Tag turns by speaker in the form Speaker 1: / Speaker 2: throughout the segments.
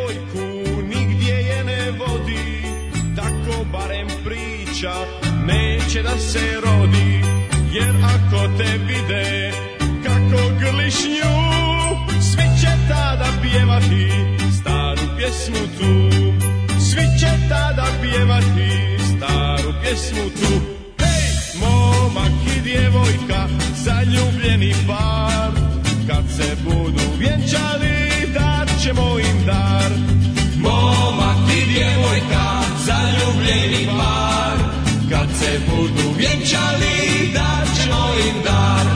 Speaker 1: Djevojku nigdje je ne vodi, tako barem priča, neće da se rodi, jer ako te vide kako grliš nju, svi će tada pjevati staru pjesmu tu, svi će tada pjevati staru pjesmu tu. Hej, momak i djevojka, zaljubljeni par, kad se budu vjenčali, dat ćemo im dar. Momak i djevojka, zaljubljeni par, kad se budu vjenčali, dat ćemo im dar.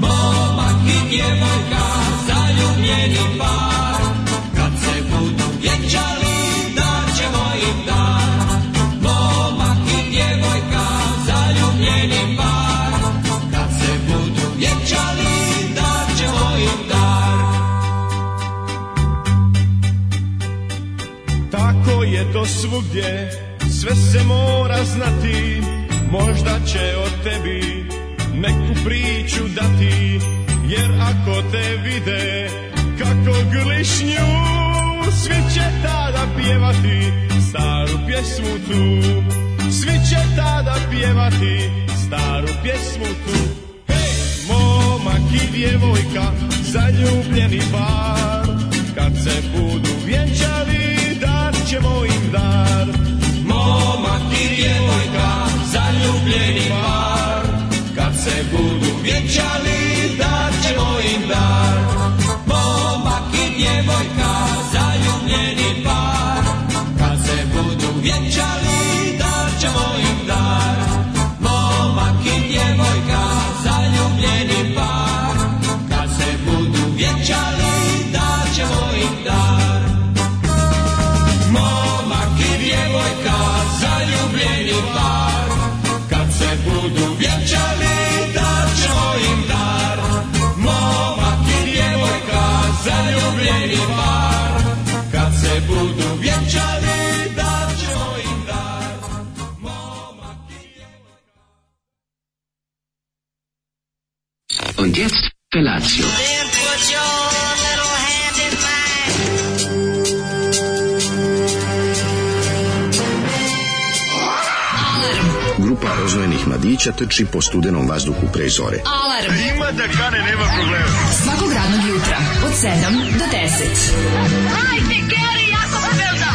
Speaker 1: Momak i djevojka, zaljubljeni par, kad se budu vjenčali, dat ćemo im dar. Momak i djevojka, zaljubljeni par, kad se budu vjenčali, dat ćemo im dar. Tako je to svugdje, sve se mora znati, možda će o tebi neku priču dati, jer ako te vide kako grliš nju, svi će tada pjevati staru pjesmu tu, svi će tada pjevati staru pjesmu tu. Hej, momak i djevojka, zaljubljeni par, kad se budu vjenčali, dat ćemo im dar. Momak i djevojka, zaljubljeni par, kad se budu vjenčali, dat ćemo im dar. Momak i djevojka, zaljubljeni par, kad se budu vjenčali, dat ćemo im dar. Momak i djevojka, zaljubljeni par, kad se budu vjenčali, dat ćemo im dar. Momak i djevojka, zaljubljeni par, kad se budu vjenčali, dat ćemo im dar. Momak i djevojka, zaljubljeni par, kad se budu vjenčali, dat ćemo im dar. Momak i djevojka...
Speaker 2: Und jetzt Felatio.
Speaker 3: Then put your little hand in mine.
Speaker 4: Grupa rozvojenih mladića trči po studenom vazduhu pre zore.
Speaker 5: Alarm. Ima da kane, nema problema. Svakog radnog jutra, od 7 do 10.
Speaker 3: Hajde, Geri, jako se velda.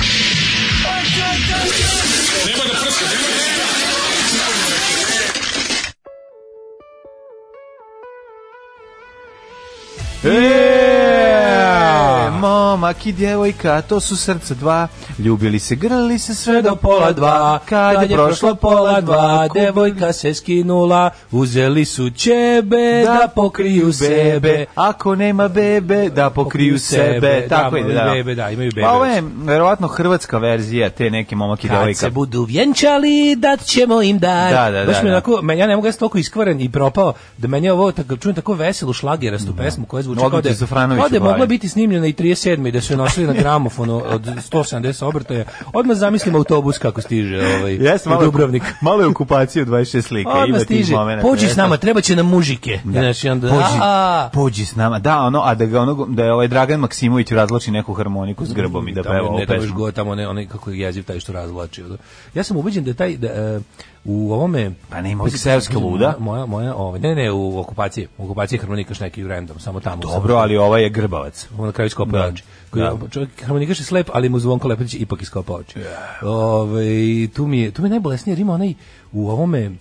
Speaker 6: E, Momak i djevojka, to su srca dva, ljubili se, grlili se sve do pola dva, kad, je prošlo pola dva, devojka
Speaker 7: se skinula, uzeli su ćebe da pokriju sebe.
Speaker 6: Ako nema bebe, da pokriju
Speaker 7: Pokriju
Speaker 6: sebe.
Speaker 7: sebe, da,
Speaker 6: Tako ide, da.
Speaker 7: bebe, da, imaju bebe.
Speaker 6: Pa ovo je verovatno hrvatska verzija te neke momak i
Speaker 7: Kad
Speaker 6: djevojka.
Speaker 7: se budu vjenčali, dat ćemo im dar.
Speaker 6: Da, da,
Speaker 7: Baš
Speaker 6: da,
Speaker 7: mi je
Speaker 6: da.
Speaker 7: onako, me- ja ne mogu, ja sam toliko iskvaren i propao, da meni je ovo, tako, čujem tako veselu šlagerastu pesmu koja zvuči
Speaker 6: Odmah
Speaker 7: kao da,
Speaker 6: ti Zafranović
Speaker 7: kao da je
Speaker 6: ubavi.
Speaker 7: mogla biti snimljena i 37. i da su je nosili na gramofonu od 170 obrtaja. Odmah zamislim autobus kako stiže ovaj,
Speaker 6: Jeste,
Speaker 7: u
Speaker 6: malo,
Speaker 7: Dubrovnik.
Speaker 6: malo je okupacija od 26 slika. ima
Speaker 7: Odmah
Speaker 6: tih
Speaker 7: stiže.
Speaker 6: momenata,
Speaker 7: Pođi s
Speaker 6: jeste.
Speaker 7: nama, treba će nam mužike. Znači, onda,
Speaker 6: pođi,
Speaker 7: a,
Speaker 6: pođi s nama. Da, ono, a da ga ono, da je ovaj Dragan Maksimović razloči neku harmoniku s grbom i da
Speaker 7: tamo,
Speaker 6: peva ovu
Speaker 7: ne, tamo još
Speaker 6: pesmu.
Speaker 7: go- tamo ne, onaj kako je jeziv taj što razvlači. ono. Ja sam ubeđen da je taj da, e, u ovome
Speaker 6: Pa ne, ima ovih seoske luda.
Speaker 7: Moja moja ovaj ne ne u okupaciji, u okupaciji harmonikaš neki random, samo tamo.
Speaker 6: Dobro, ali ovaj je grbavac.
Speaker 7: samo, na kraju iskopao
Speaker 6: Da.
Speaker 7: oči. Koji,
Speaker 6: Da.
Speaker 7: Čovjek harmonikaš je slep, ali mu Zvonko Lepetić ipak iskopao oči. Ovaj, tu mi je tu mi je najbolesnije jer ima onaj u ovome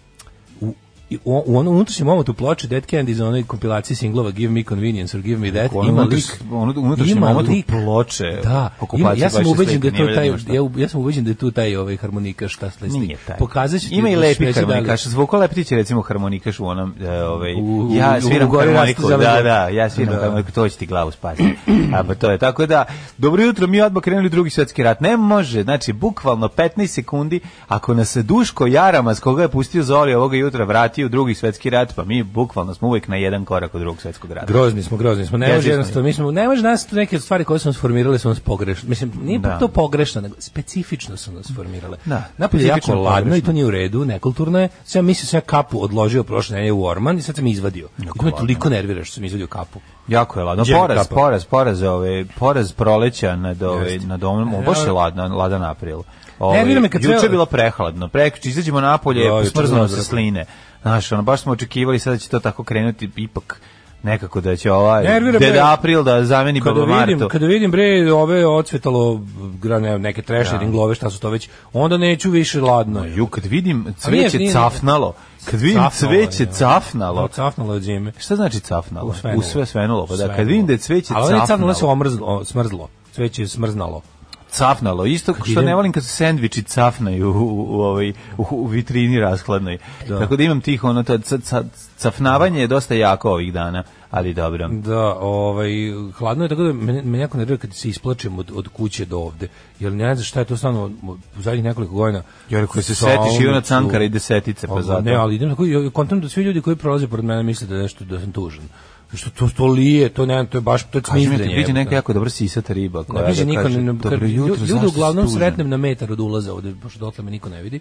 Speaker 7: u, i u, u onom unutrašnjem momentu ploče Dead Candy za onoj kompilaciji singlova Give Me Convenience or Give Me That
Speaker 6: Ono
Speaker 7: ima
Speaker 6: unutraš-
Speaker 7: lik
Speaker 6: ono unutrašnji
Speaker 7: ima
Speaker 6: momenat u
Speaker 7: lik-
Speaker 6: ploče,
Speaker 7: da, ima,
Speaker 6: okupacije
Speaker 7: ja sam
Speaker 6: 26
Speaker 7: ubeđen da je to
Speaker 6: nije
Speaker 7: taj
Speaker 6: vredno šta.
Speaker 7: ja, ja sam ubeđen da je tu taj ovaj harmonika šta slesti.
Speaker 6: Nije taj.
Speaker 7: Pokazaću ti
Speaker 6: Ima i
Speaker 7: još
Speaker 6: lepi
Speaker 7: veće
Speaker 6: harmonikaš.
Speaker 7: dalje.
Speaker 6: Zvuko Leptić je recimo harmonikaš u onom, e, ovaj,
Speaker 7: U- u-
Speaker 6: ja
Speaker 7: u
Speaker 6: sviram
Speaker 7: Gori
Speaker 6: harmoniku,
Speaker 7: rastu
Speaker 6: da,
Speaker 7: zelenog.
Speaker 6: da, ja sviram
Speaker 7: Da.
Speaker 6: harmoniku, to će ti glavu spasiti. A pa to je, tako da, dobro jutro, mi odmah krenuli u drugi svjetski rat. Ne može, znači, bukvalno 15 sekundi, ako nas se Duško Jarama, s koga je pustio Zoli ovoga jutra, vratio u drugi svetski rat, pa mi bukvalno smo uvijek na jedan korak od drugog svetskog rata.
Speaker 7: Grozni smo, grozni smo. Ne
Speaker 6: Jezivi
Speaker 7: može
Speaker 6: smo.
Speaker 7: jednostavno, mi smo, ne može nas neke stvari koje su nas formirale su nas pogrešno. Mislim, nije
Speaker 6: Da.
Speaker 7: to pogrešno, nego specifično su nas formirale.
Speaker 6: Da,
Speaker 7: Napolje je jako
Speaker 6: specifično
Speaker 7: ladno i
Speaker 6: pogrešno.
Speaker 7: to nije u redu, nekulturno je. Sad ja mislim, sam ja kapu odložio prošle nedelje u Orman i sad sam je izvadio. I to me
Speaker 6: ladno.
Speaker 7: toliko nervira što sam izvadio kapu.
Speaker 6: Jako je ladno.
Speaker 7: Jerry
Speaker 6: Poraz,
Speaker 7: Kappa.
Speaker 6: poraz, poraz, ove, poraz proleća nad, ove, nad ovom, baš je ladno, ladan april. Ove,
Speaker 7: Nervira me kad
Speaker 6: juče
Speaker 7: ceo-
Speaker 6: je bilo prehladno, prekući, izađemo napolje,
Speaker 7: Da, juče
Speaker 6: smrznuo se
Speaker 7: mrzlo.
Speaker 6: sline. Znaš, ono, baš smo očekivali sada će to tako krenuti, ipak nekako da će ovaj
Speaker 7: Nervira me-
Speaker 6: Deda April da zameni
Speaker 7: Kada
Speaker 6: Baba
Speaker 7: vidim,
Speaker 6: Martu.
Speaker 7: kada vidim bre ove ocvetalo gra- ne, neke trešne ringlove, šta su to već, onda neću više ladno. je.
Speaker 6: Ju, kad vidim
Speaker 7: nije-
Speaker 6: cveće
Speaker 7: nije-
Speaker 6: cafnalo, kad vidim
Speaker 7: Cafnalo je,
Speaker 6: cveće
Speaker 7: da.
Speaker 6: cafnalo,
Speaker 7: Da, Cafnalo je od zime.
Speaker 6: Šta znači cafnalo?
Speaker 7: Usvenulo.
Speaker 6: U sve svenulo. Pa da, kad
Speaker 7: Svenulo.
Speaker 6: vidim da je cveće
Speaker 7: Ali ono je cafnalo se
Speaker 6: cafnalo,
Speaker 7: omrzlo, o, smrzlo. Cveće je smrznalo.
Speaker 6: cafnalo, isto što
Speaker 7: idem-
Speaker 6: ne volim kad se sendviči cafnaju u, u, u, ovaj, u, u vitrini rashladnoj. Tako da imam tih, ono, to, ca, ca- cafnavanje je dosta jako ovih dana, ali dobro.
Speaker 7: Da, ovaj, hladno je, tako da me, me jako nervira kad se isplačem od, od kuće do ovde. Jer ne znam šta je to stvarno u zadnjih nekoliko godina.
Speaker 6: Jer ako se
Speaker 7: Saunu
Speaker 6: setiš Ivana
Speaker 7: ću-
Speaker 6: Cankara i desetice, pa
Speaker 7: Ovo,
Speaker 6: zato.
Speaker 7: Ne, ali idem tako, i kontam da svi ljudi koji prolaze pored mene misle da je nešto, da sam tužan. Što to, to lije, to ne, to je baš, to je
Speaker 6: Kaži mi,
Speaker 7: cmizdrenje,
Speaker 6: ti biti
Speaker 7: jebote.
Speaker 6: Pa neka jako dobra sisata riba
Speaker 7: Ne
Speaker 6: koja
Speaker 7: bliže
Speaker 6: da
Speaker 7: niko
Speaker 6: kaže,
Speaker 7: ne,
Speaker 6: dobro
Speaker 7: kad lju-
Speaker 6: jutro,
Speaker 7: ljude
Speaker 6: zašto si
Speaker 7: uglavnom
Speaker 6: tužan?"
Speaker 7: sretnem na metar od ulaza ovde, pošto dotle me niko ne vidi.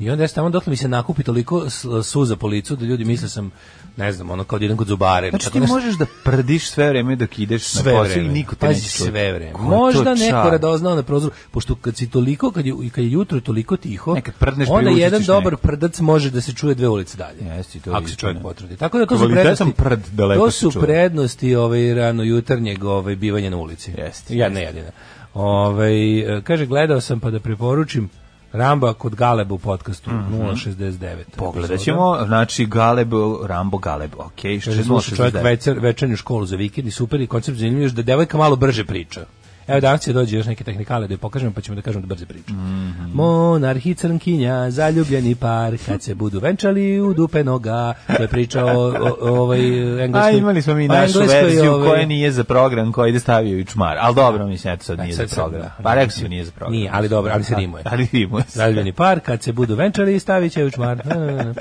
Speaker 7: I onda ja tamo dotle mi se nakupi toliko s- suza po licu da ljudi misle sam, ne znam, ono kao da idem kod zubare. ili
Speaker 6: Znači
Speaker 7: tako
Speaker 6: ti
Speaker 7: nešto.
Speaker 6: možeš da prdiš sve vreme dok ideš
Speaker 7: sve
Speaker 6: na posao
Speaker 7: vreme.
Speaker 6: i niko te
Speaker 7: Pazi,
Speaker 6: neće čuti.
Speaker 7: sve vreme.
Speaker 6: Koji je to
Speaker 7: Možda neko
Speaker 6: čar?
Speaker 7: radoznao na prozoru, pošto kad si toliko, kad je, i kad je jutro toliko tiho,
Speaker 6: Ne, kad prdneš,
Speaker 7: onda
Speaker 6: priuštiš
Speaker 7: jedan
Speaker 6: neko.
Speaker 7: dobar prdac može da se čuje dve ulice dalje.
Speaker 6: Jeste, i to je
Speaker 7: ako se
Speaker 6: istina.
Speaker 7: čovjek potrudi. Tako da to su
Speaker 6: Kvalitetan
Speaker 7: prednosti,
Speaker 6: prd daleko
Speaker 7: to
Speaker 6: se
Speaker 7: su
Speaker 6: čuje.
Speaker 7: prednosti ovaj, rano jutarnjeg ovaj, bivanja na ulici.
Speaker 6: Jeste,
Speaker 7: Jedna jedina. Ovaj, e, kaže, gledao sam pa da preporučim Ramba kod Galeba u podcastu 069.
Speaker 6: Mhm. Pogledat
Speaker 7: epizoda.
Speaker 6: ćemo, znači Galeb, Rambo Galeb, okej, što
Speaker 7: Kaže,
Speaker 6: je
Speaker 7: sluša čovjek
Speaker 6: 069?
Speaker 7: večer, večernju školu za vikend i super i koncept zanimljiv još da devojka malo brže priča. Evo danas će dođe još neke tehnikale da je pokažemo pa ćemo da kažemo da brže priča.
Speaker 6: Mhm.
Speaker 7: Monarh i crnkinja, zaljubljeni par, kad se budu venčali u dupe noga, to je priča o, o- o ovaj
Speaker 6: A
Speaker 7: engleskoj...
Speaker 6: imali smo mi
Speaker 7: o
Speaker 6: našu
Speaker 7: engleskoj,
Speaker 6: verziju
Speaker 7: ovaj-
Speaker 6: koja nije za program, koja ide stavio i čmar. Ali dobro, mislim, eto sad
Speaker 7: Da,
Speaker 6: nije za
Speaker 7: sad-
Speaker 6: program.
Speaker 7: sad, da.
Speaker 6: Pa rekao si mi nije za program.
Speaker 7: Nije, ali dobro, ali se rimuje.
Speaker 6: Ali rimuje se.
Speaker 7: Zaljubljeni par, kad se budu venčali, stavit će u čmar. Na, na, na.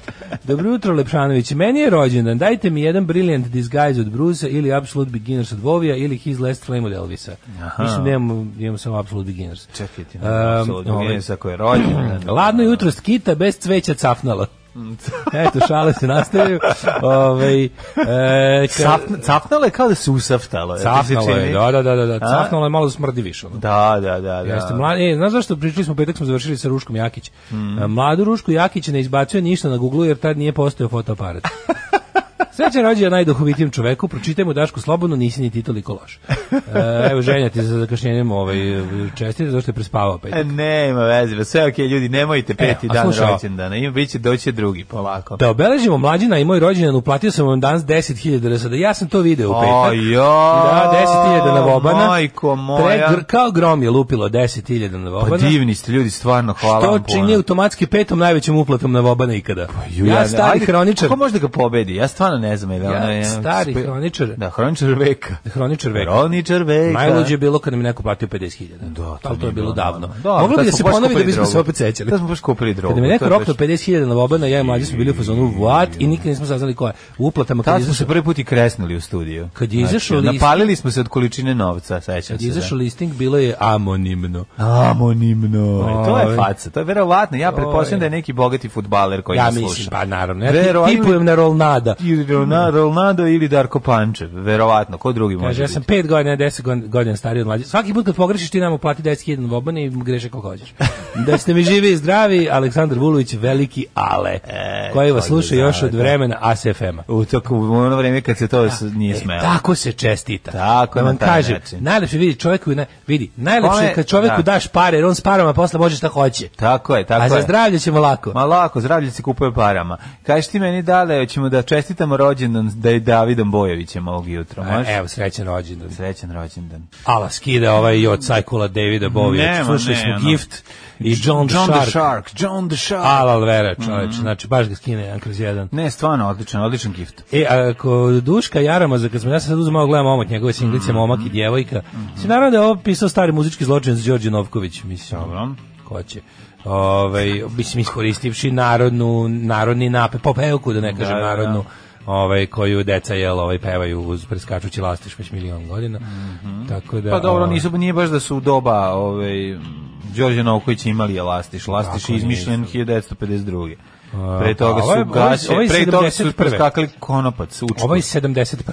Speaker 7: Dobro jutro, Lepšanović. Meni je rođendan. Dajte mi jedan Brilliant Disguise od Brusa ili Absolute Beginners od Vovija ili His Last Flame od Elvisa. Mislim, nemamo, imamo samo Absolute Beginners.
Speaker 6: Čekaj ti,
Speaker 7: Ehm, ovaj,
Speaker 6: ne znam, koji je rođen.
Speaker 7: Ladno jutro, skita bez cveća cafnala. Eto, šale se nastavljaju. Ovaj, e, ka-
Speaker 6: Cafn- Cafnalo je kao da se usaftalo. jel ti se
Speaker 7: cafnalo je,
Speaker 6: čini?
Speaker 7: da, da, da, da, da,
Speaker 6: A?
Speaker 7: cafnalo je malo da smrdi više. ono.
Speaker 6: Da, da, da. da.
Speaker 7: Jeste mlad, e, znaš zašto pričali smo u petak smo završili sa Ruškom Jakić.
Speaker 6: Mm.
Speaker 7: E, Mladu Rušku Jakić ne izbacuje ništa na Google jer tad nije postojao fotoaparat. Srećan rođendan najduhovitijem čoveku, pročitaj mu Dašku slobodno, nisi ni ti toliko loš. E, evo ženja ti za zakašnjenjem ovaj, čestite, zašto je prespavao pa
Speaker 6: E,
Speaker 7: petak.
Speaker 6: Ne, ima veze, pa sve okej, ljudi, nemojte peti
Speaker 7: E, a
Speaker 6: dan
Speaker 7: slušaj,
Speaker 6: rođendana, ima, bit će, doći će drugi, polako.
Speaker 7: Da obeležimo mlađina i moj rođendan, uplatio sam vam danas 10.000 sada. Ja sam to video u petak.
Speaker 6: Ajoj,
Speaker 7: Da, 10.000 na Vobana.
Speaker 6: Majko moja.
Speaker 7: Tre- gr- kao grom je lupilo 10.000 na Vobana.
Speaker 6: Pa divni ste ljudi, stvarno, hvala
Speaker 7: To
Speaker 6: vam puno.
Speaker 7: čini automatski petom najvećim uplatom na Vobana ikada.
Speaker 6: Pa Ju,
Speaker 7: ja,
Speaker 6: ne-
Speaker 7: stari
Speaker 6: ajde,
Speaker 7: hroničar,
Speaker 6: Ko može da ga pobedi? Ja stvarno ne znam. Je, li
Speaker 7: Ja,
Speaker 6: ono, je,
Speaker 7: stari hroničar.
Speaker 6: Da, hroničar veka.
Speaker 7: hroničar veka.
Speaker 6: Hroničar veka.
Speaker 7: Najluđe je bilo kad mi neko platio 50.000.
Speaker 6: Da,
Speaker 7: ali to je
Speaker 6: nije
Speaker 7: bilo davno.
Speaker 6: Da,
Speaker 7: Moglo
Speaker 6: tad
Speaker 7: bi da
Speaker 6: smo
Speaker 7: se
Speaker 6: baš
Speaker 7: ponovi da
Speaker 6: kupili
Speaker 7: bismo se
Speaker 6: drogu.
Speaker 7: opet sećali.
Speaker 6: Da smo baš kupili drogu.
Speaker 7: Kada mi je
Speaker 6: to
Speaker 7: neko
Speaker 6: je
Speaker 7: rokno
Speaker 6: baš-
Speaker 7: 50.000 na Vobana, ja i mlađi smo bili u fazonu what i nikad nismo saznali ko je. U uplatama kad
Speaker 6: Tad
Speaker 7: je
Speaker 6: smo se
Speaker 7: izašao,
Speaker 6: prvi put i kresnuli u studiju.
Speaker 7: Kad je izašao list-
Speaker 6: Napalili smo se od količine novca, sećam
Speaker 7: kad
Speaker 6: se.
Speaker 7: je izašao listing, bilo je anonimno.
Speaker 6: Da. Anonimno. To
Speaker 7: Oj.
Speaker 6: je faca, to je verovatno. Ja pretpostavljam
Speaker 7: Oj.
Speaker 6: da je neki bogati futbaler koji
Speaker 7: Ja
Speaker 6: nas
Speaker 7: mislim,
Speaker 6: sluša.
Speaker 7: pa naravno. Ja ti-
Speaker 6: Verovatno-
Speaker 7: tipujem na Rolnada.
Speaker 6: Ili Rona- Ronaldo ili Darko Pančev, verovatno, ko drugi
Speaker 7: Mm. Kaže,
Speaker 6: može
Speaker 7: ja sam
Speaker 6: biti?
Speaker 7: 5 godina, 10 godina, godina stariji od mlađe. Svaki put kad pogrešiš ti nam uplati 10.000 vobana i greše kako hoćeš. Da ste mi živi i zdravi, Aleksandar Vulović, veliki ale, koji vas
Speaker 6: to
Speaker 7: sluša
Speaker 6: E, je
Speaker 7: još od
Speaker 6: da.
Speaker 7: vremena ASFM-a.
Speaker 6: U, to, u ono vreme kad se to s- nije smelo.
Speaker 7: E, Tako se čestita.
Speaker 6: Tako,
Speaker 7: da vam
Speaker 6: na taj
Speaker 7: kažem,
Speaker 6: način.
Speaker 7: najlepše vidi čovjeku, na- vidi, najlepše
Speaker 6: Kome-
Speaker 7: je kad čovjeku
Speaker 6: da.
Speaker 7: daš pare, jer on s parama posle može šta hoće.
Speaker 6: Tako je, tako
Speaker 7: A
Speaker 6: je.
Speaker 7: za zdravlje ćemo lako.
Speaker 6: Pa Ma lako, zdravlje se kupuje parama. Kažeš ti meni dale, hoćemo da čestitamo rođendan da je Davidom Bojovićem ovog jutra,
Speaker 7: A,
Speaker 6: može?
Speaker 7: E, Evo, srećan rođendan.
Speaker 6: Srećan rođendan.
Speaker 7: Ala skida ovaj i od Cajkula Davida Bovija.
Speaker 6: Nema,
Speaker 7: Slušali
Speaker 6: ne,
Speaker 7: smo
Speaker 6: ono.
Speaker 7: Gift i John, the
Speaker 6: John the
Speaker 7: Shark.
Speaker 6: Shark, John the Shark.
Speaker 7: Ala Alvera, čoveče,
Speaker 6: mm-hmm.
Speaker 7: znači baš ga skine jedan kroz jedan.
Speaker 6: Ne, stvarno, odličan, odličan gift.
Speaker 7: E, a kod Duška Jaramaza, kad smo ja sam sad uzmao gledam momak, njegove
Speaker 6: Mm-hmm.
Speaker 7: singlice Momak i djevojka, mislim, naravno da je ovo pisao stari muzički zločin s Đorđe Novković, mislim,
Speaker 6: Dobro.
Speaker 7: ko će. ovaj, mislim, iskoristivši narodnu, narodni nape, popevku, da ne kažem
Speaker 6: da, da.
Speaker 7: narodnu, ovaj, koju deca jel, ovaj, pevaju uz preskačući lastiš već milion godina. Tako da,
Speaker 6: Pa dobro,
Speaker 7: ovaj,
Speaker 6: nisu, nije baš da su u doba ovaj, Đorđe Novković imali elastiš. Lastiš je izmišljen 1952. Pre toga
Speaker 7: a pa ovaj- ovo je-
Speaker 6: su
Speaker 7: ovo je-
Speaker 6: gaće,
Speaker 7: ovo je
Speaker 6: pre toga su
Speaker 7: 71..
Speaker 6: preskakali konopac. Učku.
Speaker 7: Ovo je 71.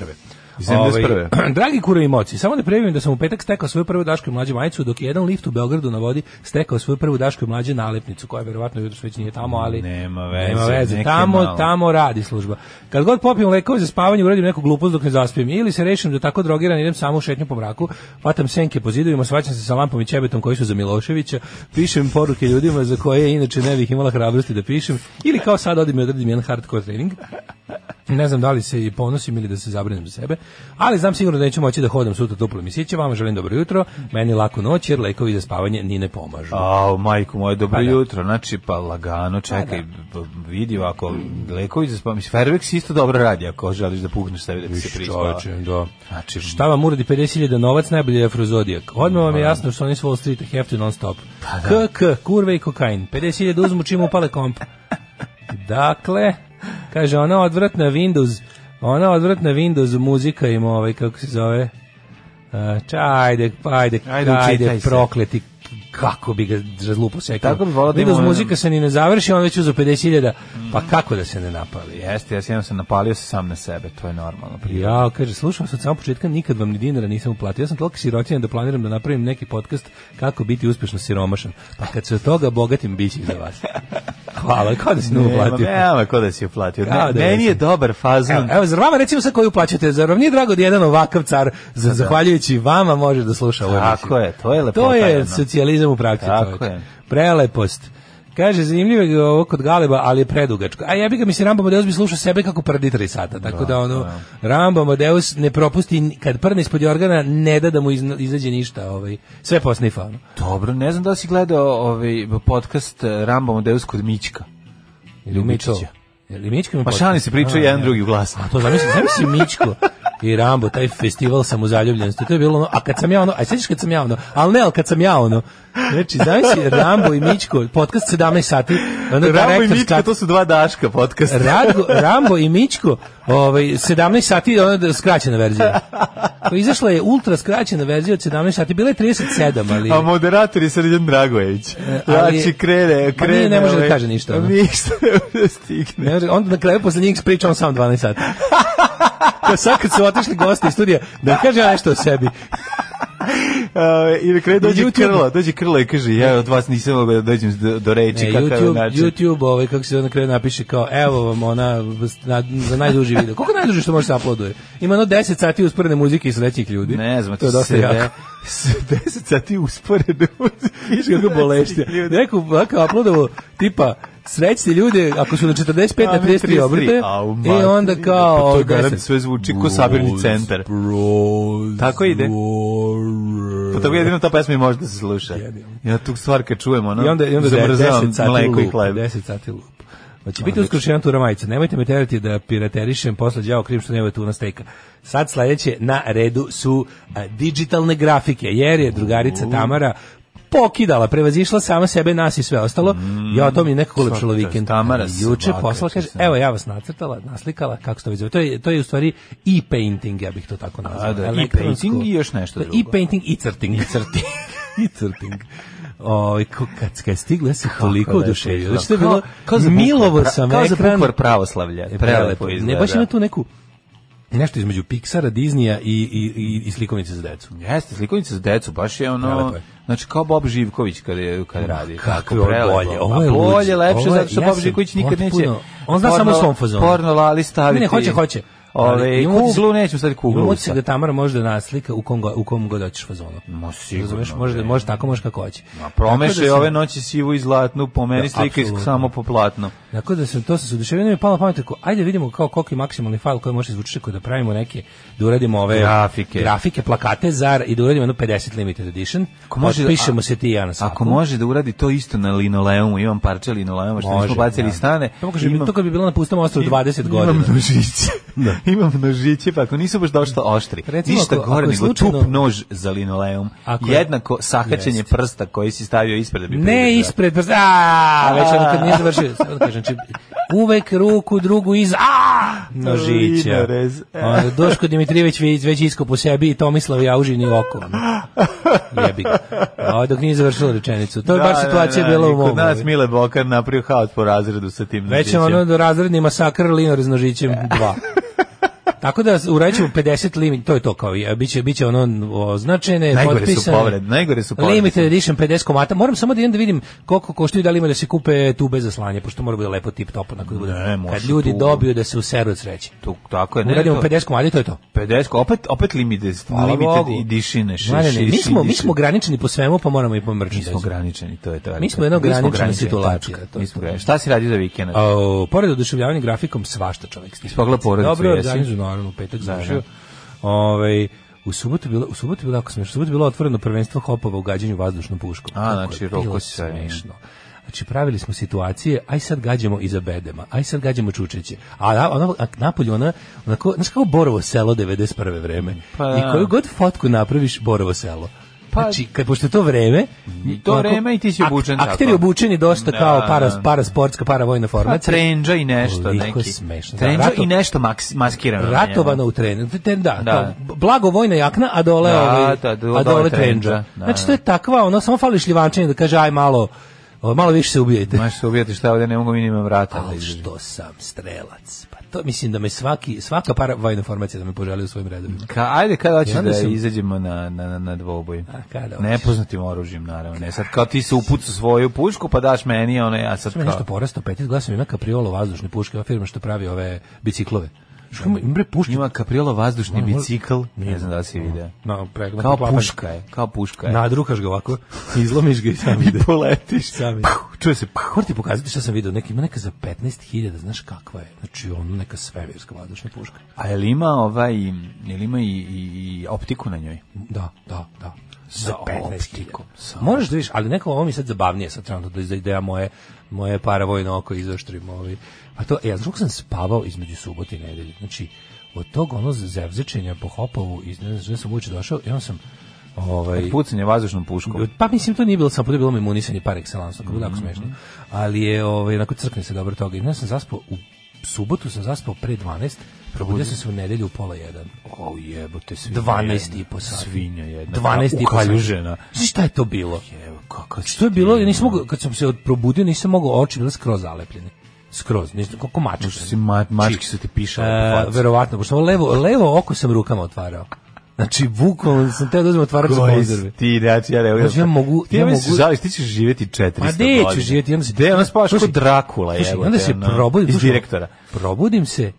Speaker 6: 71..
Speaker 7: Ovaj, dragi kuro i moci, samo da previm da sam u petak stekao svoju prvu dašku i mlađe majicu, dok je jedan lift u Beogradu na vodi stekao svoju prvu dašku i mlađe nalepnicu, koja verovatno jutros već nije tamo, ali
Speaker 6: Nema veze,
Speaker 7: nema
Speaker 6: nek je
Speaker 7: Tamo,
Speaker 6: malo.
Speaker 7: tamo radi služba. Kad god popijem lekove za spavanje, uradim neku glupost dok ne zaspijem, ili se rešim da tako drogiran idem samo u šetnju po mraku, hvatam senke po zidovima, svaćam se sa lampom i čebetom koji su za Miloševića, pišem poruke ljudima za koje inače ne bih imala hrabrosti da pišem, ili kao sad odim i odradim jedan hardcore trening. Ne znam da li se i ponosim ili da se zabrinem za sebe, ali znam sigurno da neću moći da hodam sutra tuplo misiće. Vama želim dobro jutro, meni laku noć jer lekovi za spavanje ni ne pomažu.
Speaker 6: A, majko moje, dobro
Speaker 7: Pa da.
Speaker 6: jutro. Znači, pa lagano, čekaj, b- vidi ovako, Leković za spavanje. Fairvex isto dobro radi ako želiš da pugneš sebi da ti se prispava.
Speaker 7: Čoveče, da.
Speaker 6: Znači,
Speaker 7: Šta vam uradi 50.000 novac, najbolje je afrozodijak. Odmah
Speaker 6: Pa
Speaker 7: vam je jasno što oni s Wall Streeta hefte non stop. KK, kurve i kokain. 50.000 uzmu čim upale komp. Dakle, kaže, ona odvratna Windows, ona odvratna Windows muzika im, ovaj, kako se zove, Uh, čajde, ajde,
Speaker 6: Ajde,
Speaker 7: ajde,
Speaker 6: učitaj
Speaker 7: ajde
Speaker 6: se.
Speaker 7: prokleti, kako bi ga razlupo sekao.
Speaker 6: Tako bi volao da Mm. ima
Speaker 7: Windows
Speaker 6: ono-
Speaker 7: muzika se ni ne završi, on već uzu 50.000, pa kako da se ne napali?
Speaker 6: Jeste, ja sam sam napalio se sam na sebe, to je normalno. prirodno.
Speaker 7: Ja, kaže, slušao sam od samog početka, nikad vam ni dinara nisam uplatio. Ja sam toliko sirotinjan da planiram da napravim neki podcast kako biti uspješno siromašan. Pa kad se od toga bogatim, bit će za vas. Hvala, kao da si nam
Speaker 6: Nema,
Speaker 7: uplatio.
Speaker 6: nema ko da si uplatio. Ne,
Speaker 7: Kao da
Speaker 6: meni je
Speaker 7: jesam.
Speaker 6: dobar fazon.
Speaker 7: Evo, evo, zar vama recimo sad koji uplaćate, zar vam nije drago da jedan ovakav car, za, zahvaljujući vama, može da sluša ovo
Speaker 6: Tako je, to je
Speaker 7: To
Speaker 6: lepota.
Speaker 7: je
Speaker 6: jedna.
Speaker 7: socijalizam u praksi.
Speaker 6: Tako
Speaker 7: čoveče.
Speaker 6: je.
Speaker 7: Prelepost. Kaže, zanimljivo je ovo kod Galeba, ali je predugačko. A ja bi ga, mislim, Rambo Amadeus bi slušao sebe kako prdi tri sata. Tako da, ono, Rambo Amadeus ne propusti, ni- kad prne ispod jorgana, ne da da mu izna- izađe ništa. Ovaj. Sve posnifa. Ono.
Speaker 6: Dobro, ne znam da li si gledao ovaj podcast eh, Rambo Amadeus kod Mićka.
Speaker 7: Ili Mićko.
Speaker 6: Mičića.
Speaker 7: Ili Mićko ima
Speaker 6: Pa
Speaker 7: podcast?
Speaker 6: šani se pričaju
Speaker 7: A,
Speaker 6: jedan
Speaker 7: ja.
Speaker 6: drugi glas.
Speaker 7: A to zamisli, zamisli Mičko i Rambo, taj festival samozaljubljenosti, to je bilo ono, a kad sam ja ono, a sjećaš kad sam ja ono, ali ne, ali kad sam ja ono, znači, zamisli Rambo i Mičko, podcast 17 sati,
Speaker 6: Rambo
Speaker 7: ono,
Speaker 6: i
Speaker 7: director's
Speaker 6: Mićka,
Speaker 7: cut.
Speaker 6: to su dva daška podcasta.
Speaker 7: Radgo, Rambo i Mičko, ovaj 17 sati ona da- skraćena verzija. Pa Izašla je ultra skraćena verzija od 17 sati, bila je 37, ali E,
Speaker 6: A moderator je Srđan Dragojević.
Speaker 7: ali-
Speaker 6: Znači, krene,
Speaker 7: Pa
Speaker 6: krene.
Speaker 7: nije, ne može da
Speaker 6: ovaj,
Speaker 7: kaže ništa, ono.
Speaker 6: Ništa ne može da stigne.
Speaker 7: Ne, može- onda na kraju posle njih priča on sam 12 sati. Kao sad kad su otišli gosti iz studija, da kaže ja nešto o sebi.
Speaker 6: E, A, I na kraju Ovaj, dođe
Speaker 7: YouTube.
Speaker 6: krlo, dođe krlo i kaže, ja od vas nisam mogao da dođem do, do reči,
Speaker 7: Ne,
Speaker 6: kakav je
Speaker 7: Znači, YouTube,
Speaker 6: način.
Speaker 7: YouTube, ovaj, kako se zove, na kraju napiše kao, evo vam ona, vas- na- za najduži video. Koliko je najduže što može se uploaduje? Ima ono 10 sati usporene muzike i srećnih ljudi.
Speaker 6: Ne znam,
Speaker 7: to je dosta jako.
Speaker 6: 10 sati Znači, usporedno.
Speaker 7: Viš kako bolešte. Neko ovako uploadovo, tipa, srećni ljude, ako su na 45 na 33 obrte, i onda kao...
Speaker 6: Pa to je
Speaker 7: 10.
Speaker 6: garant, sve zvuči ko sabirni centar. Tako ide. Pa tako jedino ta pesma i može da se sluša. Ja tu stvar kad čujem, ono,
Speaker 7: I onda, i onda da je
Speaker 6: zamrzavam
Speaker 7: 10 sati
Speaker 6: mleko i
Speaker 7: lup.
Speaker 6: hleb.
Speaker 7: 10 sati lup. Hoće biti uskoro jedan tura majica. Nemojte me terati da piraterišem posle đavo krim što nema tuna stejka. Sad sledeće na redu su a, digitalne grafike, jer je drugarica Tamara pokidala, prevazišla sama sebe, nas i sve ostalo. ja, to mi je nekako ulepšalo
Speaker 6: svaka čast.
Speaker 7: vikend.
Speaker 6: Tamara
Speaker 7: Ali Juče
Speaker 6: svaka
Speaker 7: poslala,
Speaker 6: čast.
Speaker 7: kaže, evo Pa ja vas nacrtala, naslikala, kako se to već zove. To je, to je u stvari e-painting, ja bih to tako nazvao.
Speaker 6: A, da,
Speaker 7: elektronsko.
Speaker 6: e-painting i još nešto
Speaker 7: To je
Speaker 6: drugo.
Speaker 7: E-painting i crting. I crting. I crting. Oj, ko- kad, kad je stigla, ja se toliko oduševio. Znači, to je bilo, milovo sam
Speaker 6: Kao za
Speaker 7: ekran.
Speaker 6: bukvar pravoslavlja.
Speaker 7: E,
Speaker 6: Prelepo izgleda.
Speaker 7: Ne, baš ima tu neku, nešto između Pixara, Disneya i, i, i, i slikovnice za decu.
Speaker 6: Jeste, slikovnica za decu, baš je ono...
Speaker 7: Prelepo je.
Speaker 6: Znači kao Bob Živković kad, je, kad radi.
Speaker 7: kako
Speaker 6: Tako,
Speaker 7: je ovo
Speaker 6: prelepo.
Speaker 7: bolje, ovo
Speaker 6: Ma
Speaker 7: je
Speaker 6: bolje,
Speaker 7: luđe,
Speaker 6: lepše,
Speaker 7: ovo je-
Speaker 6: zato što
Speaker 7: ja
Speaker 6: Bob
Speaker 7: sam
Speaker 6: Živković nikad neće...
Speaker 7: potpuno- on zna samo u svom fazonu.
Speaker 6: Porno lali staviti...
Speaker 7: Ne, ne, hoće, hoće. Ali
Speaker 6: Ove,
Speaker 7: imamo utisak-
Speaker 6: kuglu, neću staviti
Speaker 7: Imamo
Speaker 6: kuglu.
Speaker 7: utisak da Tamara može da naslika u kom, go- u kom god hoćeš fazonu.
Speaker 6: Ma sigurno,
Speaker 7: Razumeš, može, da,
Speaker 6: bre.
Speaker 7: može tako, može kako hoće. Ma
Speaker 6: Promešaj ove noći sivu i zlatnu, po meni
Speaker 7: Da,
Speaker 6: slika
Speaker 7: apsolutno.
Speaker 6: samo po platnu.
Speaker 7: Tako da sam to se oduševio, onda mi je palo na pamet tako, ajde vidimo kao koliko je maksimalni fajl koji može izvući tako da pravimo neke, da uradimo ove
Speaker 6: Grafike.
Speaker 7: grafike plakate zar i da uradimo jedno 50 limited edition. Ako
Speaker 6: može-
Speaker 7: pišemo
Speaker 6: a-
Speaker 7: se ti i ja na svaku.
Speaker 6: Ako može da uradi to isto na linoleumu, imam parče linoleuma što
Speaker 7: Može,
Speaker 6: nismo bacili iz
Speaker 7: da.
Speaker 6: stane.
Speaker 7: To, kaže,
Speaker 6: imam-
Speaker 7: to kad bi bilo na pustom ostrvu 20
Speaker 6: Imam
Speaker 7: godina.
Speaker 6: nožiće. imam nožiće, pa ako nisu baš došto oštri,
Speaker 7: Recimo,
Speaker 6: ništa
Speaker 7: ako-
Speaker 6: gore
Speaker 7: ako je
Speaker 6: nego
Speaker 7: slučajno-
Speaker 6: tup nož za linoleum,
Speaker 7: Ako je-
Speaker 6: jednako sahaćenje
Speaker 7: Jeste.
Speaker 6: prsta koji si stavio ispred da bi
Speaker 7: Ne
Speaker 6: privukao.
Speaker 7: ispred brza. A, već ono kad nije završio. sad Kažem, znači, uvek ruku, drugu iz... A, nožića.
Speaker 6: Linorez.
Speaker 7: Onda Duško Dimitrijević već, već isko po sebi i Tomislav Jaužin i oko. ono. Jebi ga. A, dok nije završila rečenicu. To je
Speaker 6: Da,
Speaker 7: baš
Speaker 6: da,
Speaker 7: situacija
Speaker 6: da,
Speaker 7: bila
Speaker 6: i
Speaker 7: u mom.
Speaker 6: Kod nas
Speaker 7: ovaj.
Speaker 6: Mile Bokar napravio haos po razredu sa tim
Speaker 7: Već je
Speaker 6: nožićem.
Speaker 7: ono do razredni masakr linorez nožićem
Speaker 6: E.
Speaker 7: 2. Tako da uradit ćemo 50 limit, to je to kao, i, a biće, biće ono označene,
Speaker 6: Najgore su
Speaker 7: potpisane.
Speaker 6: povrede, najgore su povrede.
Speaker 7: Limited edition 50 komata. Moram samo da idem da vidim koliko koštaju da li ima da se kupe tube za slanje, pošto mora bude lepo tip top onako da bude.
Speaker 6: Ne, može
Speaker 7: Kad ljudi
Speaker 6: tu.
Speaker 7: dobiju da se useru od sreće.
Speaker 6: Tu, tako je, Pa ne,
Speaker 7: Uradimo
Speaker 6: to-
Speaker 7: 50 komada i to je to.
Speaker 6: 50, opet, opet limited,
Speaker 7: Hvala
Speaker 6: limited
Speaker 7: Bogu.
Speaker 6: i dišine. Ši,
Speaker 7: Mladene,
Speaker 6: ši,
Speaker 7: mi,
Speaker 6: ši-
Speaker 7: smo, mi
Speaker 6: dišine.
Speaker 7: smo ograničeni po svemu, pa moramo i po
Speaker 6: Mi smo
Speaker 7: merchandisu.
Speaker 6: ograničeni, to je to.
Speaker 7: Mi smo jedna
Speaker 6: Mi smo
Speaker 7: ograničena
Speaker 6: ograničeni,
Speaker 7: situacija,
Speaker 6: tačka.
Speaker 7: to Pa
Speaker 6: Mi
Speaker 7: je
Speaker 6: smo
Speaker 7: to.
Speaker 6: ograničeni. Šta si radio za vikend?
Speaker 7: A, pored oduševljavanja grafikom, svašta čovjek stiže.
Speaker 6: Ispogledao porodicu,
Speaker 7: Dobro
Speaker 6: jesi?
Speaker 7: organizu, naravno, u petak završio. Ovaj, u subotu je bilo, u subotu je bilo jako smiješno. U subotu je bilo otvoreno prvenstvo hopova u gađanju vazdušnom puškom.
Speaker 6: A,
Speaker 7: Kako je
Speaker 6: znači,
Speaker 7: bilo
Speaker 6: roko si sve.
Speaker 7: smešno. Znači, pravili smo situacije, aj sad gađamo iza bedema, aj sad gađamo čučeće. A na- ono, a napolju ona, onako, znaš kao Borovo selo 91. vreme.
Speaker 6: Pa da.
Speaker 7: I koju god fotku napraviš, Borovo selo.
Speaker 6: Pa-
Speaker 7: znači, kad, pošto je to vreme...
Speaker 6: to
Speaker 7: onako,
Speaker 6: vreme i ti si
Speaker 7: ak-
Speaker 6: obučen tako.
Speaker 7: Akteri obučeni dosta
Speaker 6: Da,
Speaker 7: kao
Speaker 6: da,
Speaker 7: para,
Speaker 6: da.
Speaker 7: parasportska, paravojna
Speaker 6: Pa
Speaker 7: formacija.
Speaker 6: trenđa i nešto.
Speaker 7: Koliko
Speaker 6: neki.
Speaker 7: je smešno. Da,
Speaker 6: Trenđa
Speaker 7: rato-
Speaker 6: i nešto maks, maskirano. na njemu.
Speaker 7: Ratovana u trenu. Te- Da,
Speaker 6: Da.
Speaker 7: da. blago vojna jakna, a dole,
Speaker 6: Da,
Speaker 7: ovaj,
Speaker 6: da, do-
Speaker 7: a
Speaker 6: dole
Speaker 7: dole
Speaker 6: trendža.
Speaker 7: trenđa.
Speaker 6: Da,
Speaker 7: Znači,
Speaker 6: da.
Speaker 7: to je takva, ono, samo fali šljivančanje da kaže, aj malo, o, malo više se ubijajte.
Speaker 6: Možeš se ubijati šta ovdje, ne mogu minimum vrata. da
Speaker 7: Ali
Speaker 6: izdržim.
Speaker 7: što sam strelac. Pa to mislim da me svaki, svaka para vojna formacija da me poželi u svojim redovima.
Speaker 6: Ka, ajde, kada hoćeš
Speaker 7: I onda
Speaker 6: da
Speaker 7: sam-
Speaker 6: izađemo na, na, na- na dvoboj?
Speaker 7: A, kada hoćeš?
Speaker 6: Nepoznatim oružjem, naravno. Ne, sad kao ti se upucu svoju pušku, pa daš meni, a ono ja sad
Speaker 7: Sve mi je nešto
Speaker 6: kao...
Speaker 7: porastao, petit glasom ima kapriolo vazdušne puške, ova firma što pravi ove biciklove. Što ima, ima bre puške?
Speaker 6: Ima kapriolo vazdušni
Speaker 7: Moram-
Speaker 6: bicikl, ne znam da li si vidio.
Speaker 7: No, pregled,
Speaker 6: Kao
Speaker 7: poklapanje.
Speaker 6: puška je, kao puška je.
Speaker 7: Nadrukaš ga ovako, izlomiš ga i sam
Speaker 6: I
Speaker 7: ide.
Speaker 6: poletiš.
Speaker 7: Sam ide.
Speaker 6: Puh, Čuje se... puh.
Speaker 7: Moram ti pokazati šta sam vidio, neka ima neka za 15.000, znaš kakva je. Znači ono neka svemirska vazdušna puška.
Speaker 6: A je li ima ovaj, je li ima i, i, i optiku na njoj?
Speaker 7: Da, da, da. Za
Speaker 6: 15.000.
Speaker 7: Sa- Možeš da vidiš, ali neko ovo mi je sad zabavnije sad trebam da da ja moje moje paravojno oko izoštrim ovi. A to ja zbog sam spavao između subote i nedelje. Znači od tog ono zevzečenja po hopovu iz ne znam, sam uče došao i on sam ovaj
Speaker 6: Pucanje vazdušnom puškom.
Speaker 7: Pa mislim to nije bilo samo, to je bilo mi munisanje par excellence, tako
Speaker 6: Mhm.
Speaker 7: da smešno. Ali je ovaj onako crkne se dobro toga. I ne sam zaspao u subotu sam zaspao pre 12, probudio sam se u nedelju u pola 1.
Speaker 6: O jebote, svinja
Speaker 7: 12 i po sati.
Speaker 6: Svinja jedna.
Speaker 7: 12 i po sati.
Speaker 6: Ukaljužena.
Speaker 7: Znaš šta je to bilo?
Speaker 6: Evo, kako
Speaker 7: Što je bilo? Ja nisam mogao, kad sam se od- probudio, nisam mogao, oči bile skroz zalepljene. Skroz, nisam, koliko mačka.
Speaker 6: Što si ma, mački su ti
Speaker 7: E,
Speaker 6: pišali po facu.
Speaker 7: verovatno, pošto ovo levo, levo oko sam rukama otvarao. Znači, bukvalno sam teo da uzmem otvarač za
Speaker 6: Koji
Speaker 7: konzerve.
Speaker 6: si Ti, da, ja ne,
Speaker 7: Znači, ja mogu-
Speaker 6: Ti
Speaker 7: ja
Speaker 6: misliš,
Speaker 7: mogu-
Speaker 6: žališ, ti ćeš živjeti 400
Speaker 7: Ma
Speaker 6: godina.
Speaker 7: gde ću živjeti? Onda se,
Speaker 6: Gde, ono spavaš kod
Speaker 7: Slušaj,
Speaker 6: Drakula,
Speaker 7: slušaj,
Speaker 6: jebote,
Speaker 7: Onda se
Speaker 6: ono,
Speaker 7: probudim.
Speaker 6: iz
Speaker 7: slušaj,
Speaker 6: direktora.
Speaker 7: Probudim se,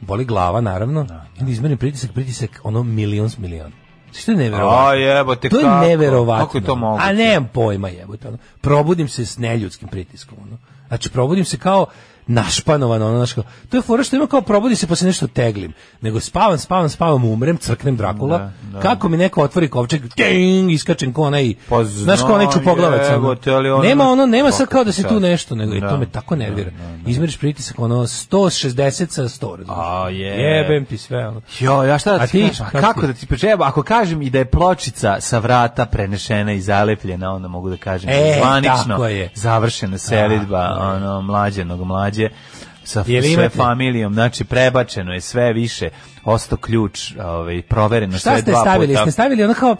Speaker 7: boli glava, naravno, i onda izmerim pritisak, pritisak, ono, milion s milion. Znači, to je neverovatno.
Speaker 6: A jebote,
Speaker 7: To je
Speaker 6: kako?
Speaker 7: neverovatno.
Speaker 6: Kako je to moguće?
Speaker 7: A nemam pojma, jebote. Ono. Probudim se s neljudskim pritiskom. Ono. Znači, probudim se kao našpanovan, ono, znaš, kao, to je fora što ima kao probudi se pa se nešto teglim, nego spavam, spavam, spavam, umrem, crknem Drakula,
Speaker 6: Da, da.
Speaker 7: kako mi neko otvori kovčeg, ting, iskačem ko onaj,
Speaker 6: Pa
Speaker 7: znaš ko onaj
Speaker 6: znam,
Speaker 7: čupoglavac, ono.
Speaker 6: jebote, ali ono-
Speaker 7: nema ono, nema sad
Speaker 6: Svaka
Speaker 7: kao da se
Speaker 6: ti
Speaker 7: tu
Speaker 6: čast.
Speaker 7: nešto, nego i
Speaker 6: Da.
Speaker 7: to me tako nervira, izmeriš pritisak, ono, 160 sa 100, razumiješ,
Speaker 6: A, je.
Speaker 7: jebem ti sve, ono.
Speaker 6: Jo, ja šta da
Speaker 7: A
Speaker 6: ti
Speaker 7: ti,
Speaker 6: kažem? A
Speaker 7: kako
Speaker 6: kako
Speaker 7: ti?
Speaker 6: da ti pričam? Evo, ako kažem i da je pločica sa vrata prenešena i zalepljena, onda mogu da kažem da je
Speaker 7: E,
Speaker 6: zvanično
Speaker 7: tako je.
Speaker 6: završena selidba
Speaker 7: Tako je.
Speaker 6: ono, mlađenog mlađe sa
Speaker 7: Je li
Speaker 6: sve
Speaker 7: imate?
Speaker 6: familijom. Znači, prebačeno je sve više. Osto ključ, ovaj, provereno
Speaker 7: Šta
Speaker 6: sve
Speaker 7: ste
Speaker 6: dva
Speaker 7: stavili?
Speaker 6: puta.
Speaker 7: Jeste stavili ono kao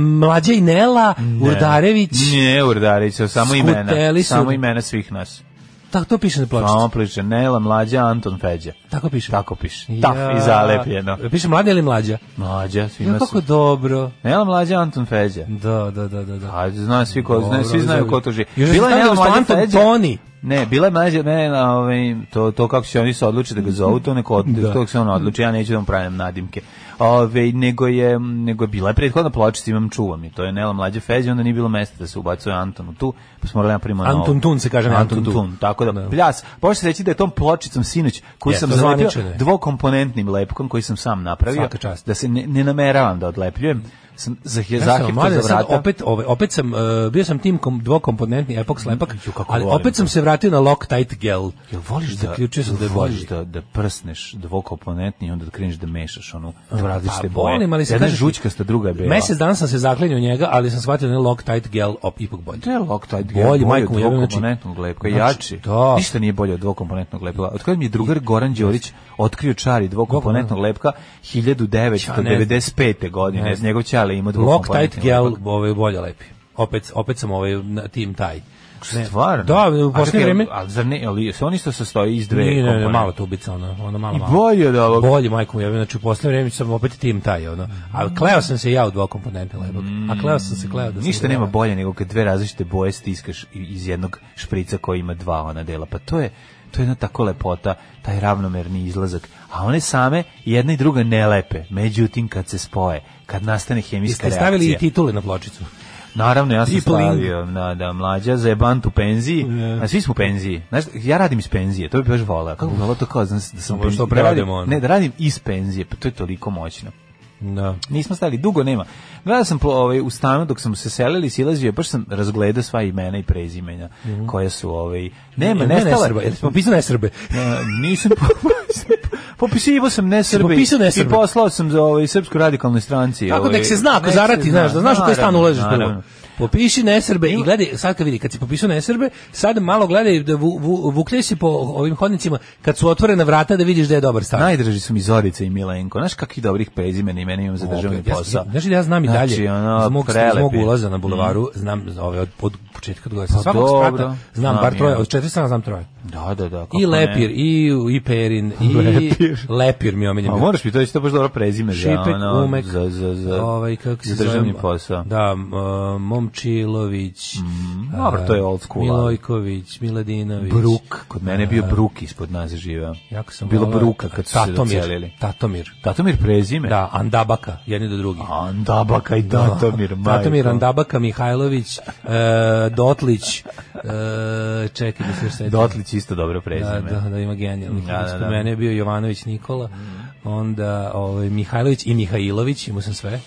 Speaker 7: Mlađa i Nela, Urdarević,
Speaker 6: Ne, Urdarević, samo imena.
Speaker 7: Skuteli su-
Speaker 6: Samo imena svih nas.
Speaker 7: tako to piše na pločici.
Speaker 6: Samo pliče Nela, mlađa, Anton Feđa.
Speaker 7: Tako piše.
Speaker 6: Tako piše. Taf i zalepljeno.
Speaker 7: Piše mlada ili mlađa?
Speaker 6: Mlađa,
Speaker 7: Ja,
Speaker 6: svima
Speaker 7: kako
Speaker 6: su.
Speaker 7: dobro.
Speaker 6: Nela, mlađa, Anton Feđa.
Speaker 7: Da, da, da, da. da.
Speaker 6: A Pa, znaju svi ko znaju,
Speaker 7: Dobro,
Speaker 6: svi znaju
Speaker 7: zavi.
Speaker 6: ko to živi.
Speaker 7: Još
Speaker 6: Bila je
Speaker 7: znam
Speaker 6: Nela
Speaker 7: da su
Speaker 6: mlađa
Speaker 7: Anton
Speaker 6: Feđa.
Speaker 7: Toni.
Speaker 6: Ne, bila je mlađa, ne, na, ovaj, to, to kako se oni se odluče da ga zovu, to neko od,
Speaker 7: Da.
Speaker 6: to se on odluči, ja neću da mu pravim nadimke. Ove, nego je, nego je bila je prethodna pločica, imam čuvam i to je Nela mlađa Feđa, onda nije bilo mesta da se ubacuje Antonu tu, pa smo morali napravimo novo.
Speaker 7: Anton Tun se kaže, ne,
Speaker 6: Anton,
Speaker 7: Anton
Speaker 6: Tun.
Speaker 7: Tun.
Speaker 6: Tako da,
Speaker 7: Da.
Speaker 6: pljas, možeš se reći da je tom pločicom sinoć, koju
Speaker 7: Jeste,
Speaker 6: sam
Speaker 7: to
Speaker 6: zalepio
Speaker 7: zvanično je.
Speaker 6: dvokomponentnim lepkom koji sam sam napravio,
Speaker 7: Svaka čast.
Speaker 6: da se ne, ne nameravam da odlepljujem, sam za
Speaker 7: Ja sam,
Speaker 6: zahip
Speaker 7: mladen,
Speaker 6: za
Speaker 7: sad
Speaker 6: vrata.
Speaker 7: opet, ovaj, opet sam, e, bio sam tim kom, dvokomponentni epok slepak,
Speaker 6: Ju, kako
Speaker 7: ali
Speaker 6: volim
Speaker 7: opet sam
Speaker 6: to.
Speaker 7: se vratio na Lock Tight Gel.
Speaker 6: Jel voliš da
Speaker 7: Zaključio sam da je
Speaker 6: voliš da
Speaker 7: bolji.
Speaker 6: da prsneš dvokomponentni i onda da kreneš da mešaš onu u različite
Speaker 7: Pa,
Speaker 6: boje.
Speaker 7: volim, ali se
Speaker 6: Jedna je
Speaker 7: kažeš-
Speaker 6: žućkasta, druga je bela.
Speaker 7: Mesec dana sam se zaklinio njega, ali sam shvatio da je Lock Tight Gel op, ipak bolji.
Speaker 6: To je Loctite gel,
Speaker 7: Bolji,
Speaker 6: bolji,
Speaker 7: majko mu
Speaker 6: od
Speaker 7: jebem, znači-
Speaker 6: dvokomponentnog lepka,
Speaker 7: Znači,
Speaker 6: jači.
Speaker 7: da.
Speaker 6: Ništa nije bolje od dvokomponentnog lepila. Od kada mi je drugar Goran Đorić otkrio čari dvokomponentnog lepka
Speaker 7: Ja
Speaker 6: 1995. godine.
Speaker 7: Ne.
Speaker 6: Njegov čale ima
Speaker 7: Lock Tight
Speaker 6: dvokomponentni
Speaker 7: Gel
Speaker 6: lepak.
Speaker 7: ovaj, bolje lepi. Opet, opet sam ovaj, na tim taj. Ne.
Speaker 6: Pa Stvarno?
Speaker 7: Da,
Speaker 6: A
Speaker 7: u posljednje
Speaker 6: čekaj,
Speaker 7: vreme...
Speaker 6: Ali zar ne, ali se oni što sastoji iz dve
Speaker 7: Nije, ne, ne,
Speaker 6: komponente?
Speaker 7: mala tubica, ono, ona, ona mala,
Speaker 6: I
Speaker 7: mala.
Speaker 6: bolje od ovog.
Speaker 7: Bolje, majko mu jebe, znači u posljednje vreme sam opet tim taj, ono. A kleo sam se ja u dva komponente lebog. A kleo sam se, kleo da sam...
Speaker 6: Ništa
Speaker 7: ga-
Speaker 6: nema bolje nego kad dve različite boje stiskaš i- iz jednog šprica koji ima dva ona dela. Pa to je to je jedna tako lepota, taj ravnomerni izlazak. A one same jedna i druga ne lepe. Međutim kad se spoje, kad nastane hemijska
Speaker 7: Jeste stavili i
Speaker 6: reakcija.
Speaker 7: titule na pločicu.
Speaker 6: Naravno ja sam
Speaker 7: i bling.
Speaker 6: stavio na da mlađa za jebant u penziji. A svi smo u penziji. Znaš, ja radim iz penzije, to bi baš voleo. Kako bi voleo to kao znaš, da sam
Speaker 7: Ovo što
Speaker 6: penzi- da radim-
Speaker 7: preradimo, ono.
Speaker 6: Ne, da radim iz penzije, pa to je toliko moćno.
Speaker 7: Da.
Speaker 6: Nismo stali, dugo nema. Gledao sam po, ovaj, u stanu dok sam se selili, silazio, baš sam razgledao sva imena i prezimenja koja su... Ovaj, nema,
Speaker 7: Mhm. Jel ne
Speaker 6: nestala.
Speaker 7: Srba, jel smo pisali ne Srbe.
Speaker 6: E, nisam po, popisivao sam ne Srbe
Speaker 7: popisao ne
Speaker 6: i
Speaker 7: Srbe?
Speaker 6: poslao sam za ovaj srpsku radikalnu stranci.
Speaker 7: Kako
Speaker 6: ovaj,
Speaker 7: nek se zna, ako
Speaker 6: nek se
Speaker 7: zarati, znaš, da znaš u koji stan
Speaker 6: naravno,
Speaker 7: ulaziš prvo.
Speaker 6: naravno.
Speaker 7: Popiši nesrbe i gledaj, sad kad vidi, kad si popisao nesrbe, sad malo gledaj, da vu, vu, vukljaj si po ovim hodnicima, kad su otvorena vrata da vidiš da je dobar stan.
Speaker 6: Najdraži su mi Zorica i Milenko. Znaš kakvih dobrih prezimena imena imam za državni
Speaker 7: Opet, ja sam-
Speaker 6: posao.
Speaker 7: Znaš li da ja znam i dalje,
Speaker 6: Znači, ono,
Speaker 7: iz mog, iz
Speaker 6: prelepi. Mm.
Speaker 7: mog ulaza na bulevaru, znam ove, od, od početka do
Speaker 6: Pa
Speaker 7: pa svakog
Speaker 6: dobro,
Speaker 7: sprata, znam
Speaker 6: znam
Speaker 7: bar
Speaker 6: ja.
Speaker 7: troje, od četiri strana znam troje.
Speaker 6: Da, da, da. kako
Speaker 7: I
Speaker 6: ne.
Speaker 7: Lepir, i, i Perin, i Lepir,
Speaker 6: Lepir.
Speaker 7: mi je omiljen
Speaker 6: A
Speaker 7: bio.
Speaker 6: Pa moraš mi to je to baš dobro prezime za,
Speaker 7: Šipek,
Speaker 6: ono,
Speaker 7: Umek,
Speaker 6: za, za, za,
Speaker 7: ovaj, kako se
Speaker 6: za državni
Speaker 7: zove?
Speaker 6: posao. Mhm.
Speaker 7: Da, m, e, Momčilović, e,
Speaker 6: dobro, to je old school, ali.
Speaker 7: Milojković, Miladinović.
Speaker 6: Bruk, kod mene je bio Bruk ispod nas živeo.
Speaker 7: Jako sam
Speaker 6: Bilo
Speaker 7: volao-
Speaker 6: Bruka kad su se
Speaker 7: Tatomir,
Speaker 6: docelili.
Speaker 7: Tatomir.
Speaker 6: Tatomir prezime?
Speaker 7: Da, Andabaka, jedni do drugih.
Speaker 6: Andabaka i Tatomir, majko.
Speaker 7: Tatomir, Andabaka, Mihajlović, e, Dotlić, e, čekaj da se još setim.
Speaker 6: Dotlić isto dobro prezime.
Speaker 7: Da, da, da, ima genijalnih.
Speaker 6: Da, da,
Speaker 7: Ispod
Speaker 6: da. Mhm.
Speaker 7: mene je bio Jovanović Nikola, onda ovaj, Mihajlović i Mihajlović, imao sam sve.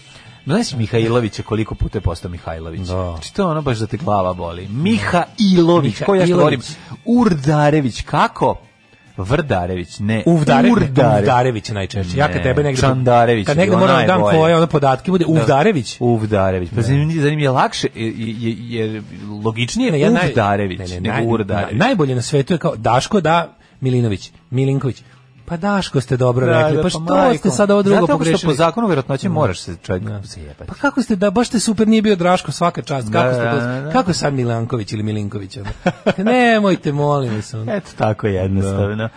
Speaker 6: Znaš Mihajlovića koliko puta je postao Mihajlović?
Speaker 7: Da.
Speaker 6: Znači to je ono baš da te glava boli. Mihajlović, ko ja što
Speaker 7: Mihailović.
Speaker 6: govorim? Urdarević, kako? Vrdarević, ne.
Speaker 7: Uvdare,
Speaker 6: Urdare-
Speaker 7: Uvdarević je najčešće. Ja kad
Speaker 6: Ne,
Speaker 7: tebe negde...
Speaker 6: Čandarević
Speaker 7: Kad
Speaker 6: je
Speaker 7: negde
Speaker 6: bio
Speaker 7: moram da dam
Speaker 6: najbolji.
Speaker 7: tvoje ono podatke, bude Uvdarević.
Speaker 6: Uvdarević. Pa zanim, zanim je lakše, je- je- jer logičnije je
Speaker 7: naj-
Speaker 6: Uvdarević
Speaker 7: ne, ne,
Speaker 6: nego
Speaker 7: naj-
Speaker 6: Urdarević.
Speaker 7: na- najbolje na svetu je kao Daško da Milinović, Milinković. Pa Daško ste dobro rekli, pa što ste sad ovo drugo
Speaker 6: Zato
Speaker 7: pogrešili?
Speaker 6: što po zakonu vjerojatnoće moraš se čovjek zajebati.
Speaker 7: Pa kako ste da baš ste super nije bio Draško svaka čast. Kako
Speaker 6: Da,
Speaker 7: ste to-
Speaker 6: da, da.
Speaker 7: kako sad Milanković ili Milinković? ono? Nemojte, molim vas. ono.
Speaker 6: Eto tako jednostavno.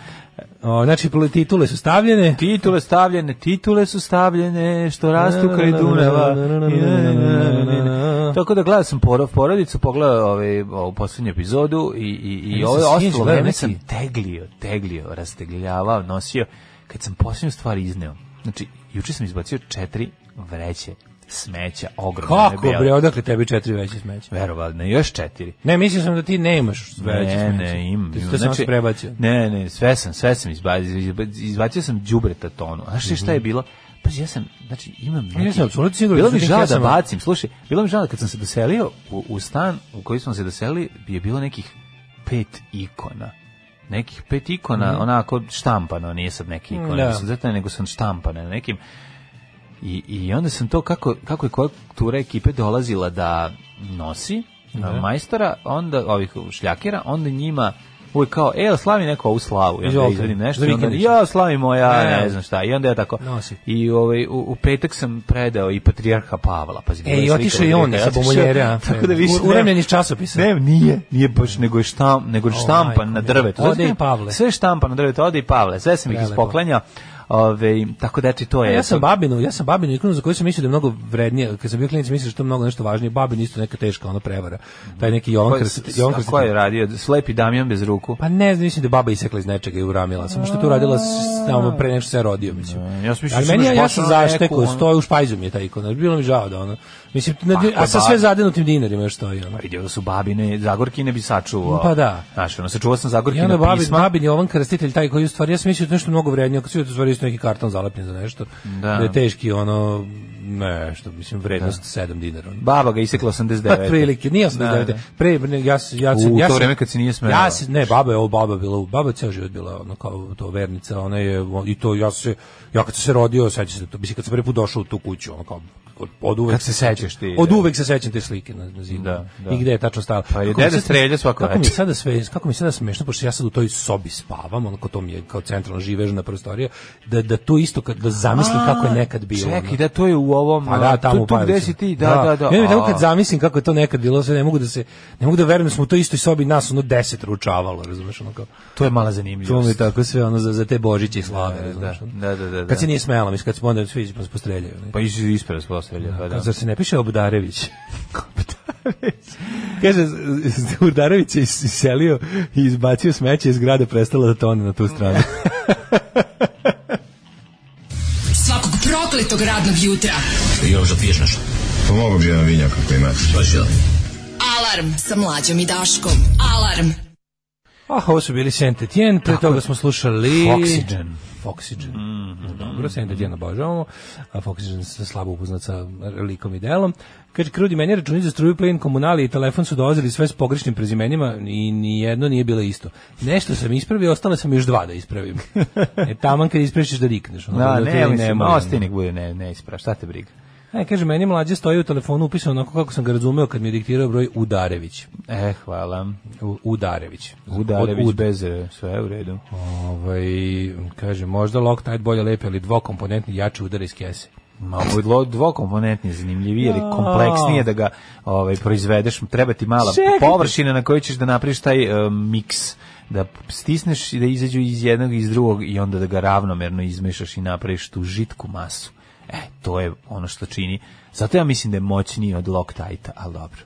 Speaker 7: O, znači titule su stavljene.
Speaker 6: Titule stavljene, titule su stavljene, što rastu kraj Dunava. Tako da gledao sam porov porodicu, pogledao ovaj, ovu posljednju epizodu i, i, i
Speaker 7: Ja
Speaker 6: ovo
Speaker 7: sam sinoć
Speaker 6: ostalo
Speaker 7: gledao
Speaker 6: vreme
Speaker 7: neki-
Speaker 6: sam teglio, teglio, rastegljavao, nosio, kad sam posljednju stvar izneo. Znači, juče sam izbacio četiri vreće smeća, ogromne
Speaker 7: Kako bre, odakle tebi četiri veće smeće?
Speaker 6: Verovatno, još četiri.
Speaker 7: Ne, mislio sam da ti ne imaš veće
Speaker 6: Ne,
Speaker 7: smeće.
Speaker 6: ne, im.
Speaker 7: Ti
Speaker 6: im.
Speaker 7: to znači, prebacio.
Speaker 6: Ne, ne, sve sam, sve sam izbacio, izba- izbacio sam đubreta tonu. Znaš ti šta je bilo? Pa ja sam, znači imam neki...
Speaker 7: Mhm. sam apsolutno siguran
Speaker 6: Bilo
Speaker 7: da
Speaker 6: mi
Speaker 7: sam-
Speaker 6: žao
Speaker 7: ja
Speaker 6: da
Speaker 7: sam-
Speaker 6: bacim, slušaj, bilo mi žao da kad sam se doselio u, u stan u koji smo se doselili, je bilo nekih pet ikona nekih pet ikona, onako štampano, nije sad neki ikon,
Speaker 7: Mhm. Da.
Speaker 6: da. nego sam štampane na nekim. I, I onda sam to, kako, kako je koja tura ekipe dolazila da nosi a, majstora, onda ovih šljakera, onda njima uvijek kao, e, jel slavi neko ovu slavu, ja onda
Speaker 7: Izvolite,
Speaker 6: izvedim nešto,
Speaker 7: za
Speaker 6: i onda,
Speaker 7: vikendicu.
Speaker 6: ja slavi moja,
Speaker 7: E.
Speaker 6: ne, znam šta, i onda ja tako,
Speaker 7: Nosi.
Speaker 6: i ovaj, u, u petak sam predao i patrijarha Pavla, pazi,
Speaker 7: E,
Speaker 6: bila je
Speaker 7: i
Speaker 6: slika
Speaker 7: otišao i
Speaker 6: od
Speaker 7: on
Speaker 6: njega,
Speaker 7: sa
Speaker 6: otišao,
Speaker 7: bombonjere, a?
Speaker 6: tako da više
Speaker 7: U- uremljen iz časopisa.
Speaker 6: Ne, nije, nije baš, nego je, štam, nego je
Speaker 7: O, majko
Speaker 6: štampan na
Speaker 7: mi.
Speaker 6: drvetu.
Speaker 7: Ode
Speaker 6: Zato
Speaker 7: i
Speaker 6: je-
Speaker 7: Pavle.
Speaker 6: Sve je štampano na drvetu, ode i Pavle, sve sam ih
Speaker 7: Prelepo.
Speaker 6: ispoklanjao. Ove, tako da eto i to je.
Speaker 7: E, Ja sam babinu, ja sam babinu ikonu za koju sam mislio da je mnogo vrednije, kad sam bio klinac mislio da je to mnogo nešto važnije, babin isto neka teška ona prevara. Taj neki Jovan
Speaker 6: Ko-
Speaker 7: Krst,
Speaker 6: s-
Speaker 7: Jovan
Speaker 6: a
Speaker 7: Krst-
Speaker 6: ko je radio? Slepi Damjan bez ruku.
Speaker 7: Pa ne znam, mislim da je baba isekla iz nečega i uramila sam. Što je to uradila s- samo pre nešto se ja rodio, mislim.
Speaker 6: ja sam mislio
Speaker 7: Ali
Speaker 6: da
Speaker 7: meni
Speaker 6: imaš
Speaker 7: ja, ja
Speaker 6: baš
Speaker 7: sam
Speaker 6: ono neku,
Speaker 7: zašteko,
Speaker 6: ono-
Speaker 7: stoji u špajzu mi je taj ikona. Bilo mi žao da ono. Mislim, na,
Speaker 6: Pa,
Speaker 7: a
Speaker 6: pa
Speaker 7: sa
Speaker 6: da.
Speaker 7: sve zadenutim dinarima još stoji ono.
Speaker 6: Vidio da su babine, Zagorkine bi sačuvao.
Speaker 7: Pa da.
Speaker 6: Znaš, ono, sačuvao sam
Speaker 7: I
Speaker 6: Zagorkine
Speaker 7: onda
Speaker 6: pisma.
Speaker 7: babin, babin Jovan Krstitelj, taj koji u stvari, ja sam mislio da je to nešto mnogo vrednije, ako su to u stvari isto neki karton zalepljen za nešto,
Speaker 6: Da.
Speaker 7: da je teški ono ne, što mislim, vrednost 7 dinara. ono.
Speaker 6: Baba ga isekla 89.
Speaker 7: Pa prilike, nije 89.
Speaker 6: Da, da.
Speaker 7: Pre, ne, ja, se- ja, se-
Speaker 6: U
Speaker 7: ja,
Speaker 6: to
Speaker 7: se-
Speaker 6: vreme kad se nije smela.
Speaker 7: Ja se, ne, baba je ovo, baba je bila, u- baba je ceo život bila ono, kao to vernica, ona je, i to, ja se, ja kad sam se rodio, sećam se, to, mislim, kad sam prvi put došao u tu kuću, ono kao, od, od uvek
Speaker 6: Kako se sećaš ti?
Speaker 7: Od uvek se sećam te slike na, na zidu.
Speaker 6: Da, da.
Speaker 7: I gde je tačno stala.
Speaker 6: Pa i
Speaker 7: Kako mi
Speaker 6: deda
Speaker 7: sad-
Speaker 6: strelja svako
Speaker 7: Kako mi je
Speaker 6: veče.
Speaker 7: sada sve, kako mi je sada smešno, pošto ja sad u toj sobi spavam, ono, kao to mi je, kao centralno živežna prostorija, da, da to isto, kad, da zamislim kako je nekad bilo. ono.
Speaker 6: Čekaj, da to je u ovom...
Speaker 7: Pa da,
Speaker 6: a,
Speaker 7: tamo
Speaker 6: tu, tu gde si ti, da, da, da.
Speaker 7: Ja mi tako
Speaker 6: a.
Speaker 7: kad zamislim kako je to nekad bilo, sve ne mogu da se ne mogu da verujem da smo u toj istoj sobi nas ono 10 ručavalo, razumeš, ono kao.
Speaker 6: To je mala
Speaker 7: To mi je
Speaker 6: zanimljivost.
Speaker 7: tako sve ono za, za te božiće i slave,
Speaker 6: Da,
Speaker 7: razumeš, ono.
Speaker 6: da, da, da, da.
Speaker 7: Kad se nije smela, mislim, kad smo onda svi pa se postreljaju. ne.
Speaker 6: Pa iz ispred postavlja, pa da.
Speaker 7: Zar se ne piše Obdarević? Kaže, Urdarević je is- iselio i izbacio smeće iz grada, prestala da tone na tu stranu.
Speaker 5: Svakog prokletog radnog jutra.
Speaker 1: Pomogu bi jedan vinjak ako imate.
Speaker 5: Alarm sa mlađom i Daškom. Alarm.
Speaker 7: Ah, ovo su bili Saint Etienne, pre toga smo slušali...
Speaker 6: Foxygen. Mhm.
Speaker 7: Foxygen. Dobro, Saint Etienne obožavamo, a Foxygen se slabo upoznat sa likom i delom. Kaže, krudi, meni računi za struju, plin, komunali i telefon su dolazili sve s pogrešnim prezimenima i nijedno nije bilo isto. Nešto sam ispravio, ostale sam još dva da ispravim. e, taman kad ispraviš da rikneš. ono,
Speaker 6: Da,
Speaker 7: to je
Speaker 6: ne, mislim,
Speaker 7: nemoguće.
Speaker 6: ostaje nek bude, ne, ne ispraš, šta te briga.
Speaker 7: E, kaže, meni mlađe stoji u telefonu upisano onako kako sam ga razumeo kad mi je diktirao broj Udarević.
Speaker 6: E, hvala.
Speaker 7: U- Udarević.
Speaker 6: Udarević
Speaker 7: Od Ud-
Speaker 6: bez R, sve je u redu.
Speaker 7: Ovaj kaže možda Loctite bolje lepe ali dvokomponentni jači udar iz kese.
Speaker 6: Ma, ovo je dlo- dvokomponentni, zanimljiviji, jer je kompleksnije da ga ovaj, proizvedeš. Treba ti mala
Speaker 7: Čekaj.
Speaker 6: površina na kojoj ćeš da napraviš taj um, miks da stisneš i da izađu iz jednog i iz drugog i onda da ga ravnomerno izmešaš i napraviš tu žitku masu. E, to je ono što čini. Zato ja mislim da je moćniji od Loctite-a, ali dobro.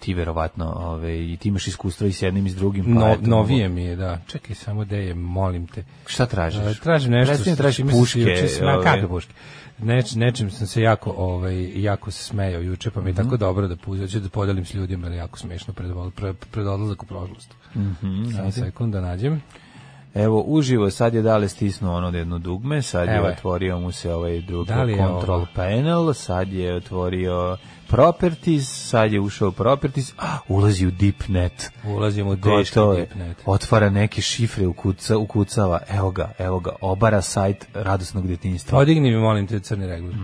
Speaker 6: Ti verovatno, ove, i ti imaš iskustva i s jednim i s drugim. pa
Speaker 7: No,
Speaker 6: eto,
Speaker 7: novije mi je, da. Čekaj samo da je, molim te.
Speaker 6: Šta tražiš?
Speaker 7: E, Tražim nešto.
Speaker 6: Prestani da tražiš
Speaker 7: čime sam se
Speaker 6: puške,
Speaker 7: juče smejao.
Speaker 6: ove.
Speaker 7: kakve puške? Neč, nečim sam se jako, ovaj, jako smejao juče, pa mi je tako dobro da puzaću da podelim s ljudima, jer je jako smešno pred, vol- pre, pred odlazak u prošlost. Mhm. Samo sekund da nađem.
Speaker 6: Evo, uživo, sad je dale stisnuo ono jedno dugme, sad je
Speaker 7: Evo je.
Speaker 6: otvorio mu se ovaj drugi
Speaker 7: Da li je
Speaker 6: control
Speaker 7: ovo?
Speaker 6: panel, sad je otvorio properties, sad je ušao u properties, a, ulazi u deepnet.
Speaker 7: Ulazimo u
Speaker 6: Teški
Speaker 7: dečki
Speaker 6: je.
Speaker 7: dipnet.
Speaker 6: Otvara neke šifre, ukuca, ukucava, evo ga, evo ga, obara sajt radosnog detinjstva.
Speaker 7: Podigni mi, molim te, crni regler.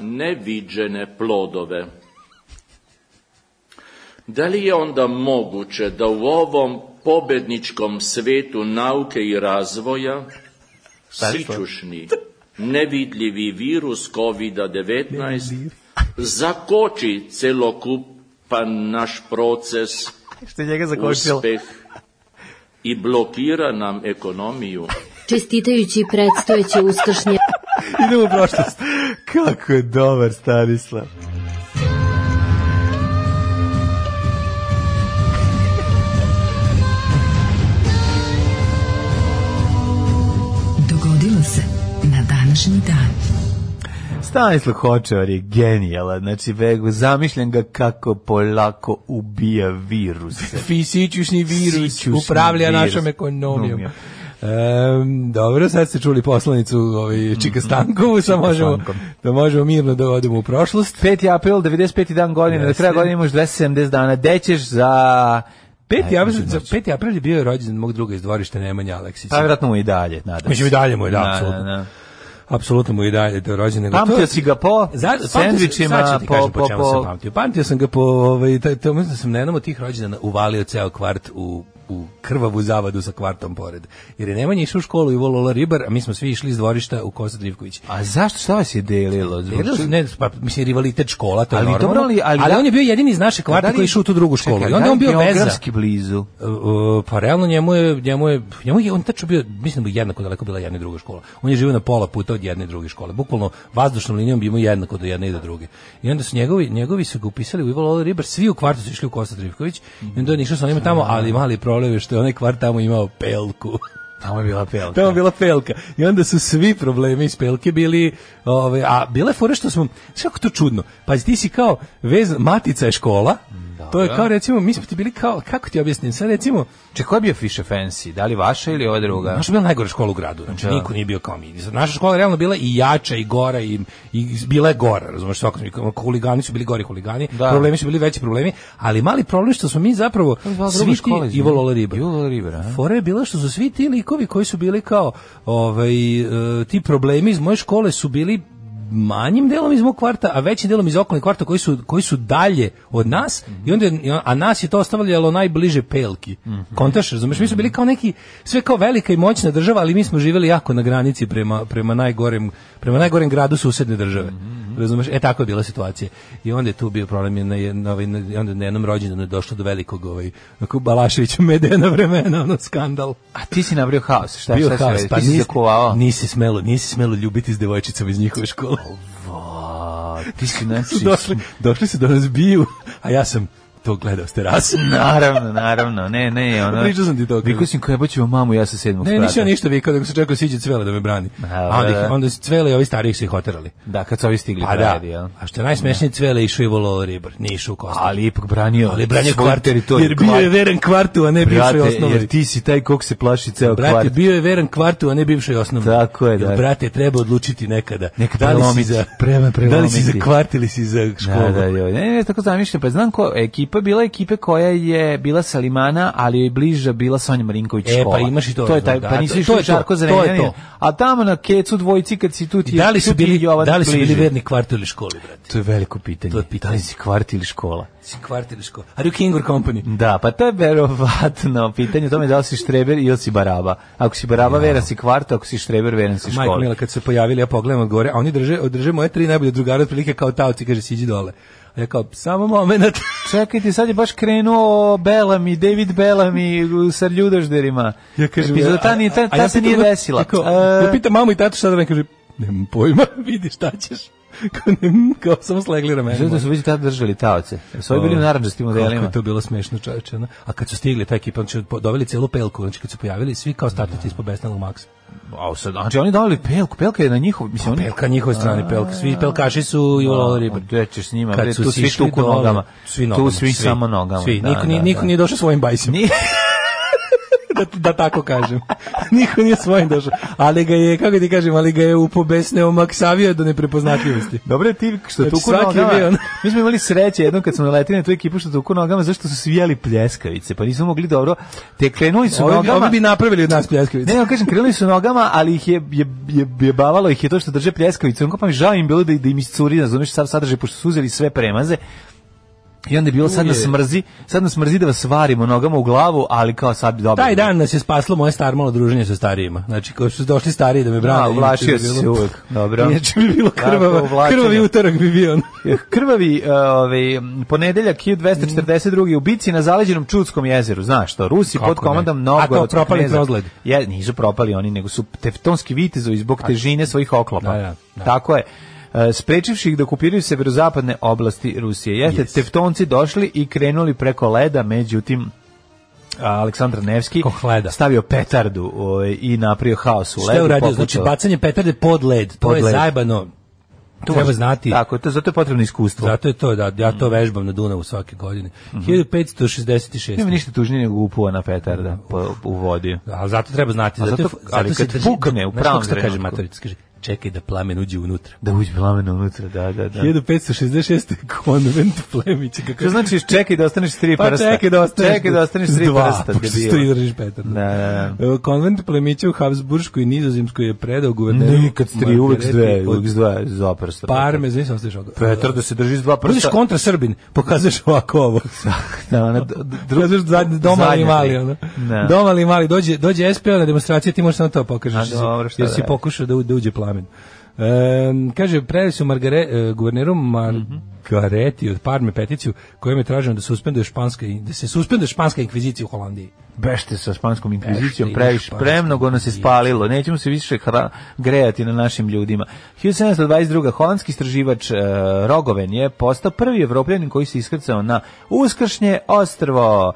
Speaker 8: neviđene plodove. Da li je onda moguće da u ovom pobedničkom svetu nauke i razvoja sićušni, nevidljivi virus COVID-19 zakoči celokupan naš proces
Speaker 6: Što je njega
Speaker 8: uspeh i blokira nam ekonomiju.
Speaker 9: Čestitajući predstojeće uskršnje
Speaker 6: Idemo u prošlost. Kako je dobar Stanislav.
Speaker 5: Dogodilo se na današnji dan.
Speaker 6: Stanislav Hočevar je genijalan, znači begu, zamišljam ga kako polako ubija viruse.
Speaker 7: Fisičušni virus
Speaker 6: Sićušni
Speaker 7: upravlja
Speaker 6: virus.
Speaker 7: našom ekonomijom.
Speaker 6: Ekonomijom.
Speaker 7: Em, dobro, sad ste čuli poslanicu ovaj, Čika Stankovu, sad možemo,
Speaker 6: Stankom.
Speaker 7: da možemo mirno da odemo u prošlost.
Speaker 6: 5. april, 95. dan godine, do
Speaker 7: Jeste.
Speaker 6: kraja godine imaš 270 dana, dećeš za...
Speaker 7: 5.
Speaker 6: Ajde,
Speaker 7: april,
Speaker 6: može
Speaker 7: za
Speaker 6: moći.
Speaker 7: 5. april je bio je rođendan mog druga iz dvorišta Nemanja Aleksića.
Speaker 6: Pa vjerojatno mu i dalje, nadam se.
Speaker 7: Mislim, i dalje mu je, da,
Speaker 6: Na, na,
Speaker 7: apsolutno.
Speaker 6: na.
Speaker 7: Apsolutno mu i dalje do rođendan.
Speaker 6: Pamtio si ga po sendvičima,
Speaker 7: po,
Speaker 6: po,
Speaker 7: po,
Speaker 6: po,
Speaker 7: čemu sam
Speaker 6: po...
Speaker 7: pamtio. Pamtio sam ga po, ovaj, taj, to, mislim da sam na jednom od tih rođendana uvalio ceo kvart u, u krvavu zavadu sa kvartom pored. Jer je Nemanja išao u školu i volio Lola Ribar, a mi smo svi išli iz dvorišta u Kosta Drivković.
Speaker 6: A zašto, šta vas je delilo? Zbog
Speaker 7: Delili su-
Speaker 6: čega?
Speaker 7: ne, pa, mislim, rivalitet škola, to je
Speaker 6: Ali
Speaker 7: normalno.
Speaker 6: dobro, ali- ali da-
Speaker 7: on je bio jedini iz naše kvarte
Speaker 6: Da li-
Speaker 7: koji je išao u tu drugu školu.
Speaker 6: Čekaj,
Speaker 7: I onda
Speaker 6: da
Speaker 7: je on
Speaker 6: li
Speaker 7: bio veza.
Speaker 6: Geografski blizu.
Speaker 7: E, e, pa realno njemu je, njemu je, njemu je on tačno bio, mislim da bi jednako daleko bila jedna i druga škola. On je živio na pola puta od jedne i druge škole. Bukvalno vazdušnom linijom bi imao jednako do jedne i do druge. I onda su njegovi, njegovi su ga upisali u Ivo Lola Ribar, svi u kvartu su išli u Kosta Trivković i onda je on išao sa njima tamo, ali mali problem je što je onaj kvart tamo imao pelku.
Speaker 6: Tamo je bila pelka.
Speaker 7: Tamo je bila pelka. I onda su svi problemi iz pelke bili, ovaj, a bile fore što smo, sve kako to čudno. Pazi, ti si kao, vez, matica je škola, To je kao recimo, mi smo ti bili kao, kako ti objasnim, sad recimo,
Speaker 6: Če, koja je bio Fisher Fancy? Da li vaša ili ova druga?
Speaker 7: naša je bila najgora škola u gradu, znači
Speaker 6: Da.
Speaker 7: niko nije bio kao mi. Sad, Naša škola je realno bila i jača i gora i, i bila je gora, razumeš, svako huligani su bili gori huligani,
Speaker 6: Da.
Speaker 7: problemi su bili veći problemi, ali mali problem što smo mi zapravo
Speaker 6: Kako se zvala druga
Speaker 7: svi ti
Speaker 6: škola, izvini?
Speaker 7: Ivo Lola Riba.
Speaker 6: Ivo Lola Ribar, a?
Speaker 7: Fora je bila što su svi ti likovi koji su bili kao ovaj, e, ti problemi iz moje škole su bili manjim delom iz mog kvarta, a većim delom iz okolnih kvarta koji su, koji su dalje od nas, i onda, je- a nas je to ostavljalo najbliže pelki.
Speaker 6: Mhm.
Speaker 7: Kontaš, razumeš, mi smo bili kao neki, sve kao velika i moćna država, ali mi smo živjeli jako na granici prema, prema, najgorem, prema najgorem gradu susedne države. Razumeš, e tako je bila situacija. I onda je tu bio problem, je na, je- na, ovaj- na- onda je na jednom rođendanu je došlo do velikog ovaj, onako Balaševića medena vremena, ono skandal.
Speaker 6: A ti si nabrio haos, šta,
Speaker 7: Bio
Speaker 6: šta si
Speaker 7: haos,
Speaker 6: radio?
Speaker 7: pa
Speaker 6: ti si
Speaker 7: nisi,
Speaker 6: zakuvao.
Speaker 7: nisi smelo, nisi smelo ljubiti s devojčicom iz njihove škole.
Speaker 6: A, ti si znači...
Speaker 7: došli, došli su da nas biju, a ja sam to gledao s terase.
Speaker 6: Pa Naravno, naravno, ne, ne, ono...
Speaker 7: Pričao sam ti to.
Speaker 6: Vikao sam koja baću mamu, ja sa sedmog
Speaker 7: Ne,
Speaker 6: sprata.
Speaker 7: nisam ja ništa vikao, nego sam čekao da siđe cvele da me brani.
Speaker 6: A,
Speaker 7: A onda,
Speaker 6: da,
Speaker 7: ih-
Speaker 6: da.
Speaker 7: onda su cvele i ovi stariji su ih oterali.
Speaker 6: Da, kad su ovi stigli
Speaker 7: Pa da,
Speaker 6: pradi, jel?
Speaker 7: a što je najsmešnije cvele je išao i volao ribar, nije išao u kostu.
Speaker 6: Ali ipak branio,
Speaker 7: Ali branje
Speaker 6: svoju
Speaker 7: kvart,
Speaker 6: teritoriju,
Speaker 7: jer bio je
Speaker 6: kvart.
Speaker 7: veren kvartu, a ne bivšoj
Speaker 6: Brate,
Speaker 7: osnovi.
Speaker 6: jer ti si taj kog se plaši ceo
Speaker 7: Brate,
Speaker 6: kvart.
Speaker 7: bio je veren kvartu, a ne bivšoj osnovi.
Speaker 6: Tako je, da.
Speaker 7: Brate, treba odlučiti nekada.
Speaker 6: Neka
Speaker 7: da li si
Speaker 6: prelomiti,
Speaker 7: za,
Speaker 6: prema
Speaker 7: Da li si za
Speaker 6: prelomiti.
Speaker 7: kvart ili si za školu?
Speaker 6: Da, da, joj. Ne, ne, tako zamišljam. Pa znam ko, ekipa bila je ekipe koja je bila sa Limana, ali joj je bliža bila Sonja Marinković
Speaker 7: E, pa
Speaker 6: škola.
Speaker 7: imaš i to,
Speaker 6: To je
Speaker 7: da,
Speaker 6: taj,
Speaker 7: da,
Speaker 6: pa
Speaker 7: to-
Speaker 6: nisi
Speaker 7: to
Speaker 6: išao
Speaker 7: je
Speaker 6: u
Speaker 7: to,
Speaker 6: Žarko
Speaker 7: to je
Speaker 6: Zrenjanin.
Speaker 7: to.
Speaker 6: A tamo na kecu dvojici kad si tu ti
Speaker 7: I da li su
Speaker 6: tu ti je
Speaker 7: bili,
Speaker 6: Jovan
Speaker 7: da li su bili
Speaker 6: bliže.
Speaker 7: verni kvart ili školi, brate?
Speaker 6: To je veliko pitanje.
Speaker 7: To je pitanje.
Speaker 6: Da li si kvart ili škola?
Speaker 7: Si kvart ili školi? Are you king or company?
Speaker 6: Da, pa to je verovatno pitanje o tome da li si štreber ili si baraba. Ako si baraba, veran si kvart, ako si štreber, veran si
Speaker 7: Majko
Speaker 6: škola.
Speaker 7: Mila, kad su se pojavili, ja pogledam od gore, a oni drže, drže moje tri najbolje drugare, otprilike kao tavci, kaže, siđi dole. A ja kao, samo moment.
Speaker 6: Čekajte, sad je baš krenuo Bellamy, David Bellamy sa ljudožderima.
Speaker 7: Ja kažem,
Speaker 6: Epizoda, ta,
Speaker 7: a-
Speaker 6: nije- ta,
Speaker 7: a
Speaker 6: ta
Speaker 7: ja
Speaker 6: se
Speaker 7: pitam
Speaker 6: nije
Speaker 7: ga-
Speaker 6: desila.
Speaker 7: Ja, kao,
Speaker 6: E,
Speaker 7: ja pitam mamu i tatu šta da ne kaže, nemam pojma, vidi šta ćeš. Kao, ne, kao samo slegli ramena.
Speaker 6: Zato su već tad držali taoce. Su ovi bili u naranđastim
Speaker 7: Kako
Speaker 6: odelima.
Speaker 7: je to bilo smešno, čoveče. ono. A kad su stigli, ta ekipa, znači, po- doveli celu pelku, znači, kad su pojavili, svi kao startaci ispod besnalog maksa.
Speaker 6: A sad, znači oni dali pelku, pelka je na njihov, mislim oni
Speaker 7: Pelka njihove strane, pelka. Svi pelkaši su i volao ribe.
Speaker 6: Gde ćeš s njima,
Speaker 7: Kad
Speaker 6: bre,
Speaker 7: su
Speaker 6: tu svi
Speaker 7: sišli
Speaker 6: tuku
Speaker 7: dole,
Speaker 6: nogama.
Speaker 7: svi nogama,
Speaker 6: Tu svi,
Speaker 7: svi.
Speaker 6: samo nogama.
Speaker 7: Svi,
Speaker 6: da,
Speaker 7: niko, nije,
Speaker 6: da,
Speaker 7: niko
Speaker 6: da.
Speaker 7: nije došao svojim bajsima.
Speaker 6: Nije.
Speaker 7: da, da tako kažem. Niko nije svojim došao. Ali ga je, kako ti kažem, ali ga je upobesneo maksavio do neprepoznatljivosti.
Speaker 6: Dobro je ti što
Speaker 7: Znači,
Speaker 6: tuku
Speaker 7: svaki je bio
Speaker 6: nogama.
Speaker 7: ono.
Speaker 6: Mi smo imali sreće jednom kad smo naletili na tu ekipu što tuku nogama, zašto su svi jeli pljeskavice, pa nismo mogli dobro. Te krenuli su
Speaker 7: Ovi,
Speaker 6: nogama.
Speaker 7: ovi bi napravili od nas pljeskavice.
Speaker 6: Ne, ja kažem, krenuli su nogama, ali ih je, je, je, je bavalo ih je to što drže pljeskavicu. Onako pa mi žao im bilo da, da im iscuri, razumeš, sav sadržaj, pošto su uzeli sve premaze. I onda je bilo, sad nas mrzi, sad nas mrzi da vas varimo nogama u glavu, ali kao sad bi dobro.
Speaker 7: Taj dan nas je spaslo moje star malo druženje sa starijima. Znači, koji su došli stariji da me brane.
Speaker 6: Da, uvlačio
Speaker 7: inače bi
Speaker 6: si se
Speaker 7: bilo-
Speaker 6: uvek. Dobro.
Speaker 7: Inače bi bilo
Speaker 6: Tako,
Speaker 7: krvava,
Speaker 6: uvlačenje.
Speaker 7: krvavi utorak bi bio. ono.
Speaker 6: Krvavi e, ovaj, m, ponedeljak 1242. u Bici na zaleđenom Čudskom jezeru, znaš to, Rusi
Speaker 7: Kako
Speaker 6: pod komandom
Speaker 7: ne?
Speaker 6: Novgorodskog
Speaker 7: A to propali
Speaker 6: kneza.
Speaker 7: trozgled.
Speaker 6: Je, nisu propali oni, nego su teftonski vitezovi zbog težine svojih oklopa.
Speaker 7: Da, da, da.
Speaker 6: Tako je. E, sprečivši ih da okupiraju severozapadne oblasti Rusije. Jeste, teftonci došli i krenuli preko leda, međutim a, Aleksandar Nevski
Speaker 7: Ko hleda.
Speaker 6: stavio petardu ovaj, i napravio haos u ledu.
Speaker 7: Šta je uradio? Znači,
Speaker 6: poputao-
Speaker 7: bacanje petarde pod led. To
Speaker 6: Pod
Speaker 7: je
Speaker 6: led.
Speaker 7: zajebano.
Speaker 6: Tu-
Speaker 7: Treba znati.
Speaker 6: Tako, to, zato je potrebno iskustvo.
Speaker 7: Zato je to, da, ja to vežbam na Dunavu svake godine. 1566.
Speaker 6: Mhm. Nema ništa tužnije nego upuana petarda po, u vodi.
Speaker 7: Ali zato treba znati.
Speaker 6: A
Speaker 7: Zato,
Speaker 6: zato-
Speaker 7: zato,
Speaker 6: ali
Speaker 7: se
Speaker 6: kad
Speaker 7: drži-
Speaker 6: pukne u
Speaker 7: Znaš
Speaker 6: pravom
Speaker 7: kako se to kaže
Speaker 6: trenutku.
Speaker 7: matorica? Kaže, čekaj da plamen uđe unutra.
Speaker 6: Da uđe plamen unutra, da, da, da.
Speaker 7: 1566. konvent Plemića. Kako
Speaker 6: Što znači čekaj da ostaneš s tri
Speaker 7: Pa
Speaker 6: prsta?
Speaker 7: čekaj da ostaneš,
Speaker 6: Čekaj da ostaneš s tri
Speaker 7: dva,
Speaker 6: prsta,
Speaker 7: pošto
Speaker 6: debilo.
Speaker 7: tri držiš petardu.
Speaker 6: Da, da,
Speaker 7: E, Konvent plemića u Habsburškoj i Nizozemskoj je predao guverneru.
Speaker 6: Nikad s tri, uvek s dve,
Speaker 7: Margareti od
Speaker 6: uvek s dve, za prsta.
Speaker 7: Parme, znaš sam ostaviš ovako.
Speaker 6: Petar da se drži s dva
Speaker 7: Budeš
Speaker 6: prsta.
Speaker 7: kontra Srbin, pokazuješ ovako ovo.
Speaker 6: Da, ona d-
Speaker 7: Pokazuješ za- doma ali
Speaker 6: zadnja
Speaker 7: mali.
Speaker 6: tri.
Speaker 7: Ono.
Speaker 6: Da.
Speaker 7: Doma ali mali, dođe, dođe SPO na demonstraciju, ti možeš samo to
Speaker 6: A,
Speaker 7: pokažeš.
Speaker 6: dobro, šta
Speaker 7: jer si
Speaker 6: da.
Speaker 7: pokušao da, u- da uđe plamen. Em, kaže, predali su Margare, e, guverneru Margareti od Parme peticiju kojom je traženo da, suspenduje španska, da se suspenduje španska inkvizicija u Holandiji.
Speaker 6: Bešte sa španskom inkvizicijom,
Speaker 7: Bešte i
Speaker 6: previše,
Speaker 7: španskom
Speaker 6: premnogo nas je spalilo, nećemo se više hra- grejati na našim ljudima. 1722. holandski istraživač e, Rogoven je postao prvi evropljanin koji se iskrcao na Uskršnje ostrvo.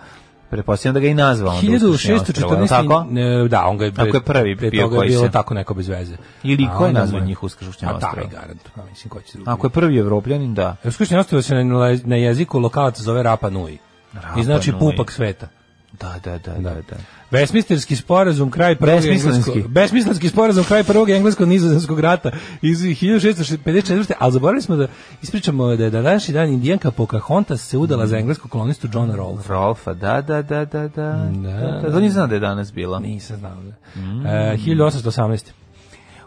Speaker 6: Pretpostavljam da ga i nazvao. onda Uskršnje ostrvo, je li
Speaker 7: 1614.
Speaker 6: tako?
Speaker 7: Ne, da, on ga je... pre-
Speaker 6: Ako je prvi
Speaker 7: pre
Speaker 6: bio
Speaker 7: toga
Speaker 6: koji
Speaker 7: je bilo
Speaker 6: se-
Speaker 7: tako neko bez veze.
Speaker 6: Ili
Speaker 7: A
Speaker 6: ko je
Speaker 7: onda
Speaker 6: nazvao
Speaker 7: mu je-
Speaker 6: njih Uskršnje
Speaker 7: A taj
Speaker 6: ostrvo?
Speaker 7: garant, pa mislim ko će drugi.
Speaker 6: Ako je prvi evropljanin, da.
Speaker 7: Uskršnje ostrvo se na, na jeziku lokalaca zove Rapa Nui.
Speaker 6: Rapa
Speaker 7: I znači
Speaker 6: Nui.
Speaker 7: pupak sveta.
Speaker 6: Da, da, da, da, da.
Speaker 7: Besmislenski sporazum kraj prvog
Speaker 6: Besmislenski.
Speaker 7: engleskog besmislenski sporazum kraj prvog engleskog nizozemskog rata iz 1654. Ali zaboravili smo da ispričamo da je današnji dan Indijanka Pocahontas se udala za engleskog kolonistu Johna Rolfa.
Speaker 6: Rolfa, da, da, da, da, da. da, da. To nisam znao da je danas bila.
Speaker 7: Nisam znao. Da.
Speaker 6: Mm.
Speaker 7: E, 1818.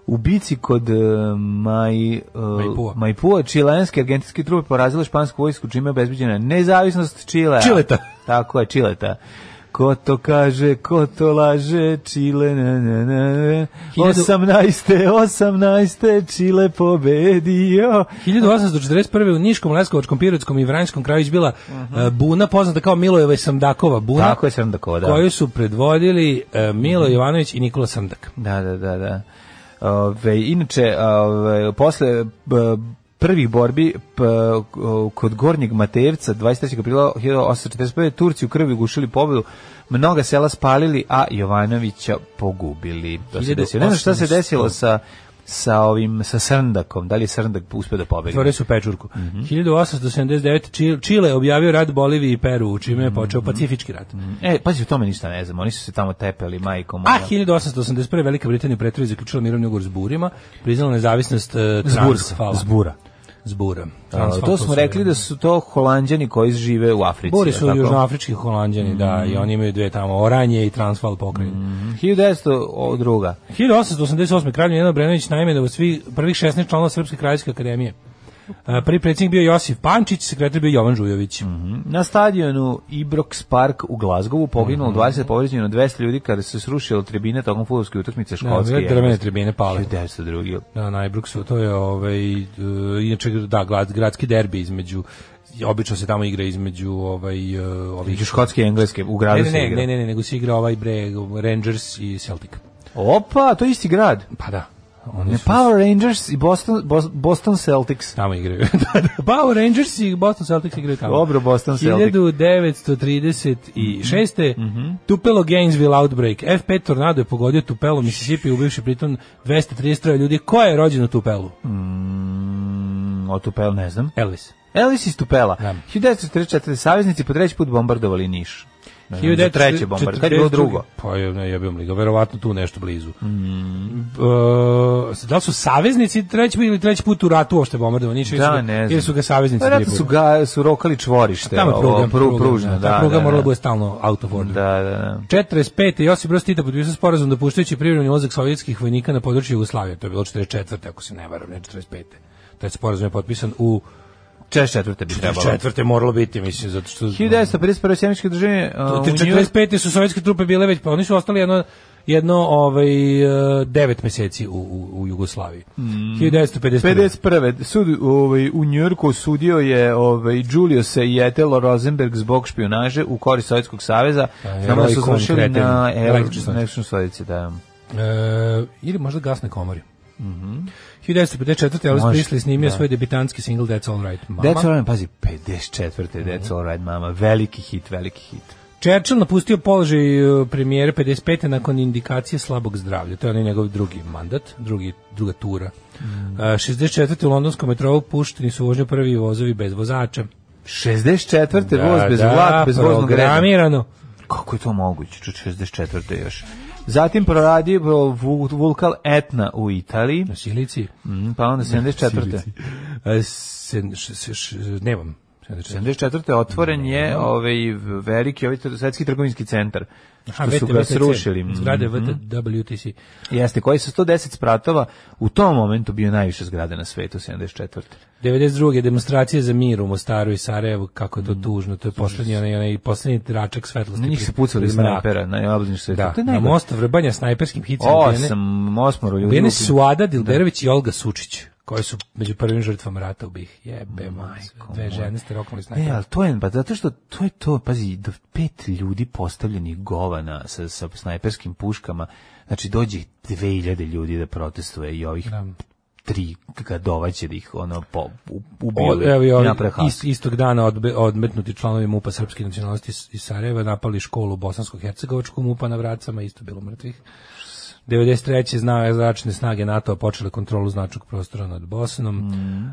Speaker 6: U bici kod uh, Maj, uh,
Speaker 7: Maipua.
Speaker 6: Maipua, čilenske argentinske trupe porazile špansku vojsku čime je obezbiđena nezavisnost Čilea.
Speaker 7: Čileta.
Speaker 6: Tako je, Čileta. Ko to kaže, ko to laže, Čile, na, na, na, na.
Speaker 7: Hiljadu-
Speaker 6: Osamnaeste, osamnaeste, Čile pobedio.
Speaker 7: 1841. u Niškom, Leskovačkom, Pirotskom i Vranjskom kraju izbila e, buna, poznata kao Milojeva i Samdakova buna,
Speaker 6: Mhm. Tako je Srndakova, da. Mhm.
Speaker 7: koju su predvodili e, Milo Jovanović i Nikola Samdak.
Speaker 6: Da, da, da, da. Ove, inače, ove, posle b, prvih borbi p, o, kod Gornjeg Matejevca 23. aprila 1845. Turci u krvi gušili pobedu, mnoga sela spalili, a Jovanovića pogubili. To se desilo. Ne znam šta se
Speaker 7: 1800.
Speaker 6: desilo sa sa ovim sa Srndakom, da li je Srndak uspeo da pobegne?
Speaker 7: Otvorio su pečurku.
Speaker 6: Mhm.
Speaker 7: 1879. Čil- Čile obavio rat Boliviji i Peru, čime je počeo
Speaker 6: Mhm.
Speaker 7: pacifički rat.
Speaker 6: E, pazi, o tome ništa ne znam, oni su se tamo tepeli, ono. majko moja.
Speaker 7: A 1881. Velika Britanija u pretrazi zaključila mirovni ugovor s Burima, priznala nezavisnost uh, Transvala.
Speaker 6: Zbura.
Speaker 7: Zbura.
Speaker 6: A, to smo rekli da su to holanđani koji žive u Africi.
Speaker 7: Buri
Speaker 6: je li
Speaker 7: su
Speaker 6: tako? Mhm.
Speaker 7: južnoafrički holanđani, da, i oni imaju dve tamo, Oranje i Transval pokrajine.
Speaker 6: 1902.
Speaker 7: 1888. kralj Miljan Obrenović naime od svih prvih 16 članova Srpske kraljevske akademije. Uh, Prvi predsjednik bio Josip Pančić, sekretar bio Jovan Žujović.
Speaker 6: Na stadionu Ibrox Park u Glazgovu
Speaker 7: Mhm.
Speaker 6: poginulo 20 povređeno 200 ljudi kada se srušilo tribine tokom fudbalske utakmice
Speaker 7: Da,
Speaker 6: Škotske.
Speaker 7: bile drvene tribine pale.
Speaker 6: 1902.
Speaker 7: Na Najbruksu, to je ovaj e, inače da grad, gradski derbi između obično se tamo igra između ovaj e, ovih
Speaker 6: Između Škotske i Engleske u gradu
Speaker 7: Ne,
Speaker 6: se
Speaker 7: ne,
Speaker 6: igra.
Speaker 7: ne, ne, ne, nego se igra ovaj bre Rangers i Celtic.
Speaker 6: Opa, to je isti grad.
Speaker 7: Pa da. Oni
Speaker 6: Ne, pa-
Speaker 7: su
Speaker 6: Power Rangers i Boston, Bos- Boston Celtics.
Speaker 7: tamo igraju. da, da. Power Rangers i Boston Celtics igraju tamo.
Speaker 6: Dobro, Boston Mhm, Celtic.
Speaker 7: 1936. Tupelo Gainesville Outbreak. F5 tornado je pogodio Tupelo, Mississippi, ubivši pritom 233 ljudi. Ko je rođen u Tupelu?
Speaker 6: Mm, o Tupel ne znam.
Speaker 7: Elvis.
Speaker 6: Elvis iz Tupela.
Speaker 7: Da.
Speaker 6: 1944. Saveznici po treći put bombardovali Niš. Ne znam, za treće bombardovanje. Kad je bilo drugo?
Speaker 7: Pa je, ne, ja bih vam ligao, verovatno tu nešto blizu.
Speaker 6: Mm.
Speaker 7: E, da li su saveznici treći put ili treći put u ratu uopšte bombardovani? Niš, ili su
Speaker 6: Da,
Speaker 7: ga-
Speaker 6: ne znam. Pa,
Speaker 7: Ili su ga saveznici tri
Speaker 6: Vjerojatno
Speaker 7: puta?
Speaker 6: su ga su rokali čvorište.
Speaker 7: Tamo je
Speaker 6: ovo,
Speaker 7: pruga,
Speaker 6: pru- pružna,
Speaker 7: da,
Speaker 6: da.
Speaker 7: ta pruga
Speaker 6: da,
Speaker 7: morala
Speaker 6: da.
Speaker 7: bude stalno out of order.
Speaker 6: Da, da, da.
Speaker 7: 45. Josip Broz Tito potpisao sporazum dopuštajući privremeni ulazak sovjetskih vojnika na područje Jugoslavije. To je bilo 44. ako se ne varam, ne 45. Taj sporazum je potpisan u
Speaker 6: 44. bi trebalo.
Speaker 7: 44. moralo biti, mislim, zato što...
Speaker 6: 1951. sjemičke države uh,
Speaker 7: Te
Speaker 6: u Njujorku-
Speaker 7: 45. su sovjetske trupe bile već, pa oni su ostali jedno, jedno ovaj, e, devet meseci u, u, u Jugoslaviji.
Speaker 6: Mm.
Speaker 7: 1951.
Speaker 6: 51. Sud ovaj, u Njujorku osudio je ovaj, Giulio se i Etelo Rosenberg zbog špionaže u korist Sovjetskog saveza. Znamo da su
Speaker 7: heroikom
Speaker 6: završili
Speaker 7: kretenim.
Speaker 6: na
Speaker 7: Električnoj stolici.
Speaker 6: električnoj stolici. Da.
Speaker 7: E, ili možda gasne komori. 1954. Elvis
Speaker 6: Mhm. Može,
Speaker 7: Presley snimio
Speaker 6: da.
Speaker 7: svoj debitanski single That's All Right Mama.
Speaker 6: That's all right, pazi, 54. That's all right, mama. Veliki hit, veliki hit.
Speaker 7: Churchill napustio položaj e, premijera 55. nakon indikacije slabog zdravlja. To je onaj njegov drugi mandat, drugi, druga tura.
Speaker 6: Mm.
Speaker 7: E, 64. u londonskom metrovu pušteni su vožnju prvi vozovi bez vozača.
Speaker 6: 64.
Speaker 7: Da,
Speaker 6: voz bez
Speaker 7: da,
Speaker 6: vlak, bez voznog reda.
Speaker 7: programirano.
Speaker 6: Kako je to moguće? Ču 64. još. Zatim proradio vul- vulkan Etna u Italiji.
Speaker 7: Na Siliciji.
Speaker 6: Mm, pa onda 74.
Speaker 7: Siliciji. E, sen- š- š- š- nemam.
Speaker 6: 74. otvoren je ovaj veliki ovaj tr- svetski trgovinski centar što
Speaker 7: A,
Speaker 6: su
Speaker 7: VT,
Speaker 6: ga
Speaker 7: VTC,
Speaker 6: srušili. Mm,
Speaker 7: Zgrade WTC.
Speaker 6: Jeste, koji sa 110 spratova u tom momentu bio najviše zgrade na svetu 74.
Speaker 7: 92. demonstracije za mir u Mostaru i Sarajevu, kako je to tužno, to je poslednji onaj, onaj poslednji tračak svetlosti.
Speaker 6: Na Mhm. njih
Speaker 7: pri-
Speaker 6: se pucali
Speaker 7: pri
Speaker 6: iz
Speaker 7: mraku.
Speaker 6: snajpera na najbližem svetu.
Speaker 7: Da,
Speaker 6: to je
Speaker 7: na
Speaker 6: najgore.
Speaker 7: mostu vrbanja snajperskim hicom. Bene,
Speaker 6: Osam, osmoro ljudi.
Speaker 7: Bene
Speaker 6: ubili.
Speaker 7: Suada Dilderović i Olga Sučić, koji su među prvim žrtvama rata u BiH. Jebe, majko. Dve
Speaker 6: moja.
Speaker 7: žene ste roknuli
Speaker 6: Ne,
Speaker 7: snajpera.
Speaker 6: ali to je, pa zato što to je to, pazi, do pet ljudi postavljenih govana sa, sa snajperskim puškama, znači dođe 2000 ljudi da protestuje i ovih tri ga dovaće da ih ono po, u-
Speaker 7: Od,
Speaker 6: ubiju
Speaker 7: evo
Speaker 6: i
Speaker 7: i ovi,
Speaker 6: naprave haos.
Speaker 7: ist, istog dana odbe, odmetnuti članovi MUPA srpske nacionalnosti iz- iz Sarajeva napali školu bosansko-hercegovačku MUPA na vracama, isto bilo mrtvih. 93. znao zračne snage NATO počele kontrolu značnog prostora nad Bosnom.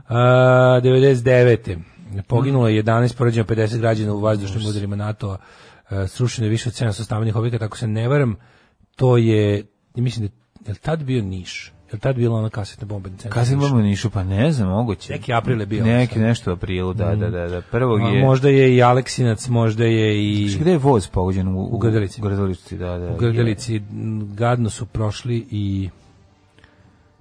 Speaker 7: A, 99. Poginulo je 11, poređeno 50 građana u vazdušnim udarima NATO-a. E, Srušeno je više od 700 stambenih objekata. Ako se ne varam, to je, mislim da je li tad bio Niš? Je li tad bila ona kasetna bomba? na centru
Speaker 6: Kad se
Speaker 7: Niša?
Speaker 6: imamo u Nišu, pa ne znam, moguće.
Speaker 7: Neki april je bio.
Speaker 6: Neki nešto u aprilu, da, da, da, da. Prvog
Speaker 7: A
Speaker 6: je...
Speaker 7: možda je i Aleksinac, možda je i
Speaker 6: Znaš Gde je voz pogođen? U, u
Speaker 7: Grdelici.
Speaker 6: U Grdelici, da, da.
Speaker 7: u Grdelici. m, Gadno su prošli i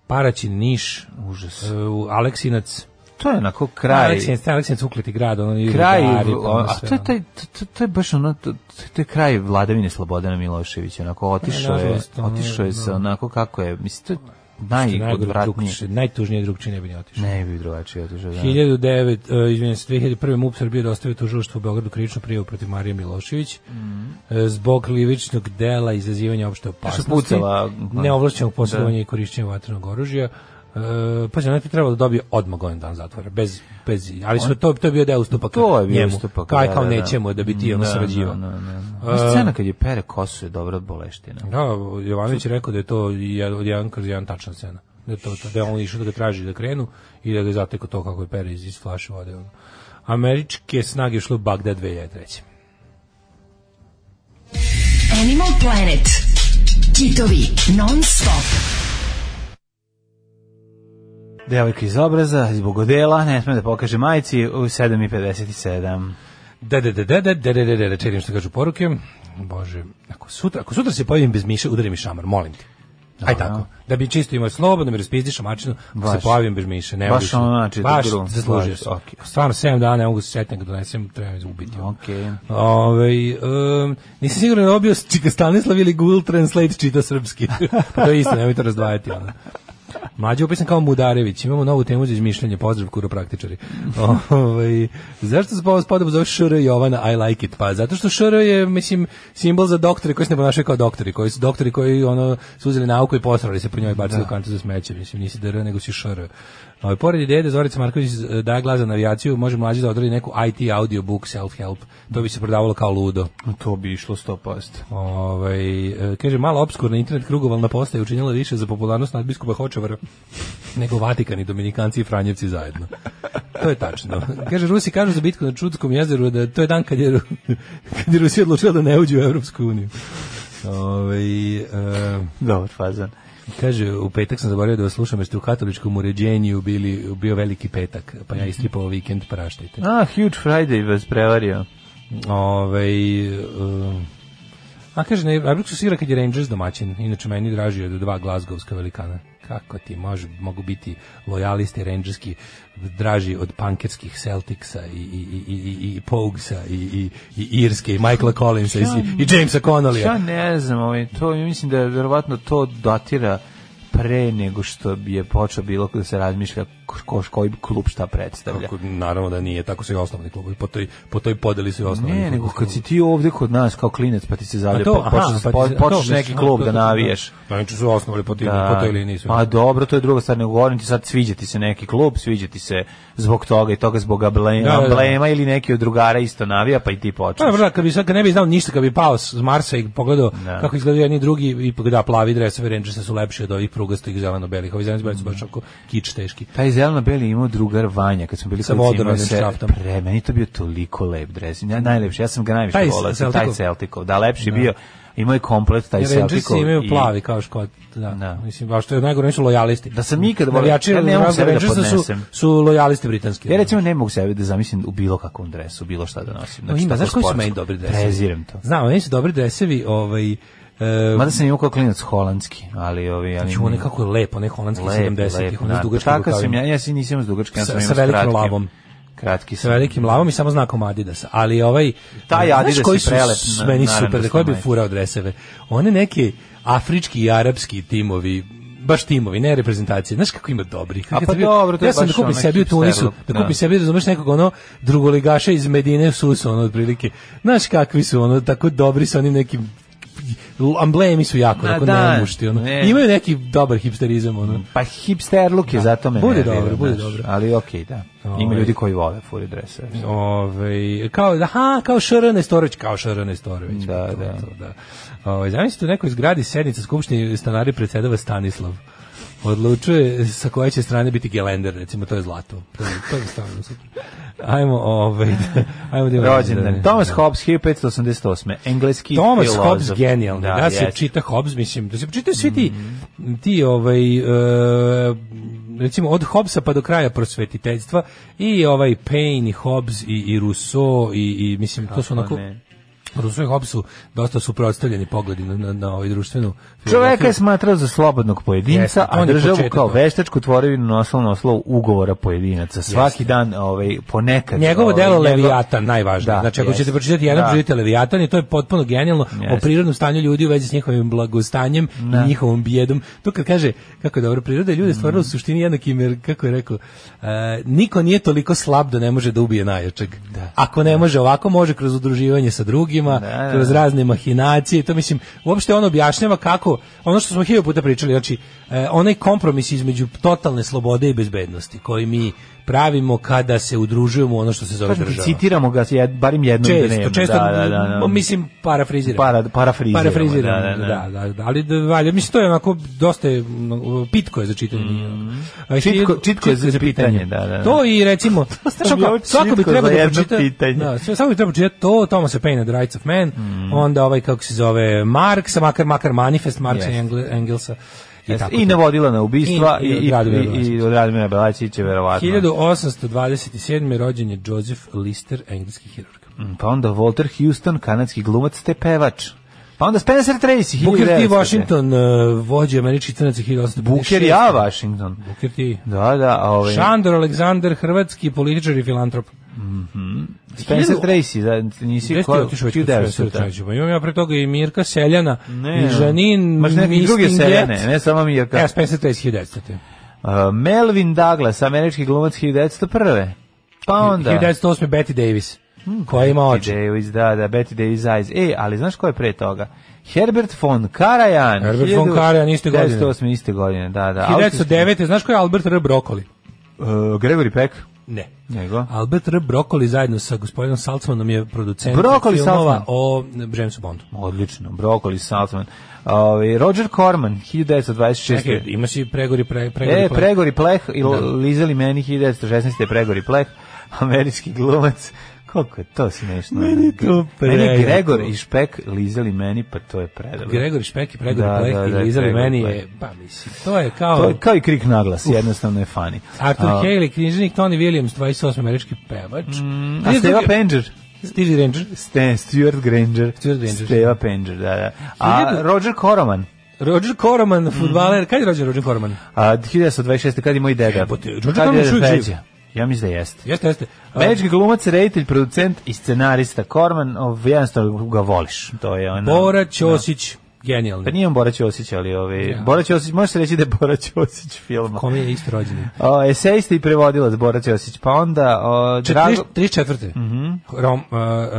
Speaker 7: Paraćin, Niš,
Speaker 6: Užas.
Speaker 7: e, u Aleksinac.
Speaker 6: To je onako kraj...
Speaker 7: Aleksinac, Aleksinac ukliti grad, ono i
Speaker 6: kraj,
Speaker 7: rudari, pa ono
Speaker 6: a
Speaker 7: sve,
Speaker 6: to je,
Speaker 7: ono.
Speaker 6: taj, to, to, to je baš ono, to, to je kraj vladavine Slobodana Miloševića, onako otišao je,
Speaker 7: nažalost, ono je,
Speaker 6: otišao je se
Speaker 7: da.
Speaker 6: onako kako je, mislim, to je
Speaker 7: Što je najgore,
Speaker 6: najodvratnije.
Speaker 7: drugčije, najtužnije drugčije ne bi ni otišao.
Speaker 6: Ne bi drugačije otišao, da.
Speaker 7: 1009, e, izvinjam se, 2001. MUP Srbije dostavio tužilaštvu u Beogradu krivičnu prijavu protiv Marije Milošević
Speaker 6: Mhm.
Speaker 7: e, zbog krivičnog dela izazivanja opšte opasnosti,
Speaker 6: pucala, pa.
Speaker 7: neovlašćenog posjedovanja i korišćenja vatrenog oružja. E, pa znači, ona je trebalo da dobije odmah godin dan zatvora, bez, bez, ali što to, to je bio deo ustupaka
Speaker 6: To je bio
Speaker 7: njemu.
Speaker 6: ustupak.
Speaker 7: Kao,
Speaker 6: da,
Speaker 7: kao
Speaker 6: da, da.
Speaker 7: nećemo da bi ti ono
Speaker 6: Da,
Speaker 7: sarađivao. E,
Speaker 6: Da, da, da. A Scena kad je pere kosu je dobra od boleština.
Speaker 7: Da, Jovanović je rekao da je to jed- od jedan kroz jedan tačna scena. Da, je to, to, da je on išao da ga traži da krenu i da ga zateko to kako je pere iz, iz flaše vode. Ono. Američke snage išle u Bagdad 2003.
Speaker 5: Animal Planet. Kitovi non stop.
Speaker 6: Devojka iz obraza, iz bogodela, ne sme da pokaže majici u 7.57.
Speaker 7: Da, da, da, da, da, da, da, da, da, da, čekam što kažu poruke. Bože, ako sutra, ako sutra se pojavim bez miša, udari mi šamar, molim ti. Aj tako, da bi čisto imao slobodno, da mi raspizdiš mačinu, ako se
Speaker 6: Baš.
Speaker 7: pojavim bez miša, ne
Speaker 6: Baš
Speaker 7: mogu se-
Speaker 6: ono znači,
Speaker 7: baš
Speaker 6: dobro,
Speaker 7: zaslužio
Speaker 6: baš,
Speaker 7: se.
Speaker 6: okej.
Speaker 7: Stvarno, 7 dana ne mogu se setiti, ga donesem, treba me ubiti.
Speaker 6: Okej.
Speaker 7: Ove, um, nisam siguran da je obio Čika Stanislav ili Google Translate čita srpski. pa to je isto, nemoj to razdvajati. Ono. Mlađe upisan kao Mudarević. Imamo novu temu za izmišljanje. Pozdrav, kuropraktičari. Ove, zašto se po spodobu zove Šr Jovana I like it? Pa zato što Šr je, mislim, simbol za doktore koji se ne ponašaju kao doktori. Koji su doktori koji ono, su uzeli nauku i posrali se po njoj i bacili u kantu za smeće. Mislim, nisi DR, nego si Šr. Ovaj pored ideje da Zorica Marković eh, daje glas za navijaciju, može mlađi da odradi neku IT audiobook self-help. To bi se prodavalo kao ludo.
Speaker 6: To bi išlo 100%.
Speaker 7: Ovaj e, kaže, mala obskurna internet krugovalna postaja učinila više za popularnost nadbiskupa Hočevara nego Vatikan i Dominikanci i Franjevci zajedno. To je tačno. Kaže, Rusi kažu za bitku na Čudskom jezeru da to je dan kad je, Ru- kad je Rusi odlučila da ne uđe u Evropsku uniju. Ovaj, e,
Speaker 6: Dobar fazan.
Speaker 7: Kaže, u petak sam zaboravio da vas slušam, jer ste u katoličkom uređenju bili, bio veliki petak, pa ja istripao vikend, praštajte.
Speaker 6: A, Huge Friday vas prevario.
Speaker 7: Ove, um, a kaže, na Ibroxu svira kad je Rangers domaćin, inače meni draži od dva glazgovska velikana. Kako ti može, mogu biti lojalisti rangerski draži od punkerskih Celticsa i, i, i, i, i Pogsa i, i, i Irske i Michaela Collinsa i, i Jamesa Connollya.
Speaker 6: Ja ne znam, ovaj, to ja mislim da je verovatno to datira pre nego što bi je počeo bilo da se razmišlja ko, ko, koji klub šta predstavlja.
Speaker 7: Kako, naravno da nije, tako su i osnovni klubovi, po toj, po toj podeli su i osnovni
Speaker 6: Ne, nego
Speaker 7: klubovi.
Speaker 6: kad si ti ovde kod nas kao klinec pa ti se zalje, pa počneš,
Speaker 7: aha,
Speaker 6: po-
Speaker 7: ti se-
Speaker 6: počneš
Speaker 7: to,
Speaker 6: neki
Speaker 7: mislim,
Speaker 6: klub
Speaker 7: to,
Speaker 6: da
Speaker 7: to,
Speaker 6: navijaš.
Speaker 7: Da, znači su osnovali po, tim, po toj liniji su.
Speaker 6: Pa dobro, to je druga stvar, nego govorim ti sad sviđa ti se neki klub, sviđa ti se zbog toga i toga zbog ablema,
Speaker 7: Da, da, da.
Speaker 6: ablema ili neki od drugara isto navija, pa i ti
Speaker 7: Pa
Speaker 6: počneš.
Speaker 7: dobro, kad bi sad kad ne bi znao ništa, kad bi pao s Marsa i pogledao
Speaker 6: Da.
Speaker 7: kako izgledaju jedni i drugi i da plavi dresovi Rangersa su lepši od ovih prugastih zeleno-belih. Ovi zeleno-beli su baš oko kič teški.
Speaker 6: Taj zeleno-beli je imao drugar Vanja, kad smo bili
Speaker 7: Sa
Speaker 6: klinci, imao
Speaker 7: vodoravnim
Speaker 6: se-
Speaker 7: šraftom.
Speaker 6: Pre, meni je to bio toliko lep dres, ja, najlepši, ja sam ga najviše
Speaker 7: Taj
Speaker 6: volao,
Speaker 7: Celticov?
Speaker 6: taj Celticov, da, lepši je bio, imao je komplet taj
Speaker 7: Rangersi
Speaker 6: Celticov.
Speaker 7: imaju
Speaker 6: E, i-
Speaker 7: plavi kao škot, da.
Speaker 6: Da.
Speaker 7: Mislim baš to je najgore nisu lojalisti.
Speaker 6: Da sam ikad volao-
Speaker 7: navijači
Speaker 6: ja ne mogu sebe da
Speaker 7: Rangersa su
Speaker 6: podnesem. E,
Speaker 7: su lojalisti britanski.
Speaker 6: Ja recimo ne mogu sebe da zamislim u bilo kakvom dresu, bilo šta da nosim. Znači,
Speaker 7: No, ima,
Speaker 6: tako
Speaker 7: znaš koji su
Speaker 6: sportsko.
Speaker 7: meni dobri dresovi?
Speaker 6: Preziram to.
Speaker 7: Znam, meni su dobri dresevi, ovaj e,
Speaker 6: Mada sam imao kao klinac holandski, ali ovi... Ali
Speaker 7: Čuo nekako je lepo, onaj holandski 70-ih, onaj s dugačkim
Speaker 6: Tako sam
Speaker 7: rukavima.
Speaker 6: ja, ja si nisam imao s dugačkim, ja
Speaker 7: Sa-
Speaker 6: sam imao
Speaker 7: sa velikim
Speaker 6: kratkim.
Speaker 7: lavom.
Speaker 6: Kratki
Speaker 7: sa
Speaker 6: sam.
Speaker 7: velikim lavom i samo znakom Adidasa. Ali ovaj
Speaker 6: Taj
Speaker 7: znaš
Speaker 6: Adidas
Speaker 7: koji
Speaker 6: je
Speaker 7: su
Speaker 6: prelep
Speaker 7: s-
Speaker 6: na-
Speaker 7: meni
Speaker 6: naravno
Speaker 7: super,
Speaker 6: da
Speaker 7: da koji
Speaker 6: su
Speaker 7: bi
Speaker 6: majke.
Speaker 7: furao dreseve. One neke afrički i arapski timovi baš timovi, ne reprezentacije. Znaš kako ima dobri.
Speaker 6: A pa dobro, to je
Speaker 7: ja sam da
Speaker 6: baš
Speaker 7: kupim
Speaker 6: ono
Speaker 7: sebi u
Speaker 6: hipster
Speaker 7: Tunisu,
Speaker 6: look,
Speaker 7: da
Speaker 6: da.
Speaker 7: kupim sebi, razumeš, nekog ono drugoligaša iz Medine Susa, ono, otprilike. Znaš kakvi su, ono, tako dobri sa onim nekim amblemi su jako,
Speaker 6: Ma
Speaker 7: onako
Speaker 6: da,
Speaker 7: nemušti, ono.
Speaker 6: ne.
Speaker 7: Imaju neki dobar hipsterizam, ono.
Speaker 6: Pa hipster look je, zato me
Speaker 7: Bude
Speaker 6: nervira,
Speaker 7: dobro, bude
Speaker 6: znaš,
Speaker 7: dobro.
Speaker 6: Ali okej, da. Ima
Speaker 7: Ovaj.
Speaker 6: ljudi koji vole furi drese.
Speaker 7: Ove, Ovaj, kao, aha, kao Šara Nestorović, kao Šara Nestorović.
Speaker 6: Da,
Speaker 7: To,
Speaker 6: da.
Speaker 7: to, da. Ovaj, Ove, zamislite u nekoj zgradi sednica skupštine stanari predsedava Stanislav. Odlučuje sa koje će strane biti gelender, recimo, to je zlato. To je, to je stvarno super. Ajmo, ovaj, da- ajmo da imamo-
Speaker 6: Rođendan. Thomas Hobbes, 1588. Engleski
Speaker 7: Thomas
Speaker 6: filozof.
Speaker 7: Hobbes genijalno. Da, se
Speaker 6: jest.
Speaker 7: čita Hobbes, mislim, da se čitaju svi ti
Speaker 6: Mhm.
Speaker 7: ti ovaj e, recimo od Hobbesa pa do kraja prosvetiteljstva i ovaj Paine i Hobbes i, i Rousseau i, i mislim to su onako
Speaker 6: ne.
Speaker 7: Rousseau i Hobbes su dosta suprotstavljeni pogledi na, na, na ovaj društvenu
Speaker 6: Čoveka
Speaker 7: filozofiju.
Speaker 6: je smatrao za slobodnog pojedinca,
Speaker 7: Jeste,
Speaker 6: a
Speaker 7: on je
Speaker 6: državu
Speaker 7: početak
Speaker 6: kao
Speaker 7: toga.
Speaker 6: veštačku tvorevinu nosilo noslo ugovora pojedinaca. Svaki dan, ovaj, ponekad.
Speaker 7: Njegovo
Speaker 6: ovaj,
Speaker 7: delo
Speaker 6: njegov-
Speaker 7: Leviatan najvažnije.
Speaker 6: Da,
Speaker 7: znači ako
Speaker 6: jeste.
Speaker 7: ćete pročitati jedan
Speaker 6: Da.
Speaker 7: pročitajte Leviatan i to je potpuno genijalno o
Speaker 6: Jeste.
Speaker 7: prirodnom stanju ljudi u vezi s njihovim blagostanjem i njihovom bijedom. To kad kaže kako je dobro priroda je ljude stvorila u suštini jednakim jer kako je rekao e, niko nije toliko slab da ne može da ubije najjačeg. Ako ne može ovako može kroz udruživanje sa drugima,
Speaker 6: Da, da,
Speaker 7: kroz
Speaker 6: da.
Speaker 7: razne mahinacije. To mislim uopšte on objašnjava kako ono što smo hiljadu puta pričali, znači e, onaj kompromis između totalne slobode i bezbednosti koji mi pravimo kada se udružujemo u ono što se zove
Speaker 6: Kažem ti,
Speaker 7: država.
Speaker 6: Pa, citiramo ga jed, barim jednom
Speaker 7: Često,
Speaker 6: dnevno.
Speaker 7: često,
Speaker 6: da, da, da, da.
Speaker 7: mislim, parafriziramo.
Speaker 6: Para- parafriziramo,
Speaker 7: Parafriziramo,
Speaker 6: da,
Speaker 7: da,
Speaker 6: da,
Speaker 7: da, da. Ali, da, valja, mislim, to je onako dosta je, mm, pitko je za čitanje. A,
Speaker 6: Mm. Čitko-
Speaker 7: hiljadu-
Speaker 6: čitko je za pitanje, da, da, da.
Speaker 7: To i, recimo,
Speaker 6: bi
Speaker 7: svako,
Speaker 6: ovo
Speaker 7: svako bi
Speaker 6: čitko
Speaker 7: trebao
Speaker 6: za
Speaker 7: da
Speaker 6: jedno
Speaker 7: pročita,
Speaker 6: pitanje. Mm.
Speaker 7: da, sve- svako bi trebao čitati to, Thomasa Paine, The Rights of Man, onda ovaj, kako se zove, Marx, makar, makar Manifest, Marxa i
Speaker 6: Jeste.
Speaker 7: Engle- Engelsa. I, tako
Speaker 6: I
Speaker 7: to.
Speaker 6: navodila na ubistva
Speaker 7: I-
Speaker 6: i,
Speaker 7: i od
Speaker 6: i,
Speaker 7: Radomira
Speaker 6: i, i
Speaker 7: Belačića.
Speaker 6: od Radomira Belačića, verovatno.
Speaker 7: 1827. rođen je Joseph Lister, engleski hirurg.
Speaker 6: Mm, Pa onda Walter Houston, kanadski glumac te pevač. Pa onda Spencer Tracy, 1900.
Speaker 7: Booker T. Washington, eh, vođe američkih crnaca 1856.
Speaker 6: Booker ja Washington.
Speaker 7: Booker T.
Speaker 6: Da, da, a ovaj.
Speaker 7: Šandor Aleksandar, hrvatski političar i filantrop.
Speaker 6: Spencer
Speaker 7: Hiljadu-
Speaker 6: Tracy, da, nisi
Speaker 7: Gde ste
Speaker 6: ko,
Speaker 7: otišao već kod
Speaker 6: 1900.
Speaker 7: Svetog Trađa? Pa Imam ja pre toga i Mirka Seljana,
Speaker 6: Ne,
Speaker 7: i Žanin,
Speaker 6: Maš neke druge
Speaker 7: Mistinget.
Speaker 6: seljane, ne samo mi
Speaker 7: E, Spencer Tracy 1900.
Speaker 6: Uh, Melvin Douglas, američki glumac 1901. Pa onda... Hmm,
Speaker 7: 1908. Betty Davis, koja ima
Speaker 6: Betty
Speaker 7: oči.
Speaker 6: Davis, da, da, Betty Davis Eyes. E, ali znaš ko je pre toga? Herbert von Karajan.
Speaker 7: Herbert von
Speaker 6: 1908
Speaker 7: Karajan, iste godine.
Speaker 6: 1908. iste godine, da, da.
Speaker 7: 1909. Znaš ko je Albert R. Brokoli?
Speaker 6: Uh, Gregory Peck.
Speaker 7: Ne.
Speaker 6: Njego.
Speaker 7: Albert R. Brokoli zajedno sa gospodinom Salcmanom je producent
Speaker 6: Brokoli
Speaker 7: filmova
Speaker 6: Saltzman.
Speaker 7: o Jamesu Bondu.
Speaker 6: Odlično, Brokoli Saltman. Ovaj Roger Corman, 1926.
Speaker 7: Čekaj, ima si Pregori pre, Pregori
Speaker 6: E,
Speaker 7: Plan.
Speaker 6: Pregori Pleh, i l- lizali meni 1916. Pregori Pleh, američki glumac. Koliko je to smešno. Meni je
Speaker 7: to
Speaker 6: Meni
Speaker 7: prejako.
Speaker 6: Gregor i Špek lizali meni, pa to je predobro.
Speaker 7: Gregori Špek i Pregori
Speaker 6: Da,
Speaker 7: Pleh
Speaker 6: da, da,
Speaker 7: i Lizali
Speaker 6: Pregori
Speaker 7: meni
Speaker 6: Pleh.
Speaker 7: je, pa mislim, to je kao
Speaker 6: To je kao i krik naglas, jednostavno je funny.
Speaker 7: Arthur
Speaker 6: A,
Speaker 7: Haley, knjižnik Tony Williams, 28 američki pevač. Mm,
Speaker 6: A Steva Penger?
Speaker 7: Stevie Ranger.
Speaker 6: Ste, Stuart Granger.
Speaker 7: Stuart Granger.
Speaker 6: Steva Penger, da, da. A
Speaker 7: Hiljadu-
Speaker 6: Roger Koroman,
Speaker 7: Roger Corman, futbaler. Kad je rođen Roger Corman?
Speaker 6: a, 1926. kad je moj deda.
Speaker 7: Jebote, Roger
Speaker 6: Kad je
Speaker 7: Corman još uvijek živ.
Speaker 6: 93.? Ja mislim da jeste.
Speaker 7: Jeste, jeste. A,
Speaker 6: Američki glumac, reditelj, producent i scenarista Korman, ov- jednostavno ga voliš. To je ono...
Speaker 7: Bora Ćosić, genijalni.
Speaker 6: Pa nije on Bora Ćosić, ali ove,
Speaker 7: Ja.
Speaker 6: Bora Ćosić, može se reći da je Bora Ćosić film.
Speaker 7: Kome je isto rođen?
Speaker 6: O, esejista i prevodilac Bora Ćosić, pa onda... O, Drago... Mhm.
Speaker 7: 34. Rom, uh,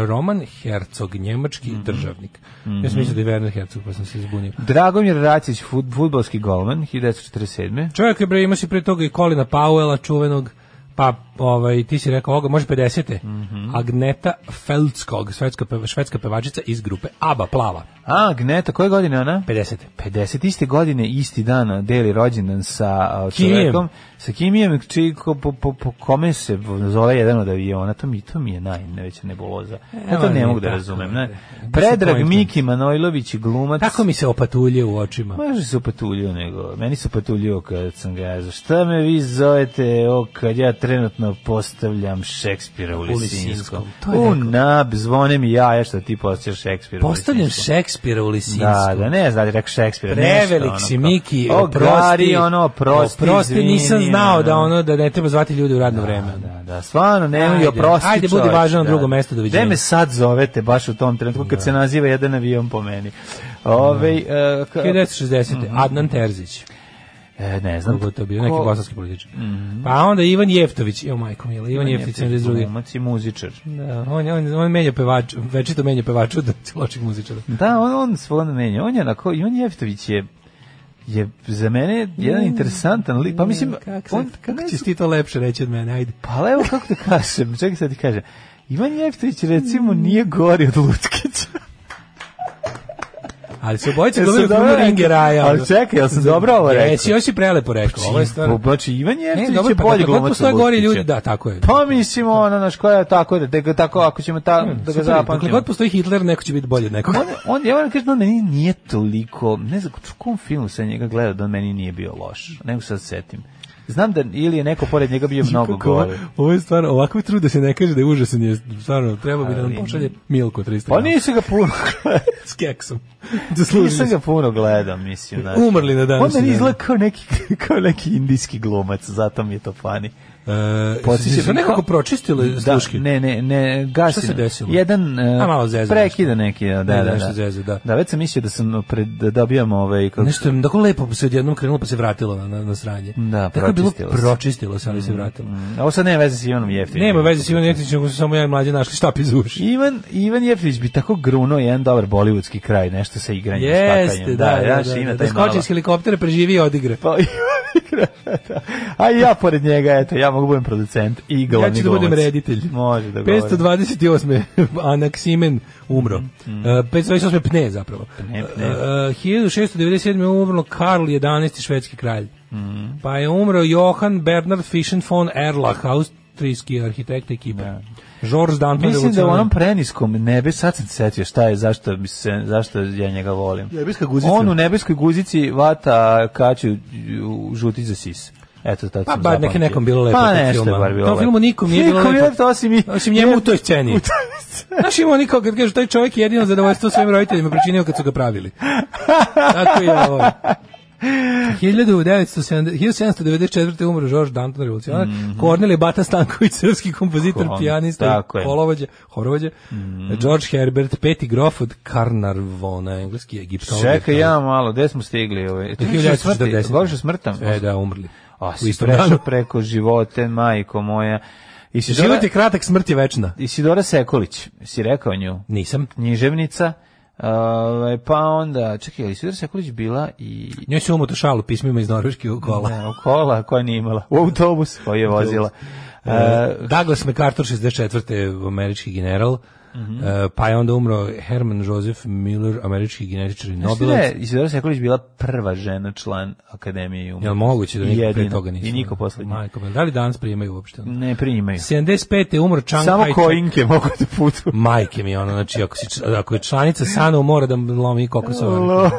Speaker 7: Roman Herzog, njemački državnik. Ja
Speaker 6: Mhm.
Speaker 7: sam mislio da je Werner Herzog, pa sam se zbunio.
Speaker 6: Dragomir Racić, fut, futbolski golman, 1947.
Speaker 7: Čovjek je bre, imao si pre toga i Kolina Pauela, čuvenog, pa ovaj, ti si rekao ovoga, može 50.
Speaker 6: Mhm.
Speaker 7: Agneta Feldskog, švedska, peva- švedska pevačica iz grupe ABBA, plava,
Speaker 6: A, Gneta, koje godine ona?
Speaker 7: 50.
Speaker 6: 50. iste godine, isti dan, deli rođendan sa a,
Speaker 7: Kimijem.
Speaker 6: čovekom, sa Kimijem, čiji ko- po, po, po kome se zove jedan od aviona, to mi, to mi je najveća nebuloza. Ja to
Speaker 7: ali
Speaker 6: ne
Speaker 7: nije
Speaker 6: mogu da
Speaker 7: tako,
Speaker 6: razumem.
Speaker 7: brate.
Speaker 6: Ne?
Speaker 7: Disappointment.
Speaker 6: Predrag Miki Manojlović, glumac,
Speaker 7: Tako mi se opatulje u očima.
Speaker 6: Može se opatuljio nego, meni se opatuljio kad sam ga ja za šta me vi zovete o kad ja trenutno postavljam Šekspira u
Speaker 7: Lisinskom.
Speaker 6: Lisinskom.
Speaker 7: To je
Speaker 6: U
Speaker 7: neko-
Speaker 6: nab, zvone mi ja, ja što ti postavljaš Šekspira u
Speaker 7: Postavljam
Speaker 6: Lisinskom.
Speaker 7: Šekspira u Lisinsku.
Speaker 6: Da, da, ne znam da je rekao Šekspira.
Speaker 7: Prevelik
Speaker 6: nešto,
Speaker 7: si
Speaker 6: ono, kao,
Speaker 7: Miki,
Speaker 6: o,
Speaker 7: oprosti.
Speaker 6: Gari, ono, oprosti,
Speaker 7: Oprosti,
Speaker 6: izvini,
Speaker 7: nisam znao da ono da ne treba zvati ljudi u radno vreme.
Speaker 6: Da, da, stvarno, nemoj
Speaker 7: Ajde,
Speaker 6: oprosti
Speaker 7: ajde, budi
Speaker 6: čoveče,
Speaker 7: važan na
Speaker 6: da.
Speaker 7: drugo mesto, doviđenja.
Speaker 6: Gde me sad zovete baš u tom trenutku kad se naziva jedan avion po meni? Ove, e, ka-
Speaker 7: 1960. Adnan Terzić.
Speaker 6: E, ne znam.
Speaker 7: Kogo je to bio, neki
Speaker 6: Ko- Mhm.
Speaker 7: bosanski političar. Pa onda Ivan Jeftović, jo majko mila, Ivan, Jeftović,
Speaker 6: Jeftić,
Speaker 7: 72.
Speaker 6: glumac i muzičar.
Speaker 7: Da, on, on, on menja pevač, večito menja pevača od loših muzičara.
Speaker 6: Da, on, on svon menja. On je onako, Ivan Jeftović je je za mene jedan interesantan lik. Pa mislim,
Speaker 7: kako, se-
Speaker 6: on,
Speaker 7: kako
Speaker 6: ne
Speaker 7: ćeš ti to lepše reći od mene, ajde.
Speaker 6: Pa ali evo kako da kažem, čekaj sad ti kažem. Ivan Jeftić recimo
Speaker 7: Mm.
Speaker 6: nije gori od Lutkića.
Speaker 7: Ali se obojice
Speaker 6: Jel sam
Speaker 7: dobili
Speaker 6: dobro
Speaker 7: puno
Speaker 6: rekao?
Speaker 7: ringeraja.
Speaker 6: Ali čekaj, jel sam dobro ovo rekao?
Speaker 7: ono. Jesi, još si prelepo rekao, ovo je stvarno.
Speaker 6: Znači, Ivan
Speaker 7: Ne,
Speaker 6: Jeftić
Speaker 7: dobro,
Speaker 6: je
Speaker 7: pa kad
Speaker 6: bolji
Speaker 7: god
Speaker 6: glumac od
Speaker 7: postoje gori ljudi,
Speaker 6: Lutkića.
Speaker 7: da, tako je.
Speaker 6: Pa mislimo, ono, naš, koja je tako, da, da ga tako, ako ćemo ta, da ga
Speaker 7: Super, pa Dokle
Speaker 6: zapamtimo.
Speaker 7: god postoji Hitler, neko će biti bolji od nekog.
Speaker 6: on, on, ja moram kažem, on meni nije toliko, ne znam, u kom filmu sam njega gledao da on meni nije bio loš, nego sad setim. Znam da ili je neko pored njega bio mnogo
Speaker 7: Kako ovo-
Speaker 6: gori.
Speaker 7: Ovo je stvarno, ovako je trud da se ne kaže da je užasan, je stvarno, treba bi da nam
Speaker 6: Ali-
Speaker 7: pošalje Milko 300
Speaker 6: Pa nisi ga puno gledao.
Speaker 7: s keksom. Zaslužili
Speaker 6: Nisam
Speaker 7: smo.
Speaker 6: ga puno gledao, mislim. Znači.
Speaker 7: Umrli na današnji
Speaker 6: On meni
Speaker 7: dan.
Speaker 6: izgleda kao neki, kao neki indijski glumac, zato mi je to funny.
Speaker 7: E,
Speaker 6: Podsjeća
Speaker 7: se
Speaker 6: me
Speaker 7: nekako
Speaker 6: kao-
Speaker 7: pročistilo sluške.
Speaker 6: Da, ne, ne, ne, gasi.
Speaker 7: Šta se desilo?
Speaker 6: Jedan e,
Speaker 7: A, malo zezu
Speaker 6: prekida neki, da, da,
Speaker 7: Ne,
Speaker 6: da.
Speaker 7: nešto zezu, da.
Speaker 6: Da, već sam mislio da sam pred da dobijam ovaj kako
Speaker 7: Nešto je tako lepo se odjednom krenulo pa se vratilo na, na, na sranje.
Speaker 6: Da,
Speaker 7: tako je bilo
Speaker 6: pročistilo se.
Speaker 7: pročistilo se, ali se vratilo.
Speaker 6: Mm, Ovo sad nema veze s Ivanom Jeftićem.
Speaker 7: Nema veze s Ivan Jeftić, nego su samo ja i mlađe našli štap iz uši.
Speaker 6: Ivan, Ivan Jeftić bi tako gruno jedan dobar bolivudski kraj, nešto sa igranjem,
Speaker 7: Jeste,
Speaker 6: štakanjem.
Speaker 7: da, da,
Speaker 6: znaš,
Speaker 7: da,
Speaker 6: ima
Speaker 7: da, da
Speaker 6: taj
Speaker 7: skoči
Speaker 6: malo-
Speaker 7: iz helikoptera, preživi i odigre.
Speaker 6: Pa, da. A i ja pored njega, eto, ja mogu budem producent i glavni
Speaker 7: ja ću da budem
Speaker 6: glumac.
Speaker 7: reditelj.
Speaker 6: Može da govorim.
Speaker 7: 528. Anaksimen umro. E, 528. Pne zapravo.
Speaker 6: Mhm. Pne, pne.
Speaker 7: E, e, 1697. je umrlo Karl 11. švedski kralj.
Speaker 6: Mhm.
Speaker 7: Pa je umro Johan Bernard Fischen von Erlach, austrijski arhitekta i kipar. George Danton
Speaker 6: Mislim da ono- u
Speaker 7: revolucionar.
Speaker 6: onom preniskom nebi, sad sam se setio šta je, zašto, bi se, zašto ja njega volim.
Speaker 7: Nebeska guzica.
Speaker 6: On u nebeskoj guzici vata kaću u žuti za sis. Eto, tako
Speaker 7: Pa
Speaker 6: sam
Speaker 7: bar neka
Speaker 6: zapamtio.
Speaker 7: nekom bilo lepo
Speaker 6: Pa
Speaker 7: tog
Speaker 6: nešto
Speaker 7: filma.
Speaker 6: je bar bilo
Speaker 7: Tom
Speaker 6: lepo.
Speaker 7: filmu nikom nije bilo
Speaker 6: Nikom je
Speaker 7: lepo.
Speaker 6: lepo, osim, i-
Speaker 7: Osim njemu u toj
Speaker 6: U
Speaker 7: sceni.
Speaker 6: toj sceni.
Speaker 7: Znaš ima oni kao kad kažu taj čovjek je jedino zadovoljstvo svojim roditeljima pričinio kad su ga pravili. Tako je ovo. 1970 1794. umro Žorž Danton revolucionar, Kornelije Bata Stanković, srpski kompozitor,
Speaker 6: Ko-
Speaker 7: pijanista,
Speaker 6: Mhm. tako je. Mhm.
Speaker 7: polovođa, horovođa, George Herbert, peti grof od Karnarvona, engleski egiptolog.
Speaker 6: Čekaj ja malo, gde smo stigli? Ovaj? Ti govoriš o smrti?
Speaker 7: 1940.
Speaker 6: Govoriš o smrtam?
Speaker 7: E, da, umrli.
Speaker 6: A,
Speaker 7: U
Speaker 6: si
Speaker 7: istom
Speaker 6: prešao
Speaker 7: danu.
Speaker 6: preko živote, majko moja. Isidora,
Speaker 7: Život je kratak, smrt je večna.
Speaker 6: Isidora Sekulić, si rekao nju?
Speaker 7: Nisam.
Speaker 6: književnica. Ovaj, pa onda, čekaj, ali Sudar Sekulić bila i...
Speaker 7: Njoj se umoto šalu pismima iz Norveške u kola.
Speaker 6: Ne, u kola koja nije imala, u autobus koji je vozila. E,
Speaker 7: Uh, Douglas MacArthur 64. američki general.
Speaker 6: Mhm.
Speaker 7: E, pa je onda umro Herman Joseph Miller, američki genetičar i
Speaker 6: znaš ti da
Speaker 7: Nobelovac.
Speaker 6: je Isidora Sekulić bila prva žena član Akademije umjetnosti?
Speaker 7: Jel moguće da niko pre
Speaker 6: Jedina.
Speaker 7: toga nisu?
Speaker 6: I niko posle nje.
Speaker 7: Majko, mila, da li danas primaju uopšte? ono?
Speaker 6: Ne primaju.
Speaker 7: 75. je umro Chiang
Speaker 6: Samo
Speaker 7: Kai-shek.
Speaker 6: kojinke mogu da putu.
Speaker 7: Majke mi ono, znači ako, si, čl- ako je članica Sanu mora da lomi kokosova.
Speaker 6: Lo-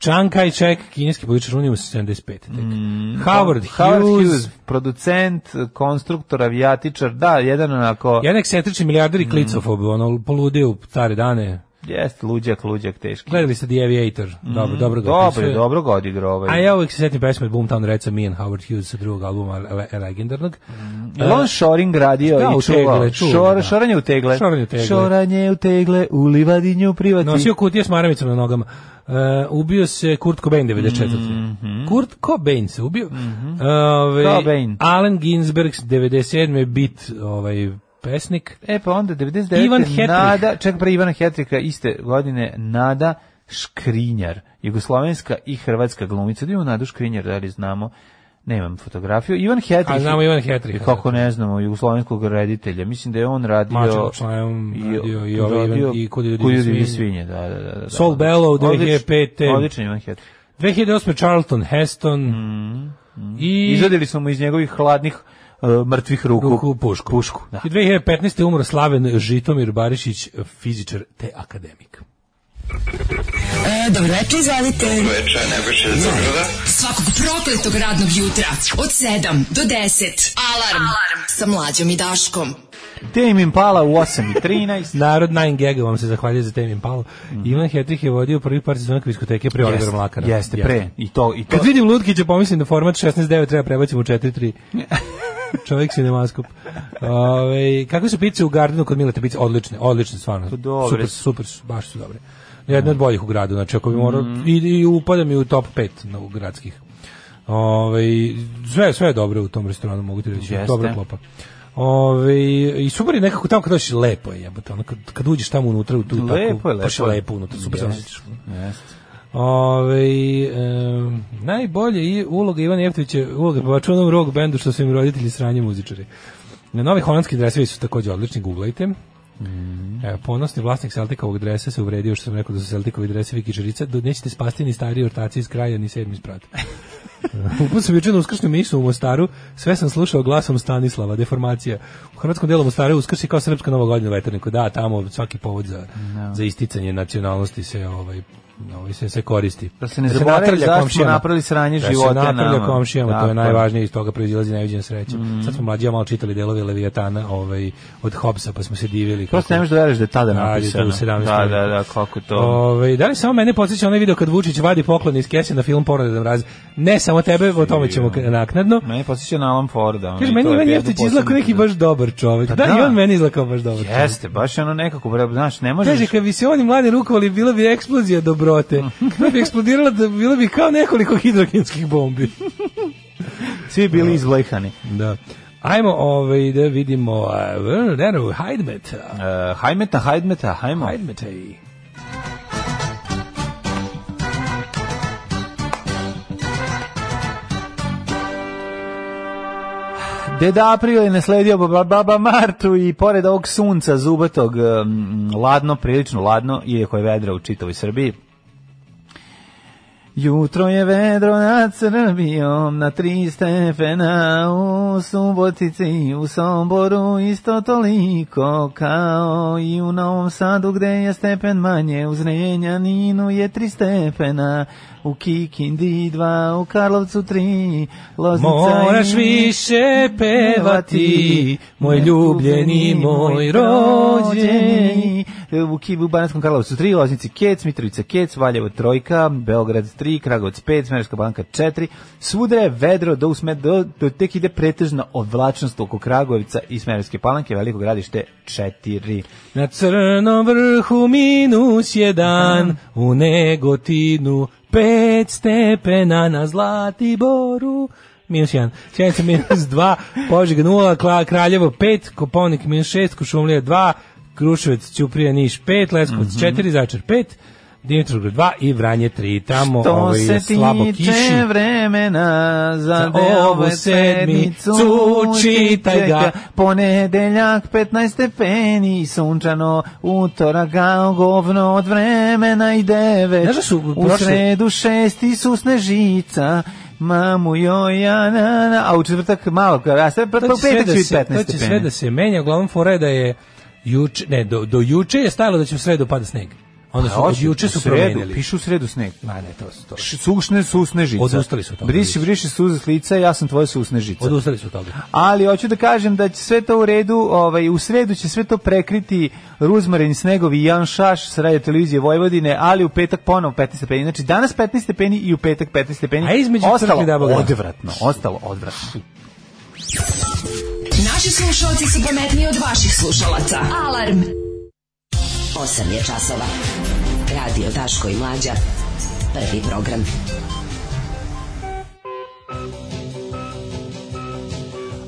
Speaker 7: Chiang Kai-shek, kineski političar, on je umro 75. Tek. Howard,
Speaker 6: Mm, pa, Howard
Speaker 7: Hughes,
Speaker 6: Hughes, producent, konstruktor, avijatičar, da, jedan onako,
Speaker 7: jedan eksentrični milijarder
Speaker 6: Mm.
Speaker 7: i klicofob, ono, poludio u stare dane.
Speaker 6: jest luđak, luđak, teški.
Speaker 7: Gledali ste The Aviator, dobro, dobro ga
Speaker 6: Mhm. Dobro,
Speaker 7: opisuje.
Speaker 6: je, dobro ga odigrao ovaj.
Speaker 7: A ja uvijek se setim pesme od Boomtown Reca, me and Howard Hughes sa drugog albuma le- le- legendarnog.
Speaker 6: Jel on šoring radio
Speaker 7: Da, u
Speaker 6: i čuvao?
Speaker 7: tegle, čuva,
Speaker 6: Šor-
Speaker 7: da.
Speaker 6: Šoranje u tegle.
Speaker 7: Šoranje u tegle.
Speaker 6: Šoranje u tegle, u livadinju privati.
Speaker 7: Nosio kutije s maramicom na nogama. E, ubio se Kurt Cobain 94. Kurt Cobain se ubio. E, ovaj,
Speaker 6: Mhm. Cobain.
Speaker 7: Allen Ginsberg 97. je bit ovaj, pesnik.
Speaker 6: E pa onda 99.
Speaker 7: Ivan Hetrih.
Speaker 6: Nada, čak pre Ivana Hetrika iste godine Nada Škrinjar, jugoslovenska i hrvatska glumica. Da imamo Nadu Škrinjar, da li znamo? Nemam fotografiju. Ivan Hetrih.
Speaker 7: A znamo Ivan Hetrih.
Speaker 6: I kako ne znamo, jugoslovenskog reditelja. Mislim da je on radio...
Speaker 7: Mačevo članom radio i ovaj Ivan-
Speaker 6: radio
Speaker 7: i Kud je ljudi
Speaker 6: Kud
Speaker 7: i
Speaker 6: ljudi i
Speaker 7: svinje.
Speaker 6: svinje. Da, da, da, da.
Speaker 7: Sol Bellow,
Speaker 6: Odličan-
Speaker 7: 2005.
Speaker 6: Odličan Ivan Hetrih.
Speaker 7: 2008. Charlton Heston.
Speaker 6: Mhm.
Speaker 7: I...
Speaker 6: Izvadili smo mu iz njegovih hladnih uh, mrtvih ruku.
Speaker 7: Ruku u pušku. pušku
Speaker 6: da.
Speaker 7: I 2015. je umro Slaven Žitomir Barišić, fizičar te akademik.
Speaker 5: E, dobro večer, izvedite. Dobro večer, Svakog prokletog radnog jutra od 7 do 10. Alarm, Alarm. sa mlađom i Daškom.
Speaker 6: Tame Impala u 8.13.
Speaker 7: Narod 9 Gega vam se zahvaljuje za Tame Impala. Ivan Hetrih je vodio prvi par sezona diskoteke pre Olivera Mlakara.
Speaker 6: Mhm. Jeste, pre. I to, i to.
Speaker 7: Kad vidim Lutkića pomislim da format 16.9 treba prebaciti u 4.3. Čovjek sinemaskop. Ove, kakve su pice u Gardenu kod Mileta? Pice odlične, odlične stvarno.
Speaker 6: Pa dobre
Speaker 7: Super,
Speaker 6: su.
Speaker 7: super, su, baš su dobre.
Speaker 6: Mhm.
Speaker 7: Jedna od boljih u gradu, znači ako bi morao, i, i upada mi u top 5 na, u gradskih. Ovaj, sve, sve je dobro u tom restoranu, mogu ti reći.
Speaker 6: Jeste.
Speaker 7: Dobra klopa. Ove, I super je nekako tamo kad dođeš, lepo je jebote. Ono, kad, kad uđeš tamo unutra, u tu takvu,
Speaker 6: Lepo je, lepo.
Speaker 7: baš je lepo unutra, super se
Speaker 6: Jeste,
Speaker 7: osjećaš.
Speaker 6: jeste.
Speaker 7: Ove, em, najbolje i uloga Ivana Jeftovića, uloga pevača u onom rock bendu što su im roditelji sranje muzičari. Novi holandski dresevi su takođe odlični, googlajte.
Speaker 6: Mm-hmm.
Speaker 7: E, ponosni vlasnik Celticovog dresa se uvredio što sam rekao da su Celticovi dresevi kičerica, da nećete spasti ni stariji ortaci iz kraja, ni sedmi sprat. Uput sam juče na uskršnju misu u Mostaru, sve sam slušao glasom Stanislava, deformacija. U hrvatskom delu Mostara je uskrš je kao srpska nova godina u veterniku. Da, tamo svaki povod za, za isticanje nacionalnosti se ovaj ovaj se se koristi.
Speaker 6: Da se ne zaboravi
Speaker 7: natrlja
Speaker 6: zašto smo
Speaker 7: komšijama.
Speaker 6: napravili sranje života
Speaker 7: Da se natrlja
Speaker 6: nama.
Speaker 7: komšijama, to
Speaker 6: Tako
Speaker 7: je
Speaker 6: je. Mhm.
Speaker 7: najvažnije, iz toga proizilazi najviđena sreća. Sad smo mlađi malo čitali delove Leviatana ovaj, od Hobsa, pa smo se divili.
Speaker 6: Prosto ne
Speaker 7: kako-
Speaker 6: možeš da veruješ da je tada
Speaker 7: Ajde,
Speaker 6: napisano.
Speaker 7: tu u 17.
Speaker 6: Da, da, da, kako to.
Speaker 7: Ove, da li samo mene podsjeća onaj video kad Vučić vadi poklon iz kese na film Porodom raz? Ne samo tebe, o tome ćemo k- naknadno.
Speaker 6: Mene posjeća na Alan Forda. ono,
Speaker 7: Kaže,
Speaker 6: i to
Speaker 7: meni
Speaker 6: je
Speaker 7: Ivan
Speaker 6: jedno
Speaker 7: Jeftić izgleda kao neki
Speaker 6: posebno-
Speaker 7: baš dobar čovjek.
Speaker 6: Pa
Speaker 7: Da, i
Speaker 6: da.
Speaker 7: on meni izgleda kao baš dobar čovjek.
Speaker 6: Jeste, baš je ono nekako, bre, znaš, ne možeš...
Speaker 7: Kaže, kad bi se oni mladi rukovali, bila bi eksplozija dobrote. Kad bi eksplodirala, da bilo bi kao nekoliko hidrogenskih bombi.
Speaker 6: Svi bili izblejhani.
Speaker 7: Da. Ajmo ovaj, da vidimo uh, Renu Hajdmet.
Speaker 6: Uh, hajmeta, hajdmeta, hajmo.
Speaker 7: Hajdmetej.
Speaker 6: Deda April je nasledio baba, baba Martu i pored ovog sunca zubatog, um, ladno, prilično ladno, iako je vedro u čitavoj Srbiji, Jutro je vedro nad Srbijom, na tri stepena u Subotici, u Somboru isto toliko kao i u Novom Sadu gde je stepen manje, u Zrenjaninu je tri stepena, u Kikindi dva, u Karlovcu tri, Loznica
Speaker 7: Moraš
Speaker 6: i-
Speaker 7: više pevati, moj ljubljeni, moj rođeni.
Speaker 6: U Kivu, u Banatskom Karlovcu 3, Loznici Kec, Mitrovica Kec, Valjevo Trojka, Beograd 3, Kragovac 5, Smerska banka 4. Svuda je vedro do, usme, do, do tek ide pretežna odvlačnost oko Kragovica i Smerske palanke, Veliko gradište 4.
Speaker 7: Na crnom vrhu minus jedan, u negotinu pet stepena, na Zlatiboru minus jedan, Sjenica minus dva, Požeg nula, Kla- Kraljevo pet, Koponik minus šest, Kušumlija dva, Kruševac, Ćuprija, Niš pet, Leskovac
Speaker 6: Mhm.
Speaker 7: četiri, Zaječar pet, Dimitrovgrad dva i Vranje tri, tamo
Speaker 6: To
Speaker 7: ovaj,
Speaker 6: se
Speaker 7: slabo kiši.
Speaker 6: tiče vremena za
Speaker 7: Za
Speaker 6: ovu
Speaker 7: ovu
Speaker 6: sedmicu,
Speaker 7: sedmicu, čitaj ga.
Speaker 6: Ponedeljak 15 stepeni, sunčano, utorak kao govno od vremena i devet.
Speaker 7: Znaš da su
Speaker 6: u
Speaker 7: prošle-
Speaker 6: sredu šest i susne žica, mamu joj, ja, na, na. a u četvrtak malo, a sve pa
Speaker 7: To
Speaker 6: pa u
Speaker 7: će sve
Speaker 6: petak
Speaker 7: da
Speaker 6: će biti
Speaker 7: se-
Speaker 6: 15
Speaker 7: To će sve
Speaker 6: stepeni.
Speaker 7: da se menja, uglavnom fora je da je juče, ne, do, do juče je stajalo da će u sredu pada sneg. Onda su, od
Speaker 6: Pa Hoće,
Speaker 7: juče su
Speaker 6: u sredu,
Speaker 7: promenili.
Speaker 6: Pišu u sredu sneg.
Speaker 7: Ma ne, to su to.
Speaker 6: Š- Sušne susne žica.
Speaker 7: Odustali su od toga.
Speaker 6: Briši, briši suze s lica, ja sam tvoje susne žica.
Speaker 7: Odustali su od toga.
Speaker 6: ali hoću da kažem da će sve to u redu, ovaj, u sredu će sve to prekriti Ruzmarin Snegovi i Jan Šaš s radio televizije Vojvodine, ali u petak ponovo 15 stepeni. Znači danas 15 stepeni i u petak 15 stepeni.
Speaker 7: A između
Speaker 6: ostalo
Speaker 7: crkve i Daboga.
Speaker 6: odvratno, ostalo odvratno.
Speaker 5: Naši slušalci su pametniji od vaših slušalaca. Alarm! 8 je časova. Radio Daško i Mlađa. Prvi program.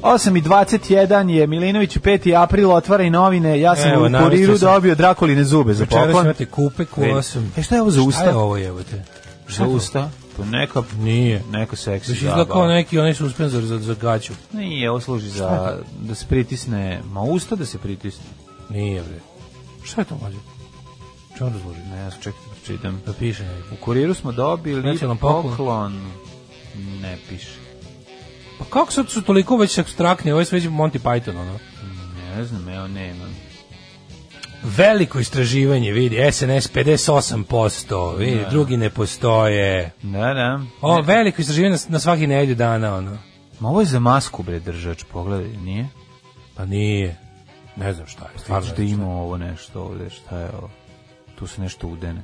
Speaker 6: Osam i 21 je Milinović u 5. april otvara i novine. Ja sam
Speaker 7: Evo,
Speaker 6: u kuriru
Speaker 7: navestio sam.
Speaker 6: dobio drakoline zube za
Speaker 7: Večeras
Speaker 6: poklon.
Speaker 7: imate kupe, kuva sam.
Speaker 6: E, šta je ovo za usta?
Speaker 7: Šta je ovo jebote? Šta je to?
Speaker 6: Pa neka,
Speaker 7: Nije.
Speaker 6: neka seksi
Speaker 7: Znaš, izgleda kao neki onaj suspenzor za, za gaću.
Speaker 6: Nije, ovo služi za, da se pritisne, ma usta da se pritisne.
Speaker 7: Nije, bre. Šta je to, mlađe? Čemu razloži?
Speaker 6: Ne, ja sam čekaj da pročitam.
Speaker 7: Da piše negdje.
Speaker 6: U kuriru smo dobili
Speaker 7: Nacionalan poklon.
Speaker 6: poklon. Ne piše.
Speaker 7: Pa kako sad su toliko već abstraktni, ovo je sve već Monty Python, ono.
Speaker 6: Ne znam, evo nemam.
Speaker 7: Veliko istraživanje, vidi, SNS 58%, vidi, drugi ne postoje.
Speaker 6: Da, da.
Speaker 7: O, veliko istraživanje na- na svaki nedelju dana, ono.
Speaker 6: Ma ovo je za masku, bre, držač, pogledaj, nije?
Speaker 7: Pa nije. Ne znam šta je. Stvarno
Speaker 6: Vidiš da ima ovo nešto ovde, šta je ovo? Tu se nešto udene.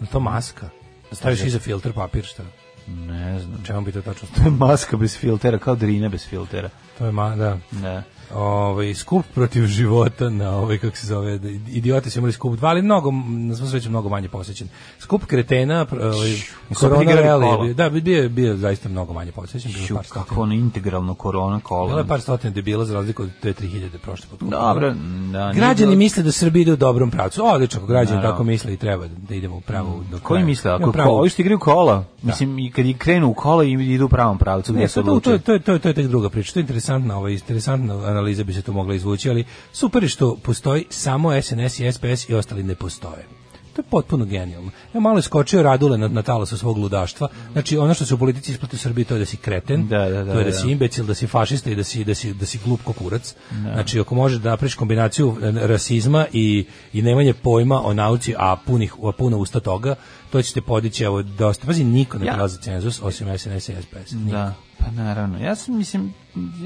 Speaker 7: je to maska. Staviš iza filter papir, šta? Pa
Speaker 6: Ne znam.
Speaker 7: Čemu bi to tačno
Speaker 6: To je maska bez filtera, kao drina bez filtera.
Speaker 7: To je ma, da.
Speaker 6: Ne.
Speaker 7: Ovaj skup protiv života na ovaj kako se zove da- idioti su imali skup dva ali mnogo na svu sreću mnogo manje posvećen skup kretena pr- ovaj korona
Speaker 6: igrali
Speaker 7: rally je
Speaker 6: kola.
Speaker 7: bio- da bi bio je bio zaista mnogo manje posvećen bilo je
Speaker 6: Ču,
Speaker 7: par stotina
Speaker 6: kako ono integralno korona
Speaker 7: bilo
Speaker 6: kolo.
Speaker 7: Ono je par stotina debila za razliku od te 3000 prošle put
Speaker 6: Dobro, da. nije
Speaker 7: Građani
Speaker 6: bilo-
Speaker 7: misle da Srbija ide u dobrom pravcu. Odlično, ako građani
Speaker 6: Naravno.
Speaker 7: tako misle i treba da idemo u pravu. do
Speaker 6: Koji
Speaker 7: kraja.
Speaker 6: misle,
Speaker 7: Idemo
Speaker 6: ako
Speaker 7: u pravu.
Speaker 6: ko, ovi što igraju kola, mislim, i kad i krenu u kola i idu u pravom pravcu,
Speaker 7: Ne,
Speaker 6: gdje se
Speaker 7: to, to, to, je-
Speaker 6: odlučuju.
Speaker 7: to, je- to, je- to je tek druga priča. To je interesantna, ovaj, interesantna analiza bi se to mogla izvući, ali super je što postoji samo SNS i SPS i ostali ne postoje. To je potpuno genijalno. Ja malo je skočio Radule na, na talasu svog ludaštva. Znači, ono što se u politici isplati u Srbiji, to je da si kreten,
Speaker 6: Da, da, da,
Speaker 7: to je da,
Speaker 6: da.
Speaker 7: si imbecil, da si fašista i da si, da si, da si glup ko kurac. Znači, ako možeš da napraviš kombinaciju e, rasizma i, i nemanje pojma o nauci, a, punih, a puno usta toga, to ćete podići, evo, dosta. Pazi, niko ne
Speaker 6: Ja.
Speaker 7: prelazi cenzus, osim SNS i SPS. Niko.
Speaker 6: Da, pa naravno. Ja sam, mislim,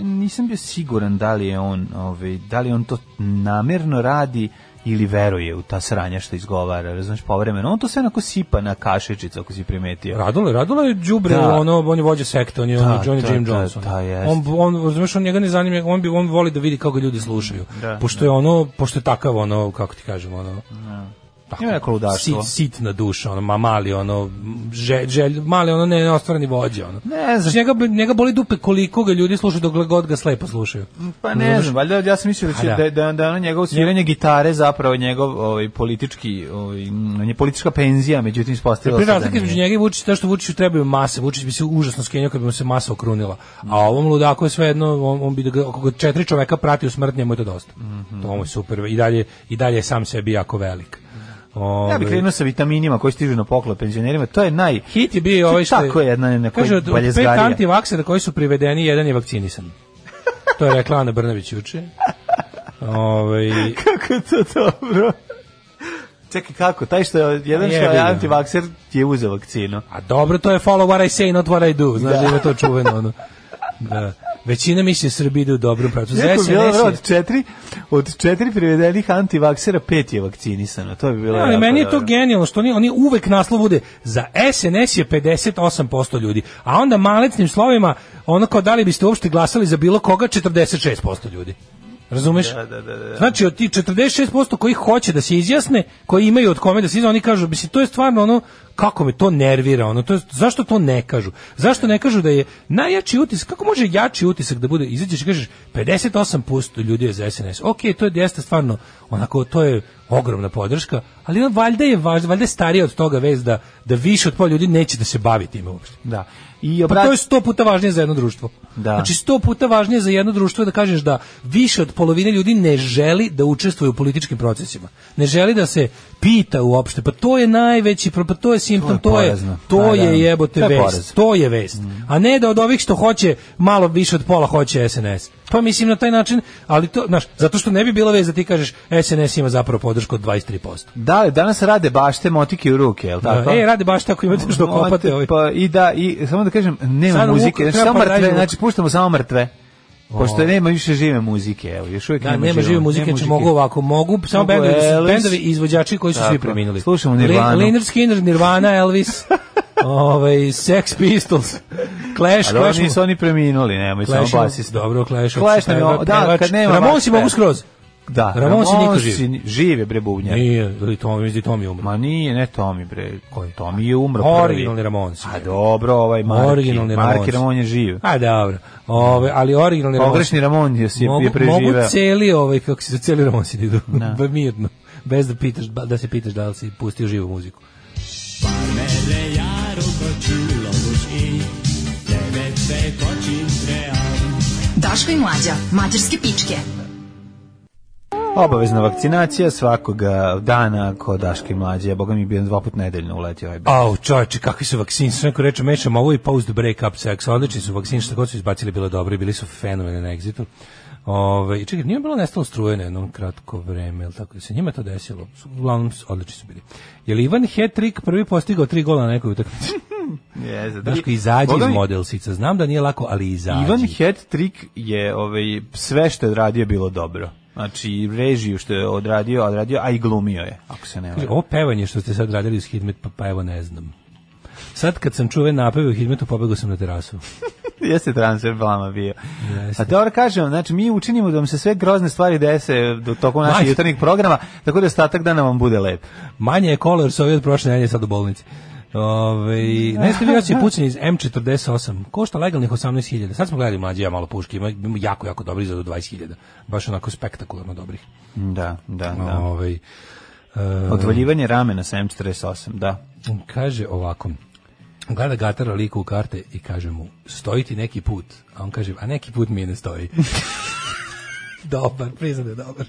Speaker 6: nisam bio siguran da li je on, ovaj, da li on to namjerno radi ili veruje u ta sranja što izgovara, razumiješ, povremeno. On to sve onako sipa na kašičicu, ako si primetio.
Speaker 7: Radule, Radule je đubre,
Speaker 6: Da.
Speaker 7: ono on je vođa sekte, on je ono
Speaker 6: Da,
Speaker 7: Johnny
Speaker 6: da,
Speaker 7: Jim
Speaker 6: da,
Speaker 7: Johnson.
Speaker 6: da, jest.
Speaker 7: on on razumeš, on njega ne zanima, on bi on voli da vidi kako ga ljudi slušaju.
Speaker 6: Da,
Speaker 7: pošto je ono, pošto je takav ono kako ti kažem ono. Tako,
Speaker 6: Ima neko ludaštvo.
Speaker 7: Sit, sitna duša, ono, ma mali, ono, želj, želj, mali, ono, ne, ostvareni vođe, ono.
Speaker 6: Ne znam.
Speaker 7: Znači, njega, bi- njega boli dupe koliko ga ljudi slušaju dok god ga slepo slušaju.
Speaker 6: Pa ne znam, valjda ja sam mislio da će
Speaker 7: A, Pa da.
Speaker 6: da da da ono njegovo sviranje gitare zapravo njegov ovaj politički ovaj m, on je politička penzija, međutim ispostavilo
Speaker 7: Pri
Speaker 6: se da
Speaker 7: razlike između
Speaker 6: nije.
Speaker 7: njega i Vučića, to što Vučiću trebaju mase, Vučić bi se užasno skenio kad bi mu se masa okrunila. A ovom ludaku je svejedno, on, on bi da ga, ako ga četiri čoveka prati u smrt, njemu je to dosta. To mu je super. I dalje, I dalje je sam sebi jako velik.
Speaker 6: Mhm. Ja bih
Speaker 7: Ovaj,
Speaker 6: krenuo sa vitaminima koji stižu na poklop penzionerima, to je naj...
Speaker 7: Hit je bio ovaj što
Speaker 6: Znači, Tako je jedna na koji
Speaker 7: Kaže, od od pet
Speaker 6: baljezgarija.
Speaker 7: antivaksera koji su privedeni, jedan je vakcinisan. To je rekla Ana Brnavić juče. Ovaj,
Speaker 6: Kako je to dobro? Čekaj, kako? Taj što je, jedan što
Speaker 7: Jebi
Speaker 6: je
Speaker 7: ga.
Speaker 6: antivakser je uzeo vakcinu.
Speaker 7: A dobro, to je follow what I say, not what I do. Znaš da ima to čuveno ono. Da. Većina misli Srbi ide u dobrom pravcu. Za
Speaker 6: Neko
Speaker 7: SNS
Speaker 6: bi bilo dobro,
Speaker 7: je-
Speaker 6: od četiri, od četiri privedenih antivaksera pet je vakcinisano. To bi bilo...
Speaker 7: Ne, ali
Speaker 6: jako
Speaker 7: meni je to
Speaker 6: dobro.
Speaker 7: genijalno što oni, oni uvek naslov bude za SNS je 58% ljudi, a onda malecnim slovima ono kao da li biste uopšte glasali za bilo koga 46% ljudi. Razumeš?
Speaker 6: Da, da, da, da.
Speaker 7: Znači od tih 46% koji hoće da se izjasne, koji imaju od kome da se izjasne, oni kažu, mislim, to je stvarno ono, kako me to nervira, ono, to je, zašto to ne kažu? Zašto ne kažu da je najjači utisak, kako može jači utisak da bude, izađeš i kažeš, 58% ljudi je za SNS, ok, to je jeste stvarno, onako, to je ogromna podrška, ali ono, valjda je važno, valjda je starije od toga vez da, da više od pola ljudi neće da se bavi time uopšte.
Speaker 6: Da. I
Speaker 7: Pa
Speaker 6: obrat...
Speaker 7: to je sto puta važnije za jedno društvo.
Speaker 6: Da.
Speaker 7: Znači sto puta važnije za jedno društvo je da kažeš da više od polovine ljudi ne želi da učestvuje u političkim procesima. Ne želi da se pita uopšte. Pa to je najveći, pro- pa to je simptom,
Speaker 6: To
Speaker 7: to
Speaker 6: je
Speaker 7: je,
Speaker 6: porazno.
Speaker 7: to
Speaker 6: Pa da.
Speaker 7: je
Speaker 6: To
Speaker 7: jebote
Speaker 6: je Mm. poraz.
Speaker 7: vest. To je vest. A ne da od ovih što hoće, malo više od pola hoće SNS. Pa mislim na taj način, ali to, znaš, zato što ne bi bilo vez da ti kažeš SNS ima zapravo podršku od 23%.
Speaker 6: Da, danas rade bašte motike u ruke, je li tako?
Speaker 7: Da, e, radi baš tako, imate što kopate. Ovaj.
Speaker 6: Pa i da, i samo da kažem, nema
Speaker 7: Sad
Speaker 6: muzike,
Speaker 7: Vuka
Speaker 6: znači, samo
Speaker 7: treba pa
Speaker 6: mrtve,
Speaker 7: nađe-
Speaker 6: znači puštamo samo mrtve. Pošto nema više žive muzike, evo, još uvijek
Speaker 7: Da, nema žive muzike, znači mogu ovako, mogu samo
Speaker 6: Mogu
Speaker 7: bendovi,
Speaker 6: Elvis.
Speaker 7: bendovi i izvođači koji su
Speaker 6: Tako,
Speaker 7: svi preminuli.
Speaker 6: slušamo Nirvanu.
Speaker 7: Le- Leonard Skinner, Nirvana, Elvis, ovaj, Sex Pistols, Clash,
Speaker 6: Ali oni
Speaker 7: Clash,
Speaker 6: Pa nisu oni preminuli, nemoj, samo
Speaker 7: Clash,
Speaker 6: basista.
Speaker 7: dobro, Clash,
Speaker 6: Clash nam je,
Speaker 7: Obsession,
Speaker 6: da,
Speaker 7: pevač.
Speaker 6: kad nema
Speaker 7: Ramonsi
Speaker 6: baš
Speaker 7: mogu
Speaker 6: pe-
Speaker 7: skroz.
Speaker 6: Da,
Speaker 7: Ramonsi niko živ.
Speaker 6: Ramonsi žive, bre, bubnjar.
Speaker 7: Nije, ili Tommy, ili Tommy umro.
Speaker 6: Ma nije, ne Tomi, bre. Tomi je umro prvi.
Speaker 7: Originalni Ramonsi.
Speaker 6: A dobro, ovaj Marki.
Speaker 7: Originalni
Speaker 6: Marki
Speaker 7: Ramonsi.
Speaker 6: Ramon je živ.
Speaker 7: A dobro. Ove, ali originalni
Speaker 6: Pogrešni Ramon je, je,
Speaker 7: mogu,
Speaker 6: je preživeo.
Speaker 7: Mogu cijeli, ovaj, kako se cijeli Ramonsi idu, ba- mirno, bez da, pitaš, ba- da se pitaš da li si pustio živu muziku.
Speaker 5: Daško i mlađa, mađarske pičke.
Speaker 6: Obavezna vakcinacija svakoga dana kod Daške mlađe. Ja boga mi bio dva put nedeljno uletio ovaj bek.
Speaker 7: Au, čovječe, kakvi su vakcini, što neko reče, mešam ovo i post break up sex, odlični su vakcini, što god su izbacili, bilo je dobro i bili su fenomeni na egzitu. Ove, i čekaj, nije bilo nestalo struje na jednom kratko vreme, ili tako se njima to desilo, Su- uglavnom su- odlični su bili. Je li Ivan Hetrik prvi postigao tri gola na nekoj utakmici?
Speaker 6: Jeze,
Speaker 7: Daško, izađi
Speaker 6: Boga
Speaker 7: iz
Speaker 6: mi,
Speaker 7: modelsica, znam da nije lako, ali izađi.
Speaker 6: Ivan Het trik je ovaj, sve što je radio bilo dobro. Znači, režiju što je odradio, odradio, a i glumio je, ako se ne
Speaker 7: Kaže,
Speaker 6: varam.
Speaker 7: ovo pevanje što ste sad radili uz Hidmet, pa, pa evo ne znam. Sad kad sam čuo ove napeve u Hidmetu, pobegao sam na terasu.
Speaker 6: Jeste transfer blama bio. A dobro kažem, znači mi učinimo da vam se sve grozne stvari dese do tokom naših
Speaker 7: Majst-
Speaker 6: jutarnjih programa, tako da ostatak dana vam bude lep.
Speaker 7: Manje je kolor sa ovdje od prošle nedelje sad u bolnici. Ove, ne ste vi oci pucanje iz M48, košta legalnih 18.000. Sad smo gledali mlađi ja malo puški, ima ima jako, jako dobri za do 20.000. Baš onako spektakularno dobrih.
Speaker 6: Da, da, da.
Speaker 7: Ove,
Speaker 6: Odvaljivanje ramena sa M48, da.
Speaker 7: kaže ovako, gleda Gatara liku u karte i kaže mu, stoji ti neki put. A on kaže, a neki put mi ne stoji. dobar, priznaj da je dobar.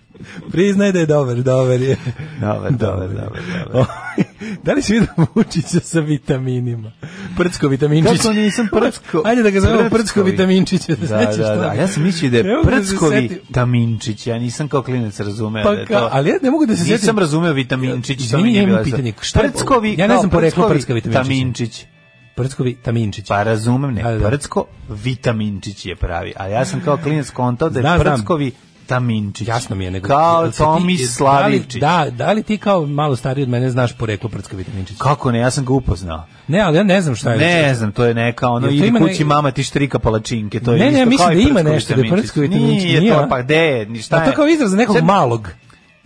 Speaker 7: Priznaj da je dobar, dobar je.
Speaker 6: Dobar, dobar, dobar, dobar.
Speaker 7: da li si vidio Vučića sa vitaminima? Prcko vitaminčić.
Speaker 6: Kako nisam Znači, prcko?
Speaker 7: Ajde da ga zovemo prcko
Speaker 6: Prckovi.
Speaker 7: vitaminčića. Da,
Speaker 6: Da,
Speaker 7: sećaš
Speaker 6: da, da.
Speaker 7: toga?
Speaker 6: Ja sam mislio da
Speaker 7: Ne
Speaker 6: je
Speaker 7: mogu se
Speaker 6: prckovi
Speaker 7: setim.
Speaker 6: taminčić. Ja nisam kao klinac razumeo
Speaker 7: Pa
Speaker 6: da je
Speaker 7: ka-
Speaker 6: to.
Speaker 7: ali ja ne mogu da se
Speaker 6: Nisam
Speaker 7: setim-
Speaker 6: razumeo vitaminčić. to
Speaker 7: Izvini,
Speaker 6: mi nije
Speaker 7: ja imam
Speaker 6: bilo jasno.
Speaker 7: pitanje, šta je-
Speaker 6: Prckovi,
Speaker 7: ja ne
Speaker 6: kao
Speaker 7: znam poreklo
Speaker 6: prckovi
Speaker 7: prcka vitaminčića.
Speaker 6: Taminčić.
Speaker 7: Prcko vitaminčić.
Speaker 6: Pa razumem,
Speaker 7: Da,
Speaker 6: ne,
Speaker 7: da.
Speaker 6: prcko vitaminčić je pravi, a ja sam kao klinac kontao da
Speaker 7: Znam,
Speaker 6: je
Speaker 7: znam.
Speaker 6: prckovi taminčić.
Speaker 7: Jasno mi je. Nego,
Speaker 6: Kao
Speaker 7: jel se ti-
Speaker 6: Tomislavivčić.
Speaker 7: Da, li- da, da li ti kao malo stariji od mene znaš poreklo prcko vitaminčić?
Speaker 6: Kako ne, ja sam ga upoznao.
Speaker 7: Ne, ali ja ne znam šta je.
Speaker 6: Ne znam, to je neka ono,
Speaker 7: Jel to
Speaker 6: idi
Speaker 7: ima
Speaker 6: kući
Speaker 7: ne-
Speaker 6: mama ti štrika palačinke, to je
Speaker 7: Ne, ne,
Speaker 6: isto
Speaker 7: ja mislim
Speaker 6: kao i
Speaker 7: da ima
Speaker 6: prckovi
Speaker 7: nešto, da je
Speaker 6: vitaminčić.
Speaker 7: prckovi vitaminčić,
Speaker 6: Nije,
Speaker 7: nije, a?
Speaker 6: to, pa gde, ni šta
Speaker 7: A to
Speaker 6: je.
Speaker 7: kao izraz za nekog
Speaker 6: Sve-
Speaker 7: malog.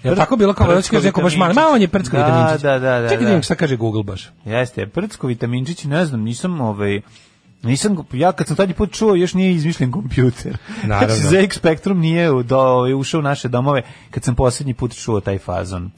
Speaker 7: Jel tako bilo kao
Speaker 6: Prcko
Speaker 7: hoćeš kaže neko baš malo, malo on je prcko
Speaker 6: Da,
Speaker 7: vitaminčić.
Speaker 6: da, da, da,
Speaker 7: Čekaj
Speaker 6: da.
Speaker 7: vidim šta kaže Google baš.
Speaker 6: Jeste, prcko vitaminčić, ne znam, nisam ovaj Nisam, ga- ja kad sam tadnji put čuo, još nije izmišljen kompjuter.
Speaker 7: Naravno.
Speaker 6: Znači, ZX Spectrum nije u- do, ovaj, ušao u naše domove kad sam posljednji put čuo taj fazon.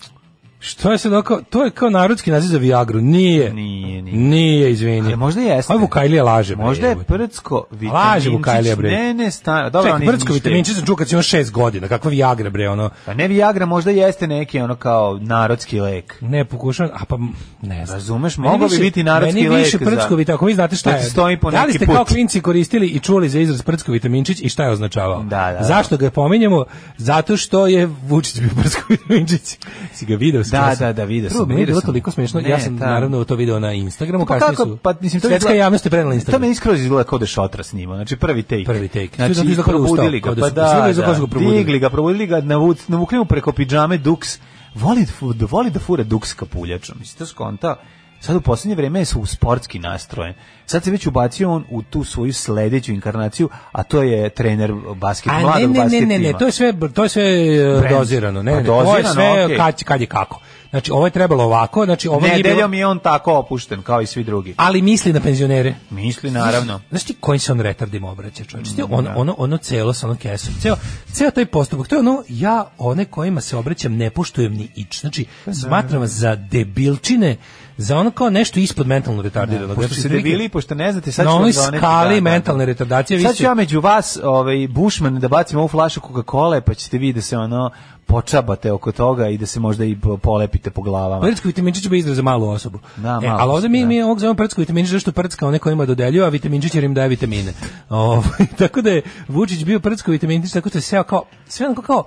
Speaker 7: Što je sad ovo kao, to je kao narodski naziv za Viagru. Nije.
Speaker 6: Nije, nije.
Speaker 7: Nije, izvini.
Speaker 6: Ali možda jeste.
Speaker 7: Ovo Vukajlija laže. bre,
Speaker 6: Možda je
Speaker 7: jebote.
Speaker 6: prcko
Speaker 7: Laže Vukajlija,
Speaker 6: vitaminčić.
Speaker 7: bre.
Speaker 6: Ne, ne, stano. Dobro,
Speaker 7: Čekaj,
Speaker 6: oni
Speaker 7: prcko
Speaker 6: izmišljaju.
Speaker 7: vitaminčić sam čuo kad si imao šest godina. Kakva Viagra, bre, ono.
Speaker 6: Pa ne Viagra, možda jeste neki ono kao narodski lek.
Speaker 7: Ne, pokušavam, a pa m, ne znam.
Speaker 6: Razumeš,
Speaker 7: Meni
Speaker 6: mogao bi
Speaker 7: više-
Speaker 6: biti narodski
Speaker 7: Meni
Speaker 6: lek
Speaker 7: više
Speaker 6: za-
Speaker 7: prcko vitaminčić, ako vi znate šta
Speaker 6: Da
Speaker 7: je.
Speaker 6: ti stoji po
Speaker 7: da li
Speaker 6: neki
Speaker 7: ste kao
Speaker 6: put.
Speaker 7: klinci koristili i čuli za izraz prcko vitaminčić i šta je označavao?
Speaker 6: Da, da,
Speaker 7: Zašto ga pominjemo? Zato što je Vučić bio prcko vitaminčić. Si ga video
Speaker 6: Da, da, da, video sam,
Speaker 7: Prvo, meni je
Speaker 6: video
Speaker 7: bilo
Speaker 6: sam.
Speaker 7: toliko smiješno.
Speaker 6: Ne,
Speaker 7: ja sam
Speaker 6: ta-
Speaker 7: naravno to video na Instagramu,
Speaker 6: Pa
Speaker 7: kasnije
Speaker 6: kako,
Speaker 7: su.
Speaker 6: pa mislim
Speaker 7: svetska
Speaker 6: svetla-
Speaker 7: javnost je prenela na
Speaker 6: To
Speaker 7: Instagram.
Speaker 6: meni iskroz izgleda kao da je šotra snima, znači prvi take.
Speaker 7: Prvi take. Sve zato
Speaker 6: Znači,
Speaker 7: izgleda kao da je ustao,
Speaker 6: probudili ga,
Speaker 7: kao da
Speaker 6: pa
Speaker 7: su- sve
Speaker 6: da,
Speaker 7: izgleda kao da su ga
Speaker 6: da,
Speaker 7: probudili.
Speaker 6: digli ga, probudili ga, navuc- navukli mu preko pidžame duks, voli, da fu- da voli da fura duks kapuljačom, mislim, to skonta, sad u posljednje vreme su u sportski nastrojen, sad se već ubacio on u tu svoju sledeću inkarnaciju, a to je trener basket,
Speaker 7: A ne,
Speaker 6: mladog
Speaker 7: ne, ne,
Speaker 6: basket
Speaker 7: ne, ne, to je sve, to je sve e,
Speaker 6: Brand.
Speaker 7: dozirano. Ne,
Speaker 6: Pa
Speaker 7: ne, to je
Speaker 6: dozirano,
Speaker 7: sve
Speaker 6: okej.
Speaker 7: kad, kad je kako. Znači, ovo je trebalo ovako, znači ovo nije bilo-
Speaker 6: Nedeljom je on tako opušten, kao i svi drugi.
Speaker 7: ali misli na penzionere.
Speaker 6: Misli, naravno.
Speaker 7: Znaš ti kojim se on retardima obraća, čovječe? Ti on, ono, ono celo sa onom kesom, ceo, ceo taj postupak, to je ono, ja one kojima se obraćam ne poštujem ni ič. Znači,
Speaker 6: Pa
Speaker 7: smatram vas za debilčine, za ono kao nešto ispod mentalno retardiranog.
Speaker 6: Pošto
Speaker 7: Znači,
Speaker 6: ste
Speaker 7: otprilike,
Speaker 6: debili, pošto ne znate, sad
Speaker 7: na
Speaker 6: ću vam
Speaker 7: onoj
Speaker 6: doneti,
Speaker 7: skali
Speaker 6: da, da.
Speaker 7: mentalne retardacije, vi
Speaker 6: Sad
Speaker 7: ste-
Speaker 6: ću ja među vas, ovaj, Bušman, da bacim ovu flašu Coca-Cola, pa ćete vi da se ono počabate oko toga i da se možda i po- polepite po glavama.
Speaker 7: Prcko vitaminčić bi izraz za malu osobu.
Speaker 6: Pa. Da,
Speaker 7: e,
Speaker 6: malu
Speaker 7: ali ovdje mi,
Speaker 6: osobu,
Speaker 7: mi ovog zovemo prcko vitaminčić zašto prcka one kojima dodeljuju, a vitaminčić jer im daje vitamine. Ovaj, tako da je Vučić bio prcko vitaminčić, tako da je seo kao, sve onako kao,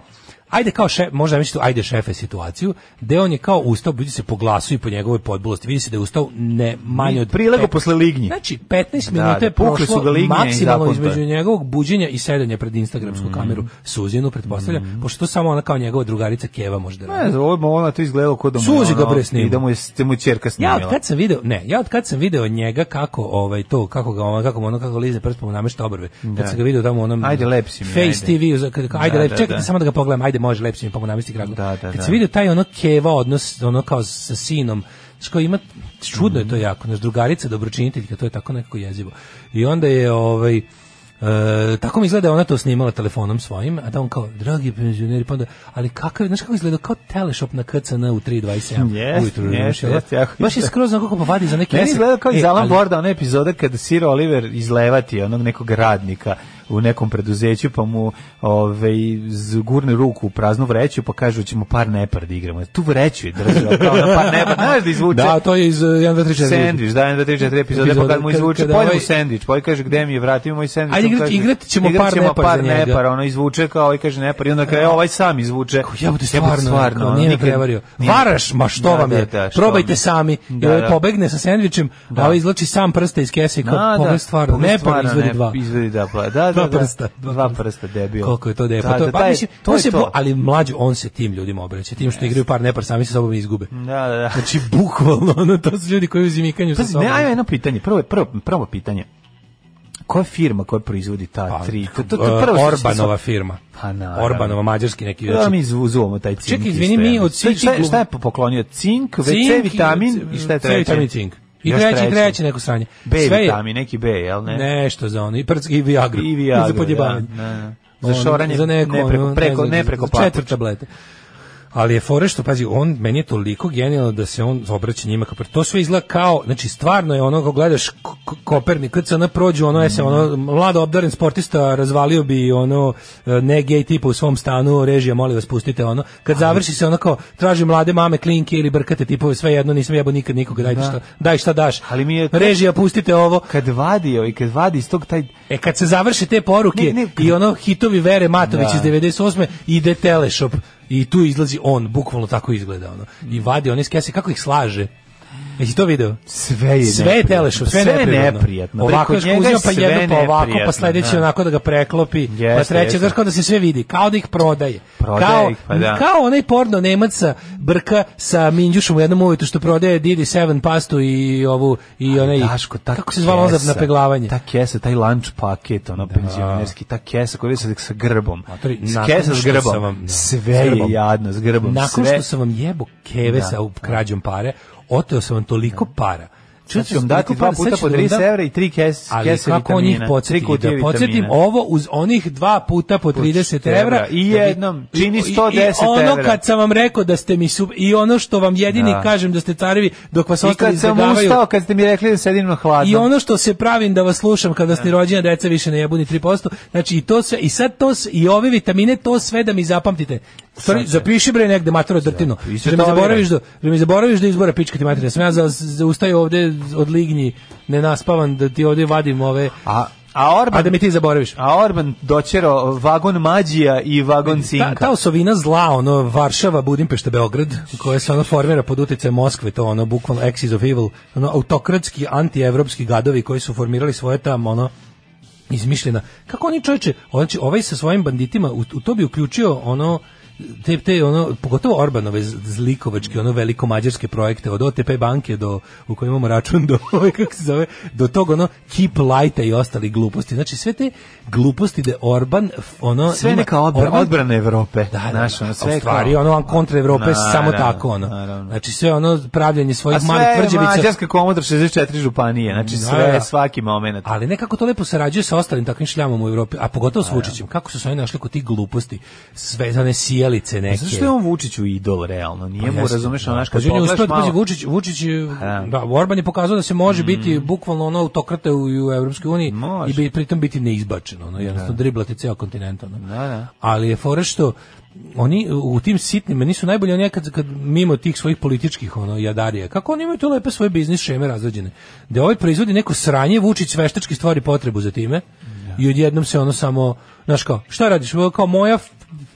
Speaker 7: ajde kao šef, možda mislite, ajde šefe situaciju, gde on je kao ustao, vidi se po glasu i po njegovoj podbulosti, vidi se da je ustao ne manje od...
Speaker 6: Prilego
Speaker 7: pet-
Speaker 6: posle lignji.
Speaker 7: Znači, 15
Speaker 6: Da,
Speaker 7: minuta je
Speaker 6: da, pukli su
Speaker 7: prošlo
Speaker 6: ga lignje i
Speaker 7: maksimalno
Speaker 6: zapunto je. Mm.
Speaker 7: između njegovog buđenja i sedanja pred instagramsku kameru Suzinu, pretpostavljam, pošto to samo ona kao njegova drugarica Keva možda radi.
Speaker 6: Ne znam, ovo je ona to izgledalo kod da mu je
Speaker 7: Suzi ga
Speaker 6: ono-
Speaker 7: bre snima.
Speaker 6: I da mu je ste mu ćerka
Speaker 7: Ja
Speaker 6: snimila.
Speaker 7: od kad sam video, ne, ja od kad sam video njega kako ovaj to kako ga ono kako mu ono kako lize prstom mu namešta obrve. Kad sam ga video tamo u onom
Speaker 6: Ajde, lep si mi,
Speaker 7: Face
Speaker 6: ajde.
Speaker 7: TV, za- kad- kad- ajde
Speaker 6: Da,
Speaker 7: lep,
Speaker 6: da,
Speaker 7: čekajte
Speaker 6: da.
Speaker 7: samo da ga pogledam. Ajde, može lep si mi pa mu namesti kragu.
Speaker 6: Da, da,
Speaker 7: kad
Speaker 6: da.
Speaker 7: sam video taj ono keva odnos ono kao sa sinom Znaš, kao ima, čudno je to jako, naš drugarica, dobročiniteljka, to je tako nekako jezivo. I onda je, ovaj, e, tako mi izgleda, ona to snimala telefonom svojim, a da on kao, dragi penzioneri, pa onda, ali kakav, je, znaš kako izgleda, kao teleshop na KCN u 3.27
Speaker 6: Jeste,
Speaker 7: ujutru, razumiješ,
Speaker 6: jeste,
Speaker 7: jel?
Speaker 6: jeste, jako
Speaker 7: Baš je
Speaker 6: isto.
Speaker 7: skroz onako kako vadi za neke...
Speaker 6: Meni izgleda kao iz
Speaker 7: E,
Speaker 6: Alan
Speaker 7: ali-
Speaker 6: Borda, ona epizoda kada Sir Oliver izlevati onog nekog radnika u nekom preduzeću, pa mu ovaj, zgurne ruku u praznu vreću, pa kažu ćemo par nepar da igramo. Tu vreću je držao, kao na par nepar, znaš da izvuče.
Speaker 7: Da, to je iz e, 1, 2, 3, 4.
Speaker 6: Sandvič, da, 1, 2, 3, 4 epizode, pa
Speaker 7: Epizode,
Speaker 6: kad mu
Speaker 7: kad-
Speaker 6: izvuče,
Speaker 7: kada
Speaker 6: pojde
Speaker 7: ovaj-
Speaker 6: mu sandvič, pa ovaj kaže gde mi je, vrati mi moj sandvič.
Speaker 7: Ajde,
Speaker 6: on
Speaker 7: igrat-
Speaker 6: kaže,
Speaker 7: igrat ćemo
Speaker 6: igrat
Speaker 7: par
Speaker 6: ćemo
Speaker 7: nepar
Speaker 6: par
Speaker 7: za njega.
Speaker 6: nepar, ono izvuče kao ovaj kaže nepar, i onda kada ovaj sam izvuče.
Speaker 7: Ja budu stvarno, stvarno
Speaker 6: ono,
Speaker 7: nije me
Speaker 6: nikad-
Speaker 7: prevario.
Speaker 6: nije-
Speaker 7: Varaš, ma što
Speaker 6: Da,
Speaker 7: vam
Speaker 6: da,
Speaker 7: je,
Speaker 6: da, što vam
Speaker 7: probajte
Speaker 6: je.
Speaker 7: sami.
Speaker 6: Da,
Speaker 7: Jer
Speaker 6: da.
Speaker 7: pobegne sa sandvičem, a ovaj izlači sam prste iz kese i kao,
Speaker 6: Da,
Speaker 7: pogled
Speaker 6: da,
Speaker 7: stvarno,
Speaker 6: pogled
Speaker 7: ne pa
Speaker 6: stvarno,
Speaker 7: izvedi
Speaker 6: ne,
Speaker 7: dva.
Speaker 6: Izvedi dva, pa, da, da, da.
Speaker 7: Dva prsta, dva
Speaker 6: Dva
Speaker 7: prsta.
Speaker 6: prsta, debil.
Speaker 7: Koliko je to depo. to, je- pa,
Speaker 6: taj-
Speaker 7: mislim,
Speaker 6: to
Speaker 7: on
Speaker 6: je
Speaker 7: se,
Speaker 6: to.
Speaker 7: bu- ali mlađi on se tim ljudima obraća, tim što igraju par nepar sami sa sobom i izgube.
Speaker 6: Da, da, da.
Speaker 7: Znači, bukvalno, ono, to su ljudi koji uzimikanju sa
Speaker 6: Pazi,
Speaker 7: sobom.
Speaker 6: Pa, ne, ajmo jedno pitanje. Prvo, je- prvo, prvo pitanje. Koja je firma koja proizvodi ta tri? To, to, to,
Speaker 7: E,
Speaker 6: prvo što se-
Speaker 7: Orbanova firma.
Speaker 6: Pa, naravno.
Speaker 7: Orbanova, mađarski neki.
Speaker 6: Da, mi izuzuvamo taj cink.
Speaker 7: Znači, Čekaj,
Speaker 6: isto,
Speaker 7: izvini, mi
Speaker 6: ja.
Speaker 7: od svih
Speaker 6: Šta,
Speaker 7: tih
Speaker 6: šta je poklonio? Cink,
Speaker 7: Cink
Speaker 6: WC vitamin i šta je
Speaker 7: C
Speaker 6: treće?
Speaker 7: vitamin i cink. I
Speaker 6: Još
Speaker 7: treći, treći neko sranje.
Speaker 6: B
Speaker 7: Sve je-
Speaker 6: vitamin, neki B, jel ne?
Speaker 7: Nešto za ono, i prc, i Viagra.
Speaker 6: I Viagra,
Speaker 7: za podjebavanje.
Speaker 6: da, da, da.
Speaker 7: Ono,
Speaker 6: Za šoranje,
Speaker 7: za neko,
Speaker 6: ne preko,
Speaker 7: ono,
Speaker 6: preko,
Speaker 7: znam,
Speaker 6: ne
Speaker 7: za-
Speaker 6: preko
Speaker 7: za
Speaker 6: papuča.
Speaker 7: Četiri tablete. Ali je fore što, pazi, on, meni je toliko genijalno da se on obraća njima. Kao, to sve izgleda kao, znači, stvarno je ono, ko gledaš K- K- Kopernik, kad se ona prođu, ono, je se, ono, mlado obdaren sportista razvalio bi, ono, e, ne gej tipa u svom stanu, režija, molim vas, pustite, ono. Kad završi se, ono, kao, traži mlade mame, klinke ili brkate tipove, sve jedno, nisam jebao nikad nikoga, dajte šta, daj šta daš.
Speaker 6: Ali mi je-
Speaker 7: Režija, pustite ovo.
Speaker 6: Kad vadi, ovaj, kad vadi iz tog taj...
Speaker 7: E kad se završe te poruke
Speaker 6: Ne, ne, kad-
Speaker 7: i ono hitovi Vere Matović
Speaker 6: Da.
Speaker 7: iz 98. ide Teleshop i tu izlazi on, bukvalno tako izgleda ono. I vadi one skese kako ih slaže. Jesi to video?
Speaker 6: Sve je
Speaker 7: Sve je
Speaker 6: neprijedno.
Speaker 7: Teleshop, sve, je neprijatno. Ovako
Speaker 6: Preko
Speaker 7: još
Speaker 6: njega
Speaker 7: uzima pa
Speaker 6: sve
Speaker 7: jedno, pa ovako,
Speaker 6: neprijatno,
Speaker 7: pa sledeći
Speaker 6: da.
Speaker 7: onako da ga preklopi, pa
Speaker 6: Jeste,
Speaker 7: treće,
Speaker 6: jeste.
Speaker 7: znaš kao da se sve vidi, kao da ih prodaje.
Speaker 6: Prodaje
Speaker 7: kao,
Speaker 6: ih, pa da.
Speaker 7: kao onaj porno Nemac sa brka sa Minđušom u jednom uvjetu što prodaje Didi Seven pastu i ovu, i onaj,
Speaker 6: Daško, ta
Speaker 7: kako se zvala ono
Speaker 6: kesa,
Speaker 7: za napeglavanje?
Speaker 6: Ta kesa, taj lunch paket, ono penzionerski, ta kesa koja je sa, sa grbom.
Speaker 7: Matori,
Speaker 6: S
Speaker 7: nakon
Speaker 6: kesa s
Speaker 7: što
Speaker 6: grbom.
Speaker 7: sam vam- da, s
Speaker 6: sve je
Speaker 7: grbom.
Speaker 6: jadno, s grbom.
Speaker 7: Nakon
Speaker 6: sve,
Speaker 7: što sam vam jebo keve
Speaker 6: Da.
Speaker 7: sa krađom pare, oteo sam vam toliko para.
Speaker 6: Sad ću Znači, vam
Speaker 7: Toliko
Speaker 6: dati dva
Speaker 7: para, sad
Speaker 6: puta
Speaker 7: ću
Speaker 6: po
Speaker 7: vam
Speaker 6: 30
Speaker 7: dati-
Speaker 6: evra i tri kese,
Speaker 7: Ali
Speaker 6: kese
Speaker 7: kako njih
Speaker 6: vitamina.
Speaker 7: podsjetiti?
Speaker 6: Tri kutije
Speaker 7: Da podsjetim
Speaker 6: vitamina.
Speaker 7: ovo uz onih dva puta po 30
Speaker 6: evra.
Speaker 7: evra.
Speaker 6: I
Speaker 7: da bi-
Speaker 6: jednom, čini
Speaker 7: i- i-
Speaker 6: 110
Speaker 7: I ono
Speaker 6: evra.
Speaker 7: kad sam vam rekao da ste mi sub... I ono što vam jedini
Speaker 6: Da.
Speaker 7: kažem da ste carevi dok vas
Speaker 6: I
Speaker 7: ostali
Speaker 6: kad sam
Speaker 7: izbjegavaju.
Speaker 6: ustao, kad ste mi rekli da sedim na hladno.
Speaker 7: I ono što se pravim da vas slušam kada ste rođena deca više ne jebuni 3%. Znači i to sve i sad to sve, i ove vitamine to sve da mi zapamtite. Stvari, zapiši bre negde matoro drtino.
Speaker 6: I sve
Speaker 7: Da mi
Speaker 6: to
Speaker 7: zaboraviš da, da mi zaboraviš da izbora pička ti materina. Sam ja za, za ustaju ovde od lignji nenaspavan da ti ovde vadim ove
Speaker 6: A, a Orban...
Speaker 7: a da mi ti zaboraviš.
Speaker 6: A Orban dočero vagon mađija i vagon cinka.
Speaker 7: Ta, ta osovina zla, ono, Varšava, Budimpešta, Beograd, koja se ono formira pod utjecajem Moskve, to ono, bukvalno axis of evil, ono, autokratski, antievropski gadovi koji su formirali svoje tamo, ono, izmišljena. Kako oni čovječe, znači, ovaj sa svojim banditima, u, u to bi uključio, ono, te, te, ono, pogotovo Orbanove z- zlikovačke, ono veliko mađarske projekte, od OTP banke do, u kojoj imamo račun do, ovaj, kako se zove, do tog, ono, keep lighta i ostali gluposti. Znači, sve te gluposti da Orban, f- ono,
Speaker 6: sve
Speaker 7: ima-
Speaker 6: neka odbra,
Speaker 7: Orban-
Speaker 6: odbrana Evrope.
Speaker 7: da, da,
Speaker 6: Znaš,
Speaker 7: da,
Speaker 6: ono,
Speaker 7: da,
Speaker 6: sve
Speaker 7: u stvari,
Speaker 6: kao-
Speaker 7: ono on kontra Evrope je samo
Speaker 6: Naravno,
Speaker 7: tako ono.
Speaker 6: naravno.
Speaker 7: Znači sve ono pravljenje
Speaker 6: A
Speaker 7: svojih malih
Speaker 6: sve je
Speaker 7: tvrđavica.
Speaker 6: Mađarska komodra 64 županije, znači
Speaker 7: Da,
Speaker 6: sve,
Speaker 7: da.
Speaker 6: svaki moment.
Speaker 7: Ali nekako to lepo sarađuje sa ostalim takvim šljamom u Evropi, a pogotovo s
Speaker 6: Pa
Speaker 7: Vučićem. Kako su se oni našli kod tih gluposti? Sve one sjelice neke.
Speaker 6: E, Zašto Pa je on Vučiću idol, realno? Nije mu,
Speaker 7: Pa Jeste,
Speaker 6: razumeš,
Speaker 7: da.
Speaker 6: onaš kad
Speaker 7: Pazi, on je
Speaker 6: pogledaš
Speaker 7: uspeo da- pazi,
Speaker 6: malo...
Speaker 7: Vučić, Vučić je-
Speaker 6: da.
Speaker 7: da, Orban je pokazao da se može biti bukvalno ono autokrata u, u Evropskoj uniji
Speaker 6: Može.
Speaker 7: i bi, pritom biti neizbačen, ono, jednostavno driblati ceo kontinent. Ono.
Speaker 6: da.
Speaker 7: Ali je fore što oni u tim sitnim, meni su najbolji oni kad, kad mimo tih svojih političkih ono, jadarija, kako oni imaju to lepe svoje biznis šeme razrađene. Da ovaj proizvodi neko sranje, Vučić sveštački stvari potrebu za time i odjednom se ono samo, znaš kao, šta radiš, Ovo kao moja f-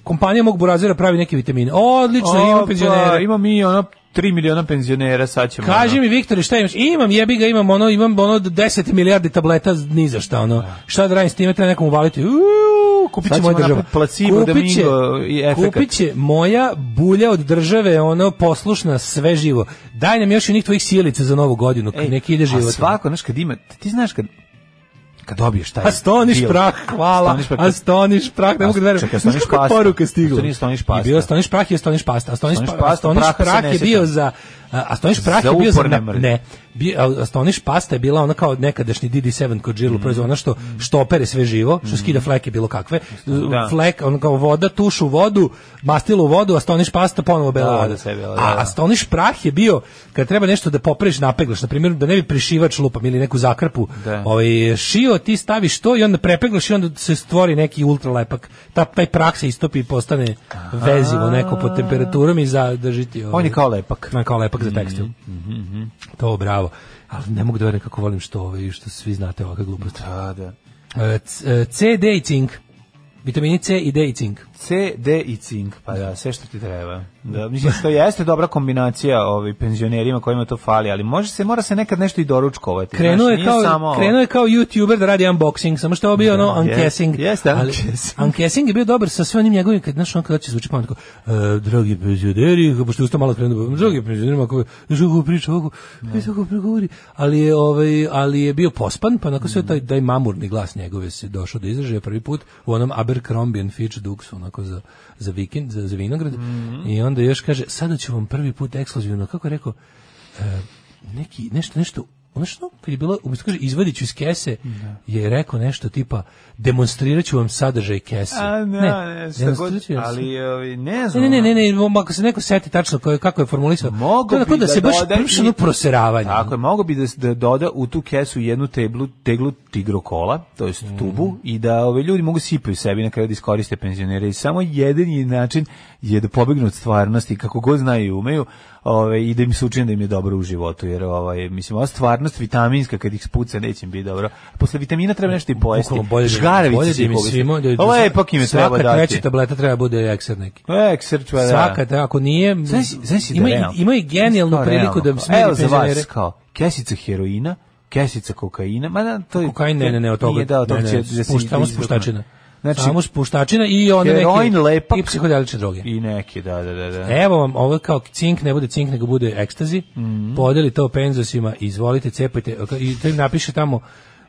Speaker 7: kompanija mog burazera pravi neke vitamine. Odlično,
Speaker 6: Opa,
Speaker 7: ima penzionere.
Speaker 6: Ima mi ono 3 miliona penzionera, sad ćemo...
Speaker 7: Kaži
Speaker 6: ono.
Speaker 7: mi Viktore šta imaš? Imam jebi ga, imam ono, imam ono 10 milijardi tableta ni za šta ono. Šta da radim s time, treba nekom uvaliti. Uuu, kupit
Speaker 6: Sad
Speaker 7: će
Speaker 6: ćemo
Speaker 7: moja država.
Speaker 6: napraviti placebo,
Speaker 7: Kupit će-
Speaker 6: Domingo i efekat.
Speaker 7: Kupit će moja bulja od države, ono poslušna sve živo. Daj nam još i njih tvojih sjelica za novu godinu,
Speaker 6: Ej,
Speaker 7: neki ide
Speaker 6: a
Speaker 7: život.
Speaker 6: svako, znaš, kad ima... Ti znaš kad... Kad dobiješ taj...
Speaker 7: Astoniš
Speaker 6: deal.
Speaker 7: Pa prah, hvala.
Speaker 6: Astoniš prah, kad-
Speaker 7: Astoniš prah, ne mogu da verujem.
Speaker 6: Čekaj,
Speaker 7: Znaš
Speaker 6: Astoniš
Speaker 7: kakva
Speaker 6: pasta.
Speaker 7: poruka stigla.
Speaker 6: Astoniš- Astoniš pasta.
Speaker 7: I bio Astoniš prah i Astoniš pasta. Astoniš,
Speaker 6: Astoniš
Speaker 7: pa-
Speaker 6: pasta,
Speaker 7: Astoniš
Speaker 6: praha se
Speaker 7: prah
Speaker 6: ne
Speaker 7: je
Speaker 6: sjećam.
Speaker 7: bio za a, Astoniš prah
Speaker 6: Za
Speaker 7: je bio za
Speaker 6: uporne
Speaker 7: na-
Speaker 6: mrlje.
Speaker 7: ne. Bi, a, Astoniš pasta je bila ona kao nekadašnji DD7 kod
Speaker 6: Mm.
Speaker 7: Džirlu proizvod, ona što što opere sve živo, što skida fleke bilo kakve.
Speaker 6: Da.
Speaker 7: Flek, on kao voda, tuš u vodu, mastilo u vodu, Astoniš pasta ponovo bela
Speaker 6: Da,
Speaker 7: voda.
Speaker 6: da, sve bela, da,
Speaker 7: A
Speaker 6: da.
Speaker 7: Astoniš Ono, prah je bio kad treba nešto da popreš napeglaš, na primjer da ne bi prišivač lupam ili neku zakrpu
Speaker 6: Da.
Speaker 7: ovaj, šio, ti staviš to i onda prepeglaš i onda se stvori neki ultra lepak. Ta, taj prah se istopi i postane vezivo neko pod temperaturom i zadržiti. Ovaj,
Speaker 6: On je kao lepak. Mhm,
Speaker 7: Ma, kao lepak za tekstil. To bravo. Ali ne mogu da verujem kako volim što, ovaj, što svi znate ovakve gluposti.
Speaker 6: Da, da.
Speaker 7: E, c- e, C, D i cink. Vitamini C i D i cink.
Speaker 6: C, D i cink, pa da, sve što ti treba. Da, mislim, to jeste dobra kombinacija ovaj, penzionerima kojima to fali, ali može se, mora se nekad nešto i doručkovati.
Speaker 7: Krenuo
Speaker 6: znaš,
Speaker 7: je
Speaker 6: nije
Speaker 7: kao
Speaker 6: samo-
Speaker 7: krenuo je kao youtuber da radi unboxing, samo što je ovo bio ono
Speaker 6: je-
Speaker 7: uncasing.
Speaker 6: jeste
Speaker 7: Ali
Speaker 6: uncasing.
Speaker 7: uncasing je bio dobar sa sve onim njegovim kad znaš on kad će zvuči pametno. kao, E, dragi penzioneri, pošto je ustao malo krenuo, dragi penzioneri, ako žugu priča ovako, ne tako pregovori, ali je ovaj ali je bio pospan, pa onako sve taj taj mamurni glas njegove se došao do izražaja prvi put u onom Abercrombie and Fitch Duxu onako za za vikend, za, za vinograd. I onda još kaže, sada ću vam prvi put ekskluzivno, kako je rekao, neki nešto nešto ono što kad je bilo umjesto kaže izvadiću iz kese je rekao nešto tipa demonstrirat ću vam sadržaj kese
Speaker 6: A, ne, ne, šta god,
Speaker 7: demonstrirat ću vam sadržaj-
Speaker 6: ali ovaj, ne znam.
Speaker 7: Ne, ne, ne, ne, ne, ako se neko seti tačno kako je, kako je formulisao,
Speaker 6: Mogu
Speaker 7: to je onako
Speaker 6: bi
Speaker 7: da, se baš
Speaker 6: doda
Speaker 7: prviš
Speaker 6: i-
Speaker 7: ono proseravanje.
Speaker 6: Tako je, mogo bi da, s- da doda u tu kesu jednu teblu, teglu tigrokola, to jest
Speaker 7: Mhm.
Speaker 6: tubu, i da ove ljudi mogu sipaju sebi na kraju da iskoriste penzionere. I samo jedan je način je da pobegnu od stvarnosti, kako god znaju i umeju, ove, i da im se učini da im je dobro u životu, jer ovaj, mislim, ova stvarnost vitaminska, kad ih spuca, neće im biti dobro. Posle vitamina treba nešto i pojesti.
Speaker 7: Bukvalno bolje da-
Speaker 6: Žgaravice
Speaker 7: bolje da
Speaker 6: će
Speaker 7: im je
Speaker 6: pogledati.
Speaker 7: svima, da- da-
Speaker 6: Lepak im je treba
Speaker 7: Svaka
Speaker 6: dati.
Speaker 7: treća tableta treba bude ekser neki.
Speaker 6: Ekser, čva, da.
Speaker 7: Svaka, da, ako nije,
Speaker 6: Znaš, znaš
Speaker 7: ima,
Speaker 6: da
Speaker 7: i-
Speaker 6: realno.
Speaker 7: ima i genijalnu
Speaker 6: Kao
Speaker 7: priliku
Speaker 6: Pa
Speaker 7: da
Speaker 6: realno,
Speaker 7: smiri
Speaker 6: Evo za
Speaker 7: penzionere.
Speaker 6: vas kao kesica heroina, kesica kokaina, ma da, to je...
Speaker 7: Kokain, ne, ne, ne, od toga.
Speaker 6: Nije dao, od toga
Speaker 7: Ne,
Speaker 6: će
Speaker 7: ne,
Speaker 6: da se
Speaker 7: spušta- samo
Speaker 6: izvrgne.
Speaker 7: spuštačina.
Speaker 6: Znači,
Speaker 7: samo spuštačina i one neke...
Speaker 6: heroin, lepak.
Speaker 7: I psihodelične droge.
Speaker 6: I neki, da, da, da. da.
Speaker 7: Evo vam, ovo je kao cink, ne bude cink, nego bude ekstazi.
Speaker 6: Mhm.
Speaker 7: Podeli to penzosima, izvolite, cepajte. I to im napiše tamo,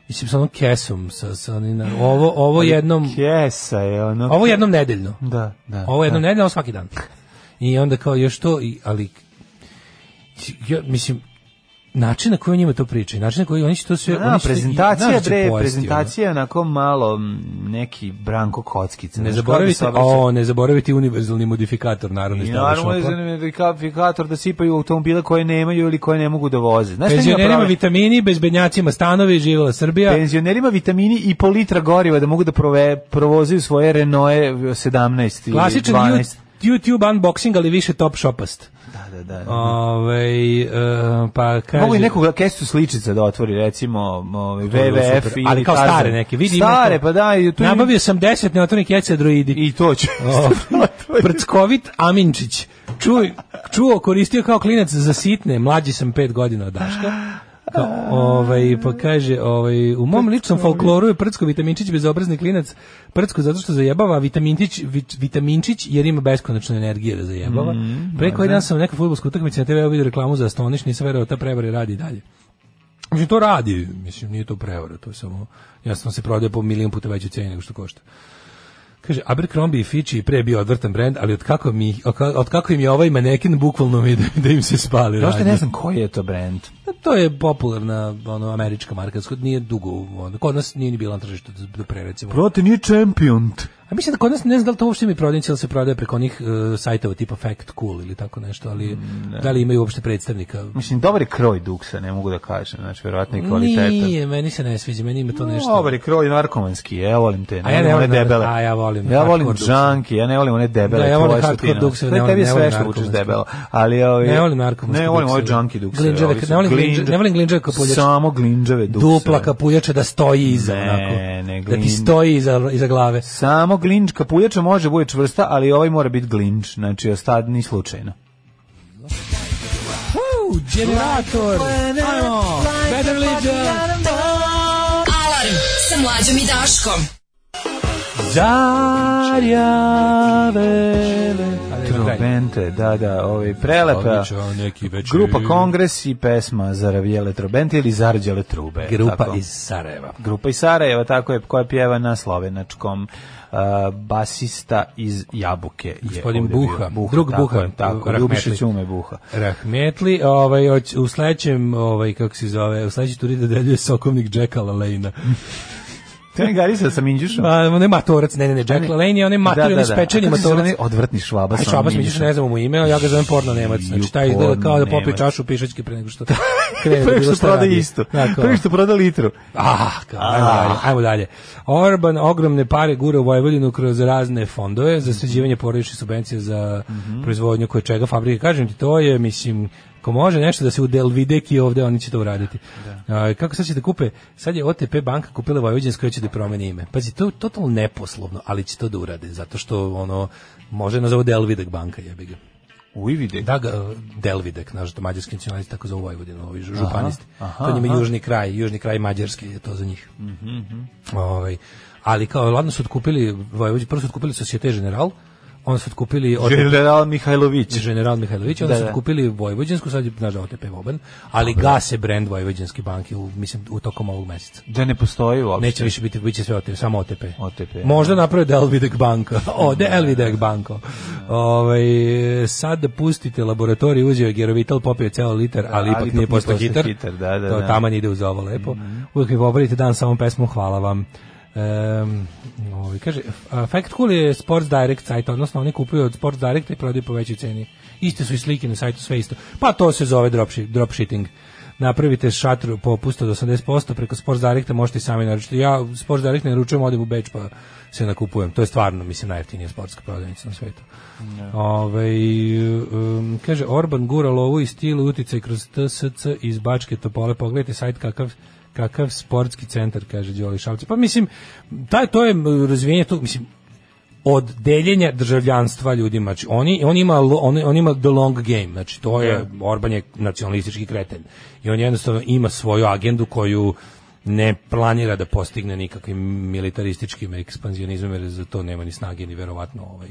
Speaker 7: mislim, sa onom kesom. Sa, sa onim na- ovo, ovo jednom...
Speaker 6: Kesa je ono...
Speaker 7: Ovo jednom nedeljno.
Speaker 6: Da, da.
Speaker 7: Ovo jednom
Speaker 6: da.
Speaker 7: nedeljno, ovo svaki dan. I onda kao još to, i, ali... Ja, mislim, način na koji on njima to priča i način na koji oni će to sve...
Speaker 6: Da,
Speaker 7: oni će to-
Speaker 6: prezentacija,
Speaker 7: znaš da će
Speaker 6: bre,
Speaker 7: pojesti, ono.
Speaker 6: prezentacija je onako malo m, neki Branko Kockica.
Speaker 7: ono. Ne
Speaker 6: znaš,
Speaker 7: zaboravite,
Speaker 6: kao da se obraća-
Speaker 7: o, ne zaboravite univerzalni modifikator narodne
Speaker 6: I
Speaker 7: štale
Speaker 6: naravno je
Speaker 7: šopa.
Speaker 6: identifikator da sipaju automobile koje nemaju ili koje ne mogu da voze. Znaš šta njima
Speaker 7: Penzionerima
Speaker 6: problem?
Speaker 7: vitamini, bezbednjacima stanovi, živjela Srbija.
Speaker 6: Penzionerima vitamini i po litra goriva da mogu da prove, provozaju svoje Renault 17
Speaker 7: Klasičan
Speaker 6: ili
Speaker 7: Ju-
Speaker 6: 12.
Speaker 7: YouTube unboxing, ali više top shopast.
Speaker 6: Da, da, da.
Speaker 7: Ovaj e, pa kaže...
Speaker 6: Mogu i neku kesu sličica da otvori, recimo ovaj,
Speaker 7: To je bilo
Speaker 6: WWF
Speaker 7: super.
Speaker 6: ili
Speaker 7: Ali kao
Speaker 6: Tarzan.
Speaker 7: stare neke. Vidi, ima
Speaker 6: stare,
Speaker 7: to-
Speaker 6: pa da, i tu ima-
Speaker 7: Nabavio sam 10 neotvornih keca droidi.
Speaker 6: i to će.
Speaker 7: O,
Speaker 6: To je-
Speaker 7: Prckovit Aminčić. Čuj, čuo, koristio kao klinac za sitne, mlađi sam 5 godina od Daška. Kao, ovaj, pa kaže, ovaj, u mom ličnom folkloru je Prcko Vitaminčić bezobrazni klinac. Prcko zato što zajebava, a Vitaminčić, vit- Vitaminčić jer ima beskonačnu energiju da zajebava. Pre koji dan sam na nekoj futbolskoj utakmici na TV-u vidio reklamu za Astoniš, nisam verao ta prevara radi i dalje. Mislim, to radi, mislim, nije to prevara, to je samo, jasno se prodaje po milijon puta veću cijeni nego što košta. Kaže, Abercrombie i Fitch je i pre je bio odvrtan brend, ali od kako, mi, od kako im je ovaj manekin bukvalno mi da, da im se spali
Speaker 6: Prosto
Speaker 7: radnje.
Speaker 6: ne znam koji je to brand.
Speaker 7: Pa To je popularna ono, američka marka, skod nije dugo, ono, kod nas nije ni bila na tržištu do, do pre, recimo.
Speaker 6: Prote nije champion.
Speaker 7: A mislim da kod nas ne znam da li to uopšte mi prodavnice ili se prodaje preko onih e, sajtova tipa Fact Cool ili tako nešto, ali da li imaju uopšte predstavnika?
Speaker 6: Mislim, dobar je kroj duksa, ne mogu da kažem. Znači, verovatno i kvalitetan.
Speaker 7: Nije, meni se ne sviđa, meni ima to nešto.
Speaker 6: Dobar je kroj narkomanski, ja volim te.
Speaker 7: A ja ne
Speaker 6: one
Speaker 7: volim
Speaker 6: debele.
Speaker 7: narko- a ja volim
Speaker 6: Ja volim
Speaker 7: hardcore dukse.
Speaker 6: džanki, ja ne volim one debele.
Speaker 7: Da, ja volim
Speaker 6: tvoje što ti
Speaker 7: hardcore
Speaker 6: nosiš.
Speaker 7: dukse,
Speaker 6: To je
Speaker 7: ne volim-
Speaker 6: tebi
Speaker 7: ne
Speaker 6: sve
Speaker 7: volim
Speaker 6: što vučeš
Speaker 7: narkomanske.
Speaker 6: debelo. Ali ovi
Speaker 7: Ne volim narkomanske
Speaker 6: Ne volim
Speaker 7: dukse,
Speaker 6: ove
Speaker 7: da.
Speaker 6: džanki dukse.
Speaker 7: Glinđave-
Speaker 6: ovi su
Speaker 7: ne volim glinđ-
Speaker 6: glindž-
Speaker 7: ne volim glinđave kapuljače.
Speaker 6: Samo glinđave dukse.
Speaker 7: Dupla kapuljača da stoji iza,
Speaker 6: Ne,
Speaker 7: onako.
Speaker 6: ne,
Speaker 7: da ti
Speaker 6: glin-
Speaker 7: stoji iza, iza glave.
Speaker 6: Samo glinč, kapuljača može bude čvrsta, ali ovaj mora biti glinč, znači ostadni slučajno.
Speaker 7: Uh, generator! Ajmo! Better Legion!
Speaker 5: Alarm sa mlađom i Daškom.
Speaker 6: Zarjavele Trobente, da, da, ovaj prelepa
Speaker 7: Odličan neki večer.
Speaker 6: grupa Kongres i pesma Zaravjele Trobente ili Zarđale Trube.
Speaker 7: Grupa
Speaker 6: tako.
Speaker 7: iz Sarajeva.
Speaker 6: Grupa iz Sarajeva, tako je, koja pjeva na slovenačkom. Uh, basista iz Jabuke je
Speaker 7: Gospodin
Speaker 6: ovdje bio.
Speaker 7: Buha, drug
Speaker 6: tako
Speaker 7: Buha,
Speaker 6: je, tako,
Speaker 7: Rahmetli.
Speaker 6: Ljubišić ume Buha
Speaker 7: Rahmetli, ovaj, hoć- u sledećem, ovaj, kako se zove, u sledećoj turi dodeljuje sokovnik Jacka Lalaina.
Speaker 6: to je Garisa sa Minđušom
Speaker 7: A, on je matorac, ne, ne, ne, Jack Lalain je onaj mator, onaj spečeni
Speaker 6: Kako se zove
Speaker 7: matorac.
Speaker 6: onaj odvratni švaba
Speaker 7: Aj,
Speaker 6: sa
Speaker 7: Čabas
Speaker 6: Minđušem?
Speaker 7: Mićić, ne znam mu ime, ali ja ga zovem porno Nemac. Znači, taj izgleda kao
Speaker 6: Porno
Speaker 7: da popije
Speaker 6: Nemac.
Speaker 7: čašu pišački pre nego što krene da
Speaker 6: Prvi
Speaker 7: bilo
Speaker 6: što
Speaker 7: šta
Speaker 6: proda
Speaker 7: radi.
Speaker 6: isto.
Speaker 7: Da, kao-
Speaker 6: Prvi što proda litru.
Speaker 7: Ah, kao, ajmo, dalje, ajmo dalje. Orban ogromne pare gura u Vojvodinu kroz razne fondove za sređivanje porodične subvencije za proizvodnju koje čega fabrike. Kažem ti, to je, mislim, ko može nešto da se u Delvideki ovde, oni će to uraditi. A, kako sad će da kupe? Sad je OTP banka kupila Vojvođansku koja će da promeni ime. Pazi, to je totalno neposlovno, ali će to da urade, zato što ono, može nazovu Delvidek banka, jebi ga.
Speaker 6: Ujvide.
Speaker 7: Da, ga- Delvidek, naš mađarski nacionalist, tako zove Vojvodinu, ovi žu-
Speaker 6: Aha,
Speaker 7: županisti.
Speaker 6: aha,
Speaker 7: to njima
Speaker 6: aha. Mhm,
Speaker 7: južni kraj, južni kraj mađarski je to za njih. Ovaj, ali kao, ladno su otkupili, Vojvođi, prvo su otkupili Societe General, onda su otkupili OTP,
Speaker 6: General Mihajlović.
Speaker 7: General Mihajlović, onda
Speaker 6: Da,
Speaker 7: su
Speaker 6: da.
Speaker 7: otkupili Vojvođinsku, sad je, znaš da OTP Voban, ali gase brend Vojvođinske banke, u, mislim, u tokom ovog meseca.
Speaker 6: Da ne postoji uopšte.
Speaker 7: Neće više biti, bit će sve OTP, samo OTP.
Speaker 6: OTP,
Speaker 7: Možda naprave Delvidek banka. O, Delvidek banko. Ovaj, sad da pustite laboratorij, uzeo je Gerovital, popio ceo litar, ali ipak
Speaker 6: ali
Speaker 7: nije
Speaker 6: ipak
Speaker 7: postao
Speaker 6: nije
Speaker 7: hitar.
Speaker 6: postao hitar, da, da,
Speaker 7: to
Speaker 6: da. Mhm.
Speaker 7: taman ide uz ovo lepo. Uvijek mi popravite dan sa ovom pesmom, hvala vam. Ehm, ovaj, kaže, a, Fact Cool je Sports Direct sajt, odnosno oni kupuju od Sports Directa i prodaju po većoj ceni. Iste su i slike na sajtu, sve isto. Pa to se zove dropshi- dropshipping napravite šatru po pusto do 80% preko Sports Directa možete i sami naručiti. Ja Sports Direct ne naručujem, odem u Beč pa se nakupujem. To je stvarno, mislim, najjeftinija sportska prodavnica na svetu. Ove, um, kaže, Orban gura lovu i stil uticaj kroz TSC iz Bačke Topole. Pogledajte sajt kakav kakav sportski centar, kaže Đoli Šavci. Pa mislim, taj, to je m, razvijenje tog, mislim, od deljenja državljanstva ljudima. Znači, oni, on, ima, lo- on, on ima the long game, znači to je, Orban je nacionalistički kreten i on jednostavno ima svoju agendu koju ne planira da postigne nikakvim militarističkim ekspanzionizmom jer za to nema ni snage ni verovatno ovaj,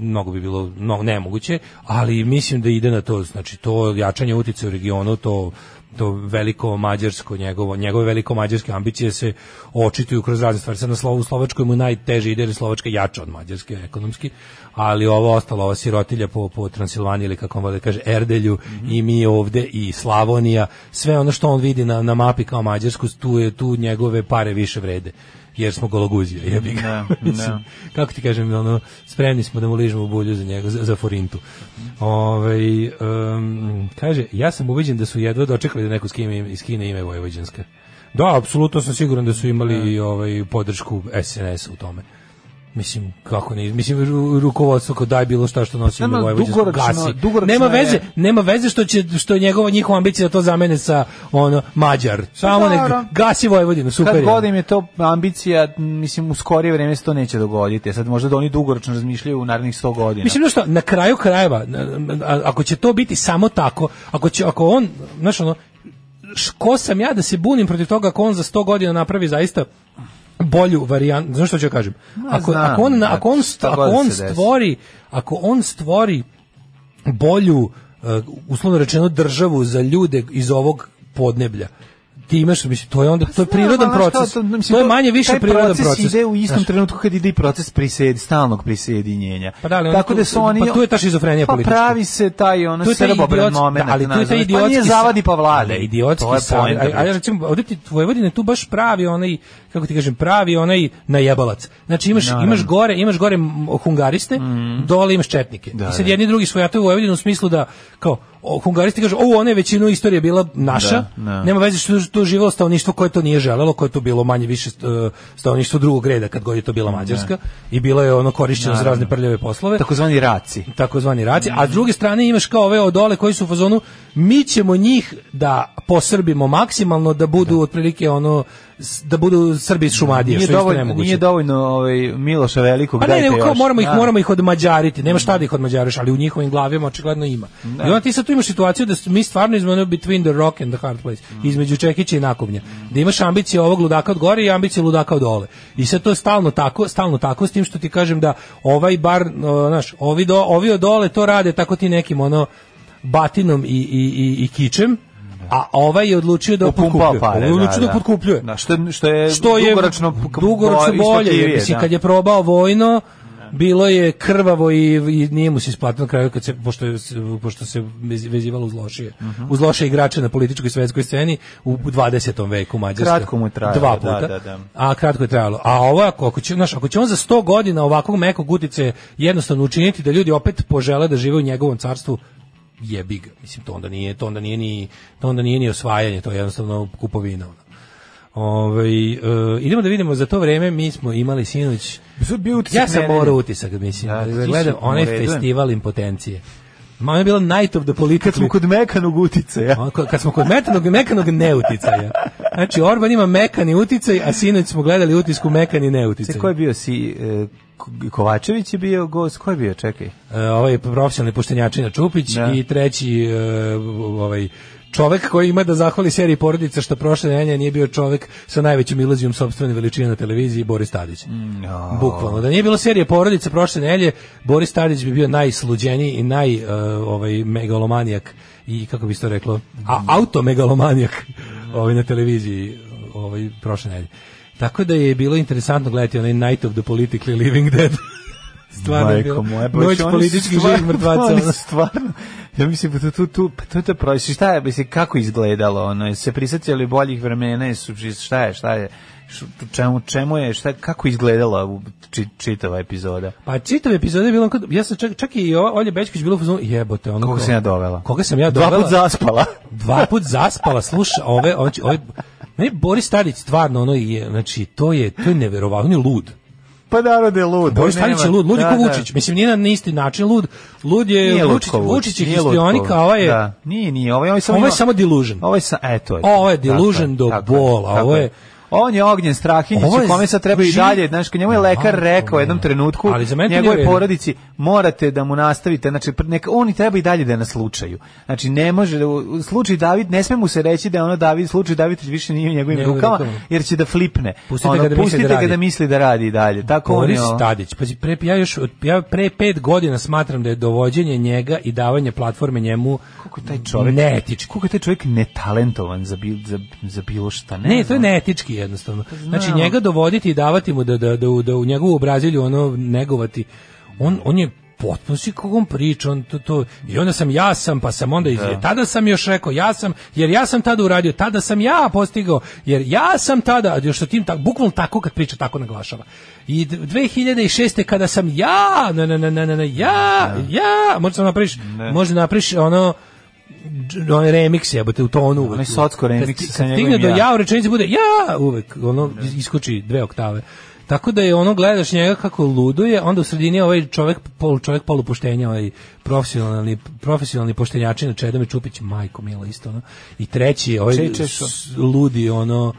Speaker 7: mnogo bi bilo no, nemoguće, ali mislim da ide na to, znači to jačanje utice u regionu, to to veliko mađarsko njegovo njegove veliko mađarske ambicije se očituju kroz razne stvari. Sad na slovu Slovačkoj mu najteže ide jer je Slovačka jača od Mađarske ekonomski, ali ovo ostalo ova sirotilja po po Transilvaniji ili kako on voli da kaže Erdelju
Speaker 6: Mhm.
Speaker 7: i mi ovde i Slavonija, sve ono što on vidi na na mapi kao Mađarsku, tu je tu njegove pare više vrede jer smo gologuzija, jebi ga.
Speaker 6: Da,
Speaker 7: Mislim,
Speaker 6: da.
Speaker 7: kako ti kažem, ono, spremni smo da mu ližemo u bulju za njega, za, za forintu. Ovaj, em, kaže, ja sam ubeđen da su jedva dočekali da neko iz Kine, iz Kine ime Vojvođanska. Da, apsolutno sam siguran da su imali i, ovaj, podršku SNS u tome. Mislim, kako ne, mislim, ru, rukovodstvo kao daj bilo šta što nosi
Speaker 6: Nama
Speaker 7: ime Vojvođansko,
Speaker 6: dugoročno-
Speaker 7: gasi.
Speaker 6: dugoročno
Speaker 7: nema
Speaker 6: je-
Speaker 7: veze, nema veze što će, što je njegova njihova ambicija da to zamene sa, ono, Mađar. Samo nek,
Speaker 6: dobro.
Speaker 7: gasi Vojvodinu,
Speaker 6: Pa
Speaker 7: super
Speaker 6: Kad
Speaker 7: je.
Speaker 6: god im je to ambicija, mislim, u skorije vreme se to neće dogoditi. Sad možda da oni dugoročno razmišljaju u narednih 100 godina.
Speaker 7: Mislim da što na kraju krajeva na- na- a- ako će to biti samo tako, ako će ako on znaš ono š- ko sam ja da se bunim protiv toga ako on za 100 godina napravi zaista bolju varijantu, znaš što ću ja kažem? Ako,
Speaker 6: znam,
Speaker 7: ako on, na-
Speaker 6: znači,
Speaker 7: ako on,
Speaker 6: šta
Speaker 7: st- ako
Speaker 6: god
Speaker 7: on
Speaker 6: se desi.
Speaker 7: stvori, ako on stvori bolju e, uslovno rečeno državu za ljude iz ovog podneblja. Ti imaš, mislim, to je onda to je prirodan
Speaker 6: Pa Znam, ali šta
Speaker 7: proces.
Speaker 6: to- mislim,
Speaker 7: To je manje više
Speaker 6: taj
Speaker 7: prirodan proces.
Speaker 6: ide u istom
Speaker 7: Znaš.
Speaker 6: trenutku kad ide i proces prisjed, stalnog prisjedinjenja.
Speaker 7: Pa da, ali oni
Speaker 6: Tako
Speaker 7: tu-
Speaker 6: da su oni
Speaker 7: pa tu je ta šizofrenija
Speaker 6: Pa
Speaker 7: politička.
Speaker 6: pravi se taj ono
Speaker 7: To je taj
Speaker 6: srbobran
Speaker 7: idiotski-
Speaker 6: momenat,
Speaker 7: da, ali tu je taj
Speaker 6: nazoveš.
Speaker 7: idiotski
Speaker 6: Pa nije
Speaker 7: sa-
Speaker 6: zavadi pa vlade.
Speaker 7: Ali idiotski
Speaker 6: to je
Speaker 7: sam.
Speaker 6: poenta
Speaker 7: A, a ja
Speaker 6: priče.
Speaker 7: recimo, ovdje ti Vojvodina je tu baš pravi onaj, kako ti kažem, pravi onaj najebalac. Znači imaš, imaš gore, imaš gore m- hungariste, dole imaš četnike. I sad
Speaker 6: Mhm. da.
Speaker 7: jedni i drugi svojate u Vojvodinu u smislu da, kao, o, hungaristi kažu, ovo ona je većinu istorije bila naša,
Speaker 6: Da, da.
Speaker 7: nema veze što je tu živelo stanovništvo koje to nije želelo, koje je tu bilo manje više st- e, stanovništvo drugog reda kad god je to bila Mađarska i bilo je ono korišćeno za razne prljave poslove
Speaker 6: Takozvani raci.
Speaker 7: takozvani raci, a s druge strane imaš kao ove odole koji su u fazonu mi ćemo njih da posrbimo maksimalno da budu otprilike ono s- da budu Srbi iz Šumadije,
Speaker 6: Nije
Speaker 7: što je isto
Speaker 6: dovoljno,
Speaker 7: nemoguće.
Speaker 6: nije dovoljno ovaj Miloša Velikog
Speaker 7: Pa ne,
Speaker 6: dajte
Speaker 7: nego kao
Speaker 6: još.
Speaker 7: moramo ih,
Speaker 6: Da.
Speaker 7: moramo ih odmađariti, nema šta da ih odmađariš, ali u njihovim glavima očigledno ima. I onda ti sad tu imaš situaciju da s- mi stvarno između ono between the rock and the hard place,
Speaker 6: Mm.
Speaker 7: između Čekića i Nakovnja, da imaš ambicije ovog ludaka od gore i ambicije ludaka od dole. I sad to je stalno tako, stalno tako, s tim što ti kažem da ovaj bar, o, znaš, ovi, do, ovi od dole to rade tako ti nekim ono batinom i, i, i, i kičem, a ovaj je odlučio da
Speaker 6: Upumpao
Speaker 7: potkupljuje.
Speaker 6: pare,
Speaker 7: Ovaj je odlučio da, potkupljuje
Speaker 6: Ono znači Da, što, je- što je
Speaker 7: što je
Speaker 6: dugoročno,
Speaker 7: dugoročno bolje. jer,
Speaker 6: isplativije,
Speaker 7: mislim,
Speaker 6: da.
Speaker 7: kad je probao vojno, bilo je krvavo i, i nije mu se isplatilo na kraju kad se pošto je, s- pošto se vez- vezivalo uz lošije.
Speaker 6: Mhm.
Speaker 7: Uz loše igrače na političkoj i svetskoj sceni u 20. veku Mađarska.
Speaker 6: Kratko mu je trajalo,
Speaker 7: Dva
Speaker 6: da,
Speaker 7: puta.
Speaker 6: da, da.
Speaker 7: A kratko je trajalo. A ovo ako ako će znaš, ako će on za 100 godina ovakvog mekog utice jednostavno učiniti da ljudi opet požele da žive u njegovom carstvu jebi ga. Mislim to onda nije to onda nije ni to onda nije ni osvajanje, to je jednostavno kupovina. ono. Ovaj, e, idemo da vidimo za to vreme mi smo imali sinoć
Speaker 6: Sad bio utisak
Speaker 7: ja sam
Speaker 6: nedelje.
Speaker 7: morao utisak mislim
Speaker 6: Da,
Speaker 7: da,
Speaker 6: ti si
Speaker 7: gledam onaj
Speaker 6: u redu.
Speaker 7: festival impotencije ma ono je bilo night of the political
Speaker 6: Kad smo kod mekanog utice, ja.
Speaker 7: Ono, ko- kad smo kod metanog mekanog neuticaja Znači, Orban ima mekani uticaj, a sinoć smo gledali utisku mekani neuticaj.
Speaker 6: Ko je bio si... e, K- Kovačević je bio gost, ko je bio, čekaj.
Speaker 7: E, ovaj profesionalni poštenjačina Čupić
Speaker 6: Da.
Speaker 7: i treći e, ovaj čovek koji ima da zahvali seriji porodica što prošle nedelje nije bio čovek sa najvećom iluzijom sopstvene veličine na televiziji Boris Tadić. Bukvalno da nije bilo serije porodica prošle nedelje Boris Tadić bi bio najsluđeniji i naj e, ovaj megalomanijak i kako bi se to reklo a auto megalomanijak ovaj na televiziji ovaj prošle nedelje. Tako da je bilo interesantno gledati onaj Night of the Politically Living Dead. Stvarno je bilo.
Speaker 6: Majko moja, pa
Speaker 7: Noć
Speaker 6: će oni
Speaker 7: političkih
Speaker 6: stvarno-
Speaker 7: živih mrtvaca.
Speaker 6: ali
Speaker 7: ono.
Speaker 6: Stvarno, ja mislim, pa to, to, to, pa to, to prošli, šta je, mislim, kako izgledalo, ono, je se prisjetili boljih vremena, jesu, šta je, šta je, š- čemu, čemu je, šta, kako izgledala u- či, čitava epizoda.
Speaker 7: Pa čitav epizod je bilo, kod- ja sam čak, čak i ova Olja Bećković bilo u fazonu, jebote, ono...
Speaker 6: Koga
Speaker 7: kao-
Speaker 6: sam ja dovela?
Speaker 7: Koga sam ja
Speaker 6: Dva
Speaker 7: dovela?
Speaker 6: put zaspala.
Speaker 7: Dva put zaspala, sluša, ove, znači, ove, meni Boris Tadić stvarno, ono, je, znači, to je, to je neverovatno, on je lud.
Speaker 6: Pa narod je lud.
Speaker 7: Boris
Speaker 6: on
Speaker 7: Tadić je
Speaker 6: nema-
Speaker 7: lud, lud je
Speaker 6: Da,
Speaker 7: ko
Speaker 6: da.
Speaker 7: Vučić, mislim, nije na isti način lud, lud je,
Speaker 6: Nije
Speaker 7: Vučić,
Speaker 6: lutko
Speaker 7: Vučić je
Speaker 6: nije lutko.
Speaker 7: histrionik, a ovo je,
Speaker 6: Da, nije, nije, ovo je, ovo je samo...
Speaker 7: ovo je
Speaker 6: ima-
Speaker 7: samo delusion.
Speaker 6: Ovo je sa, e, to je.
Speaker 7: O, ovo je
Speaker 6: Tako
Speaker 7: delusion do
Speaker 6: tako
Speaker 7: bola,
Speaker 6: tako
Speaker 7: ovo je-
Speaker 6: On je ognjen Strahinjić,
Speaker 7: Ovo je
Speaker 6: kome sad treba i
Speaker 7: živ-
Speaker 6: dalje, znaš, kad njemu je lekar
Speaker 7: Majko
Speaker 6: rekao u
Speaker 7: moja.
Speaker 6: jednom trenutku,
Speaker 7: Ali za mene to nije
Speaker 6: njegovoj
Speaker 7: u redu.
Speaker 6: porodici, morate da mu nastavite, znači, pr- neka, on i treba i dalje da je na slučaju. Znači, ne može, da- u- u slučaj David, ne sme mu se reći da je ono David, slučaj David više nije u njegovim
Speaker 7: Njegovim
Speaker 6: rukama,
Speaker 7: rukama.
Speaker 6: jer će da flipne.
Speaker 7: Pustite
Speaker 6: Ono,
Speaker 7: ga da misli
Speaker 6: pustite
Speaker 7: da
Speaker 6: ga
Speaker 7: radi.
Speaker 6: da misli da radi i dalje. Tako on
Speaker 7: Boris
Speaker 6: je, ono-
Speaker 7: Tadić, pazi, pre, ja još od- ja pre pet godina smatram da je dovođenje njega i davanje platforme njemu
Speaker 6: Kako je taj čovjek
Speaker 7: neetički.
Speaker 6: Koliko je taj čovjek netalentovan za, bil, za, za bilo šta? Ne,
Speaker 7: Ne, to je
Speaker 6: znam.
Speaker 7: neetički jednostavno. Znači
Speaker 6: Znam.
Speaker 7: njega dovoditi i davati mu da da da, u- da u njegovu Braziliju ono negovati. On on je potpuno si kogom priča, on to, to i onda sam ja sam, pa sam onda iz, tada sam još rekao ja sam, jer ja sam tada uradio, tada sam ja postigao, jer ja sam tada, a još o tim tako, bukvalno tako kad priča tako naglašava. I d- 2006. kada sam ja, na, na, na, na, na, na, ja, ja, možda sam napraviš, možda napraviš ono, dž- onaj remix jebote u tonu.
Speaker 6: Onaj socko remix
Speaker 7: Kad sti-
Speaker 6: sa
Speaker 7: kad
Speaker 6: njegovim
Speaker 7: stigne do
Speaker 6: ja.
Speaker 7: ja u rečenici bude ja uvek ono iskoči dve oktave. Tako da je ono gledaš njega kako luduje, onda u sredini ovaj čovjek pol čovjek polupoštenja, ovaj profesionalni profesionalni poštenjačina Čedomir Čupić, majko mila isto ono. I treći je ovaj
Speaker 6: Čeče
Speaker 7: s-
Speaker 6: što?
Speaker 7: ludi ono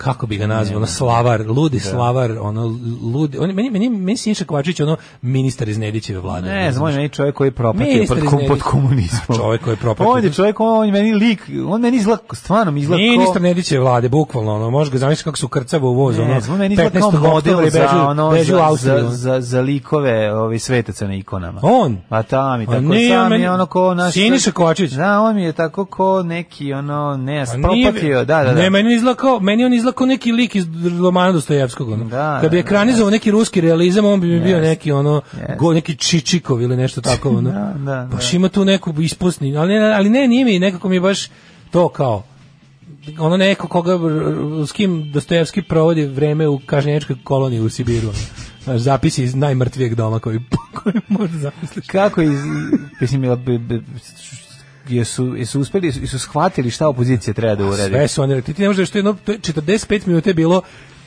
Speaker 7: kako bi ga nazvao, ono slavar, ludi slavar, ono ludi, on, meni, meni, meni Sinša Kovačić, ono ministar iz Nedićeve vlade.
Speaker 6: Ne, znam, on je meni čovjek koji je propatio
Speaker 7: Ministar
Speaker 6: pod,
Speaker 7: iz
Speaker 6: kom,
Speaker 7: Nedić-
Speaker 6: pod komunizmom.
Speaker 7: Čovjek koji je propatio.
Speaker 6: On je čovjek, on je meni lik, on meni izgleda, stvarno mi izgleda ko-
Speaker 7: Ministar Nediće vlade, bukvalno, ono, možeš ga zamisliti kako su krcava u vozu, ono,
Speaker 6: Ne, znam, on meni izgleda kao
Speaker 7: 15. oktobra
Speaker 6: model
Speaker 7: i bežu,
Speaker 6: za, ono,
Speaker 7: bežu u
Speaker 6: za,
Speaker 7: Austriju,
Speaker 6: za,
Speaker 7: ono.
Speaker 6: za, za likove ovi svetaca na ikonama.
Speaker 7: On?
Speaker 6: A ta mi
Speaker 7: A
Speaker 6: tako,
Speaker 7: Pa nije
Speaker 6: sam
Speaker 7: meni-
Speaker 6: je ono ko naš...
Speaker 7: Siniša Kovačević.
Speaker 6: Da, on mi je tako ko neki, ono, ne,
Speaker 7: Pa nije-
Speaker 6: propatio, da, da, da.
Speaker 7: Ne, meni izgleda kao, meni on izlako neki lik iz romana Dostojevskog. Ono.
Speaker 6: Da,
Speaker 7: Kad bi
Speaker 6: da, da,
Speaker 7: ekranizovao neki ruski realizam, on bi mi bio
Speaker 6: Jeste.
Speaker 7: neki ono
Speaker 6: Jeste.
Speaker 7: go, neki Čičikov ili nešto tako ono.
Speaker 6: Da, da,
Speaker 7: Baš
Speaker 6: da.
Speaker 7: ima tu neku ispusni, ali ne, ali ne, nije mi nekako mi je baš to kao ono neko koga r- s kim Dostojevski provodi vreme u kažnjeničkoj koloniji u Sibiru. ono. Znaš, zapisi iz najmrtvijeg doma koji, koji može zapisliš.
Speaker 6: kako iz, mislim, jel bi- bi- jesu, jesu uspeli, jesu, jesu shvatili šta opozicija treba da uradi?
Speaker 7: Sve su oni rekli, ti ne možeš da što jedno, to je 45 minuta je bilo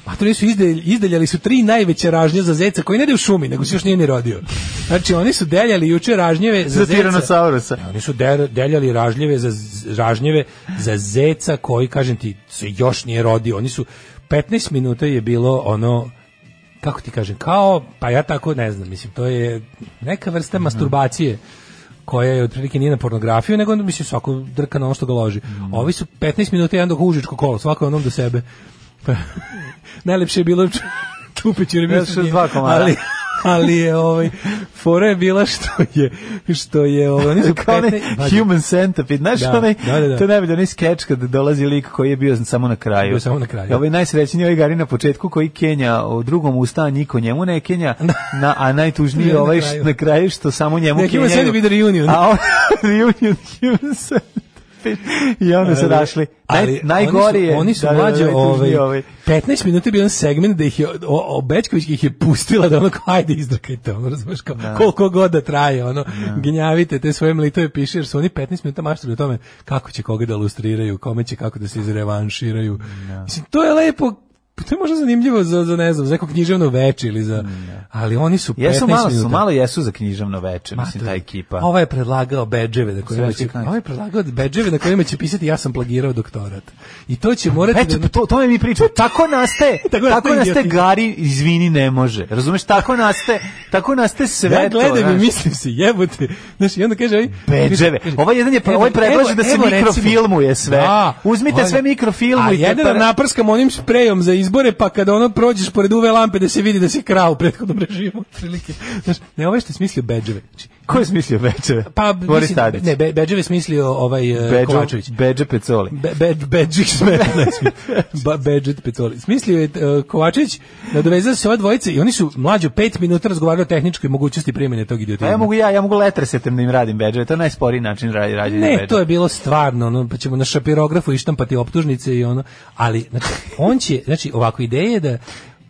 Speaker 7: A to nisu izdelj, izdeljali su tri najveće ražnje za zeca koji ne ide u šumi, nego se još nije ni rodio. Znači oni su deljali juče ražnjeve za,
Speaker 6: Za
Speaker 7: zeca.
Speaker 6: Tyrannosaurusa.
Speaker 7: Oni su der- deljali ražnjeve za z- ražnjeve za zeca koji kažem ti se još nije rodio. Oni su 15 minuta je bilo ono kako ti kažem, kao, pa ja tako ne znam, mislim, to je neka vrsta
Speaker 6: Mhm.
Speaker 7: masturbacije koja je otprilike nije na pornografiju, nego onda, mislim svako drka na ono što ga loži.
Speaker 6: Mhm.
Speaker 7: Ovi su 15 minuta jedan dok užičko kolo, svako je onom do sebe. Pa, Najlepše je bilo Čupić, jer je bio
Speaker 6: Ja,
Speaker 7: sa
Speaker 6: što
Speaker 7: njim,
Speaker 6: dva komada.
Speaker 7: Ali, ali je ovaj fora je bila što je što je ovaj oni su
Speaker 6: kao onaj
Speaker 7: 15 pazi,
Speaker 6: human centipede, znaš
Speaker 7: Da,
Speaker 6: onaj,
Speaker 7: da, da, da.
Speaker 6: to je najbolji onaj skeč kad dolazi lik koji je bio samo na kraju.
Speaker 7: Bio samo na kraju.
Speaker 6: I Ovaj najsrećniji ovaj gari na početku koji Kenja u drugom usta niko njemu ne Kenja, na, a najtužniji
Speaker 7: Bio
Speaker 6: je
Speaker 7: na
Speaker 6: ovaj
Speaker 7: kraju.
Speaker 6: š- na kraju što samo njemu
Speaker 7: Ne, human centipede reunion.
Speaker 6: A on, reunion human centipede. I onda se
Speaker 7: Ali-
Speaker 6: našli. Naj,
Speaker 7: ali
Speaker 6: najgori je.
Speaker 7: Oni su,
Speaker 6: da,
Speaker 7: oni
Speaker 6: da,
Speaker 7: su
Speaker 6: da,
Speaker 7: mlađe,
Speaker 6: najtužniji
Speaker 7: ovaj, 15 minuta je bio jedan segment da ih je, o, o, Bečković ih je pustila da ono kao, ajde izdrkajte, ono, razumeš, kao, koliko god da traje, ono, gnjavite te svoje mlitove piše, jer su oni 15 minuta maštali o tome kako će koga da lustriraju, kome će kako da se izrevanširaju. Mislim, to je lepo Pa to je možda zanimljivo za, za ne znam, za neko književno veče ili za... Ali oni su 15
Speaker 6: Jesu malo, su,
Speaker 7: minuta.
Speaker 6: malo jesu za književno veče,
Speaker 7: Ma,
Speaker 6: mislim,
Speaker 7: to je-
Speaker 6: ta ekipa.
Speaker 7: Ovaj je predlagao bedževe na kojima
Speaker 6: Sve
Speaker 7: će,
Speaker 6: će knaći.
Speaker 7: ovaj je predlagao bedževe na kojima će pisati ja sam plagirao doktorat. I to će morati
Speaker 6: Eto,
Speaker 7: da-
Speaker 6: pa to, tome mi pričamo. Tako nastaje,
Speaker 7: Tako
Speaker 6: tako,
Speaker 7: nastaje
Speaker 6: nastaje
Speaker 7: idiotizam.
Speaker 6: Gari, izvini, ne može. Razumeš, tako nastaje, tako nastaje sve
Speaker 7: ja
Speaker 6: to.
Speaker 7: gledam i
Speaker 6: znaš.
Speaker 7: mislim se, jebote. Znaš, i onda kaže, ovaj,
Speaker 6: Bedževe.
Speaker 7: kaže-
Speaker 6: Ovaj jedan je
Speaker 7: evo-
Speaker 6: ovaj predlaže
Speaker 7: evo-
Speaker 6: da se
Speaker 7: evo, recimo-
Speaker 6: mikrofilmuje sve.
Speaker 7: Da.
Speaker 6: Uzmite
Speaker 7: Ovaj-
Speaker 6: sve pa- mikrofilmu
Speaker 7: A
Speaker 6: i
Speaker 7: jedan
Speaker 6: prepara-
Speaker 7: da naprskam onim sprejom za izbore, pa kada ono prođeš pored uve lampe da se vidi da si krao u prethodnom režimu. otprilike. Znaš, ne, ovaj što je smislio bedževe. Znači,
Speaker 6: Ko je smislio Bedževe?
Speaker 7: Pa,
Speaker 6: Boris
Speaker 7: mislim,
Speaker 6: Tadić.
Speaker 7: ne, Be- bedževe je smislio ovaj e, Kovačević.
Speaker 6: Bedže Pecoli.
Speaker 7: Be- Bed, Bedžik smetna. ba, Bedžet Pecoli. Smislio je e, Kovačević, nadovezao se ova dvojica i oni su mlađo pet minuta razgovarali o tehničkoj mogućnosti primjene tog
Speaker 6: Pa
Speaker 7: idiotizma.
Speaker 6: ja mogu ja, ja mogu letresetem da im radim bedževe, to je najsporiji način radi rađenja
Speaker 7: Ne,
Speaker 6: bedževa.
Speaker 7: to je bilo stvarno, ono, pa ćemo na šapirografu ištampati optužnice i ono, ali znači, on će, znači ovako ideje je da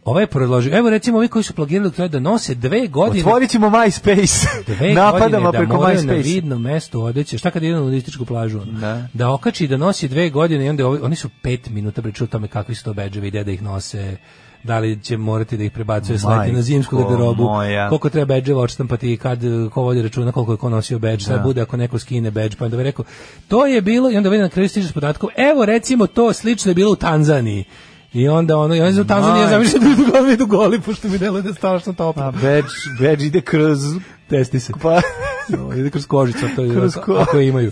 Speaker 7: ovaj je predložio, evo recimo ovi koji su plagirali doktorat da nose dve godine
Speaker 6: Otvorit ćemo MySpace.
Speaker 7: dve
Speaker 6: Napadamo
Speaker 7: godine da
Speaker 6: preko
Speaker 7: moraju na
Speaker 6: MySpace.
Speaker 7: vidno mesto odeće, šta kad ide na nudističku plažu, ono?
Speaker 6: Da.
Speaker 7: da okači da nosi dve godine i onda ovi- oni su pet minuta pričali o tome kakvi su to bedževi, gde da ih nose, da li će morati da ih prebacuje slati na zimsku
Speaker 6: Majko
Speaker 7: garderobu,
Speaker 6: moja.
Speaker 7: koliko treba bedževa odštampati i kad e, ko vodi računa koliko je ko nosio bedž, sad bude ako neko skine bedž, pa onda bi rekao, to je bilo, i onda vidi na kraju stiže s podatkom, evo recimo to slično je bilo u Tanzaniji. I onda ono, i onda u Tanzaniji ja
Speaker 6: Majko. Pa,
Speaker 7: zamišljam da idu goli, idu goli, pošto mi deluje da je strašno toplo.
Speaker 6: A bedž, bedž ide kroz...
Speaker 7: Testi se.
Speaker 6: Pa,
Speaker 7: Ovo, ide kroz kožicu, to je
Speaker 6: Kroz
Speaker 7: ako-
Speaker 6: ko-
Speaker 7: ako je imaju.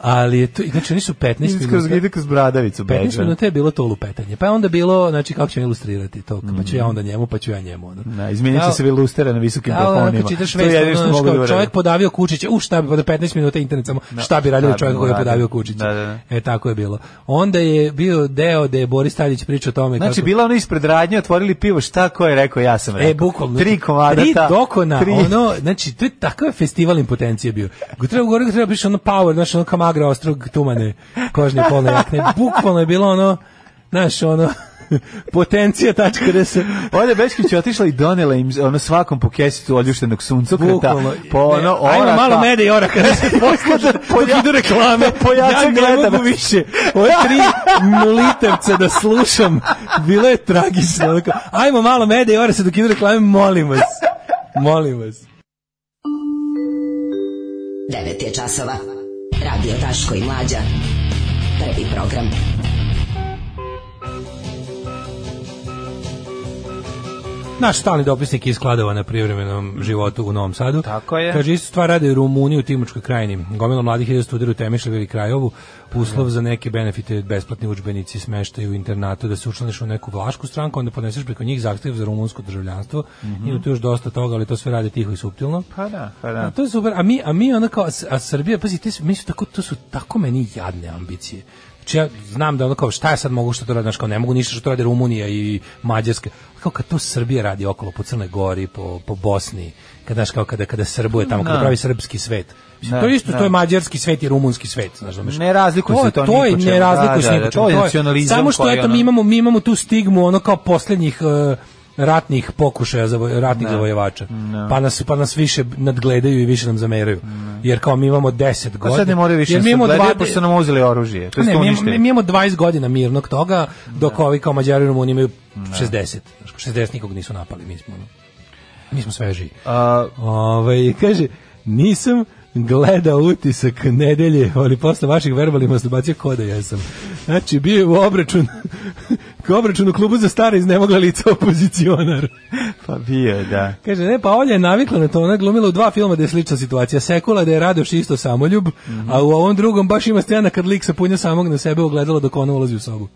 Speaker 7: Ali je to, znači oni su 15
Speaker 6: ide kroz,
Speaker 7: minuta.
Speaker 6: ide kroz bradavicu
Speaker 7: 15
Speaker 6: bedža.
Speaker 7: minuta je bilo to lupetanje. Pa je onda bilo, znači kako ćemo ilustrirati to, pa
Speaker 6: Mm.
Speaker 7: ću ja onda njemu, pa ću ja njemu. Ono.
Speaker 6: Na, izmenit će
Speaker 7: Kao-
Speaker 6: se vilustera na visokim
Speaker 7: Kao ono
Speaker 6: plafonima.
Speaker 7: kad čitaš
Speaker 6: To je
Speaker 7: vest,
Speaker 6: jedino što
Speaker 7: ono,
Speaker 6: mogu da
Speaker 7: što
Speaker 6: uradim.
Speaker 7: čovjek podavio kučića, u šta bi, pa da 15 minuta internet samo, šta bi radio
Speaker 6: šta bi
Speaker 7: čovjek koga je
Speaker 6: uradio.
Speaker 7: podavio kučića.
Speaker 6: Da, da, da.
Speaker 7: E, tako je bilo. Onda je bio deo da je Boris Tadić pričao o tome
Speaker 6: Znači,
Speaker 7: kako...
Speaker 6: bila ona ispred radnje, otvorili pivo, šta ko je rekao, ja sam rekao.
Speaker 7: E, bukvalno.
Speaker 6: Tri komada
Speaker 7: Tri
Speaker 6: ta-
Speaker 7: dokona,
Speaker 6: tri-
Speaker 7: ono, znači, to je takav festival impotencije bio. Go treba gore, treba piše ono power, znači ono kamagra ostrog tumane, kožne polne jakne. Bukvalno je bilo ono, znaš, ono, potencija tačka da se...
Speaker 6: Olja Bečkić je otišla i donela im ono svakom po kesicu oljuštenog suncokreta.
Speaker 7: Bukvalno.
Speaker 6: Po ono,
Speaker 7: Ne, ajmo
Speaker 6: oraka.
Speaker 7: malo mede i oraka da se posluže, dok idu reklame.
Speaker 6: da pojača
Speaker 7: ja ne
Speaker 6: gledano.
Speaker 7: mogu više. Ove tri mlitavce da slušam. Bilo je tragično. Onako, Ajmo malo mede i oraka dok idu reklame, molim vas. Molim vas.
Speaker 5: 9 je časova. Radio Daško i Mlađa. Prvi program.
Speaker 7: Naš stalni dopisnik je iz Kladova na privremenom životu u Novom Sadu.
Speaker 6: Tako je.
Speaker 7: Kaže, istu stvar rade u Rumuniji, u Timočkoj krajini. Gomila mladih ide studira u Temišljevu ili Krajovu. Uslov za neke benefite, besplatni učbenici, smeštaju u internatu, da se učlaniš u neku vlašku stranku, onda podneseš preko njih zahtjev za rumunsko državljanstvo.
Speaker 6: Mhm.
Speaker 7: Ima tu još dosta toga, ali to sve rade tiho i suptilno.
Speaker 6: Pa da, pa
Speaker 7: A
Speaker 6: da.
Speaker 7: to je super. A mi, a mi ono kao, a Srbija, pazi, te su, mi su tako, to su tako meni jadne ambicije. Znači ja znam da ono kao, šta ja sad mogu što to radi, znaš, kao ne mogu ništa što to radi Rumunija i Mađarska. Kao kad to Srbija radi okolo po Crnoj Gori, po, po Bosni, kad, znaš, kao kada, kada Srbuje tamo, kada
Speaker 6: Da.
Speaker 7: pravi srpski svet. Mislim,
Speaker 6: Da,
Speaker 7: to je isto,
Speaker 6: da.
Speaker 7: to je mađarski svet i rumunski svet, znaš, razumeš?
Speaker 6: Ne razlikuje se to
Speaker 7: To
Speaker 6: ni
Speaker 7: je
Speaker 6: po čemu.
Speaker 7: ne razlikuje
Speaker 6: Da,
Speaker 7: se
Speaker 6: da,
Speaker 7: ni po
Speaker 6: da,
Speaker 7: čemu.
Speaker 6: to je
Speaker 7: To je-
Speaker 6: nacionalizam
Speaker 7: Samo što
Speaker 6: koji,
Speaker 7: eto
Speaker 6: ono-
Speaker 7: mi imamo mi imamo tu stigmu ono kao posljednjih e, ratnih pokušaja za ratnih zavojevača. Pa nas pa nas više nadgledaju i više nam zameraju. Jer kao mi imamo 10
Speaker 6: Pa
Speaker 7: godina.
Speaker 6: sad ne moraju više
Speaker 7: jer mi
Speaker 6: se
Speaker 7: imamo
Speaker 6: gledaju,
Speaker 7: dva- Pa
Speaker 6: pošto su nam uzeli oružje. To
Speaker 7: ne,
Speaker 6: je
Speaker 7: mi,
Speaker 6: uništili.
Speaker 7: imamo- mi imamo 20 godina mirnog toga, dok ovi kao Mađari i Rumuni imaju 60. Znaš, 60 nikog nisu napali, mi smo, ono, mi smo sveži.
Speaker 6: A,
Speaker 7: Ovaj kaže, nisam gledao utisak nedelje, ali posle vaših verbalnih masturbacija koda ja sam. Znači, bio je u obračun, obračun u klubu za stare iznemogla lica opozicionar.
Speaker 6: pa bio je, da.
Speaker 7: Kaže, ne, pa Olja je navikla na to, ona je glumila u dva filma da je slična situacija. Sekula da je Radoš isto samoljub, a u ovom drugom baš ima scena kad lik se punja samog na sebe ogledala dok ona ulazi u sobu.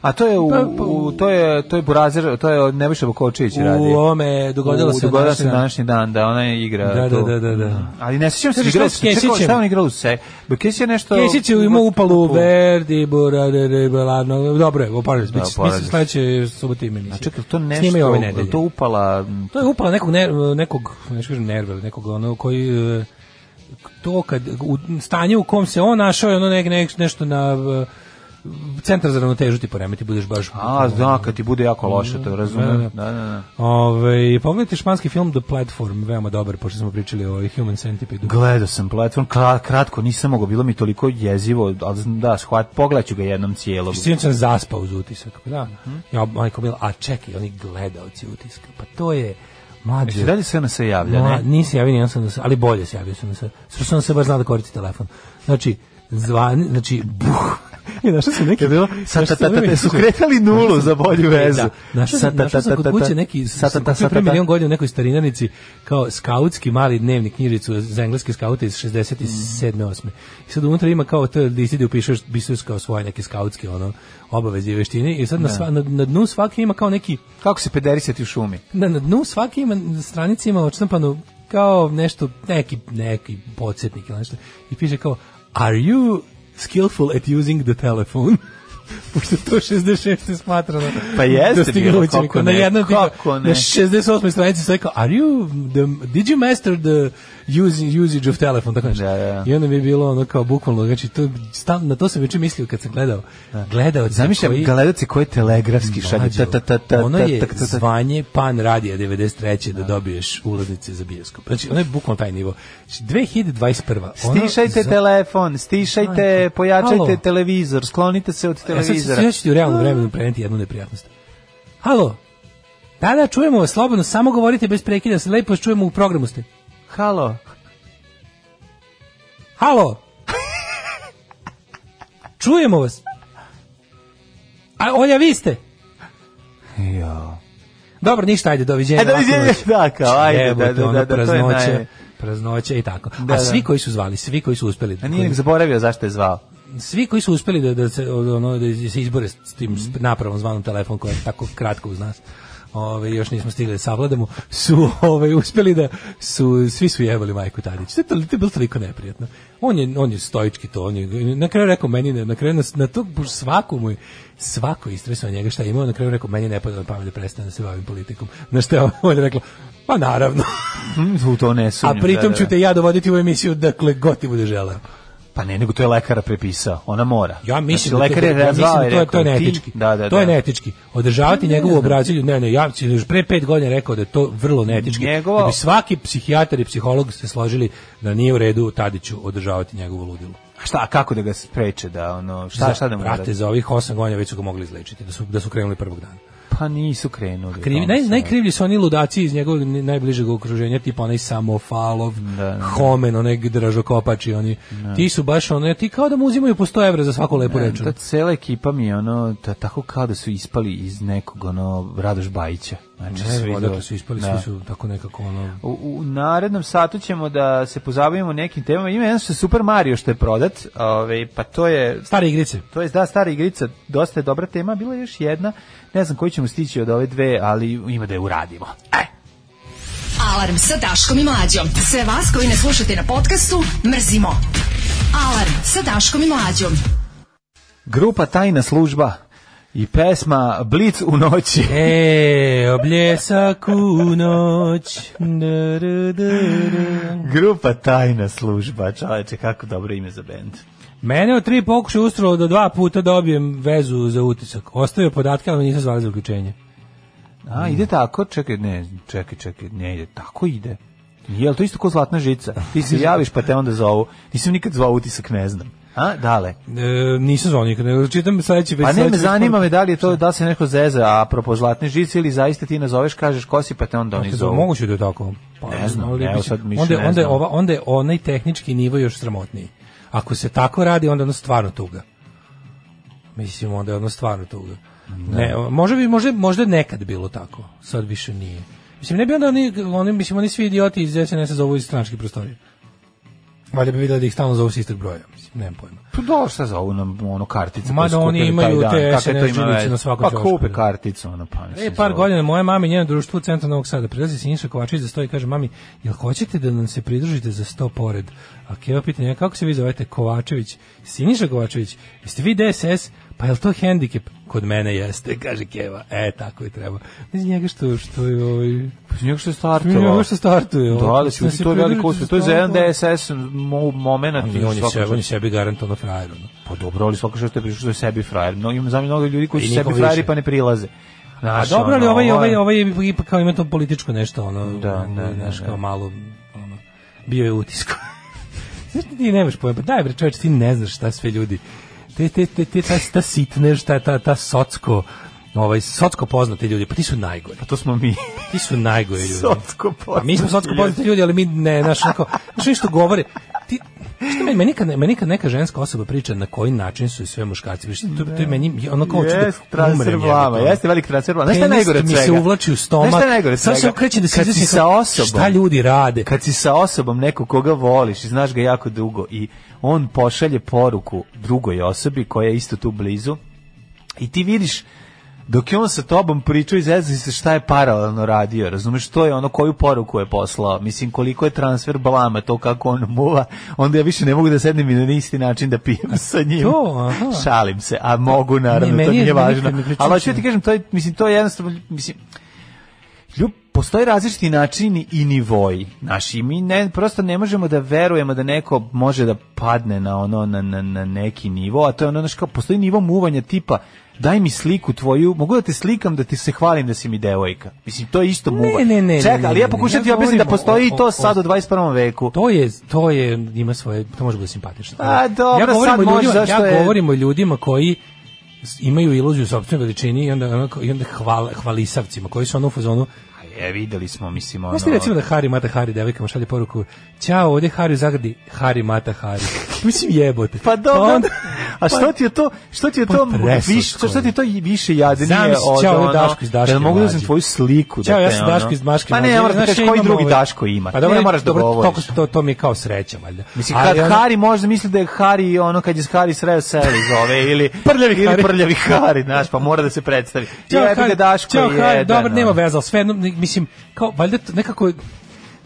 Speaker 6: A to je u,
Speaker 7: Pa, pa,
Speaker 6: u- to je to je Burazer, to je Nebojša Vukočević radi.
Speaker 7: U ovome dogodilo
Speaker 6: U-
Speaker 7: se
Speaker 6: dogodilo
Speaker 7: današnji dan.
Speaker 6: današnji dan, da ona je igra
Speaker 7: Da, da,
Speaker 6: tu.
Speaker 7: da, da, da.
Speaker 6: Ali ne sećam se
Speaker 7: Kaže,
Speaker 6: igrao
Speaker 7: što
Speaker 6: se.
Speaker 7: s
Speaker 6: Čekao,
Speaker 7: Kesićem?
Speaker 6: šta je on igrao u se? Bo Kesić je nešto
Speaker 7: Kesić je imao upalu Verdi, Burare, Belarno, dobro je, Oparović, bit će
Speaker 6: Oparović.
Speaker 7: mislim, sledeće subote ima emisija.
Speaker 6: A čekaj, Znači, to nešto,
Speaker 7: Snimaju ove
Speaker 6: je li
Speaker 7: nedelje.
Speaker 6: to
Speaker 7: To...
Speaker 6: upala m,
Speaker 7: je upala nekog, ner, nekog nešto kažem nerva, ili nekog ono koji... e, to kad, u stanje u kom se on našao je ono nek, nek, nešto na e, centar za ravnotežu ti poremeti, budeš baš...
Speaker 6: A, da, kad ti bude jako loše, to razumem. Da, da, da.
Speaker 7: Ove, pogledajte španski film The Platform, veoma dobar, pošto smo pričali o Human Centipede.
Speaker 6: Gledao sam platform, kra- kratko, nisam mogao, bilo mi toliko jezivo, ali znam da, shvat, pogledat ću ga jednom cijelom.
Speaker 7: Sinoć sam zaspao uz utisak, da.
Speaker 6: Mhm.
Speaker 7: Ja, majko, bila, a čekaj, oni gledalci utiska, pa to je... Mlađe,
Speaker 6: Jesi dalje se ona se javlja,
Speaker 7: Mla-
Speaker 6: ne?
Speaker 7: nisi javio nijedan sam da se, ali bolje se javio sam da se. Sve sam se baš znao da koristi telefon. Znači, zvani, znači, buh. I našao sam neki...
Speaker 6: Je bilo, sa ta- ta- ta- ta- su kretali nulu za bolju vezu.
Speaker 7: Da, našao
Speaker 6: Sa-
Speaker 7: sam,
Speaker 6: ta-
Speaker 7: našao sam
Speaker 6: ta- ta-
Speaker 7: kod
Speaker 6: ta-
Speaker 7: kuće neki,
Speaker 6: sa- ta-
Speaker 7: sam
Speaker 6: ta-
Speaker 7: kupio
Speaker 6: ta-
Speaker 7: pre
Speaker 6: ta-
Speaker 7: milion godina u nekoj starinarnici, kao skautski mali dnevni knjižicu za engleske skaute iz 67. 8. I sad unutra ima kao to, di si da upišeš, bisuješ kao svoje neke skautske ono, obaveze i veštine. I sad na, sva, na, na dnu svake ima kao neki
Speaker 6: Kako se pederisati u šumi?
Speaker 7: na, na dnu svake ima stranice ima odštampano kao nešto, neki, neki podsjetnik ili nešto. I piše kao, are you skillful at using the telephone? Pošto je to 66. smatrano.
Speaker 6: Pa jeste bilo,
Speaker 7: dostignućem.
Speaker 6: kako
Speaker 7: na
Speaker 6: ne,
Speaker 7: jednom tipa-
Speaker 6: kako ne.
Speaker 7: na 68. stranici sve kao, are you, the, did you master the using, usage of telephone? Tako nešto.
Speaker 6: Da, da.
Speaker 7: I onda mi je bilo ono kao bukvalno, znači, to, stal, na to sam već mislio kad sam gledao. Gledao
Speaker 6: Zamišljam gledalci koji telegrafski šalje.
Speaker 7: Mlađo,
Speaker 6: ta- ta- ta- ta-
Speaker 7: ono
Speaker 6: ta-
Speaker 7: je
Speaker 6: ta- ta- ta-
Speaker 7: zvanje pan radija 93. da dobiješ ulaznice za bioskop. Znači, ono je bukvalno taj nivo. Znači, 2021. ono
Speaker 6: Stišajte
Speaker 7: za-
Speaker 6: telefon, stišajte,
Speaker 7: Majko,
Speaker 6: pojačajte
Speaker 7: halo.
Speaker 6: televizor, sklonite se od
Speaker 7: E, sad, sad,
Speaker 6: televizora.
Speaker 7: sad ću ti u realnom vremenu preneti jednu neprijatnost. Halo, da, da, čujemo vas slobodno, samo govorite bez prekida, se lepo vas čujemo u programu ste.
Speaker 6: Halo.
Speaker 7: Halo! čujemo vas! A, Olja, vi ste!
Speaker 6: Jo.
Speaker 7: Dobro, ništa, ajde, doviđenja.
Speaker 6: E, doviđenja,
Speaker 7: laku noć.
Speaker 6: da, kao, ajde,
Speaker 7: Jebote,
Speaker 6: da, da,
Speaker 7: ono,
Speaker 6: da, da, to je
Speaker 7: praznoće,
Speaker 6: naj-
Speaker 7: praznoće i tako.
Speaker 6: Da,
Speaker 7: A
Speaker 6: da.
Speaker 7: svi koji su zvali, svi koji su uspeli,
Speaker 6: A nije nek zaboravio zašto je zvao.
Speaker 7: svi koji su uspeli da, da, se, ono, da se izbore s tim sp- napravom zvanom telefon koja je tako kratko uz nas, ove, još nismo stigli da savladamo, su ove, uspeli da su, svi su jebali Majku Tadić. To, je tol- to je bilo toliko neprijatno. On je, on je stojički to, on je, na kraju rekao meni, ne- na kraju na, na to baš svaku mu je, svako je istresao njega šta je imao, na kraju rekao meni ne pada na pamet da prestane da se bavim politikom. Na što je on rekla, pa naravno.
Speaker 6: U to ne sumnjam.
Speaker 7: Mhm. A pritom
Speaker 6: da,
Speaker 7: ću
Speaker 6: da.
Speaker 7: te ja dovoditi u emisiju dakle god ti bude želeo.
Speaker 6: Pa ne, nego to je lekara prepisao. Ona mora.
Speaker 7: Ja mislim
Speaker 6: znači,
Speaker 7: da,
Speaker 6: lekar
Speaker 7: to,
Speaker 6: je
Speaker 7: ja mislim
Speaker 6: zvao
Speaker 7: da
Speaker 6: i
Speaker 7: to, je, to je
Speaker 6: rekao, ti-
Speaker 7: neetički.
Speaker 6: Da, da,
Speaker 7: to je
Speaker 6: da.
Speaker 7: neetički. Održavati njegovu obrađelju, ne, ne, ja sam još pre pet godina rekao da je to vrlo neetički.
Speaker 6: Njegova-
Speaker 7: Da bi svaki psihijatar i psiholog se složili da nije u redu Tadiću održavati njegovu ludilu.
Speaker 6: A Šta, a kako da ga spreče da ono, šta, šta da mu
Speaker 7: Brate,
Speaker 6: radi?
Speaker 7: za ovih osam godina već su ga mogli izlečiti, da su, da su krenuli prvog dana.
Speaker 6: Pa nisu krenuli.
Speaker 7: Krivi,
Speaker 6: tamo
Speaker 7: naj,
Speaker 6: se-
Speaker 7: najkrivlji su oni ludaci iz njegovog ni- najbližeg okruženja, tipa onaj Samofalov,
Speaker 6: Da, da.
Speaker 7: Homen, onaj Dražokopač i oni. Ti su baš one, ti kao da mu uzimaju po 100 evra za svaku lepu
Speaker 6: Ne,
Speaker 7: reč.
Speaker 6: Ta cela ekipa mi je ono, ta, tako kao da su ispali iz nekog ono Radoš Bajića. Znači,
Speaker 7: Ne,
Speaker 6: svi
Speaker 7: odakle
Speaker 6: do-
Speaker 7: su ispali,
Speaker 6: Da.
Speaker 7: svi su tako nekako ono...
Speaker 6: U, u narednom satu ćemo da se pozabavimo nekim temama. Ima jedan što je Super Mario što je prodat, ovaj, pa to je
Speaker 7: Stare igrice.
Speaker 6: To je da stara igrica, dosta je dobra tema, bila je još jedna. Ne znam koju ćemo stići od ove dve, ali ima da je uradimo. E.
Speaker 5: Alarm sa Daškom i Mlađom. Sve vas koji ne slušate na podcastu, mrzimo. Alarm sa Daškom i Mlađom.
Speaker 6: Grupa Tajna služba i pesma Blic u noći.
Speaker 7: E, obljesak u noć. Da, da, da, da.
Speaker 6: Grupa Tajna služba, čoveče, kako dobro ime za bend.
Speaker 7: Mene od tri pokušaja ustralo da dva puta dobijem vezu za utisak. Ostavio podatke, ali me nisu zvali za uključenje.
Speaker 6: A, ide tako, čekaj, ne, čekaj, čekaj, ne ide, tako ide. Jel to isto ko zlatna žica? Ti se javiš pa te onda zovu. Nisam nikad zvao utisak, ne znam. A, dale.
Speaker 7: E, nisam zvao nikad, nego čitam sledeći već.
Speaker 6: Pa ne,
Speaker 7: sledeći
Speaker 6: me
Speaker 7: već
Speaker 6: zanima me da li je to, da li se neko zeza, a apropo zlatne žice ili zaista ti nazoveš, kažeš ko si, pa te onda oni
Speaker 7: Jel
Speaker 6: zovu.
Speaker 7: Moguće da Ono je tako. Pa,
Speaker 6: Ne znam,
Speaker 7: ali
Speaker 6: evo
Speaker 7: mislim,
Speaker 6: sad više
Speaker 7: onda,
Speaker 6: ne
Speaker 7: onda, je
Speaker 6: znam.
Speaker 7: ova, onda je onaj tehnički nivo još sramotniji. Ako se tako radi, onda je ono stvarno tuga. Mislim, onda je ono stvarno tuga. Ne, o, možda, bi, možda, možda je nekad bilo tako, sad više nije. Mislim, ne bi onda oni, oni, mislim, oni svi idioti iz SNS-a zovu iz stranačkih prostorija. Valjda bi vidjeli da ih stalno zovu s istog broja, mislim, nemam pojma.
Speaker 6: Pa da, šta zovu nam ono kartice?
Speaker 7: Mada
Speaker 6: koje su
Speaker 7: oni
Speaker 6: kupili
Speaker 7: imaju
Speaker 6: taj
Speaker 7: te
Speaker 6: dan, kakve to
Speaker 7: SNS
Speaker 6: ima
Speaker 7: žilice
Speaker 6: veze?
Speaker 7: na svakom
Speaker 6: Pa
Speaker 7: ćošku,
Speaker 6: kupe
Speaker 7: da.
Speaker 6: karticu, ono, pa mislim,
Speaker 7: E, par
Speaker 6: zovu.
Speaker 7: godina moja mama i njeno društvo u centru Novog Sada prilazi Sinjiša Kovačević za sto i kaže mami, jel hoćete da nam se pridružite za sto pored? A Keva pita njega, kako se vi zovete Kovačević? Siniša Kovačević, jeste vi DSS? pa je li to hendikep? Kod mene jeste, kaže Keva. E, tako je treba. Iz njega što, što je ovaj...
Speaker 6: Njega Pa što je
Speaker 7: Mi
Speaker 6: startovao.
Speaker 7: njega što startuje.
Speaker 6: Da,
Speaker 7: ovaj,
Speaker 6: ali
Speaker 7: što se
Speaker 6: to je veliko
Speaker 7: pridruži,
Speaker 6: uspjeh. To je za jedan DSS mo- momenat.
Speaker 7: Ali on je,
Speaker 6: Svaka
Speaker 7: sebi, on je
Speaker 6: čast.
Speaker 7: sebi garantovno frajer. Ono.
Speaker 6: Pa dobro, ali svaka što je prišao što je sebi frajer. No, imam znam mnogo ljudi koji
Speaker 7: I
Speaker 6: su
Speaker 7: niko
Speaker 6: sebi
Speaker 7: više.
Speaker 6: frajeri pa ne prilaze.
Speaker 7: A
Speaker 6: Znaš,
Speaker 7: dobro, ali
Speaker 6: ono,
Speaker 7: ovaj, ovaj, ovaj je ipak kao ima to političko nešto, ono,
Speaker 6: Da, da, da,
Speaker 7: znaš,
Speaker 6: da.
Speaker 7: kao malo, ono, bio je utisko. Znaš, ti nemaš pojma, pa daj bre, čovječ, ti ne znaš šta sve ljudi, te, te, te, te, ta, ta sitnež, ta, ta, ta socko, ovaj, socko poznati ljudi, pa ti su najgori,
Speaker 6: To smo mi.
Speaker 7: ti su najgori ljudi.
Speaker 6: Sotsko
Speaker 7: Pa mi smo socko poznati ljudi, ali mi ne, znaš, onako, znaš, oni što govore, ti, Što meni, meni, nikad, ne- meni nikad neka ženska osoba priča na koji način su sve muškarci, viš, to, to je meni ono kao hoću da
Speaker 6: Jeste transfer
Speaker 7: umrem,
Speaker 6: vlama,
Speaker 7: jebote, ono.
Speaker 6: jeste veliki transfer vlama. Znaš šta je
Speaker 7: Penis
Speaker 6: najgore od
Speaker 7: mi
Speaker 6: svega?
Speaker 7: se uvlači u stomak.
Speaker 6: Znaš šta je najgore od
Speaker 7: Sad se
Speaker 6: svega?
Speaker 7: okrećem da se
Speaker 6: Kad si
Speaker 7: izjasnim
Speaker 6: sa
Speaker 7: kako-
Speaker 6: osobom.
Speaker 7: Šta ljudi rade?
Speaker 6: Kad si sa osobom nekog koga voliš i znaš ga jako dugo i on pošalje poruku drugoj osobi koja je isto tu blizu i ti vidiš dok je on sa tobom pričao i zezao se šta je paralelno radio, razumeš, to je ono koju poruku je poslao, mislim koliko je transfer blama, to kako on muva, onda ja više ne mogu da sednem i na isti način da pijem sa njim.
Speaker 7: to, aha.
Speaker 6: Šalim se, a mogu naravno,
Speaker 7: Ne,
Speaker 6: to
Speaker 7: meni je-
Speaker 6: nije
Speaker 7: meni
Speaker 6: važno.
Speaker 7: nikad ne pričam
Speaker 6: Ali hoću
Speaker 7: čemu.
Speaker 6: ja ti kažem, to je, mislim, to je jednostavno, mislim, Ljub, postoje različiti načini i nivoji. Naši i mi ne, prosto ne možemo da verujemo da neko može da padne na ono na, na, na neki nivo, a to je ono znaš, kao postoji nivo muvanja tipa daj mi sliku tvoju, mogu da te slikam da ti se hvalim da si mi devojka. Mislim to je isto muvanje.
Speaker 7: ne, ne, ne,
Speaker 6: Čekaj, ali
Speaker 7: ne,
Speaker 6: ja
Speaker 7: ne,
Speaker 6: pokušam
Speaker 7: ja
Speaker 6: ti objasniti da
Speaker 7: govorim o-
Speaker 6: postoji i
Speaker 7: o- o-
Speaker 6: to sad u 21. veku.
Speaker 7: To je, to je, ima svoje, to može biti simpatično.
Speaker 6: A, Pa, dobro,
Speaker 7: ja govorim
Speaker 6: sad
Speaker 7: o
Speaker 6: može,
Speaker 7: ljudima,
Speaker 6: zašto
Speaker 7: ja
Speaker 6: je-
Speaker 7: govorim o ljudima koji s- imaju iluziju sopstvene veličini i onda, onako, i onda hval, hvalisavcima koji su ono u fazonu
Speaker 6: A je, videli smo, mislim, ono...
Speaker 7: Znaš ti recimo da Hari Mata Hari devojkama šalje poruku Ćao, ovdje je Hari u zagradi, Hari Mata Hari. Mislim jebote.
Speaker 6: Pa dobro.
Speaker 7: onda-
Speaker 6: a što ti je to, što ti je
Speaker 7: pa
Speaker 6: to
Speaker 7: preslatko
Speaker 6: više,
Speaker 7: je.
Speaker 6: što ti je to više jadnije
Speaker 7: Zamisli,
Speaker 6: od
Speaker 7: ćao,
Speaker 6: ono?
Speaker 7: Daško iz Daške
Speaker 6: Jel mogu da
Speaker 7: mlađe.
Speaker 6: uzmem tvoju sliku da
Speaker 7: Ćao, ja
Speaker 6: te,
Speaker 7: sam
Speaker 6: ono?
Speaker 7: Daško iz Maške.
Speaker 6: Pa
Speaker 7: mlađe.
Speaker 6: ne, ja moram da
Speaker 7: Znaš,
Speaker 6: kažeš
Speaker 7: ja
Speaker 6: koji
Speaker 7: imam
Speaker 6: drugi
Speaker 7: ovaj-
Speaker 6: Daško ima.
Speaker 7: Pa
Speaker 6: Ti ne
Speaker 7: dobro,
Speaker 6: moraš da
Speaker 7: dobro,
Speaker 6: govoriš.
Speaker 7: toliko- To, to mi je kao sreća, valjda.
Speaker 6: Mislim,
Speaker 7: Ali
Speaker 6: kad
Speaker 7: ono-
Speaker 6: Hari možda misli da je Hari ono kad je Hari sreo seli zove ili
Speaker 7: Prljavi
Speaker 6: ili
Speaker 7: Hari.
Speaker 6: prljavi Hari, znaš, pa mora da se predstavi.
Speaker 7: Ćao,
Speaker 6: Jebe
Speaker 7: Hari,
Speaker 6: ga Daško
Speaker 7: ono ćao, Hari,
Speaker 6: jedan,
Speaker 7: dobro, nema
Speaker 6: ono.
Speaker 7: veze, ali sve, jedno, ne- mislim, kao, valjda to nekako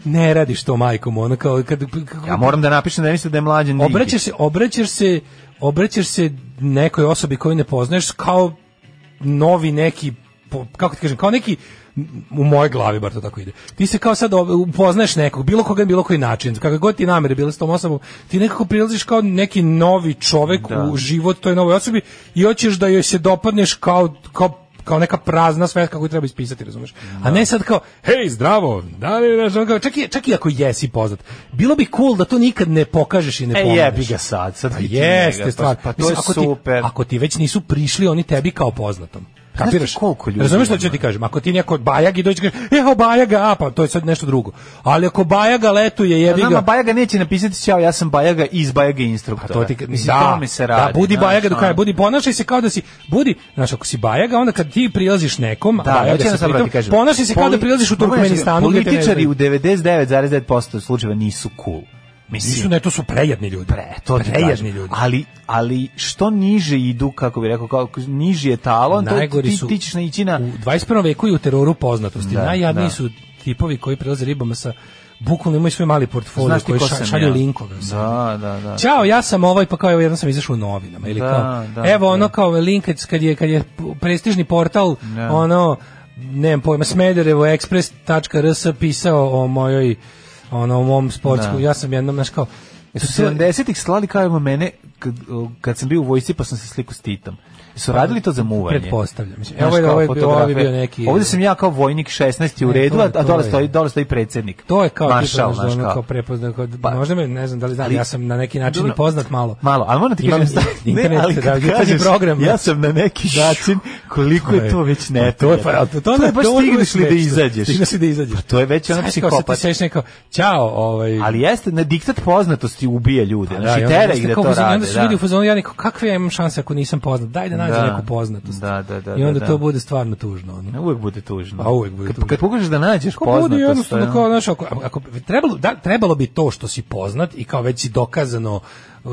Speaker 7: ne radiš to majkom, ono, kao, kad, kako-
Speaker 6: Ja moram da napišem da mislim da je mlađen Dinkić.
Speaker 7: obraćaš se, obraćaš se, obraćaš se nekoj osobi koju ne poznaješ kao novi neki, po- kako ti kažem, kao neki, u mojoj glavi bar to tako ide. Ti se kao sad ob- upoznaš nekog, bilo koga na bilo koji način, kako god ti namere bile s tom osobom, ti nekako prilaziš kao neki novi čovek u život toj novoj osobi i hoćeš da joj se dopadneš kao, kao kao neka prazna svetka koju treba ispisati, razumeš? A ne sad kao, hej, zdravo, da li, znaš, ono kao, čak, i, čak i ako jesi poznat, bilo bi cool da to nikad ne pokažeš i ne
Speaker 6: E
Speaker 7: pomeneš.
Speaker 6: jebi ga sad, sad
Speaker 7: Pa
Speaker 6: vidi njega,
Speaker 7: jeste
Speaker 6: pa-
Speaker 7: stvar.
Speaker 6: Pa to
Speaker 7: Mislim,
Speaker 6: je
Speaker 7: ako
Speaker 6: super. Pa
Speaker 7: Ti, ako ti već nisu prišli oni tebi kao poznatom.
Speaker 6: Znaš ti
Speaker 7: Kapiraš?
Speaker 6: koliko ljudi ono-
Speaker 7: Razumeš što
Speaker 6: ima?
Speaker 7: ću ti kažem? Ako ti neko bajag i dođe i kaže, evo bajaga, a pa to je sad nešto drugo. Ali ako bajaga letuje, jebi
Speaker 6: Nama
Speaker 7: ga.
Speaker 6: Bajaga neće napisati ćao, ja sam Bajaga iz Bajaga
Speaker 7: Pa
Speaker 6: instruktora.
Speaker 7: to ti,
Speaker 6: Mislim, to mi se radi.
Speaker 7: Da, budi
Speaker 6: znaš,
Speaker 7: bajaga do
Speaker 6: ono.
Speaker 7: kraja, budi, ponašaj se kao da si, budi, znaš, ako si bajaga, onda kad ti prilaziš nekom, a
Speaker 6: Da,
Speaker 7: bajaga
Speaker 6: hoću
Speaker 7: se
Speaker 6: jedno sad
Speaker 7: pritom,
Speaker 6: ti kažem.
Speaker 7: ponašaj se kao da
Speaker 6: Poli-
Speaker 7: prilaziš u
Speaker 6: Mogu ja ti kažem,
Speaker 7: Turkmenistanu. gde te ne
Speaker 6: Političari
Speaker 7: znaju.
Speaker 6: u 99,9% slučajeva nisu cool.
Speaker 7: Nisu,
Speaker 6: Mislim,
Speaker 7: ne, to su prejedni ljudi.
Speaker 6: pre, to ti
Speaker 7: prejedni
Speaker 6: kažem.
Speaker 7: ljudi.
Speaker 6: Ali, ali što niže idu, kako bi rekao, kako, niži je talon, to,
Speaker 7: Najgori
Speaker 6: ti,
Speaker 7: su-
Speaker 6: ti ćeš naići na...
Speaker 7: u 21. veku i u teroru poznatosti.
Speaker 6: Da,
Speaker 7: Najjadniji
Speaker 6: da.
Speaker 7: su tipovi koji prelaze ribama sa bukvalno imaju svoj mali portfolio
Speaker 6: Znaš ti
Speaker 7: koji
Speaker 6: ko
Speaker 7: ša,
Speaker 6: sam
Speaker 7: šalju
Speaker 6: ja?
Speaker 7: linkove.
Speaker 6: Da, da, da.
Speaker 7: Ćao, ja sam ovaj, pa kao evo jednom sam izašao u novinama ili
Speaker 6: Da,
Speaker 7: kao.
Speaker 6: da,
Speaker 7: evo ono
Speaker 6: da.
Speaker 7: kao link kad je kad je prestižni portal ono nemam pojma Smederevo express.rs pisao o mojoj ono o mom sportsku.
Speaker 6: Da.
Speaker 7: Ja sam jednom znaš kao
Speaker 6: Su
Speaker 7: to je-
Speaker 6: 70-ih slali kao evo mene, kad, kad sam bio u vojsci pa sam se sliku s Titom. Su radili to za muvanje?
Speaker 7: Pretpostavljam. Mislim,
Speaker 6: Znaš,
Speaker 7: Evo je, ovaj
Speaker 6: kao
Speaker 7: ovo je, bio- ovo je
Speaker 6: fotografije.
Speaker 7: bio neki...
Speaker 6: Ovdje sam ja kao vojnik 16 u
Speaker 7: Ne,
Speaker 6: redu,
Speaker 7: to je-
Speaker 6: a- a
Speaker 7: to
Speaker 6: dole
Speaker 7: je.
Speaker 6: stoji, dole stoji predsjednik.
Speaker 7: To je kao
Speaker 6: Maršal,
Speaker 7: tipa, znaš,
Speaker 6: znaš,
Speaker 7: ono,
Speaker 6: kao.
Speaker 7: kao prepoznao, kao,
Speaker 6: Pa-
Speaker 7: možda me, ne znam da li znam,
Speaker 6: Ali-
Speaker 7: ja sam na neki način i
Speaker 6: Dobro.
Speaker 7: poznat malo.
Speaker 6: Malo, ali moram ti
Speaker 7: Imam
Speaker 6: kažem,
Speaker 7: i- internet,
Speaker 6: ali kad
Speaker 7: da, jutarnji
Speaker 6: kažeš,
Speaker 7: program, da.
Speaker 6: Ja sam na neki način, koliko je to već ne.
Speaker 7: To je, Ovaj, pa, ali to,
Speaker 6: to je baš
Speaker 7: to
Speaker 6: stigneš li da
Speaker 7: smešno.
Speaker 6: izađeš.
Speaker 7: Stigneš li da izađeš.
Speaker 6: Pa to je već ono
Speaker 7: Znaš, kao sad
Speaker 6: psihopata.
Speaker 7: ti seš neko, čao, ovaj...
Speaker 6: Ali jeste, na diktat poznatosti ubija ljude.
Speaker 7: Pa i
Speaker 6: Znači,
Speaker 7: onda-
Speaker 6: tera
Speaker 7: znaš,
Speaker 6: ih da
Speaker 7: kao
Speaker 6: to
Speaker 7: u fazonu- i onda
Speaker 6: rade.
Speaker 7: su ljudi u
Speaker 6: da.
Speaker 7: fazonu, ja neko, kakve ja imam šanse ako nisam poznat? Daj da nađem
Speaker 6: Da.
Speaker 7: neku poznatost.
Speaker 6: Da, da, da,
Speaker 7: I onda
Speaker 6: da,
Speaker 7: to
Speaker 6: da.
Speaker 7: bude stvarno tužno. Ono.
Speaker 6: Uvijek bude tužno.
Speaker 7: A uvek bude
Speaker 6: Kad-
Speaker 7: tužno.
Speaker 6: Kad pokušaš da nađeš
Speaker 7: Ko
Speaker 6: poznatost.
Speaker 7: bude
Speaker 6: to je
Speaker 7: jednostavno
Speaker 6: ono-
Speaker 7: kao, znaš, ako, ako, trebalo, da, trebalo bi to što si poznat i kao već si dokazano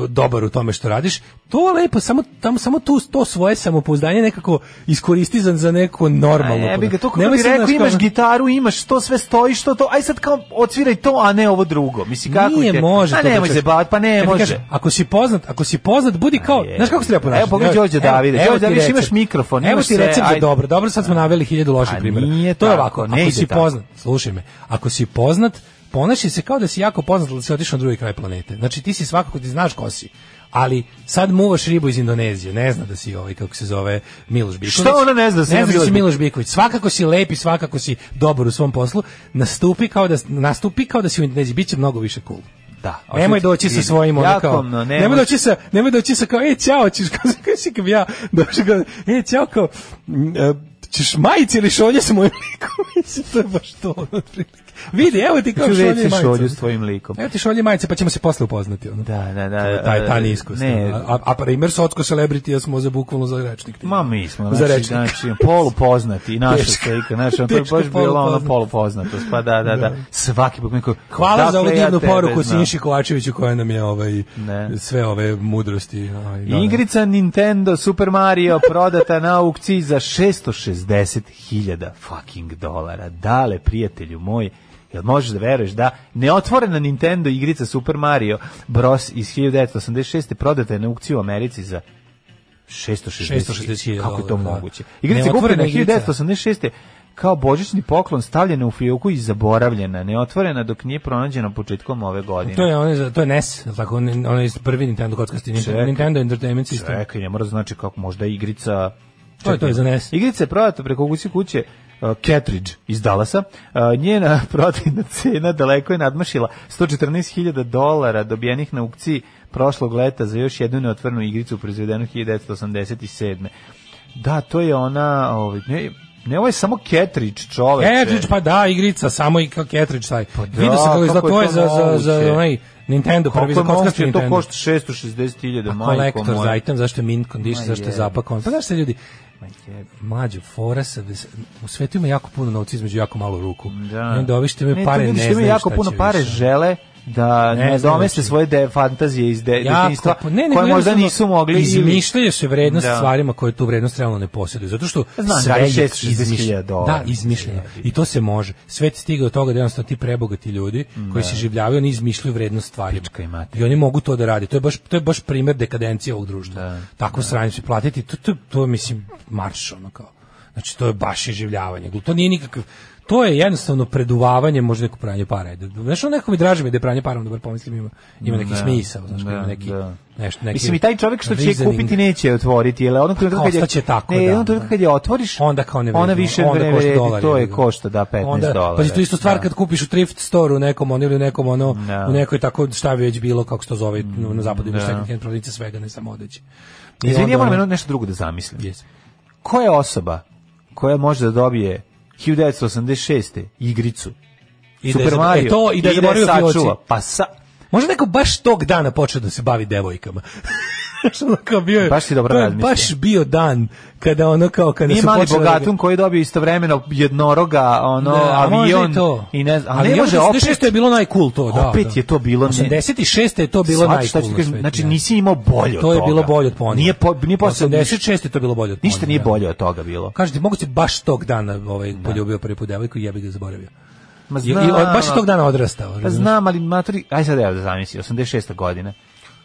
Speaker 7: e, dobar u tome što radiš, to lepo, samo, tamo, samo tu, to svoje samopouzdanje nekako iskoristi za, za neko normalno.
Speaker 6: Ne bi ga to kako
Speaker 7: Nemoj
Speaker 6: bi
Speaker 7: sad,
Speaker 6: rekao,
Speaker 7: znaš,
Speaker 6: imaš
Speaker 7: kao-
Speaker 6: gitaru, imaš to sve stoji, što to, aj sad kao odsviraj to, a ne ovo drugo. Mislim, kako
Speaker 7: Nije
Speaker 6: te...
Speaker 7: može.
Speaker 6: Pa
Speaker 7: to da
Speaker 6: nemoj
Speaker 7: čuješ.
Speaker 6: se baviti, pa ne
Speaker 7: Kad ti
Speaker 6: može.
Speaker 7: kažem, ako si poznat, ako si poznat, budi kao,
Speaker 6: je.
Speaker 7: znaš kako se treba ponašati.
Speaker 6: Evo, pogledaj Đorđe Davide.
Speaker 7: evo
Speaker 6: Đorđe
Speaker 7: ti
Speaker 6: Davide, imaš
Speaker 7: recept.
Speaker 6: mikrofon,
Speaker 7: Evo
Speaker 6: imaš
Speaker 7: ti
Speaker 6: sve,
Speaker 7: recept za
Speaker 6: ajde.
Speaker 7: dobro. Dobro, sad smo naveli hiljadu loših
Speaker 6: A
Speaker 7: primjera.
Speaker 6: nije
Speaker 7: to je
Speaker 6: tako,
Speaker 7: ovako,
Speaker 6: ne
Speaker 7: ako
Speaker 6: ide
Speaker 7: si
Speaker 6: tako.
Speaker 7: poznat, slušaj me, ako si poznat, ponašaj se kao da si jako poznat, ali si otišao na drugi kraj planete. Znači ti si svakako ti znaš ko si. Ali sad muvaš ribu iz Indonezije, ne zna da si ovaj, kako se zove, Miloš Biković.
Speaker 6: Šta ona ne zna da si
Speaker 7: ne zna da si
Speaker 6: Miloš
Speaker 7: Miloš Biković. Svakako si lep i svakako si dobar u svom poslu. Nastupi kao da, nastupi kao da si u Indoneziji, bit će mnogo više cool.
Speaker 6: Da,
Speaker 7: Nemoj
Speaker 6: očito-
Speaker 7: doći sa
Speaker 6: vidi,
Speaker 7: svojim ono
Speaker 6: jako
Speaker 7: kao.
Speaker 6: mno,
Speaker 7: Nemoj,
Speaker 6: nemoj-
Speaker 7: doći sa, nemoj doći sa kao, ej, ćao, ćeš kao, kao si kao ja, došao kao, ej, ćao, kao, m, e, ćeš majici ili šolje sa mojim likom, mislim, to je baš to, ono, otprilike. Vidi, evo ti kao
Speaker 6: Ću
Speaker 7: šolje
Speaker 6: reći
Speaker 7: i
Speaker 6: šolju
Speaker 7: majica.
Speaker 6: s tvojim likom.
Speaker 7: Evo ti šolje i majice, pa ćemo se posle upoznati, ono.
Speaker 6: Da, da, da.
Speaker 7: To je taj, taj iskus.
Speaker 6: Ne,
Speaker 7: A, a primer socko celebrity, ja smo za bukvalno za rečnik. ti.
Speaker 6: Ma mi smo,
Speaker 7: za
Speaker 6: znači,
Speaker 7: rečnik.
Speaker 6: znači polupoznati, i naša
Speaker 7: Teško.
Speaker 6: slika, znači, on to je
Speaker 7: Teško
Speaker 6: baš bilo ono
Speaker 7: polupoznat.
Speaker 6: polupoznatost, pa da, da, da, svaki put neko,
Speaker 7: Hvala za ovu
Speaker 6: odakle "Dakle, ja
Speaker 7: divnu
Speaker 6: tebe
Speaker 7: poruku
Speaker 6: znam?
Speaker 7: Sinši Kovačeviću koja nam je ovaj,
Speaker 6: Ne.
Speaker 7: sve ove mudrosti. Ovaj, donela.
Speaker 6: Igrica Nintendo Super Mario prodata na aukciji za 660.000 fucking dolara. Dale, prijatelju moj, jel možeš da veruješ da neotvorena Nintendo igrica Super Mario Bros iz 1986. prodata je na aukciji u Americi za 660.000.
Speaker 7: 660.000
Speaker 6: Kako je to
Speaker 7: dolara, da.
Speaker 6: moguće? Igrica je
Speaker 7: Neotvorena
Speaker 6: kupljena
Speaker 7: igrica.
Speaker 6: 1986. kao božićni poklon stavljena u fioku i zaboravljena, neotvorena dok nije pronađena početkom ove godine.
Speaker 7: To je onaj za- to je NES, jel tako, on onaj prvi Nintendo kockasti Nintendo,
Speaker 6: Čekaj.
Speaker 7: Nintendo Entertainment System.
Speaker 6: Čekaj, ne mora znači kako možda igrica...
Speaker 7: Pa To je- to je za NES.
Speaker 6: Igrica je prodata preko kući kuće uh, Ketridge iz Dallasa. Uh, njena prodajna cena daleko je nadmašila 114.000 dolara dobijenih na aukciji prošlog leta za još jednu neotvornu igricu proizvedenu 1987. Da, to je ona... Ovaj, ne, ne, ovo je samo Ketridge, čoveče.
Speaker 7: Cartridge, pa da, igrica, samo i kao Cartridge taj. Pa
Speaker 6: da,
Speaker 7: Vidio sam kako
Speaker 6: kako je
Speaker 7: izgleda, to je
Speaker 6: to
Speaker 7: za, za,
Speaker 6: moguće?
Speaker 7: za onaj Nintendo,
Speaker 6: Kako
Speaker 7: prvi za
Speaker 6: je
Speaker 7: kockasti
Speaker 6: moguće, to
Speaker 7: Nintendo.
Speaker 6: košta 660.000,
Speaker 7: A
Speaker 6: majko
Speaker 7: kolektor za
Speaker 6: moja.
Speaker 7: item, zašto je mint condition,
Speaker 6: Ma
Speaker 7: zašto je
Speaker 6: jebi.
Speaker 7: zapakovan. Pa znaš se ljudi,
Speaker 6: Ma jebe.
Speaker 7: mlađo, fora sa, u svetu ima jako puno novca između jako malo ruku.
Speaker 6: Da.
Speaker 7: I onda ovi što
Speaker 6: Ne,
Speaker 7: imaju
Speaker 6: to
Speaker 7: pare ne,
Speaker 6: ljudi što
Speaker 7: znaju
Speaker 6: imaju jako
Speaker 7: šta
Speaker 6: puno
Speaker 7: će
Speaker 6: pare
Speaker 7: više.
Speaker 6: žele da
Speaker 7: Ne
Speaker 6: ne,
Speaker 7: znaju
Speaker 6: domeste
Speaker 7: više.
Speaker 6: svoje de, fantazije iz de, detinjstva
Speaker 7: pu- ne, nego
Speaker 6: koje možda
Speaker 7: jednostavno
Speaker 6: nisu mogli ili-
Speaker 7: izmišljaju se vrednost
Speaker 6: Da.
Speaker 7: stvarima koje tu vrednost realno ne posjeduju zato što
Speaker 6: Znam,
Speaker 7: sve
Speaker 6: da,
Speaker 7: je
Speaker 6: 660.000
Speaker 7: izmišljeno.
Speaker 6: dolara.
Speaker 7: da izmišljeno i to se može svet stiga do toga da jednostavno ti prebogati ljudi koji se življavaju oni izmišljaju vrednost stvari
Speaker 6: Pička i mater.
Speaker 7: i oni mogu to da rade to je baš to je baš primer dekadencije ovog društva tako sranje se platiti to to to je, mislim marš ono kao znači to je baš iživljavanje to nije nikakav To je jednostavno preduvavanje možda neko pranje para. Znaš, ono neko mi draže mi je da je pranje para, ono dobar pomislim ima, ima neki smisao, znaš,
Speaker 6: da,
Speaker 7: ima neki,
Speaker 6: da.
Speaker 7: nešto, neki
Speaker 6: Mislim i taj čovjek što će
Speaker 7: reasoning. Pa
Speaker 6: kupiti neće je otvoriti, jer onog trenutka kad je
Speaker 7: ostaće tako,
Speaker 6: ne,
Speaker 7: da,
Speaker 6: jednog trenutka
Speaker 7: da.
Speaker 6: kad je otvoriš,
Speaker 7: Onda kao ne vredi,
Speaker 6: ona više
Speaker 7: onda
Speaker 6: ne
Speaker 7: košta
Speaker 6: vredi,
Speaker 7: dolar,
Speaker 6: to je
Speaker 7: jebi ga.
Speaker 6: košta da 15 dolara.
Speaker 7: Pa to isto stvar kad kupiš u thrift store u nekom ono ili u nekom ono
Speaker 6: Da. Mm,
Speaker 7: u nekoj tako šta je već bilo kako se to zove ono, na zapadu imaš second hand prodavnice svega ne samo odeće. I
Speaker 6: Izvini,
Speaker 7: onda
Speaker 6: ja moram
Speaker 7: ono-
Speaker 6: jedno- nešto drugo da zamislim.
Speaker 7: Yes.
Speaker 6: Koja je osoba koja može da dobije 1986. igricu
Speaker 7: I da je
Speaker 6: Super
Speaker 7: za-
Speaker 6: Mario
Speaker 7: e, to i da je zaboravio fioci.
Speaker 6: sačuva? Pa sa,
Speaker 7: Možda neko baš tog dana počeo da se bavi devojkama. Znaš, ono kao bio je,
Speaker 6: Baš si dobro
Speaker 7: to je
Speaker 6: razmislio.
Speaker 7: baš bio dan kada ono kao kada
Speaker 6: Nije
Speaker 7: su
Speaker 6: mali
Speaker 7: počele da ga-
Speaker 6: bogatun koji dobije istovremeno jednoroga ono
Speaker 7: Da, a možda
Speaker 6: avion
Speaker 7: i to.
Speaker 6: i ne znam, ali,
Speaker 7: Ali
Speaker 6: ne može opet.
Speaker 7: 86. je bilo najcool to, da.
Speaker 6: Opet
Speaker 7: da.
Speaker 6: je to bilo ne-
Speaker 7: 86. je to bilo
Speaker 6: Shvaćaš
Speaker 7: najcool.
Speaker 6: šta ću ti
Speaker 7: na
Speaker 6: kažem,
Speaker 7: svetu,
Speaker 6: znači
Speaker 7: da.
Speaker 6: nisi imao bolje od
Speaker 7: To je
Speaker 6: toga.
Speaker 7: bilo bolje od ponija.
Speaker 6: Nije po, nije posao-
Speaker 7: 86. je to bilo bolje od ponija.
Speaker 6: ništa nije
Speaker 7: da.
Speaker 6: bolje od toga bilo.
Speaker 7: Kažete, mogu se baš tog dana ovaj, poljubio prvi put devojku i ja bih ga zaboravio.
Speaker 6: Ma
Speaker 7: I, i, od- baš je tog dana odrastao.
Speaker 6: Pa
Speaker 7: razumeš?
Speaker 6: znam, ali maturi, aj sad evo da zamisli, 86. godina.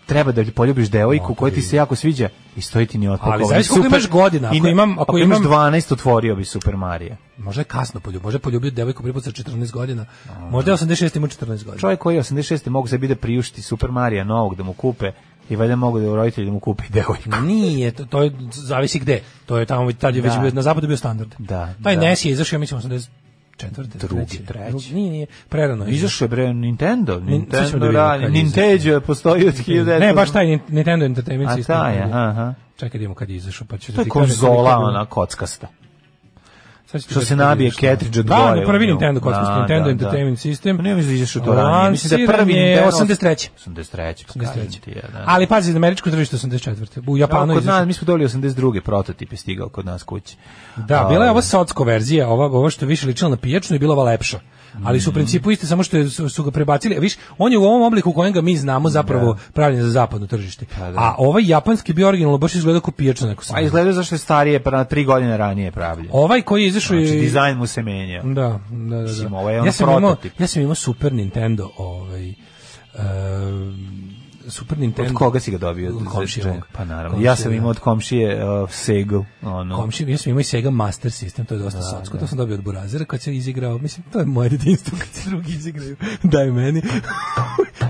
Speaker 6: Treba da poljubiš devojku koja ti se jako sviđa i stoji ti ni otpakovana.
Speaker 7: Ali zavisi koliko imaš godina, ako imam- ako
Speaker 6: imaš
Speaker 7: imam-
Speaker 6: 12, otvorio bi Super Mario.
Speaker 7: Možda je kasno poljubio, možda je poljubio devojku prvi put sa 14 godina. Možda je 86. imao 14 godina.
Speaker 6: Čovjek koji je 86. mogu sebi da priušti Super Mario novog da mu kupe i valjda mogu da u roditelji da mu kupe i devojku.
Speaker 7: Nije, to, to je, zavisi gde. To je tamo, tad je već
Speaker 6: Da.
Speaker 7: bio, na zapadu bio standard.
Speaker 6: Da,
Speaker 7: Taj
Speaker 6: da.
Speaker 7: NES je izašao, ja mislim, 84.
Speaker 6: Drugi,
Speaker 7: treći.
Speaker 6: treći.
Speaker 7: Drugi, nije, nije, prerano je.
Speaker 6: Pa Izašao je bre Nintendo,
Speaker 7: sad ćemo da
Speaker 6: Nintendo
Speaker 7: vidimo
Speaker 6: radi,
Speaker 7: kad je
Speaker 6: Nintendo je postoji od 1900.
Speaker 7: Ne, baš taj Nin- Nintendo Entertainment
Speaker 6: A
Speaker 7: System.
Speaker 6: taj je, aha.
Speaker 7: Čekaj da vidimo kad je izašao, pa ću
Speaker 6: To
Speaker 7: da
Speaker 6: je
Speaker 7: ti kažem koliko je
Speaker 6: konzola
Speaker 7: bilo.
Speaker 6: ona kockasta.
Speaker 7: Sad ću ti
Speaker 6: Što
Speaker 7: da
Speaker 6: se nabije
Speaker 7: šta.
Speaker 6: Cartridge od
Speaker 7: Da,
Speaker 6: gore
Speaker 7: na prvi
Speaker 6: u nju.
Speaker 7: Nintendo kockarski,
Speaker 6: Da,
Speaker 7: Nintendo
Speaker 6: da,
Speaker 7: Entertainment
Speaker 6: da.
Speaker 7: System.
Speaker 6: Pa ne mislim da išlo to ranije. Mislim da je prvi
Speaker 7: Lansiran je
Speaker 6: Nintendo-
Speaker 7: 83..
Speaker 6: 83. pa
Speaker 7: 83..
Speaker 6: kažem ti, ja, da.
Speaker 7: Ali pazi, za američko tržište 84. U
Speaker 6: Evo,
Speaker 7: Japanu je
Speaker 6: kod
Speaker 7: pa ono izašao-
Speaker 6: nas, mi smo dobili 82. prototip je stigao kod nas kući.
Speaker 7: Da, bila je ova socko verzija, ova ovo što je više ličila na pijačnu i bila ova lepša. Ali
Speaker 6: Mm.
Speaker 7: su u principu iste, samo što je- su, su ga prebacili. A Viš, on je u ovom obliku u kojem ga mi znamo zapravo pravljen za zapadno tržište.
Speaker 6: Pa da.
Speaker 7: A ovaj japanski bio originalno baš izgleda kao pijačna neko
Speaker 6: A izgledao zašto je starije, pa na tri godine ranije pravljen.
Speaker 7: Ovaj koji je izašao je...
Speaker 6: Znači, dizajn mu se menjao.
Speaker 7: Da, da, da.
Speaker 6: Mislim,
Speaker 7: da.
Speaker 6: ovo je ono
Speaker 7: ja sam imao,
Speaker 6: prototip.
Speaker 7: ja sam imao Super Nintendo, ovaj... em, Super Nintendo.
Speaker 6: Od koga si ga dobio?
Speaker 7: Od komšije
Speaker 6: Za-
Speaker 7: mog.
Speaker 6: Pa naravno.
Speaker 7: Komšije,
Speaker 6: ja sam imao
Speaker 7: da.
Speaker 6: od komšije uh, Segel. Ono.
Speaker 7: Komšije, ja sam imao i Sega Master System, to je dosta socsko, to sam dobio od Burazera kad se izigrao, mislim, to je moje jedinstvo kad se drugi izigraju, daj meni.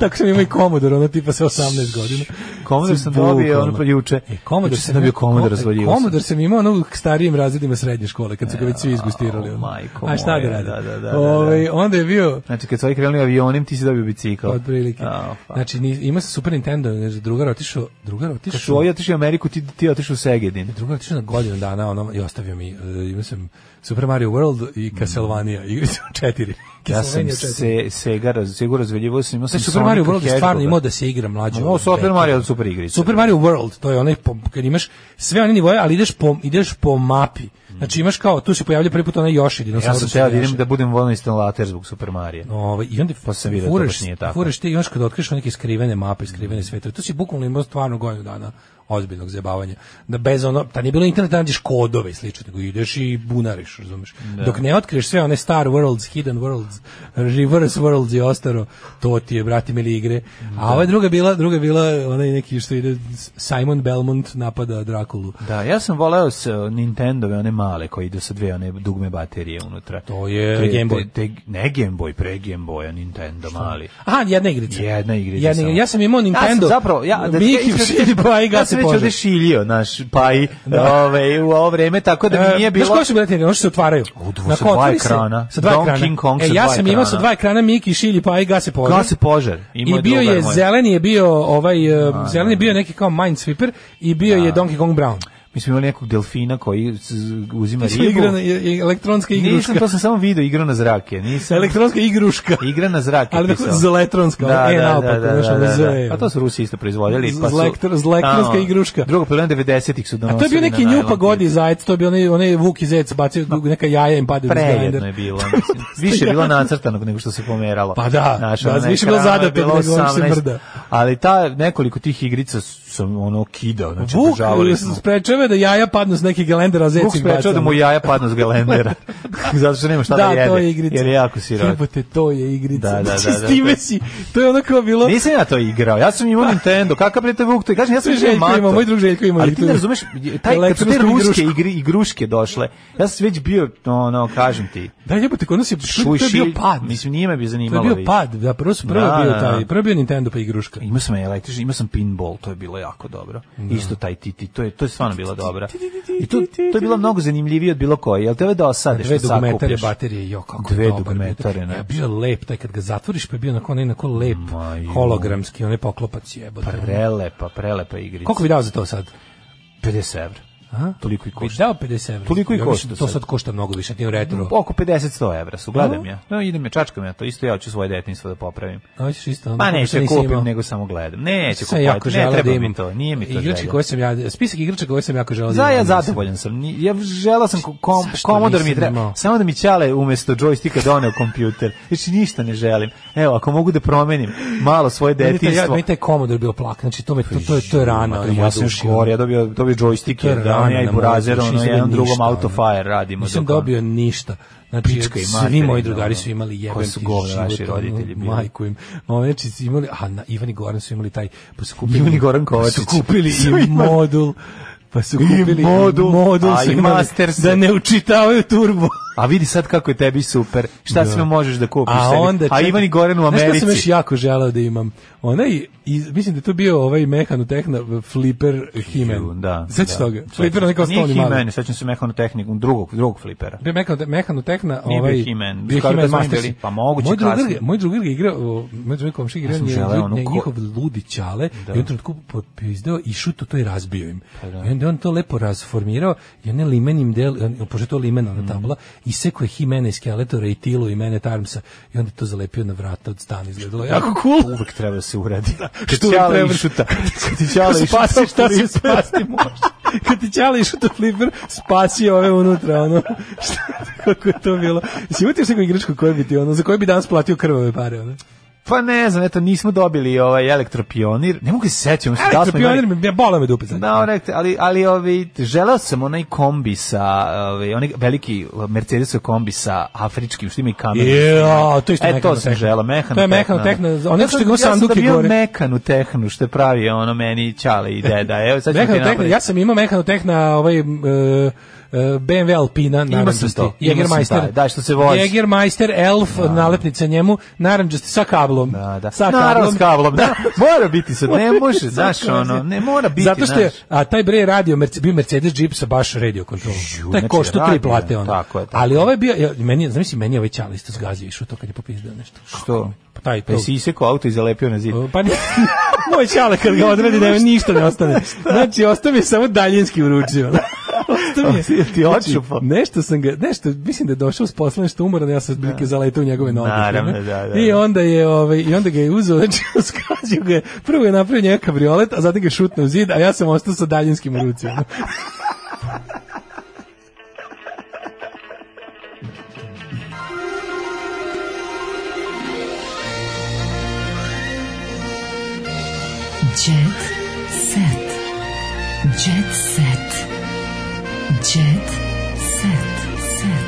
Speaker 7: Tako sam imao i Commodore, ono tipa sa 18 godina.
Speaker 6: Commodore sam dobio, ono, pa juče.
Speaker 7: E, Commodore
Speaker 6: Juče sam dobio Commodore, razvaljivo sam.
Speaker 7: Commodore sam imao ono u starijim razredima srednje škole, kad su ga već svi izgustirali.
Speaker 6: o,
Speaker 7: ono.
Speaker 6: majko
Speaker 7: A šta da
Speaker 6: moja,
Speaker 7: radi?
Speaker 6: da, da, da, da,
Speaker 7: Ovaj,
Speaker 6: da.
Speaker 7: onda je bio,
Speaker 6: Znači, kad su ovi krenuli avionim, ti si dobio bicikl.
Speaker 7: otprilike.
Speaker 6: A, fa.
Speaker 7: Znači, ni- ima se Super Nintendo, znači, drugar otišao, drugar
Speaker 6: Kad su
Speaker 7: otišao.
Speaker 6: ovi otišli u Ameriku, ti, ti otišao u Segedin.
Speaker 7: druga otišao na godinu dana ono, i ostavio mi, uh, imao sam Super Mario World i Castlevania, igri su četiri.
Speaker 6: Mm. Ja sam
Speaker 7: Castlevania četiri.
Speaker 6: se, Sega, raz, Sega razvaljivo sam, imao sam
Speaker 7: Taj Super Mario
Speaker 6: Sonica
Speaker 7: World je stvarno
Speaker 6: Hedgehoga.
Speaker 7: imao da se igra mlađe.
Speaker 6: Ovo Super Mario je super igrica.
Speaker 7: Super Mario World, to je onaj po, kad imaš sve one nivoje, ali ideš po, ideš po mapi. Znači imaš kao, tu se pojavlja prvi put onaj Yoshi.
Speaker 6: Mm. Ja sam teo da idem
Speaker 7: vidim
Speaker 6: da budem volno instalater zbog Super Marija.
Speaker 7: Ovaj i onda
Speaker 6: Pa sam vidio da to
Speaker 7: furaš,
Speaker 6: baš nije tako. Mm.
Speaker 7: furaš ti još kad otkriješ neke skrivene mape, skrivene svete. To si bukvalno imao stvarno godinu dana ozbiljnog zabavanja. Da bez ono, ta nije bilo interneta, nađeš kodove i slično, nego ideš i bunariš, razumeš. Dok ne otkriješ sve one Star Worlds, Hidden Worlds, Reverse Worlds i ostalo, to ti je, brati mili, igre. A ova je druga bila, druga je bila onaj neki što ide, Simon Belmont napada Drakulu.
Speaker 6: Da, ja sam voleo s uh, Nintendove, one male koji idu sa dve one dugme baterije unutra.
Speaker 7: To je
Speaker 6: Te-
Speaker 7: Game Boy.
Speaker 6: Te, te, ne Game Boy, pre Game Boya, Nintendo mali.
Speaker 7: Aha, jedna igrica.
Speaker 6: Jedna igrica
Speaker 7: Jedna
Speaker 6: samo.
Speaker 7: igrica. Ja sam imao Nintendo.
Speaker 6: Ja sam zapravo, ja, da ti
Speaker 7: Miki,
Speaker 6: kažem,
Speaker 7: Šilji, pa i
Speaker 6: ja
Speaker 7: gasi
Speaker 6: sam već
Speaker 7: požar.
Speaker 6: ovde šiljio naš paji ovaj, u ovo vreme, tako da mi nije bilo...
Speaker 7: E, Znaš koji su bili ti, oni što se otvaraju?
Speaker 6: U, dvo-
Speaker 7: Na
Speaker 6: sa dva
Speaker 7: otvori se-
Speaker 6: ekrana.
Speaker 7: Sa dva
Speaker 6: Donkey
Speaker 7: ekrana.
Speaker 6: Kong
Speaker 7: e,
Speaker 6: sa
Speaker 7: ja
Speaker 6: dva
Speaker 7: sam imao sa
Speaker 6: ekrana.
Speaker 7: dva ekrana Miki, Šilji, pa i Gase Požar.
Speaker 6: Gase požar. Imao
Speaker 7: I
Speaker 6: je
Speaker 7: bio
Speaker 6: drugar
Speaker 7: je,
Speaker 6: moj.
Speaker 7: zeleni je bio, ovaj, e, zeleni je bio neki kao Minesweeper i bio je Donkey Kong Brown.
Speaker 6: Mi smo imali nekog delfina koji z- uzima
Speaker 7: To su
Speaker 6: ribu.
Speaker 7: igra, na- je- je- elektronska igruška.
Speaker 6: Nisam, to sam samo video, igra na zrake. Nisam,
Speaker 7: Elektronska igruška.
Speaker 6: igra na zrake.
Speaker 7: Ali tako
Speaker 6: pisao.
Speaker 7: zeletronska, ono, e, naopako, znaš, ono, Z.
Speaker 6: A Pa to su Rusi isto proizvodili. Pa su,
Speaker 7: Zlektor- zlektorska
Speaker 6: Tamo,
Speaker 7: igruška.
Speaker 6: Drugo pa polovina 90-ih su
Speaker 7: A
Speaker 6: donosili.
Speaker 7: to je bio
Speaker 6: na
Speaker 7: neki
Speaker 6: najlon
Speaker 7: nju pa godi
Speaker 6: picu.
Speaker 7: zajec, to je bio onaj, onaj Vuk i zec, bacio neka jaja im pade u grinder.
Speaker 6: Prejedno je bilo. mislim. Više je bilo nacrtanog nego što se pomeralo.
Speaker 7: Pa da,
Speaker 6: Znaš,
Speaker 7: da,
Speaker 6: ono, na
Speaker 7: više je bilo
Speaker 6: ekranu
Speaker 7: zadatog
Speaker 6: bilo
Speaker 7: nego ono što se
Speaker 6: 18.
Speaker 7: brda.
Speaker 6: Ali ta, nekoliko tih igrica sam ono kidao. Znači,
Speaker 7: Vuk
Speaker 6: obožavali smo.
Speaker 7: sprečava da jaja padnu s nekih gelendera, a zec
Speaker 6: Vuk
Speaker 7: ih
Speaker 6: sprečao
Speaker 7: baca.
Speaker 6: da mu jaja padnu s galendera. Zato što nema šta da, jede.
Speaker 7: to je igrica.
Speaker 6: Jer je jako sirot.
Speaker 7: Jebote, to je igrica. Znači,
Speaker 6: Da, da, da,
Speaker 7: S
Speaker 6: da,
Speaker 7: time
Speaker 6: da.
Speaker 7: si, to je ono kao bilo...
Speaker 6: Nisam ja to igrao. Ja sam imao Nintendo. Kakav bre te Vuk to? Kažem ja sam
Speaker 7: Sve Željko
Speaker 6: mator.
Speaker 7: ima, moj drug Željko ima i
Speaker 6: Ali ti
Speaker 7: tu.
Speaker 6: ne razumeš, taj kad su te
Speaker 7: Elektronsku
Speaker 6: ruske
Speaker 7: igrušku.
Speaker 6: igre igruške došle. Ja sam već bio no no kažem ti.
Speaker 7: Da, jebote, kod nas je... To
Speaker 6: Šuj,
Speaker 7: je bio
Speaker 6: šilj,
Speaker 7: pad.
Speaker 6: Mislim nije me bi
Speaker 7: To je
Speaker 6: zanimalo.
Speaker 7: bio
Speaker 6: više.
Speaker 7: pad, da, prvo su prvo
Speaker 6: Da,
Speaker 7: bio
Speaker 6: da.
Speaker 7: taj, prvo bio Nintendo pa igruška.
Speaker 6: Imao sam električni, imao sam pinball, to je bilo jako dobro. Isto taj Titi, to je to je stvarno bila dobra. I to to je bilo mnogo zanimljivije od bilo koje. Jel te ove da osade
Speaker 7: Dve
Speaker 6: što
Speaker 7: dugmetare
Speaker 6: sakupljaš?
Speaker 7: baterije, jo, kako
Speaker 6: Dve
Speaker 7: je dobar. E,
Speaker 6: dugmetare, ne.
Speaker 7: Ja, bio je lep, taj kad ga zatvoriš, pa je bio onako onaj onako lep,
Speaker 6: Ma, jo.
Speaker 7: hologramski, onaj poklopac jebote.
Speaker 6: Pa Prelepa, prelepa igrica.
Speaker 7: Koliko bi dao za to sad?
Speaker 6: 50 evra.
Speaker 7: A?
Speaker 6: Toliko i
Speaker 7: Bi
Speaker 6: košta.
Speaker 7: dao 50 evra.
Speaker 6: Toliko i
Speaker 7: Ja mislim
Speaker 6: košta
Speaker 7: da To
Speaker 6: sad.
Speaker 7: sad košta mnogo više, ti retro.
Speaker 6: Oko 50-100 evra su, gledam
Speaker 7: No.
Speaker 6: ja. No, idem ja, čačkam ja to, isto ja hoću svoje detinjstvo da popravim.
Speaker 7: Hoćeš isto ono,
Speaker 6: Ma
Speaker 7: kako
Speaker 6: neću
Speaker 7: sad
Speaker 6: ja
Speaker 7: nisi
Speaker 6: Pa kupim,
Speaker 7: imao?
Speaker 6: nego samo gledam. Neću
Speaker 7: Sve jako
Speaker 6: kupovati, ne
Speaker 7: želim da
Speaker 6: treba
Speaker 7: imam.
Speaker 6: mi to, nije mi to
Speaker 7: igrače
Speaker 6: želja.
Speaker 7: koje sam ja, spisak igrača koje sam jako želeo
Speaker 6: Za
Speaker 7: imam.
Speaker 6: ja zadovoljan sam. Ni- Ja želeo sam ko- kom,
Speaker 7: Zašto
Speaker 6: komodor mi
Speaker 7: nisam
Speaker 6: treba.
Speaker 7: imao?
Speaker 6: Samo da mi ćale umesto džojstika doneo kompjuter. Znači ništa ne želim. Evo, ako mogu da promenim malo svoje
Speaker 7: Meni taj, ja,
Speaker 6: detinjstvo.
Speaker 7: meni taj Commodore bio plak, znači to, me, to, to, je, to je rana.
Speaker 6: Ma,
Speaker 7: ono,
Speaker 6: ja sam još
Speaker 7: duši, ono.
Speaker 6: gore, ja dobio, dobio
Speaker 7: To je
Speaker 6: džojstike, da
Speaker 7: rano
Speaker 6: on ja i
Speaker 7: na
Speaker 6: burazer,
Speaker 7: mozgu, znači,
Speaker 6: ono,
Speaker 7: izgleda
Speaker 6: jedan drugom
Speaker 7: ništa, ono.
Speaker 6: autofire radimo.
Speaker 7: Nisam
Speaker 6: dok ono-
Speaker 7: dobio ništa. Znači,
Speaker 6: Pička i
Speaker 7: svi
Speaker 6: materina,
Speaker 7: moji
Speaker 6: ono,
Speaker 7: drugari su imali jebem
Speaker 6: koje
Speaker 7: ti
Speaker 6: su govna
Speaker 7: život,
Speaker 6: naši
Speaker 7: ono,
Speaker 6: roditelji bili.
Speaker 7: Majku im. Ovo, znači, su imali, a na, Ivan i Goran su imali taj, pa su kupili,
Speaker 6: Ivan i Goran Kovačić.
Speaker 7: su kupili
Speaker 6: Su
Speaker 7: i
Speaker 6: imali-
Speaker 7: modul, pa su kupili i
Speaker 6: modul,
Speaker 7: modul
Speaker 6: a
Speaker 7: su
Speaker 6: i
Speaker 7: imali
Speaker 6: Masters.
Speaker 7: da ne učitavaju turbo.
Speaker 6: A vidi sad kako je tebi super. Šta sve možeš da kupiš
Speaker 7: A
Speaker 6: sebi?
Speaker 7: onda
Speaker 6: A
Speaker 7: čekaj,
Speaker 6: Ivan i Goran u
Speaker 7: Znaš šta sam
Speaker 6: Americi.
Speaker 7: još jako želeo da imam? Onaj I mislim da je to bio ovaj mehanotehna Flipper Himen.
Speaker 6: Da.
Speaker 7: Sećaš
Speaker 6: da.
Speaker 7: toga?
Speaker 6: Sećam
Speaker 7: Flipper onaj kao
Speaker 6: se.
Speaker 7: stoni
Speaker 6: Nije
Speaker 7: mali.
Speaker 6: He-Man, sećam se mehanotehniku, drugog, drugog flipera.
Speaker 7: Bio mehano, mehanotehna,
Speaker 6: Nije bio
Speaker 7: ovaj...
Speaker 6: He-Man, skoro kad smo mi
Speaker 7: Masters.
Speaker 6: bili, pa moguće
Speaker 7: moj drugar,
Speaker 6: kasnije.
Speaker 7: je- Moj drugar je igrao, o, moj drugar komšik igrao,
Speaker 6: sam
Speaker 7: njih-
Speaker 6: želeo onu
Speaker 7: njih-
Speaker 6: ko-
Speaker 7: njihov ludi ćale, i u jednom trenutku popizdeo i šuto to i razbio im.
Speaker 6: Pa
Speaker 7: I onda je on to lepo razformirao, i on je limenim del, on- pošto je to limena
Speaker 6: Mhm.
Speaker 7: na tabla, isekao je Himene Skeletora i Tilu i mene Tarmsa, i onda je to zalepio na vrata od stana, izgledalo je jako cool.
Speaker 6: Uvek treba da se uradi.
Speaker 7: Što
Speaker 6: Kad
Speaker 7: uvek
Speaker 6: ćale
Speaker 7: treba-
Speaker 6: išuta. Kad ti ćale Pa,
Speaker 7: Ako
Speaker 6: išuta.
Speaker 7: spasi šta se
Speaker 6: flipera.
Speaker 7: spasti može. Kad ti ćale išu to fliper, spasi ove unutra, ono. Šta, kako je to bilo? Jesi imate još neku igračku koju bi ti, ono, za koju bi danas platio krvave pare, ono?
Speaker 6: Pa ne znam, eto, nismo dobili ovaj elektropionir. Ne mogu da se sećam. mislim, da li smo imali-
Speaker 7: Elektropionir, me, bola me dupe. sad.
Speaker 6: Da, on rekte, ali, ali ovi, želeo sam onaj kombi sa, ovi, onaj veliki Mercedesov kombi sa afričkim, što ima i kameru.
Speaker 7: Ja, to je isto
Speaker 6: E, to sam
Speaker 7: mehanotehna.
Speaker 6: želeo, mehano
Speaker 7: To je mehanotehna, ono što ga u sanduke
Speaker 6: Ja sam
Speaker 7: gore.
Speaker 6: dobio mehanu tehnu, što je pravi ono meni čale i deda. Evo, sad ću ti
Speaker 7: Mehanotehna,
Speaker 6: napraviti.
Speaker 7: ja sam imao mehanotehna ovaj... e, e, BMW Alpina, naranđasti,
Speaker 6: to, imao sam taj,
Speaker 7: Jägermeister,
Speaker 6: da, što se vozi.
Speaker 7: Jägermeister Elf, nalepnica njemu, naranđasti sa kablom.
Speaker 6: Da, da.
Speaker 7: Sa
Speaker 6: Naravno,
Speaker 7: kablom.
Speaker 6: s kablom, da. Mora biti sad, ne može, znaš,
Speaker 7: Svaka
Speaker 6: ono,
Speaker 7: veze.
Speaker 6: ne mora biti,
Speaker 7: Zato što je,
Speaker 6: znaš.
Speaker 7: a taj bre je radio, Merce- bio Mercedes Jeep sa baš radio kontrolom.
Speaker 6: Ju,
Speaker 7: To je
Speaker 6: znači,
Speaker 7: košta tri
Speaker 6: radio,
Speaker 7: plate, ono.
Speaker 6: tako je, tako
Speaker 7: Ali ovaj je bio, ja, meni, je- zamisli, meni je ovaj čali isto zgazio išu to kad je popizdao nešto.
Speaker 6: Što?
Speaker 7: Pa taj
Speaker 6: Pa
Speaker 7: to-
Speaker 6: si isekao auto i zalepio na zid.
Speaker 7: O, Pa ni- moj čale kad ga odredi, nema ništa ne ostane. Znači, ostavi samo daljinski uručio. Ostavi Znači,
Speaker 6: Jel ti odšupao?
Speaker 7: nešto sam ga, nešto, mislim da je došao s posla nešto umoran, ja sam zbirke zaletao u njegove noge.
Speaker 6: Naravno,
Speaker 7: Ne?
Speaker 6: da, da.
Speaker 7: I onda je, ovaj, i onda ga je uzeo, znači, skazio ga je, prvo je napravio njega kabriolet, a zatim ga je šutnuo u zid, a ja sam ostao sa daljinskim uručima.
Speaker 5: Jet set. Jet set. Jet set. set.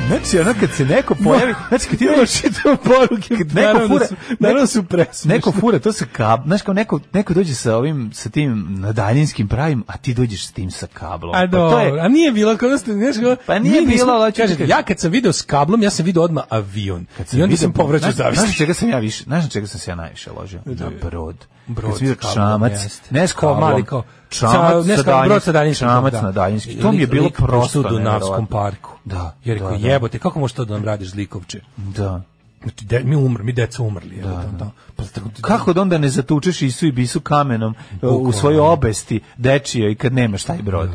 Speaker 6: Znači, ono kad se neko pojavi, znači kad ti imaš čitavu poruke, kad neko
Speaker 7: naravno
Speaker 6: fura,
Speaker 7: da su- naravno da su presmešne.
Speaker 6: Neko fura, to se kab, znaš kao neko, neko dođe sa ovim, sa tim na daljinskim pravim, a ti dođeš s tim sa kablom.
Speaker 7: A
Speaker 6: Pa to
Speaker 7: dobro,
Speaker 6: je-
Speaker 7: a nije bilo kao da ste, znaš, kao-
Speaker 6: Pa nije
Speaker 7: mi nismo-
Speaker 6: bilo, ali hoću ti
Speaker 7: kažem,
Speaker 6: kažem.
Speaker 7: ja kad sam video s kablom, ja sam video odmah avion.
Speaker 6: Kad
Speaker 7: I onda
Speaker 6: vidio-
Speaker 7: sam povraćao
Speaker 6: znaš-
Speaker 7: zavist.
Speaker 6: Znaš na čega sam ja više, znaš na čega sam se ja najviše ložio? Na brod.
Speaker 7: Brod
Speaker 6: Kad sam vidio
Speaker 7: s kablom,
Speaker 6: čamac,
Speaker 7: jeste.
Speaker 6: ne s
Speaker 7: Kao
Speaker 6: kablom,
Speaker 7: mali kao-
Speaker 6: čamac
Speaker 7: sa- ne s
Speaker 6: sa
Speaker 7: kablom, brod sa
Speaker 6: daljinski,
Speaker 7: daljinskim,
Speaker 6: čamac
Speaker 7: da.
Speaker 6: na daljinski. To mi je
Speaker 7: Lik-
Speaker 6: bilo
Speaker 7: lik prošao
Speaker 6: prosto
Speaker 7: u Dunavskom
Speaker 6: neverovatno.
Speaker 7: parku.
Speaker 6: Da.
Speaker 7: Jer rekao,
Speaker 6: da, da.
Speaker 7: jebote, kako možeš to da nam radiš zlikovče?
Speaker 6: Da.
Speaker 7: Znači, de, mi umr, mi deca umrli. Da, da. da. Pa, tako,
Speaker 6: Kako da onda ne zatučeš Isu i Bisu kamenom e, u
Speaker 7: Bukvalno.
Speaker 6: svojoj obesti dečijoj kad nemaš taj brod?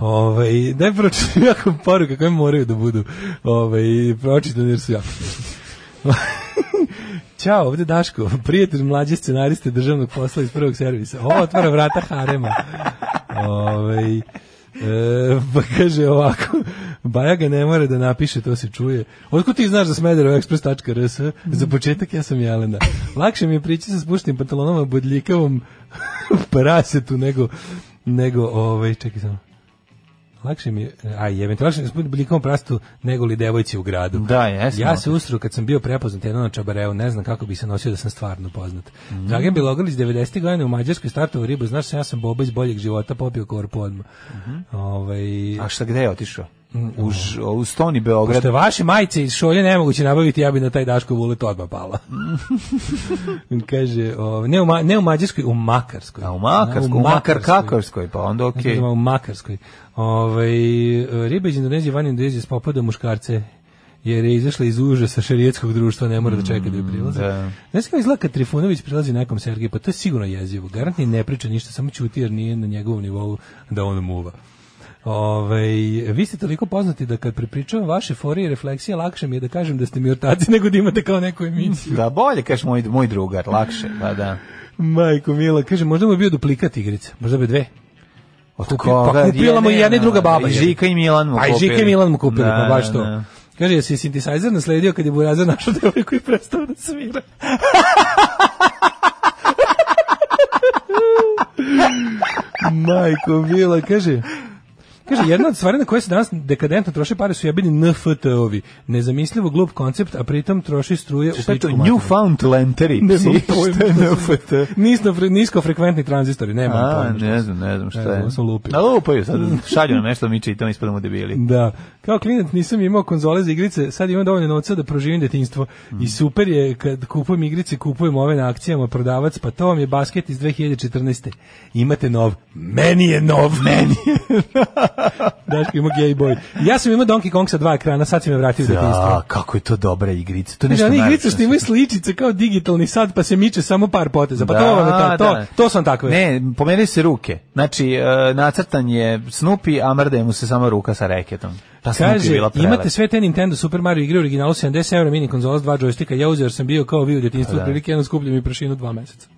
Speaker 7: Ovaj, daj pročitam jako poruka koje moraju da budu. Ovaj, pročitam jer su jako smiješne. Ćao, ovde Daško, prijatelj mlađe scenariste državnog posla iz prvog servisa. Ovo otvara vrata harema. Ovaj, e, pa kaže ovako, Baja ga ne mora da napiše, to se čuje. Otkud ti znaš za smederoexpress.rs? Za početak ja sam Jelena. Lakše mi je prići sa spuštenim pantalonama bodljikavom parasetu nego nego ovaj čekaj samo lakše mi je, a jebem, te, lakše mi je spod blikom prastu nego li devojci u gradu.
Speaker 6: Da, jesmo.
Speaker 7: Ja se ustru kad sam bio prepoznat jednom na čabareu, ne znam kako bi se nosio da sam stvarno poznat.
Speaker 6: Mhm.
Speaker 7: Dragan Bilogrlić, 90. godine u Mađarskoj startovo ribu, znaš se, ja sam boba iz boljeg života, popio korpu odmah. Ovaj,
Speaker 6: Mhm. A šta gde je otišao? U, Ž- u Stoni Beograd.
Speaker 7: Mm, Pošto je vaše majice iz šolje nemoguće nabaviti, ja bi na taj Daško Vulet odmah pala. Kaže, ovaj, ne, u, Ma- ne u Mađarskoj, u Makarskoj.
Speaker 6: A u Makarskoj, u Makar Kakarskoj, pa onda okej.
Speaker 7: Okay. U Makarskoj. Ove, ribe iz Indonezije, van Indonezije s popadom muškarce jer je izašla iz užasa šerijetskog društva, ne mora da čeka da je prilaze.
Speaker 6: da.
Speaker 7: Znaš kako izgleda kad Trifunović prilazi nekom Sergeju, pa to je sigurno jezivo. Garant ni ne priča ništa, samo ćuti jer nije na njegovom nivou da on muva. Ove, vi ste toliko poznati da kad prepričavam vaše fore i refleksije, lakše mi je da kažem da ste mi ortaci nego da imate kao neku emisiju.
Speaker 6: Da, bolje, kažeš, moj, moj drugar, lakše, pa da.
Speaker 7: Majko Mila, kaže, možda mu je bio duplikat igrice, možda bi dve.
Speaker 6: Od Pa
Speaker 7: Kupi- pa kupila mu i jedna i druga baba.
Speaker 6: I
Speaker 7: je li?
Speaker 6: Žika i Milan mu
Speaker 7: A
Speaker 6: kupili.
Speaker 7: i Žika i Milan mu kupili,
Speaker 6: Da,
Speaker 7: pa baš
Speaker 6: da,
Speaker 7: to.
Speaker 6: da.
Speaker 7: Kaže, jesi synthesizer nasledio kad je Burazar našao devojku i prestao da svira? Majko Mila, kaže... Kaže, jedna od stvari na koje se danas dekadentno troše pare su jebeni NFTO-vi. Nezamislivo glup koncept, a pritom troši struje u
Speaker 6: Šta je Pa to?
Speaker 7: pičku materinu.
Speaker 6: Newfoundlanderi?
Speaker 7: Nemam
Speaker 6: psi?
Speaker 7: pojma.
Speaker 6: Šta je NFT?
Speaker 7: Nisno, niskofrekventni tranzistori, nemam
Speaker 6: A,
Speaker 7: pojma.
Speaker 6: ne znam, ne znam šta
Speaker 7: Ne znam,
Speaker 6: je.
Speaker 7: sam lupio.
Speaker 6: A lupaju sad, šalju nam nešto, mi čitamo, ispadamo debili.
Speaker 7: Da. Kao klinac nisam imao konzole za igrice, sad imam dovoljno novca da proživim detinjstvo.
Speaker 6: Mm.
Speaker 7: I super je kad kupujem igrice, kupujem ove na akcijama prodavac, pa to vam je basket iz 2014. Imate nov. Meni je nov. Meni. Daško ima gay boy. Ja sam imao Donkey Kong sa dva ekrana, sad si me vratio u detinjstvo.
Speaker 6: Da, kako je to dobra igrica. To je
Speaker 7: Znači,
Speaker 6: nešto
Speaker 7: one igrice
Speaker 6: najlepše
Speaker 7: što imaju sličice kao digitalni sad, pa se miče samo par poteza. Pa
Speaker 6: Da,
Speaker 7: to vam je ta, to,
Speaker 6: da.
Speaker 7: to sam takve.
Speaker 6: Ne, pomerili se ruke. Znači, e, nacrtan je Snoopy, a mrde mu se samo ruka sa reketom. Ta Snoopy je
Speaker 7: Kaže,
Speaker 6: bila prelepa.
Speaker 7: imate sve te Nintendo Super Mario igre u originalu 70 eura mini konzola s dva džojstika, ja uzeo jer sam bio kao vi u djetinjstvu, otprilike jedno skupljam i prašinu dva meseca.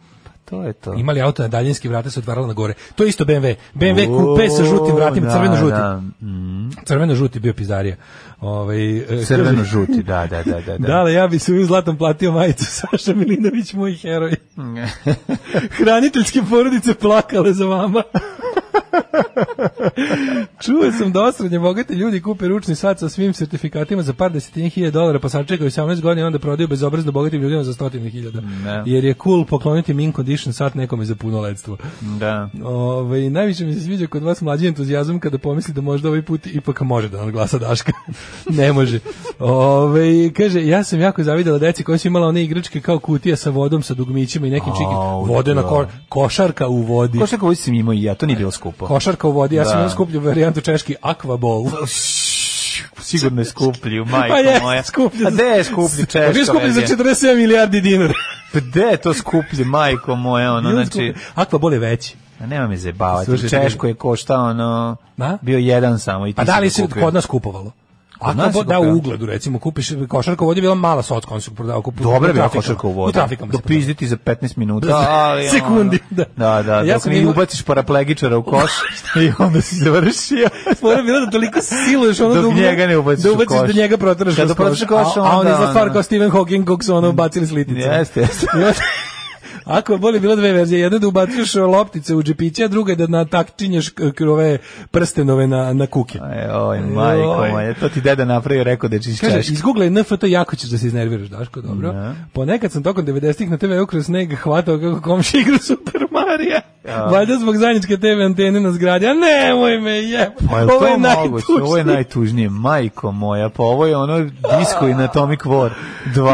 Speaker 6: To je to.
Speaker 7: Imali auto na daljinski, vrata se otvarala na gore. To je isto BMW. BMW kupe sa žutim vratima,
Speaker 6: O,
Speaker 7: crveno-žuti.
Speaker 6: Da, da. Mm,
Speaker 7: Crveno-žuti bio pizdarija. Ovaj, e, kaže-
Speaker 6: Crveno-žuti, da, da, da. da,
Speaker 7: Da,
Speaker 6: da.
Speaker 7: ali ja bi se u zlatom platio majicu Saša Milinović, moj heroj. Hraniteljske porodice plakale za vama. Čuo sam da osrednje bogate ljudi kupe ručni sat sa svim sertifikatima za par desetinje hiljada dolara, pa sad čekaju 18 godina i onda prodaju bezobrazno bogatim ljudima za stotine hiljada.
Speaker 6: Ne.
Speaker 7: Jer je cool pokloniti im in condition sat nekome za punoledstvo.
Speaker 6: da.
Speaker 7: Ove, Ovaj, najviše mi se sviđa kod vas mlađi entuzijazam kada pomisli da možda ovaj put ipak može da nam glasa Daška. ne može. Ove, kaže, ja sam jako zavidela deci koja su imala one igračke kao kutija sa vodom, sa dugmićima i nekim
Speaker 6: Au,
Speaker 7: čikim. Vodena
Speaker 6: da.
Speaker 7: ko- košarka u vodi.
Speaker 6: Ko što kao sam imao i ja, to nije bilo skupo.
Speaker 7: Košarka u vodi, ja sam
Speaker 6: Da.
Speaker 7: imao skuplju varijantu češki Aquaball.
Speaker 6: Sigurno je skuplju,
Speaker 7: Pa
Speaker 6: majko
Speaker 7: je,
Speaker 6: moja.
Speaker 7: skuplju.
Speaker 6: A gde je skuplju češko?
Speaker 7: Bio skuplji za
Speaker 6: veze?
Speaker 7: 47 milijardi dinara.
Speaker 6: Pa Gde je to skuplju, majko moja, ono,
Speaker 7: Bio
Speaker 6: znači...
Speaker 7: skuplji. Aquaball je veći.
Speaker 6: A nema me zajebavati.
Speaker 7: Slušaj,
Speaker 6: U Češkoj je košta ono...
Speaker 7: Da?
Speaker 6: Bio jedan samo i ti
Speaker 7: Pa
Speaker 6: si
Speaker 7: da
Speaker 6: ga
Speaker 7: li se
Speaker 6: kupio.
Speaker 7: kod nas kupovalo?
Speaker 6: Kod
Speaker 7: Kod
Speaker 6: nas
Speaker 7: nas
Speaker 6: se
Speaker 7: da
Speaker 6: kupio.
Speaker 7: u ugledu recimo kupiš košarka vodi je bila mala sa otkon su prodao kupu.
Speaker 6: Dobra je bila
Speaker 7: trafikama.
Speaker 6: košarka u
Speaker 7: U
Speaker 6: vodu.
Speaker 7: trafikama. se prodavao.
Speaker 6: Dopizditi za 15 minuta. ali, ono,
Speaker 7: Sekundi, da.
Speaker 6: Da, da,
Speaker 7: Ja
Speaker 6: dok
Speaker 7: sam
Speaker 6: ne
Speaker 7: imao-
Speaker 6: ubaciš paraplegičara u koš i onda si završio.
Speaker 7: Fora je bila da toliko siluješ ono
Speaker 6: Dok
Speaker 7: da ugle-
Speaker 6: njega ne ubaciš
Speaker 7: da
Speaker 6: u
Speaker 7: ubaciš
Speaker 6: koš.
Speaker 7: da njega proteraš
Speaker 6: Kad
Speaker 7: kroz
Speaker 6: proteraš koš,
Speaker 7: A, a on
Speaker 6: onda,
Speaker 7: je za stvar
Speaker 6: ono- Mm.
Speaker 7: kao Stephen Hawking kog su ono bacili s litice.
Speaker 6: Jeste, jeste.
Speaker 7: I onda- Ako je bolje bilo dve verzije, jedna je da ubacuješ loptice u džepiće, a druga je da natakčinješ k- k- ove prstenove na, na kuke.
Speaker 6: E, oj, majko
Speaker 7: Joj.
Speaker 6: moja, to ti deda napravio, rekao da ćeš iz
Speaker 7: Kaže,
Speaker 6: Češke.
Speaker 7: iz Google NFT jako ćeš da se iznerviraš, Daško, dobro. Ponekad sam tokom 90-ih na TV-u kroz sneg hvatao kako komši igru Super Marija. Valjda zbog zajedničke TV antene na zgradi. A nemoj me jeb.
Speaker 6: Ma je to moguće? Ovo je najtužnije, majko moja, pa ovo je ono disco i Atomic War 2.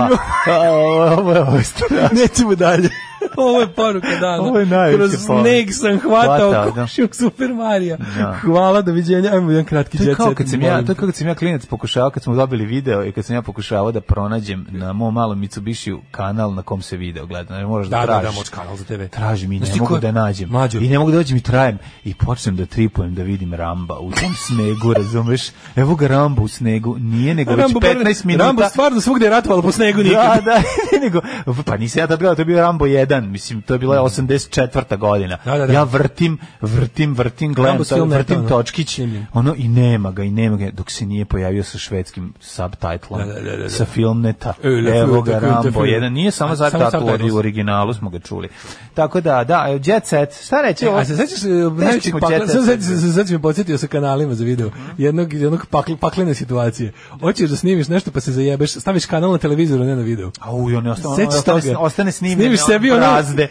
Speaker 6: A, Ovo je, ovo je, ovo je strašno.
Speaker 7: Nećemo dalje. Ovo je poruka dana.
Speaker 6: Ovo je najveća
Speaker 7: Kroz
Speaker 6: poruka.
Speaker 7: sneg sam hvatao
Speaker 6: Hvatao, da.
Speaker 7: komšijog Super Marija.
Speaker 6: Da.
Speaker 7: Hvala, doviđenja. Ajmo jedan kratki
Speaker 6: To je
Speaker 7: jet
Speaker 6: kao
Speaker 7: set,
Speaker 6: kad sam ja,
Speaker 7: molim.
Speaker 6: to je kao kad sam ja klinac pokušavao, kad smo dobili video i kad sam ja pokušavao da pronađem na mom malom Mitsubishiju kanal na kom se video gleda. Ne moraš da,
Speaker 7: Da, da,
Speaker 6: tražiš.
Speaker 7: da, moć kanal za TV.
Speaker 6: Tražim i ne
Speaker 7: Znaš ti
Speaker 6: mogu
Speaker 7: ko-
Speaker 6: da nađem.
Speaker 7: Mlađo.
Speaker 6: I ne mogu da dođem i trajem. I počnem da tripujem da vidim Ramba u tom snegu, razumeš? Evo ga Ramba u snegu. Nije nego već
Speaker 7: Rambo,
Speaker 6: 15 minuta.
Speaker 7: Rambo stvarno svugde je ratovalo po snegu nikad.
Speaker 6: Da, da, nego, pa nisam ja tad gledao, to je bio Rambo 1, mislim, to je bila 84. godina.
Speaker 7: Mm. Da, da, da.
Speaker 6: Ja vrtim, vrtim, vrtim, gledam,
Speaker 7: Rambo
Speaker 6: to,
Speaker 7: film
Speaker 6: vrtim
Speaker 7: leto, ono,
Speaker 6: točkić,
Speaker 7: snimljen.
Speaker 6: ono, i nema ga, i nema ga, dok se nije pojavio sa švedskim subtitlom,
Speaker 7: Da, da, da, da.
Speaker 6: sa filmneta,
Speaker 7: E, da,
Speaker 6: evo
Speaker 7: film,
Speaker 6: ga
Speaker 7: da, film, da,
Speaker 6: Rambo
Speaker 7: film.
Speaker 6: 1, nije samo
Speaker 7: A, samo
Speaker 6: subtitle,
Speaker 7: subtitles.
Speaker 6: u originalu smo ga čuli. Tako da, da, e, Jet Set, šta reći? ovo?
Speaker 7: A se sećaš e,
Speaker 6: Teško
Speaker 7: najvećih
Speaker 6: ćemo
Speaker 7: pakla,
Speaker 6: Jet Set.
Speaker 7: sad sad se sad si me podsjetio sa kanalima za
Speaker 6: Mhm.
Speaker 7: video. Jednog jednog pakl, paklene situacije. Hoćeš da snimiš nešto pa se zajebeš, staviš kanal na televizoru, ne na video.
Speaker 6: Au, i Pa on je ostane,
Speaker 7: Sećaš
Speaker 6: ostane,
Speaker 7: toga?
Speaker 6: ostane snimljen,
Speaker 7: Snimiš sebi ono-
Speaker 6: razde,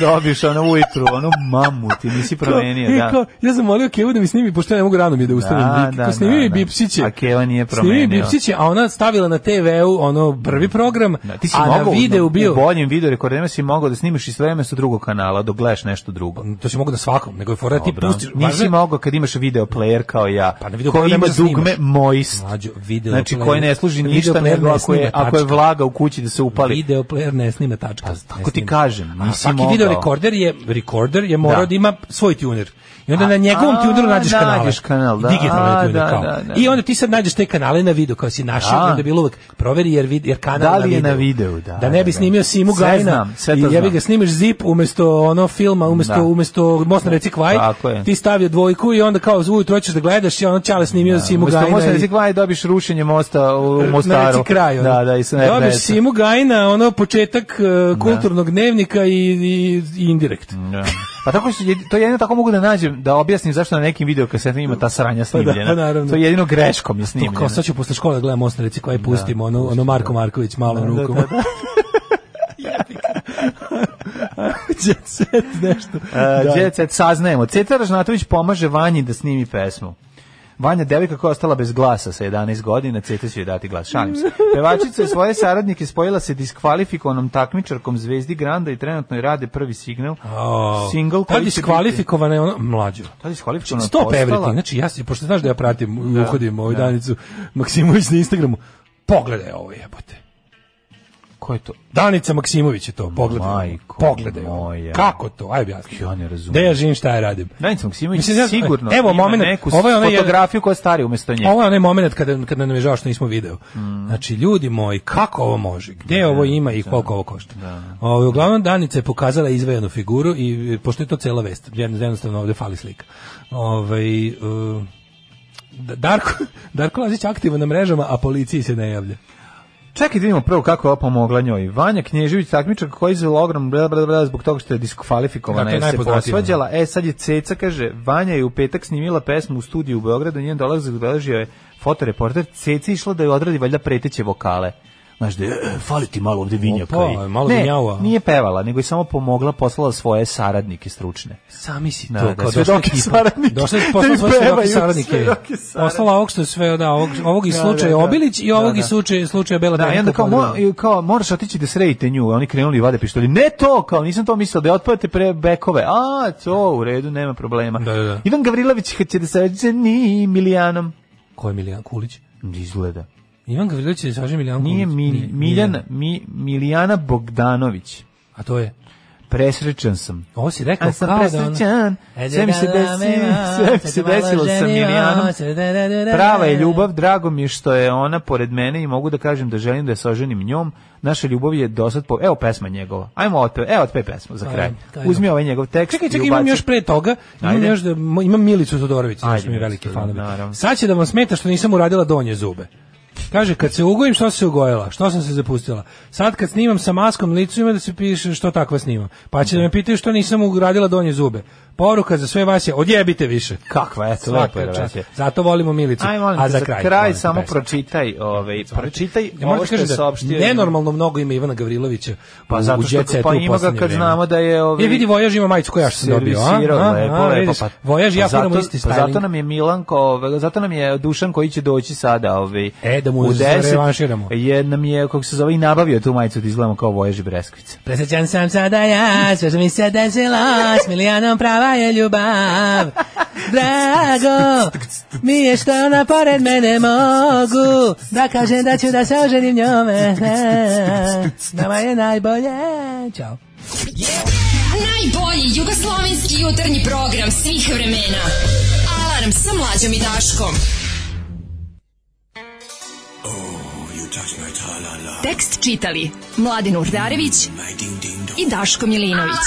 Speaker 6: dobiš ono ujutru, ono mamu, ti nisi
Speaker 7: Kao,
Speaker 6: promenio,
Speaker 7: e,
Speaker 6: da.
Speaker 7: kao, ja sam molio Kevu da mi snimi, pošto ja ne mogu rano mi je da ustavim.
Speaker 6: Da,
Speaker 7: I
Speaker 6: da,
Speaker 7: kao, snimi
Speaker 6: da,
Speaker 7: mi
Speaker 6: da.
Speaker 7: Bipsiće.
Speaker 6: A Keva nije
Speaker 7: Snimi mi
Speaker 6: promenio. Mhm.
Speaker 7: Bipsiće, a ona stavila na TV-u ono prvi program,
Speaker 6: Da, ti si
Speaker 7: a na
Speaker 6: mogao
Speaker 7: videu
Speaker 6: u- u
Speaker 7: bio...
Speaker 6: boljem video rekorderima si mogao da snimiš i sve vreme sa drugog kanala dok gledaš nešto drugo.
Speaker 7: Pa, To si mogu na svakom, nego je fora da ti
Speaker 6: Dobro.
Speaker 7: pustiš... važno
Speaker 6: Nisi
Speaker 7: je-
Speaker 6: mogao kad imaš video player kao ja.
Speaker 7: Pa na video player
Speaker 6: koji
Speaker 7: ne
Speaker 6: ima
Speaker 7: možeš da
Speaker 6: dugme
Speaker 7: snimaš.
Speaker 6: moist.
Speaker 7: Mlađo, video
Speaker 6: znači
Speaker 7: player-
Speaker 6: koji ne služi
Speaker 7: video
Speaker 6: ništa
Speaker 7: player
Speaker 6: nego
Speaker 7: ne
Speaker 6: ako je
Speaker 7: snima,
Speaker 6: ako je
Speaker 7: tačka.
Speaker 6: vlaga u kući da se upali. Pa,
Speaker 7: Video player ne snima tačka.
Speaker 6: tako
Speaker 7: Ne
Speaker 6: ti
Speaker 7: snima.
Speaker 6: kažem,
Speaker 7: A
Speaker 6: nisi
Speaker 7: svaki
Speaker 6: mogao.
Speaker 7: video rekorder je rekorder je morao
Speaker 6: Da.
Speaker 7: da, ima svoj tuner. I onda
Speaker 6: A,
Speaker 7: na njegovom
Speaker 6: a,
Speaker 7: tuneru nađeš kanale.
Speaker 6: nađeš kanal, da.
Speaker 7: Digitalni
Speaker 6: A,
Speaker 7: tuner
Speaker 6: da,
Speaker 7: kao.
Speaker 6: da, da.
Speaker 7: I onda ti sad nađeš te kanale na video kao si našao,
Speaker 6: Da.
Speaker 7: da. onda bilo uvek proveri jer vid, jer kanal
Speaker 6: Da li je
Speaker 7: na
Speaker 6: na
Speaker 7: videu.
Speaker 6: videu, da,
Speaker 7: Da ne bi
Speaker 6: da, da.
Speaker 7: snimio Simu
Speaker 6: Sve
Speaker 7: Gajina.
Speaker 6: znam, sve to
Speaker 7: I jebi
Speaker 6: znam.
Speaker 7: ga snimiš zip umesto ono filma, umesto
Speaker 6: Da.
Speaker 7: umesto Most na reci Kvaj.
Speaker 6: Tako je.
Speaker 7: Ti stavio dvojku i onda kao ujutro hoćeš da gledaš i ono čale snimio Simu
Speaker 6: Umesto
Speaker 7: Gajina.
Speaker 6: mosta
Speaker 7: i-
Speaker 6: reci kvaj dobiš rušenje mosta u
Speaker 7: na
Speaker 6: Mostaru.
Speaker 7: reci kraj, ono.
Speaker 6: da, da, i sa
Speaker 7: Dobiš
Speaker 6: RTS-a.
Speaker 7: Simu Gajna, ono početak e, kulturnog dnevnika Grčka i, i, i indirekt.
Speaker 6: Da. Pa tako su, jedi- to jedino tako mogu da nađem, da objasnim zašto na nekim videokasetama ima ta sranja snimljena.
Speaker 7: Pa da, naravno.
Speaker 6: To je jedino greškom je
Speaker 7: To
Speaker 6: snimljena.
Speaker 7: kao sad ću posle škole da gledam most na reci koja pustim, ono, ono Marko Marković malom
Speaker 6: Da,
Speaker 7: rukom.
Speaker 6: da, da.
Speaker 7: Jet set, nešto.
Speaker 6: Uh,
Speaker 7: Da.
Speaker 6: Jet Set, saznajemo. Ceca Ražnatović pomaže Vanji da snimi pesmu. Vanja, devika koja je ostala bez glasa sa 11 godina, Ceca će joj dati glas. Šalim se. Pevačica je svoje saradnike spojila se diskvalifikovanom takmičarkom Zvezdi Granda i trenutno je rade prvi signal.
Speaker 7: O,
Speaker 6: Single
Speaker 7: ta
Speaker 6: koji će biti-
Speaker 7: diskvalifikovana je ono mlađo.
Speaker 6: Ta diskvalifikovana
Speaker 7: Stop everything.
Speaker 6: postala-
Speaker 7: Znači, ja, si- pošto znaš da ja pratim, uhodim ovu danicu Maksimović na Instagramu, pogledaj ovo jebote.
Speaker 6: Ko je to?
Speaker 7: Danica Maksimović je to, pogledaj. ovo.
Speaker 6: Majko
Speaker 7: pogledaj. ovo.
Speaker 6: moja.
Speaker 7: Kako to? Ajde objasni.
Speaker 6: Ja ne razumem.
Speaker 7: Da ja živim šta ja radim.
Speaker 6: Danica Maksimović
Speaker 7: Mislim, ja-
Speaker 6: sigurno
Speaker 7: evo
Speaker 6: ima
Speaker 7: momenat,
Speaker 6: neku
Speaker 7: ovo je onaj jedan-
Speaker 6: fotografiju koja je starija umjesto nje. Mm.
Speaker 7: Ovo je onaj moment kada, kada nam je žao što nismo video. Znači, ljudi moji, kako ovo može? Gde ovo ima i koliko ovo košta? Ovaj, uglavnom, Danica je pokazala izvejenu figuru i e, pošto je to cela vest, jedno- jednostavno ovdje fali slika. Ovaj, e, Da- Darko, Darko Lazić aktivan na mrežama, a policiji se ne javlja.
Speaker 6: Čekaj da vidimo prvo kako je ova pomogla njoj. Vanja Knježević, takmičar koji je izvela ogrom bla, bla, bla, zbog toga što je diskvalifikovana,
Speaker 7: Da, to je
Speaker 6: jer se
Speaker 7: najpoznatije,
Speaker 6: posvađala. E, sad je Ceca, kaže, Vanja je u petak snimila pesmu u studiju u Beogradu, njen dolazak zabeležio je fotoreporter. Ceca je išla da je odradi valjda preteće vokale. Znaš da je, e, fali ti malo ovde vinjaka.
Speaker 7: Opa,
Speaker 6: i-
Speaker 7: malo
Speaker 6: ne,
Speaker 7: vinjava.
Speaker 6: nije pevala, nego je samo pomogla, poslala svoje saradnike stručne.
Speaker 7: Sami si
Speaker 6: Da,
Speaker 7: to.
Speaker 6: da,
Speaker 7: kao došla
Speaker 6: svedoke
Speaker 7: ekipa.
Speaker 6: saradnike.
Speaker 7: Došla je
Speaker 6: Da
Speaker 7: poslala
Speaker 6: im
Speaker 7: svoje svedoke
Speaker 6: pevaju,
Speaker 7: saradnike.
Speaker 6: svedoke saradnike.
Speaker 7: Poslala ovog što je sve, da, ovog, ovog iz
Speaker 6: Da,
Speaker 7: slučaja
Speaker 6: da, da.
Speaker 7: Obilić i
Speaker 6: Da,
Speaker 7: ovog
Speaker 6: da.
Speaker 7: iz slučaja, slučaja Bela
Speaker 6: Da, i
Speaker 7: Danka
Speaker 6: onda kao,
Speaker 7: Podgorna.
Speaker 6: mo, i kao moraš otići da sredite nju, a oni krenuli i vade pištolje. Ne to, kao nisam to mislio da je otpadate pre bekove. A, to u redu, nema problema.
Speaker 7: Da, da, da.
Speaker 6: Ivan Gavrilović će da se ni Milijanom.
Speaker 7: Ko je Miljan Kulić?
Speaker 6: Izgleda.
Speaker 7: Ivan Gavrilović je Saži Miljan
Speaker 6: Nije
Speaker 7: Kulić.
Speaker 6: mi,
Speaker 7: Nije,
Speaker 6: Miljan,
Speaker 7: Miljan.
Speaker 6: mi, Milijana Bogdanović.
Speaker 7: A to je?
Speaker 6: Presrećan sam.
Speaker 7: Ovo si rekao
Speaker 6: Ja sam
Speaker 7: kao da ono...
Speaker 6: presrećan. Sve mi se desilo, sve mi se desilo sa Milijanom. Prava je ljubav, drago mi je što je ona pored mene i mogu da kažem da želim da se oženim njom. Naša ljubav je dosad po... Evo pesma njegova. Ajmo otpe, evo otpe pesmu za kraj.
Speaker 7: Ajde, ajde.
Speaker 6: Uzmi ovaj njegov tekst
Speaker 7: Pa, Čekaj, čekaj,
Speaker 6: i
Speaker 7: imam
Speaker 6: ubaci.
Speaker 7: još pre toga, imam,
Speaker 6: Ajde.
Speaker 7: još da, mo- imam Milicu Todorović,
Speaker 6: Ajde,
Speaker 7: znači mi je veliki
Speaker 6: Milicu,
Speaker 7: fanovi.
Speaker 6: naravno.
Speaker 7: Sad će da vam smeta što nisam uradila donje zube. Kaže, kad se ugojim, što se ugojila? Što sam se zapustila? Sad kad snimam sa maskom licu ima da se piše što takva snimam. Pa će da me pitaju što nisam uradila donje zube. Poruka za sve vas je, odjebite više.
Speaker 6: Kakva, eto,
Speaker 7: Svaka
Speaker 6: lepo je
Speaker 7: čast.
Speaker 6: reći.
Speaker 7: Zato volimo Milicu.
Speaker 6: Ajmo, molim
Speaker 7: A
Speaker 6: te,
Speaker 7: za kraj, molim te,
Speaker 6: samo
Speaker 7: pesmu.
Speaker 6: pročitaj, ovaj, pročitaj
Speaker 7: Ja moram
Speaker 6: ovo
Speaker 7: ti
Speaker 6: što je
Speaker 7: kažem da
Speaker 6: saopštio.
Speaker 7: nenormalno mnogo ima Ivana Gavrilovića
Speaker 6: Pa
Speaker 7: u
Speaker 6: zato što
Speaker 7: Jet Setu
Speaker 6: pa
Speaker 7: u
Speaker 6: ima ga
Speaker 7: poslednje
Speaker 6: kad
Speaker 7: vreme.
Speaker 6: znamo da je, ovi-
Speaker 7: E, vidi Vojaž ima majicu koju ja što sam dobio, a?
Speaker 6: Servisirao,
Speaker 7: A,
Speaker 6: lepo,
Speaker 7: a,
Speaker 6: lepo,
Speaker 7: vidiš,
Speaker 6: pa-
Speaker 7: Vojaž i ja
Speaker 6: pa
Speaker 7: moramo
Speaker 6: zato-
Speaker 7: isti
Speaker 6: pa
Speaker 7: styling.
Speaker 6: Zato nam je Milan, ko- zato nam je Dušan koji će doći sada, ovaj,
Speaker 7: E, da mu
Speaker 6: u 10,
Speaker 7: zarevanširamo.
Speaker 6: Je, nam je, kako se zove, i nabavio tu majicu da izgledamo kao Vojaž i Breskvica.
Speaker 7: Presećan sam sada ja, sve što mi se desilo, s Milijanom prava je ljubav. Drago, mi je što na pored mene mogu, da kažem da ću da se oženim njome. Nama je najbolje. Ćao.
Speaker 5: Najbolji jugoslovenski jutarnji program svih vremena. Alarm sa mlađom i Daškom. Tekst čitali Mladin Urdarević i Daško Milinović.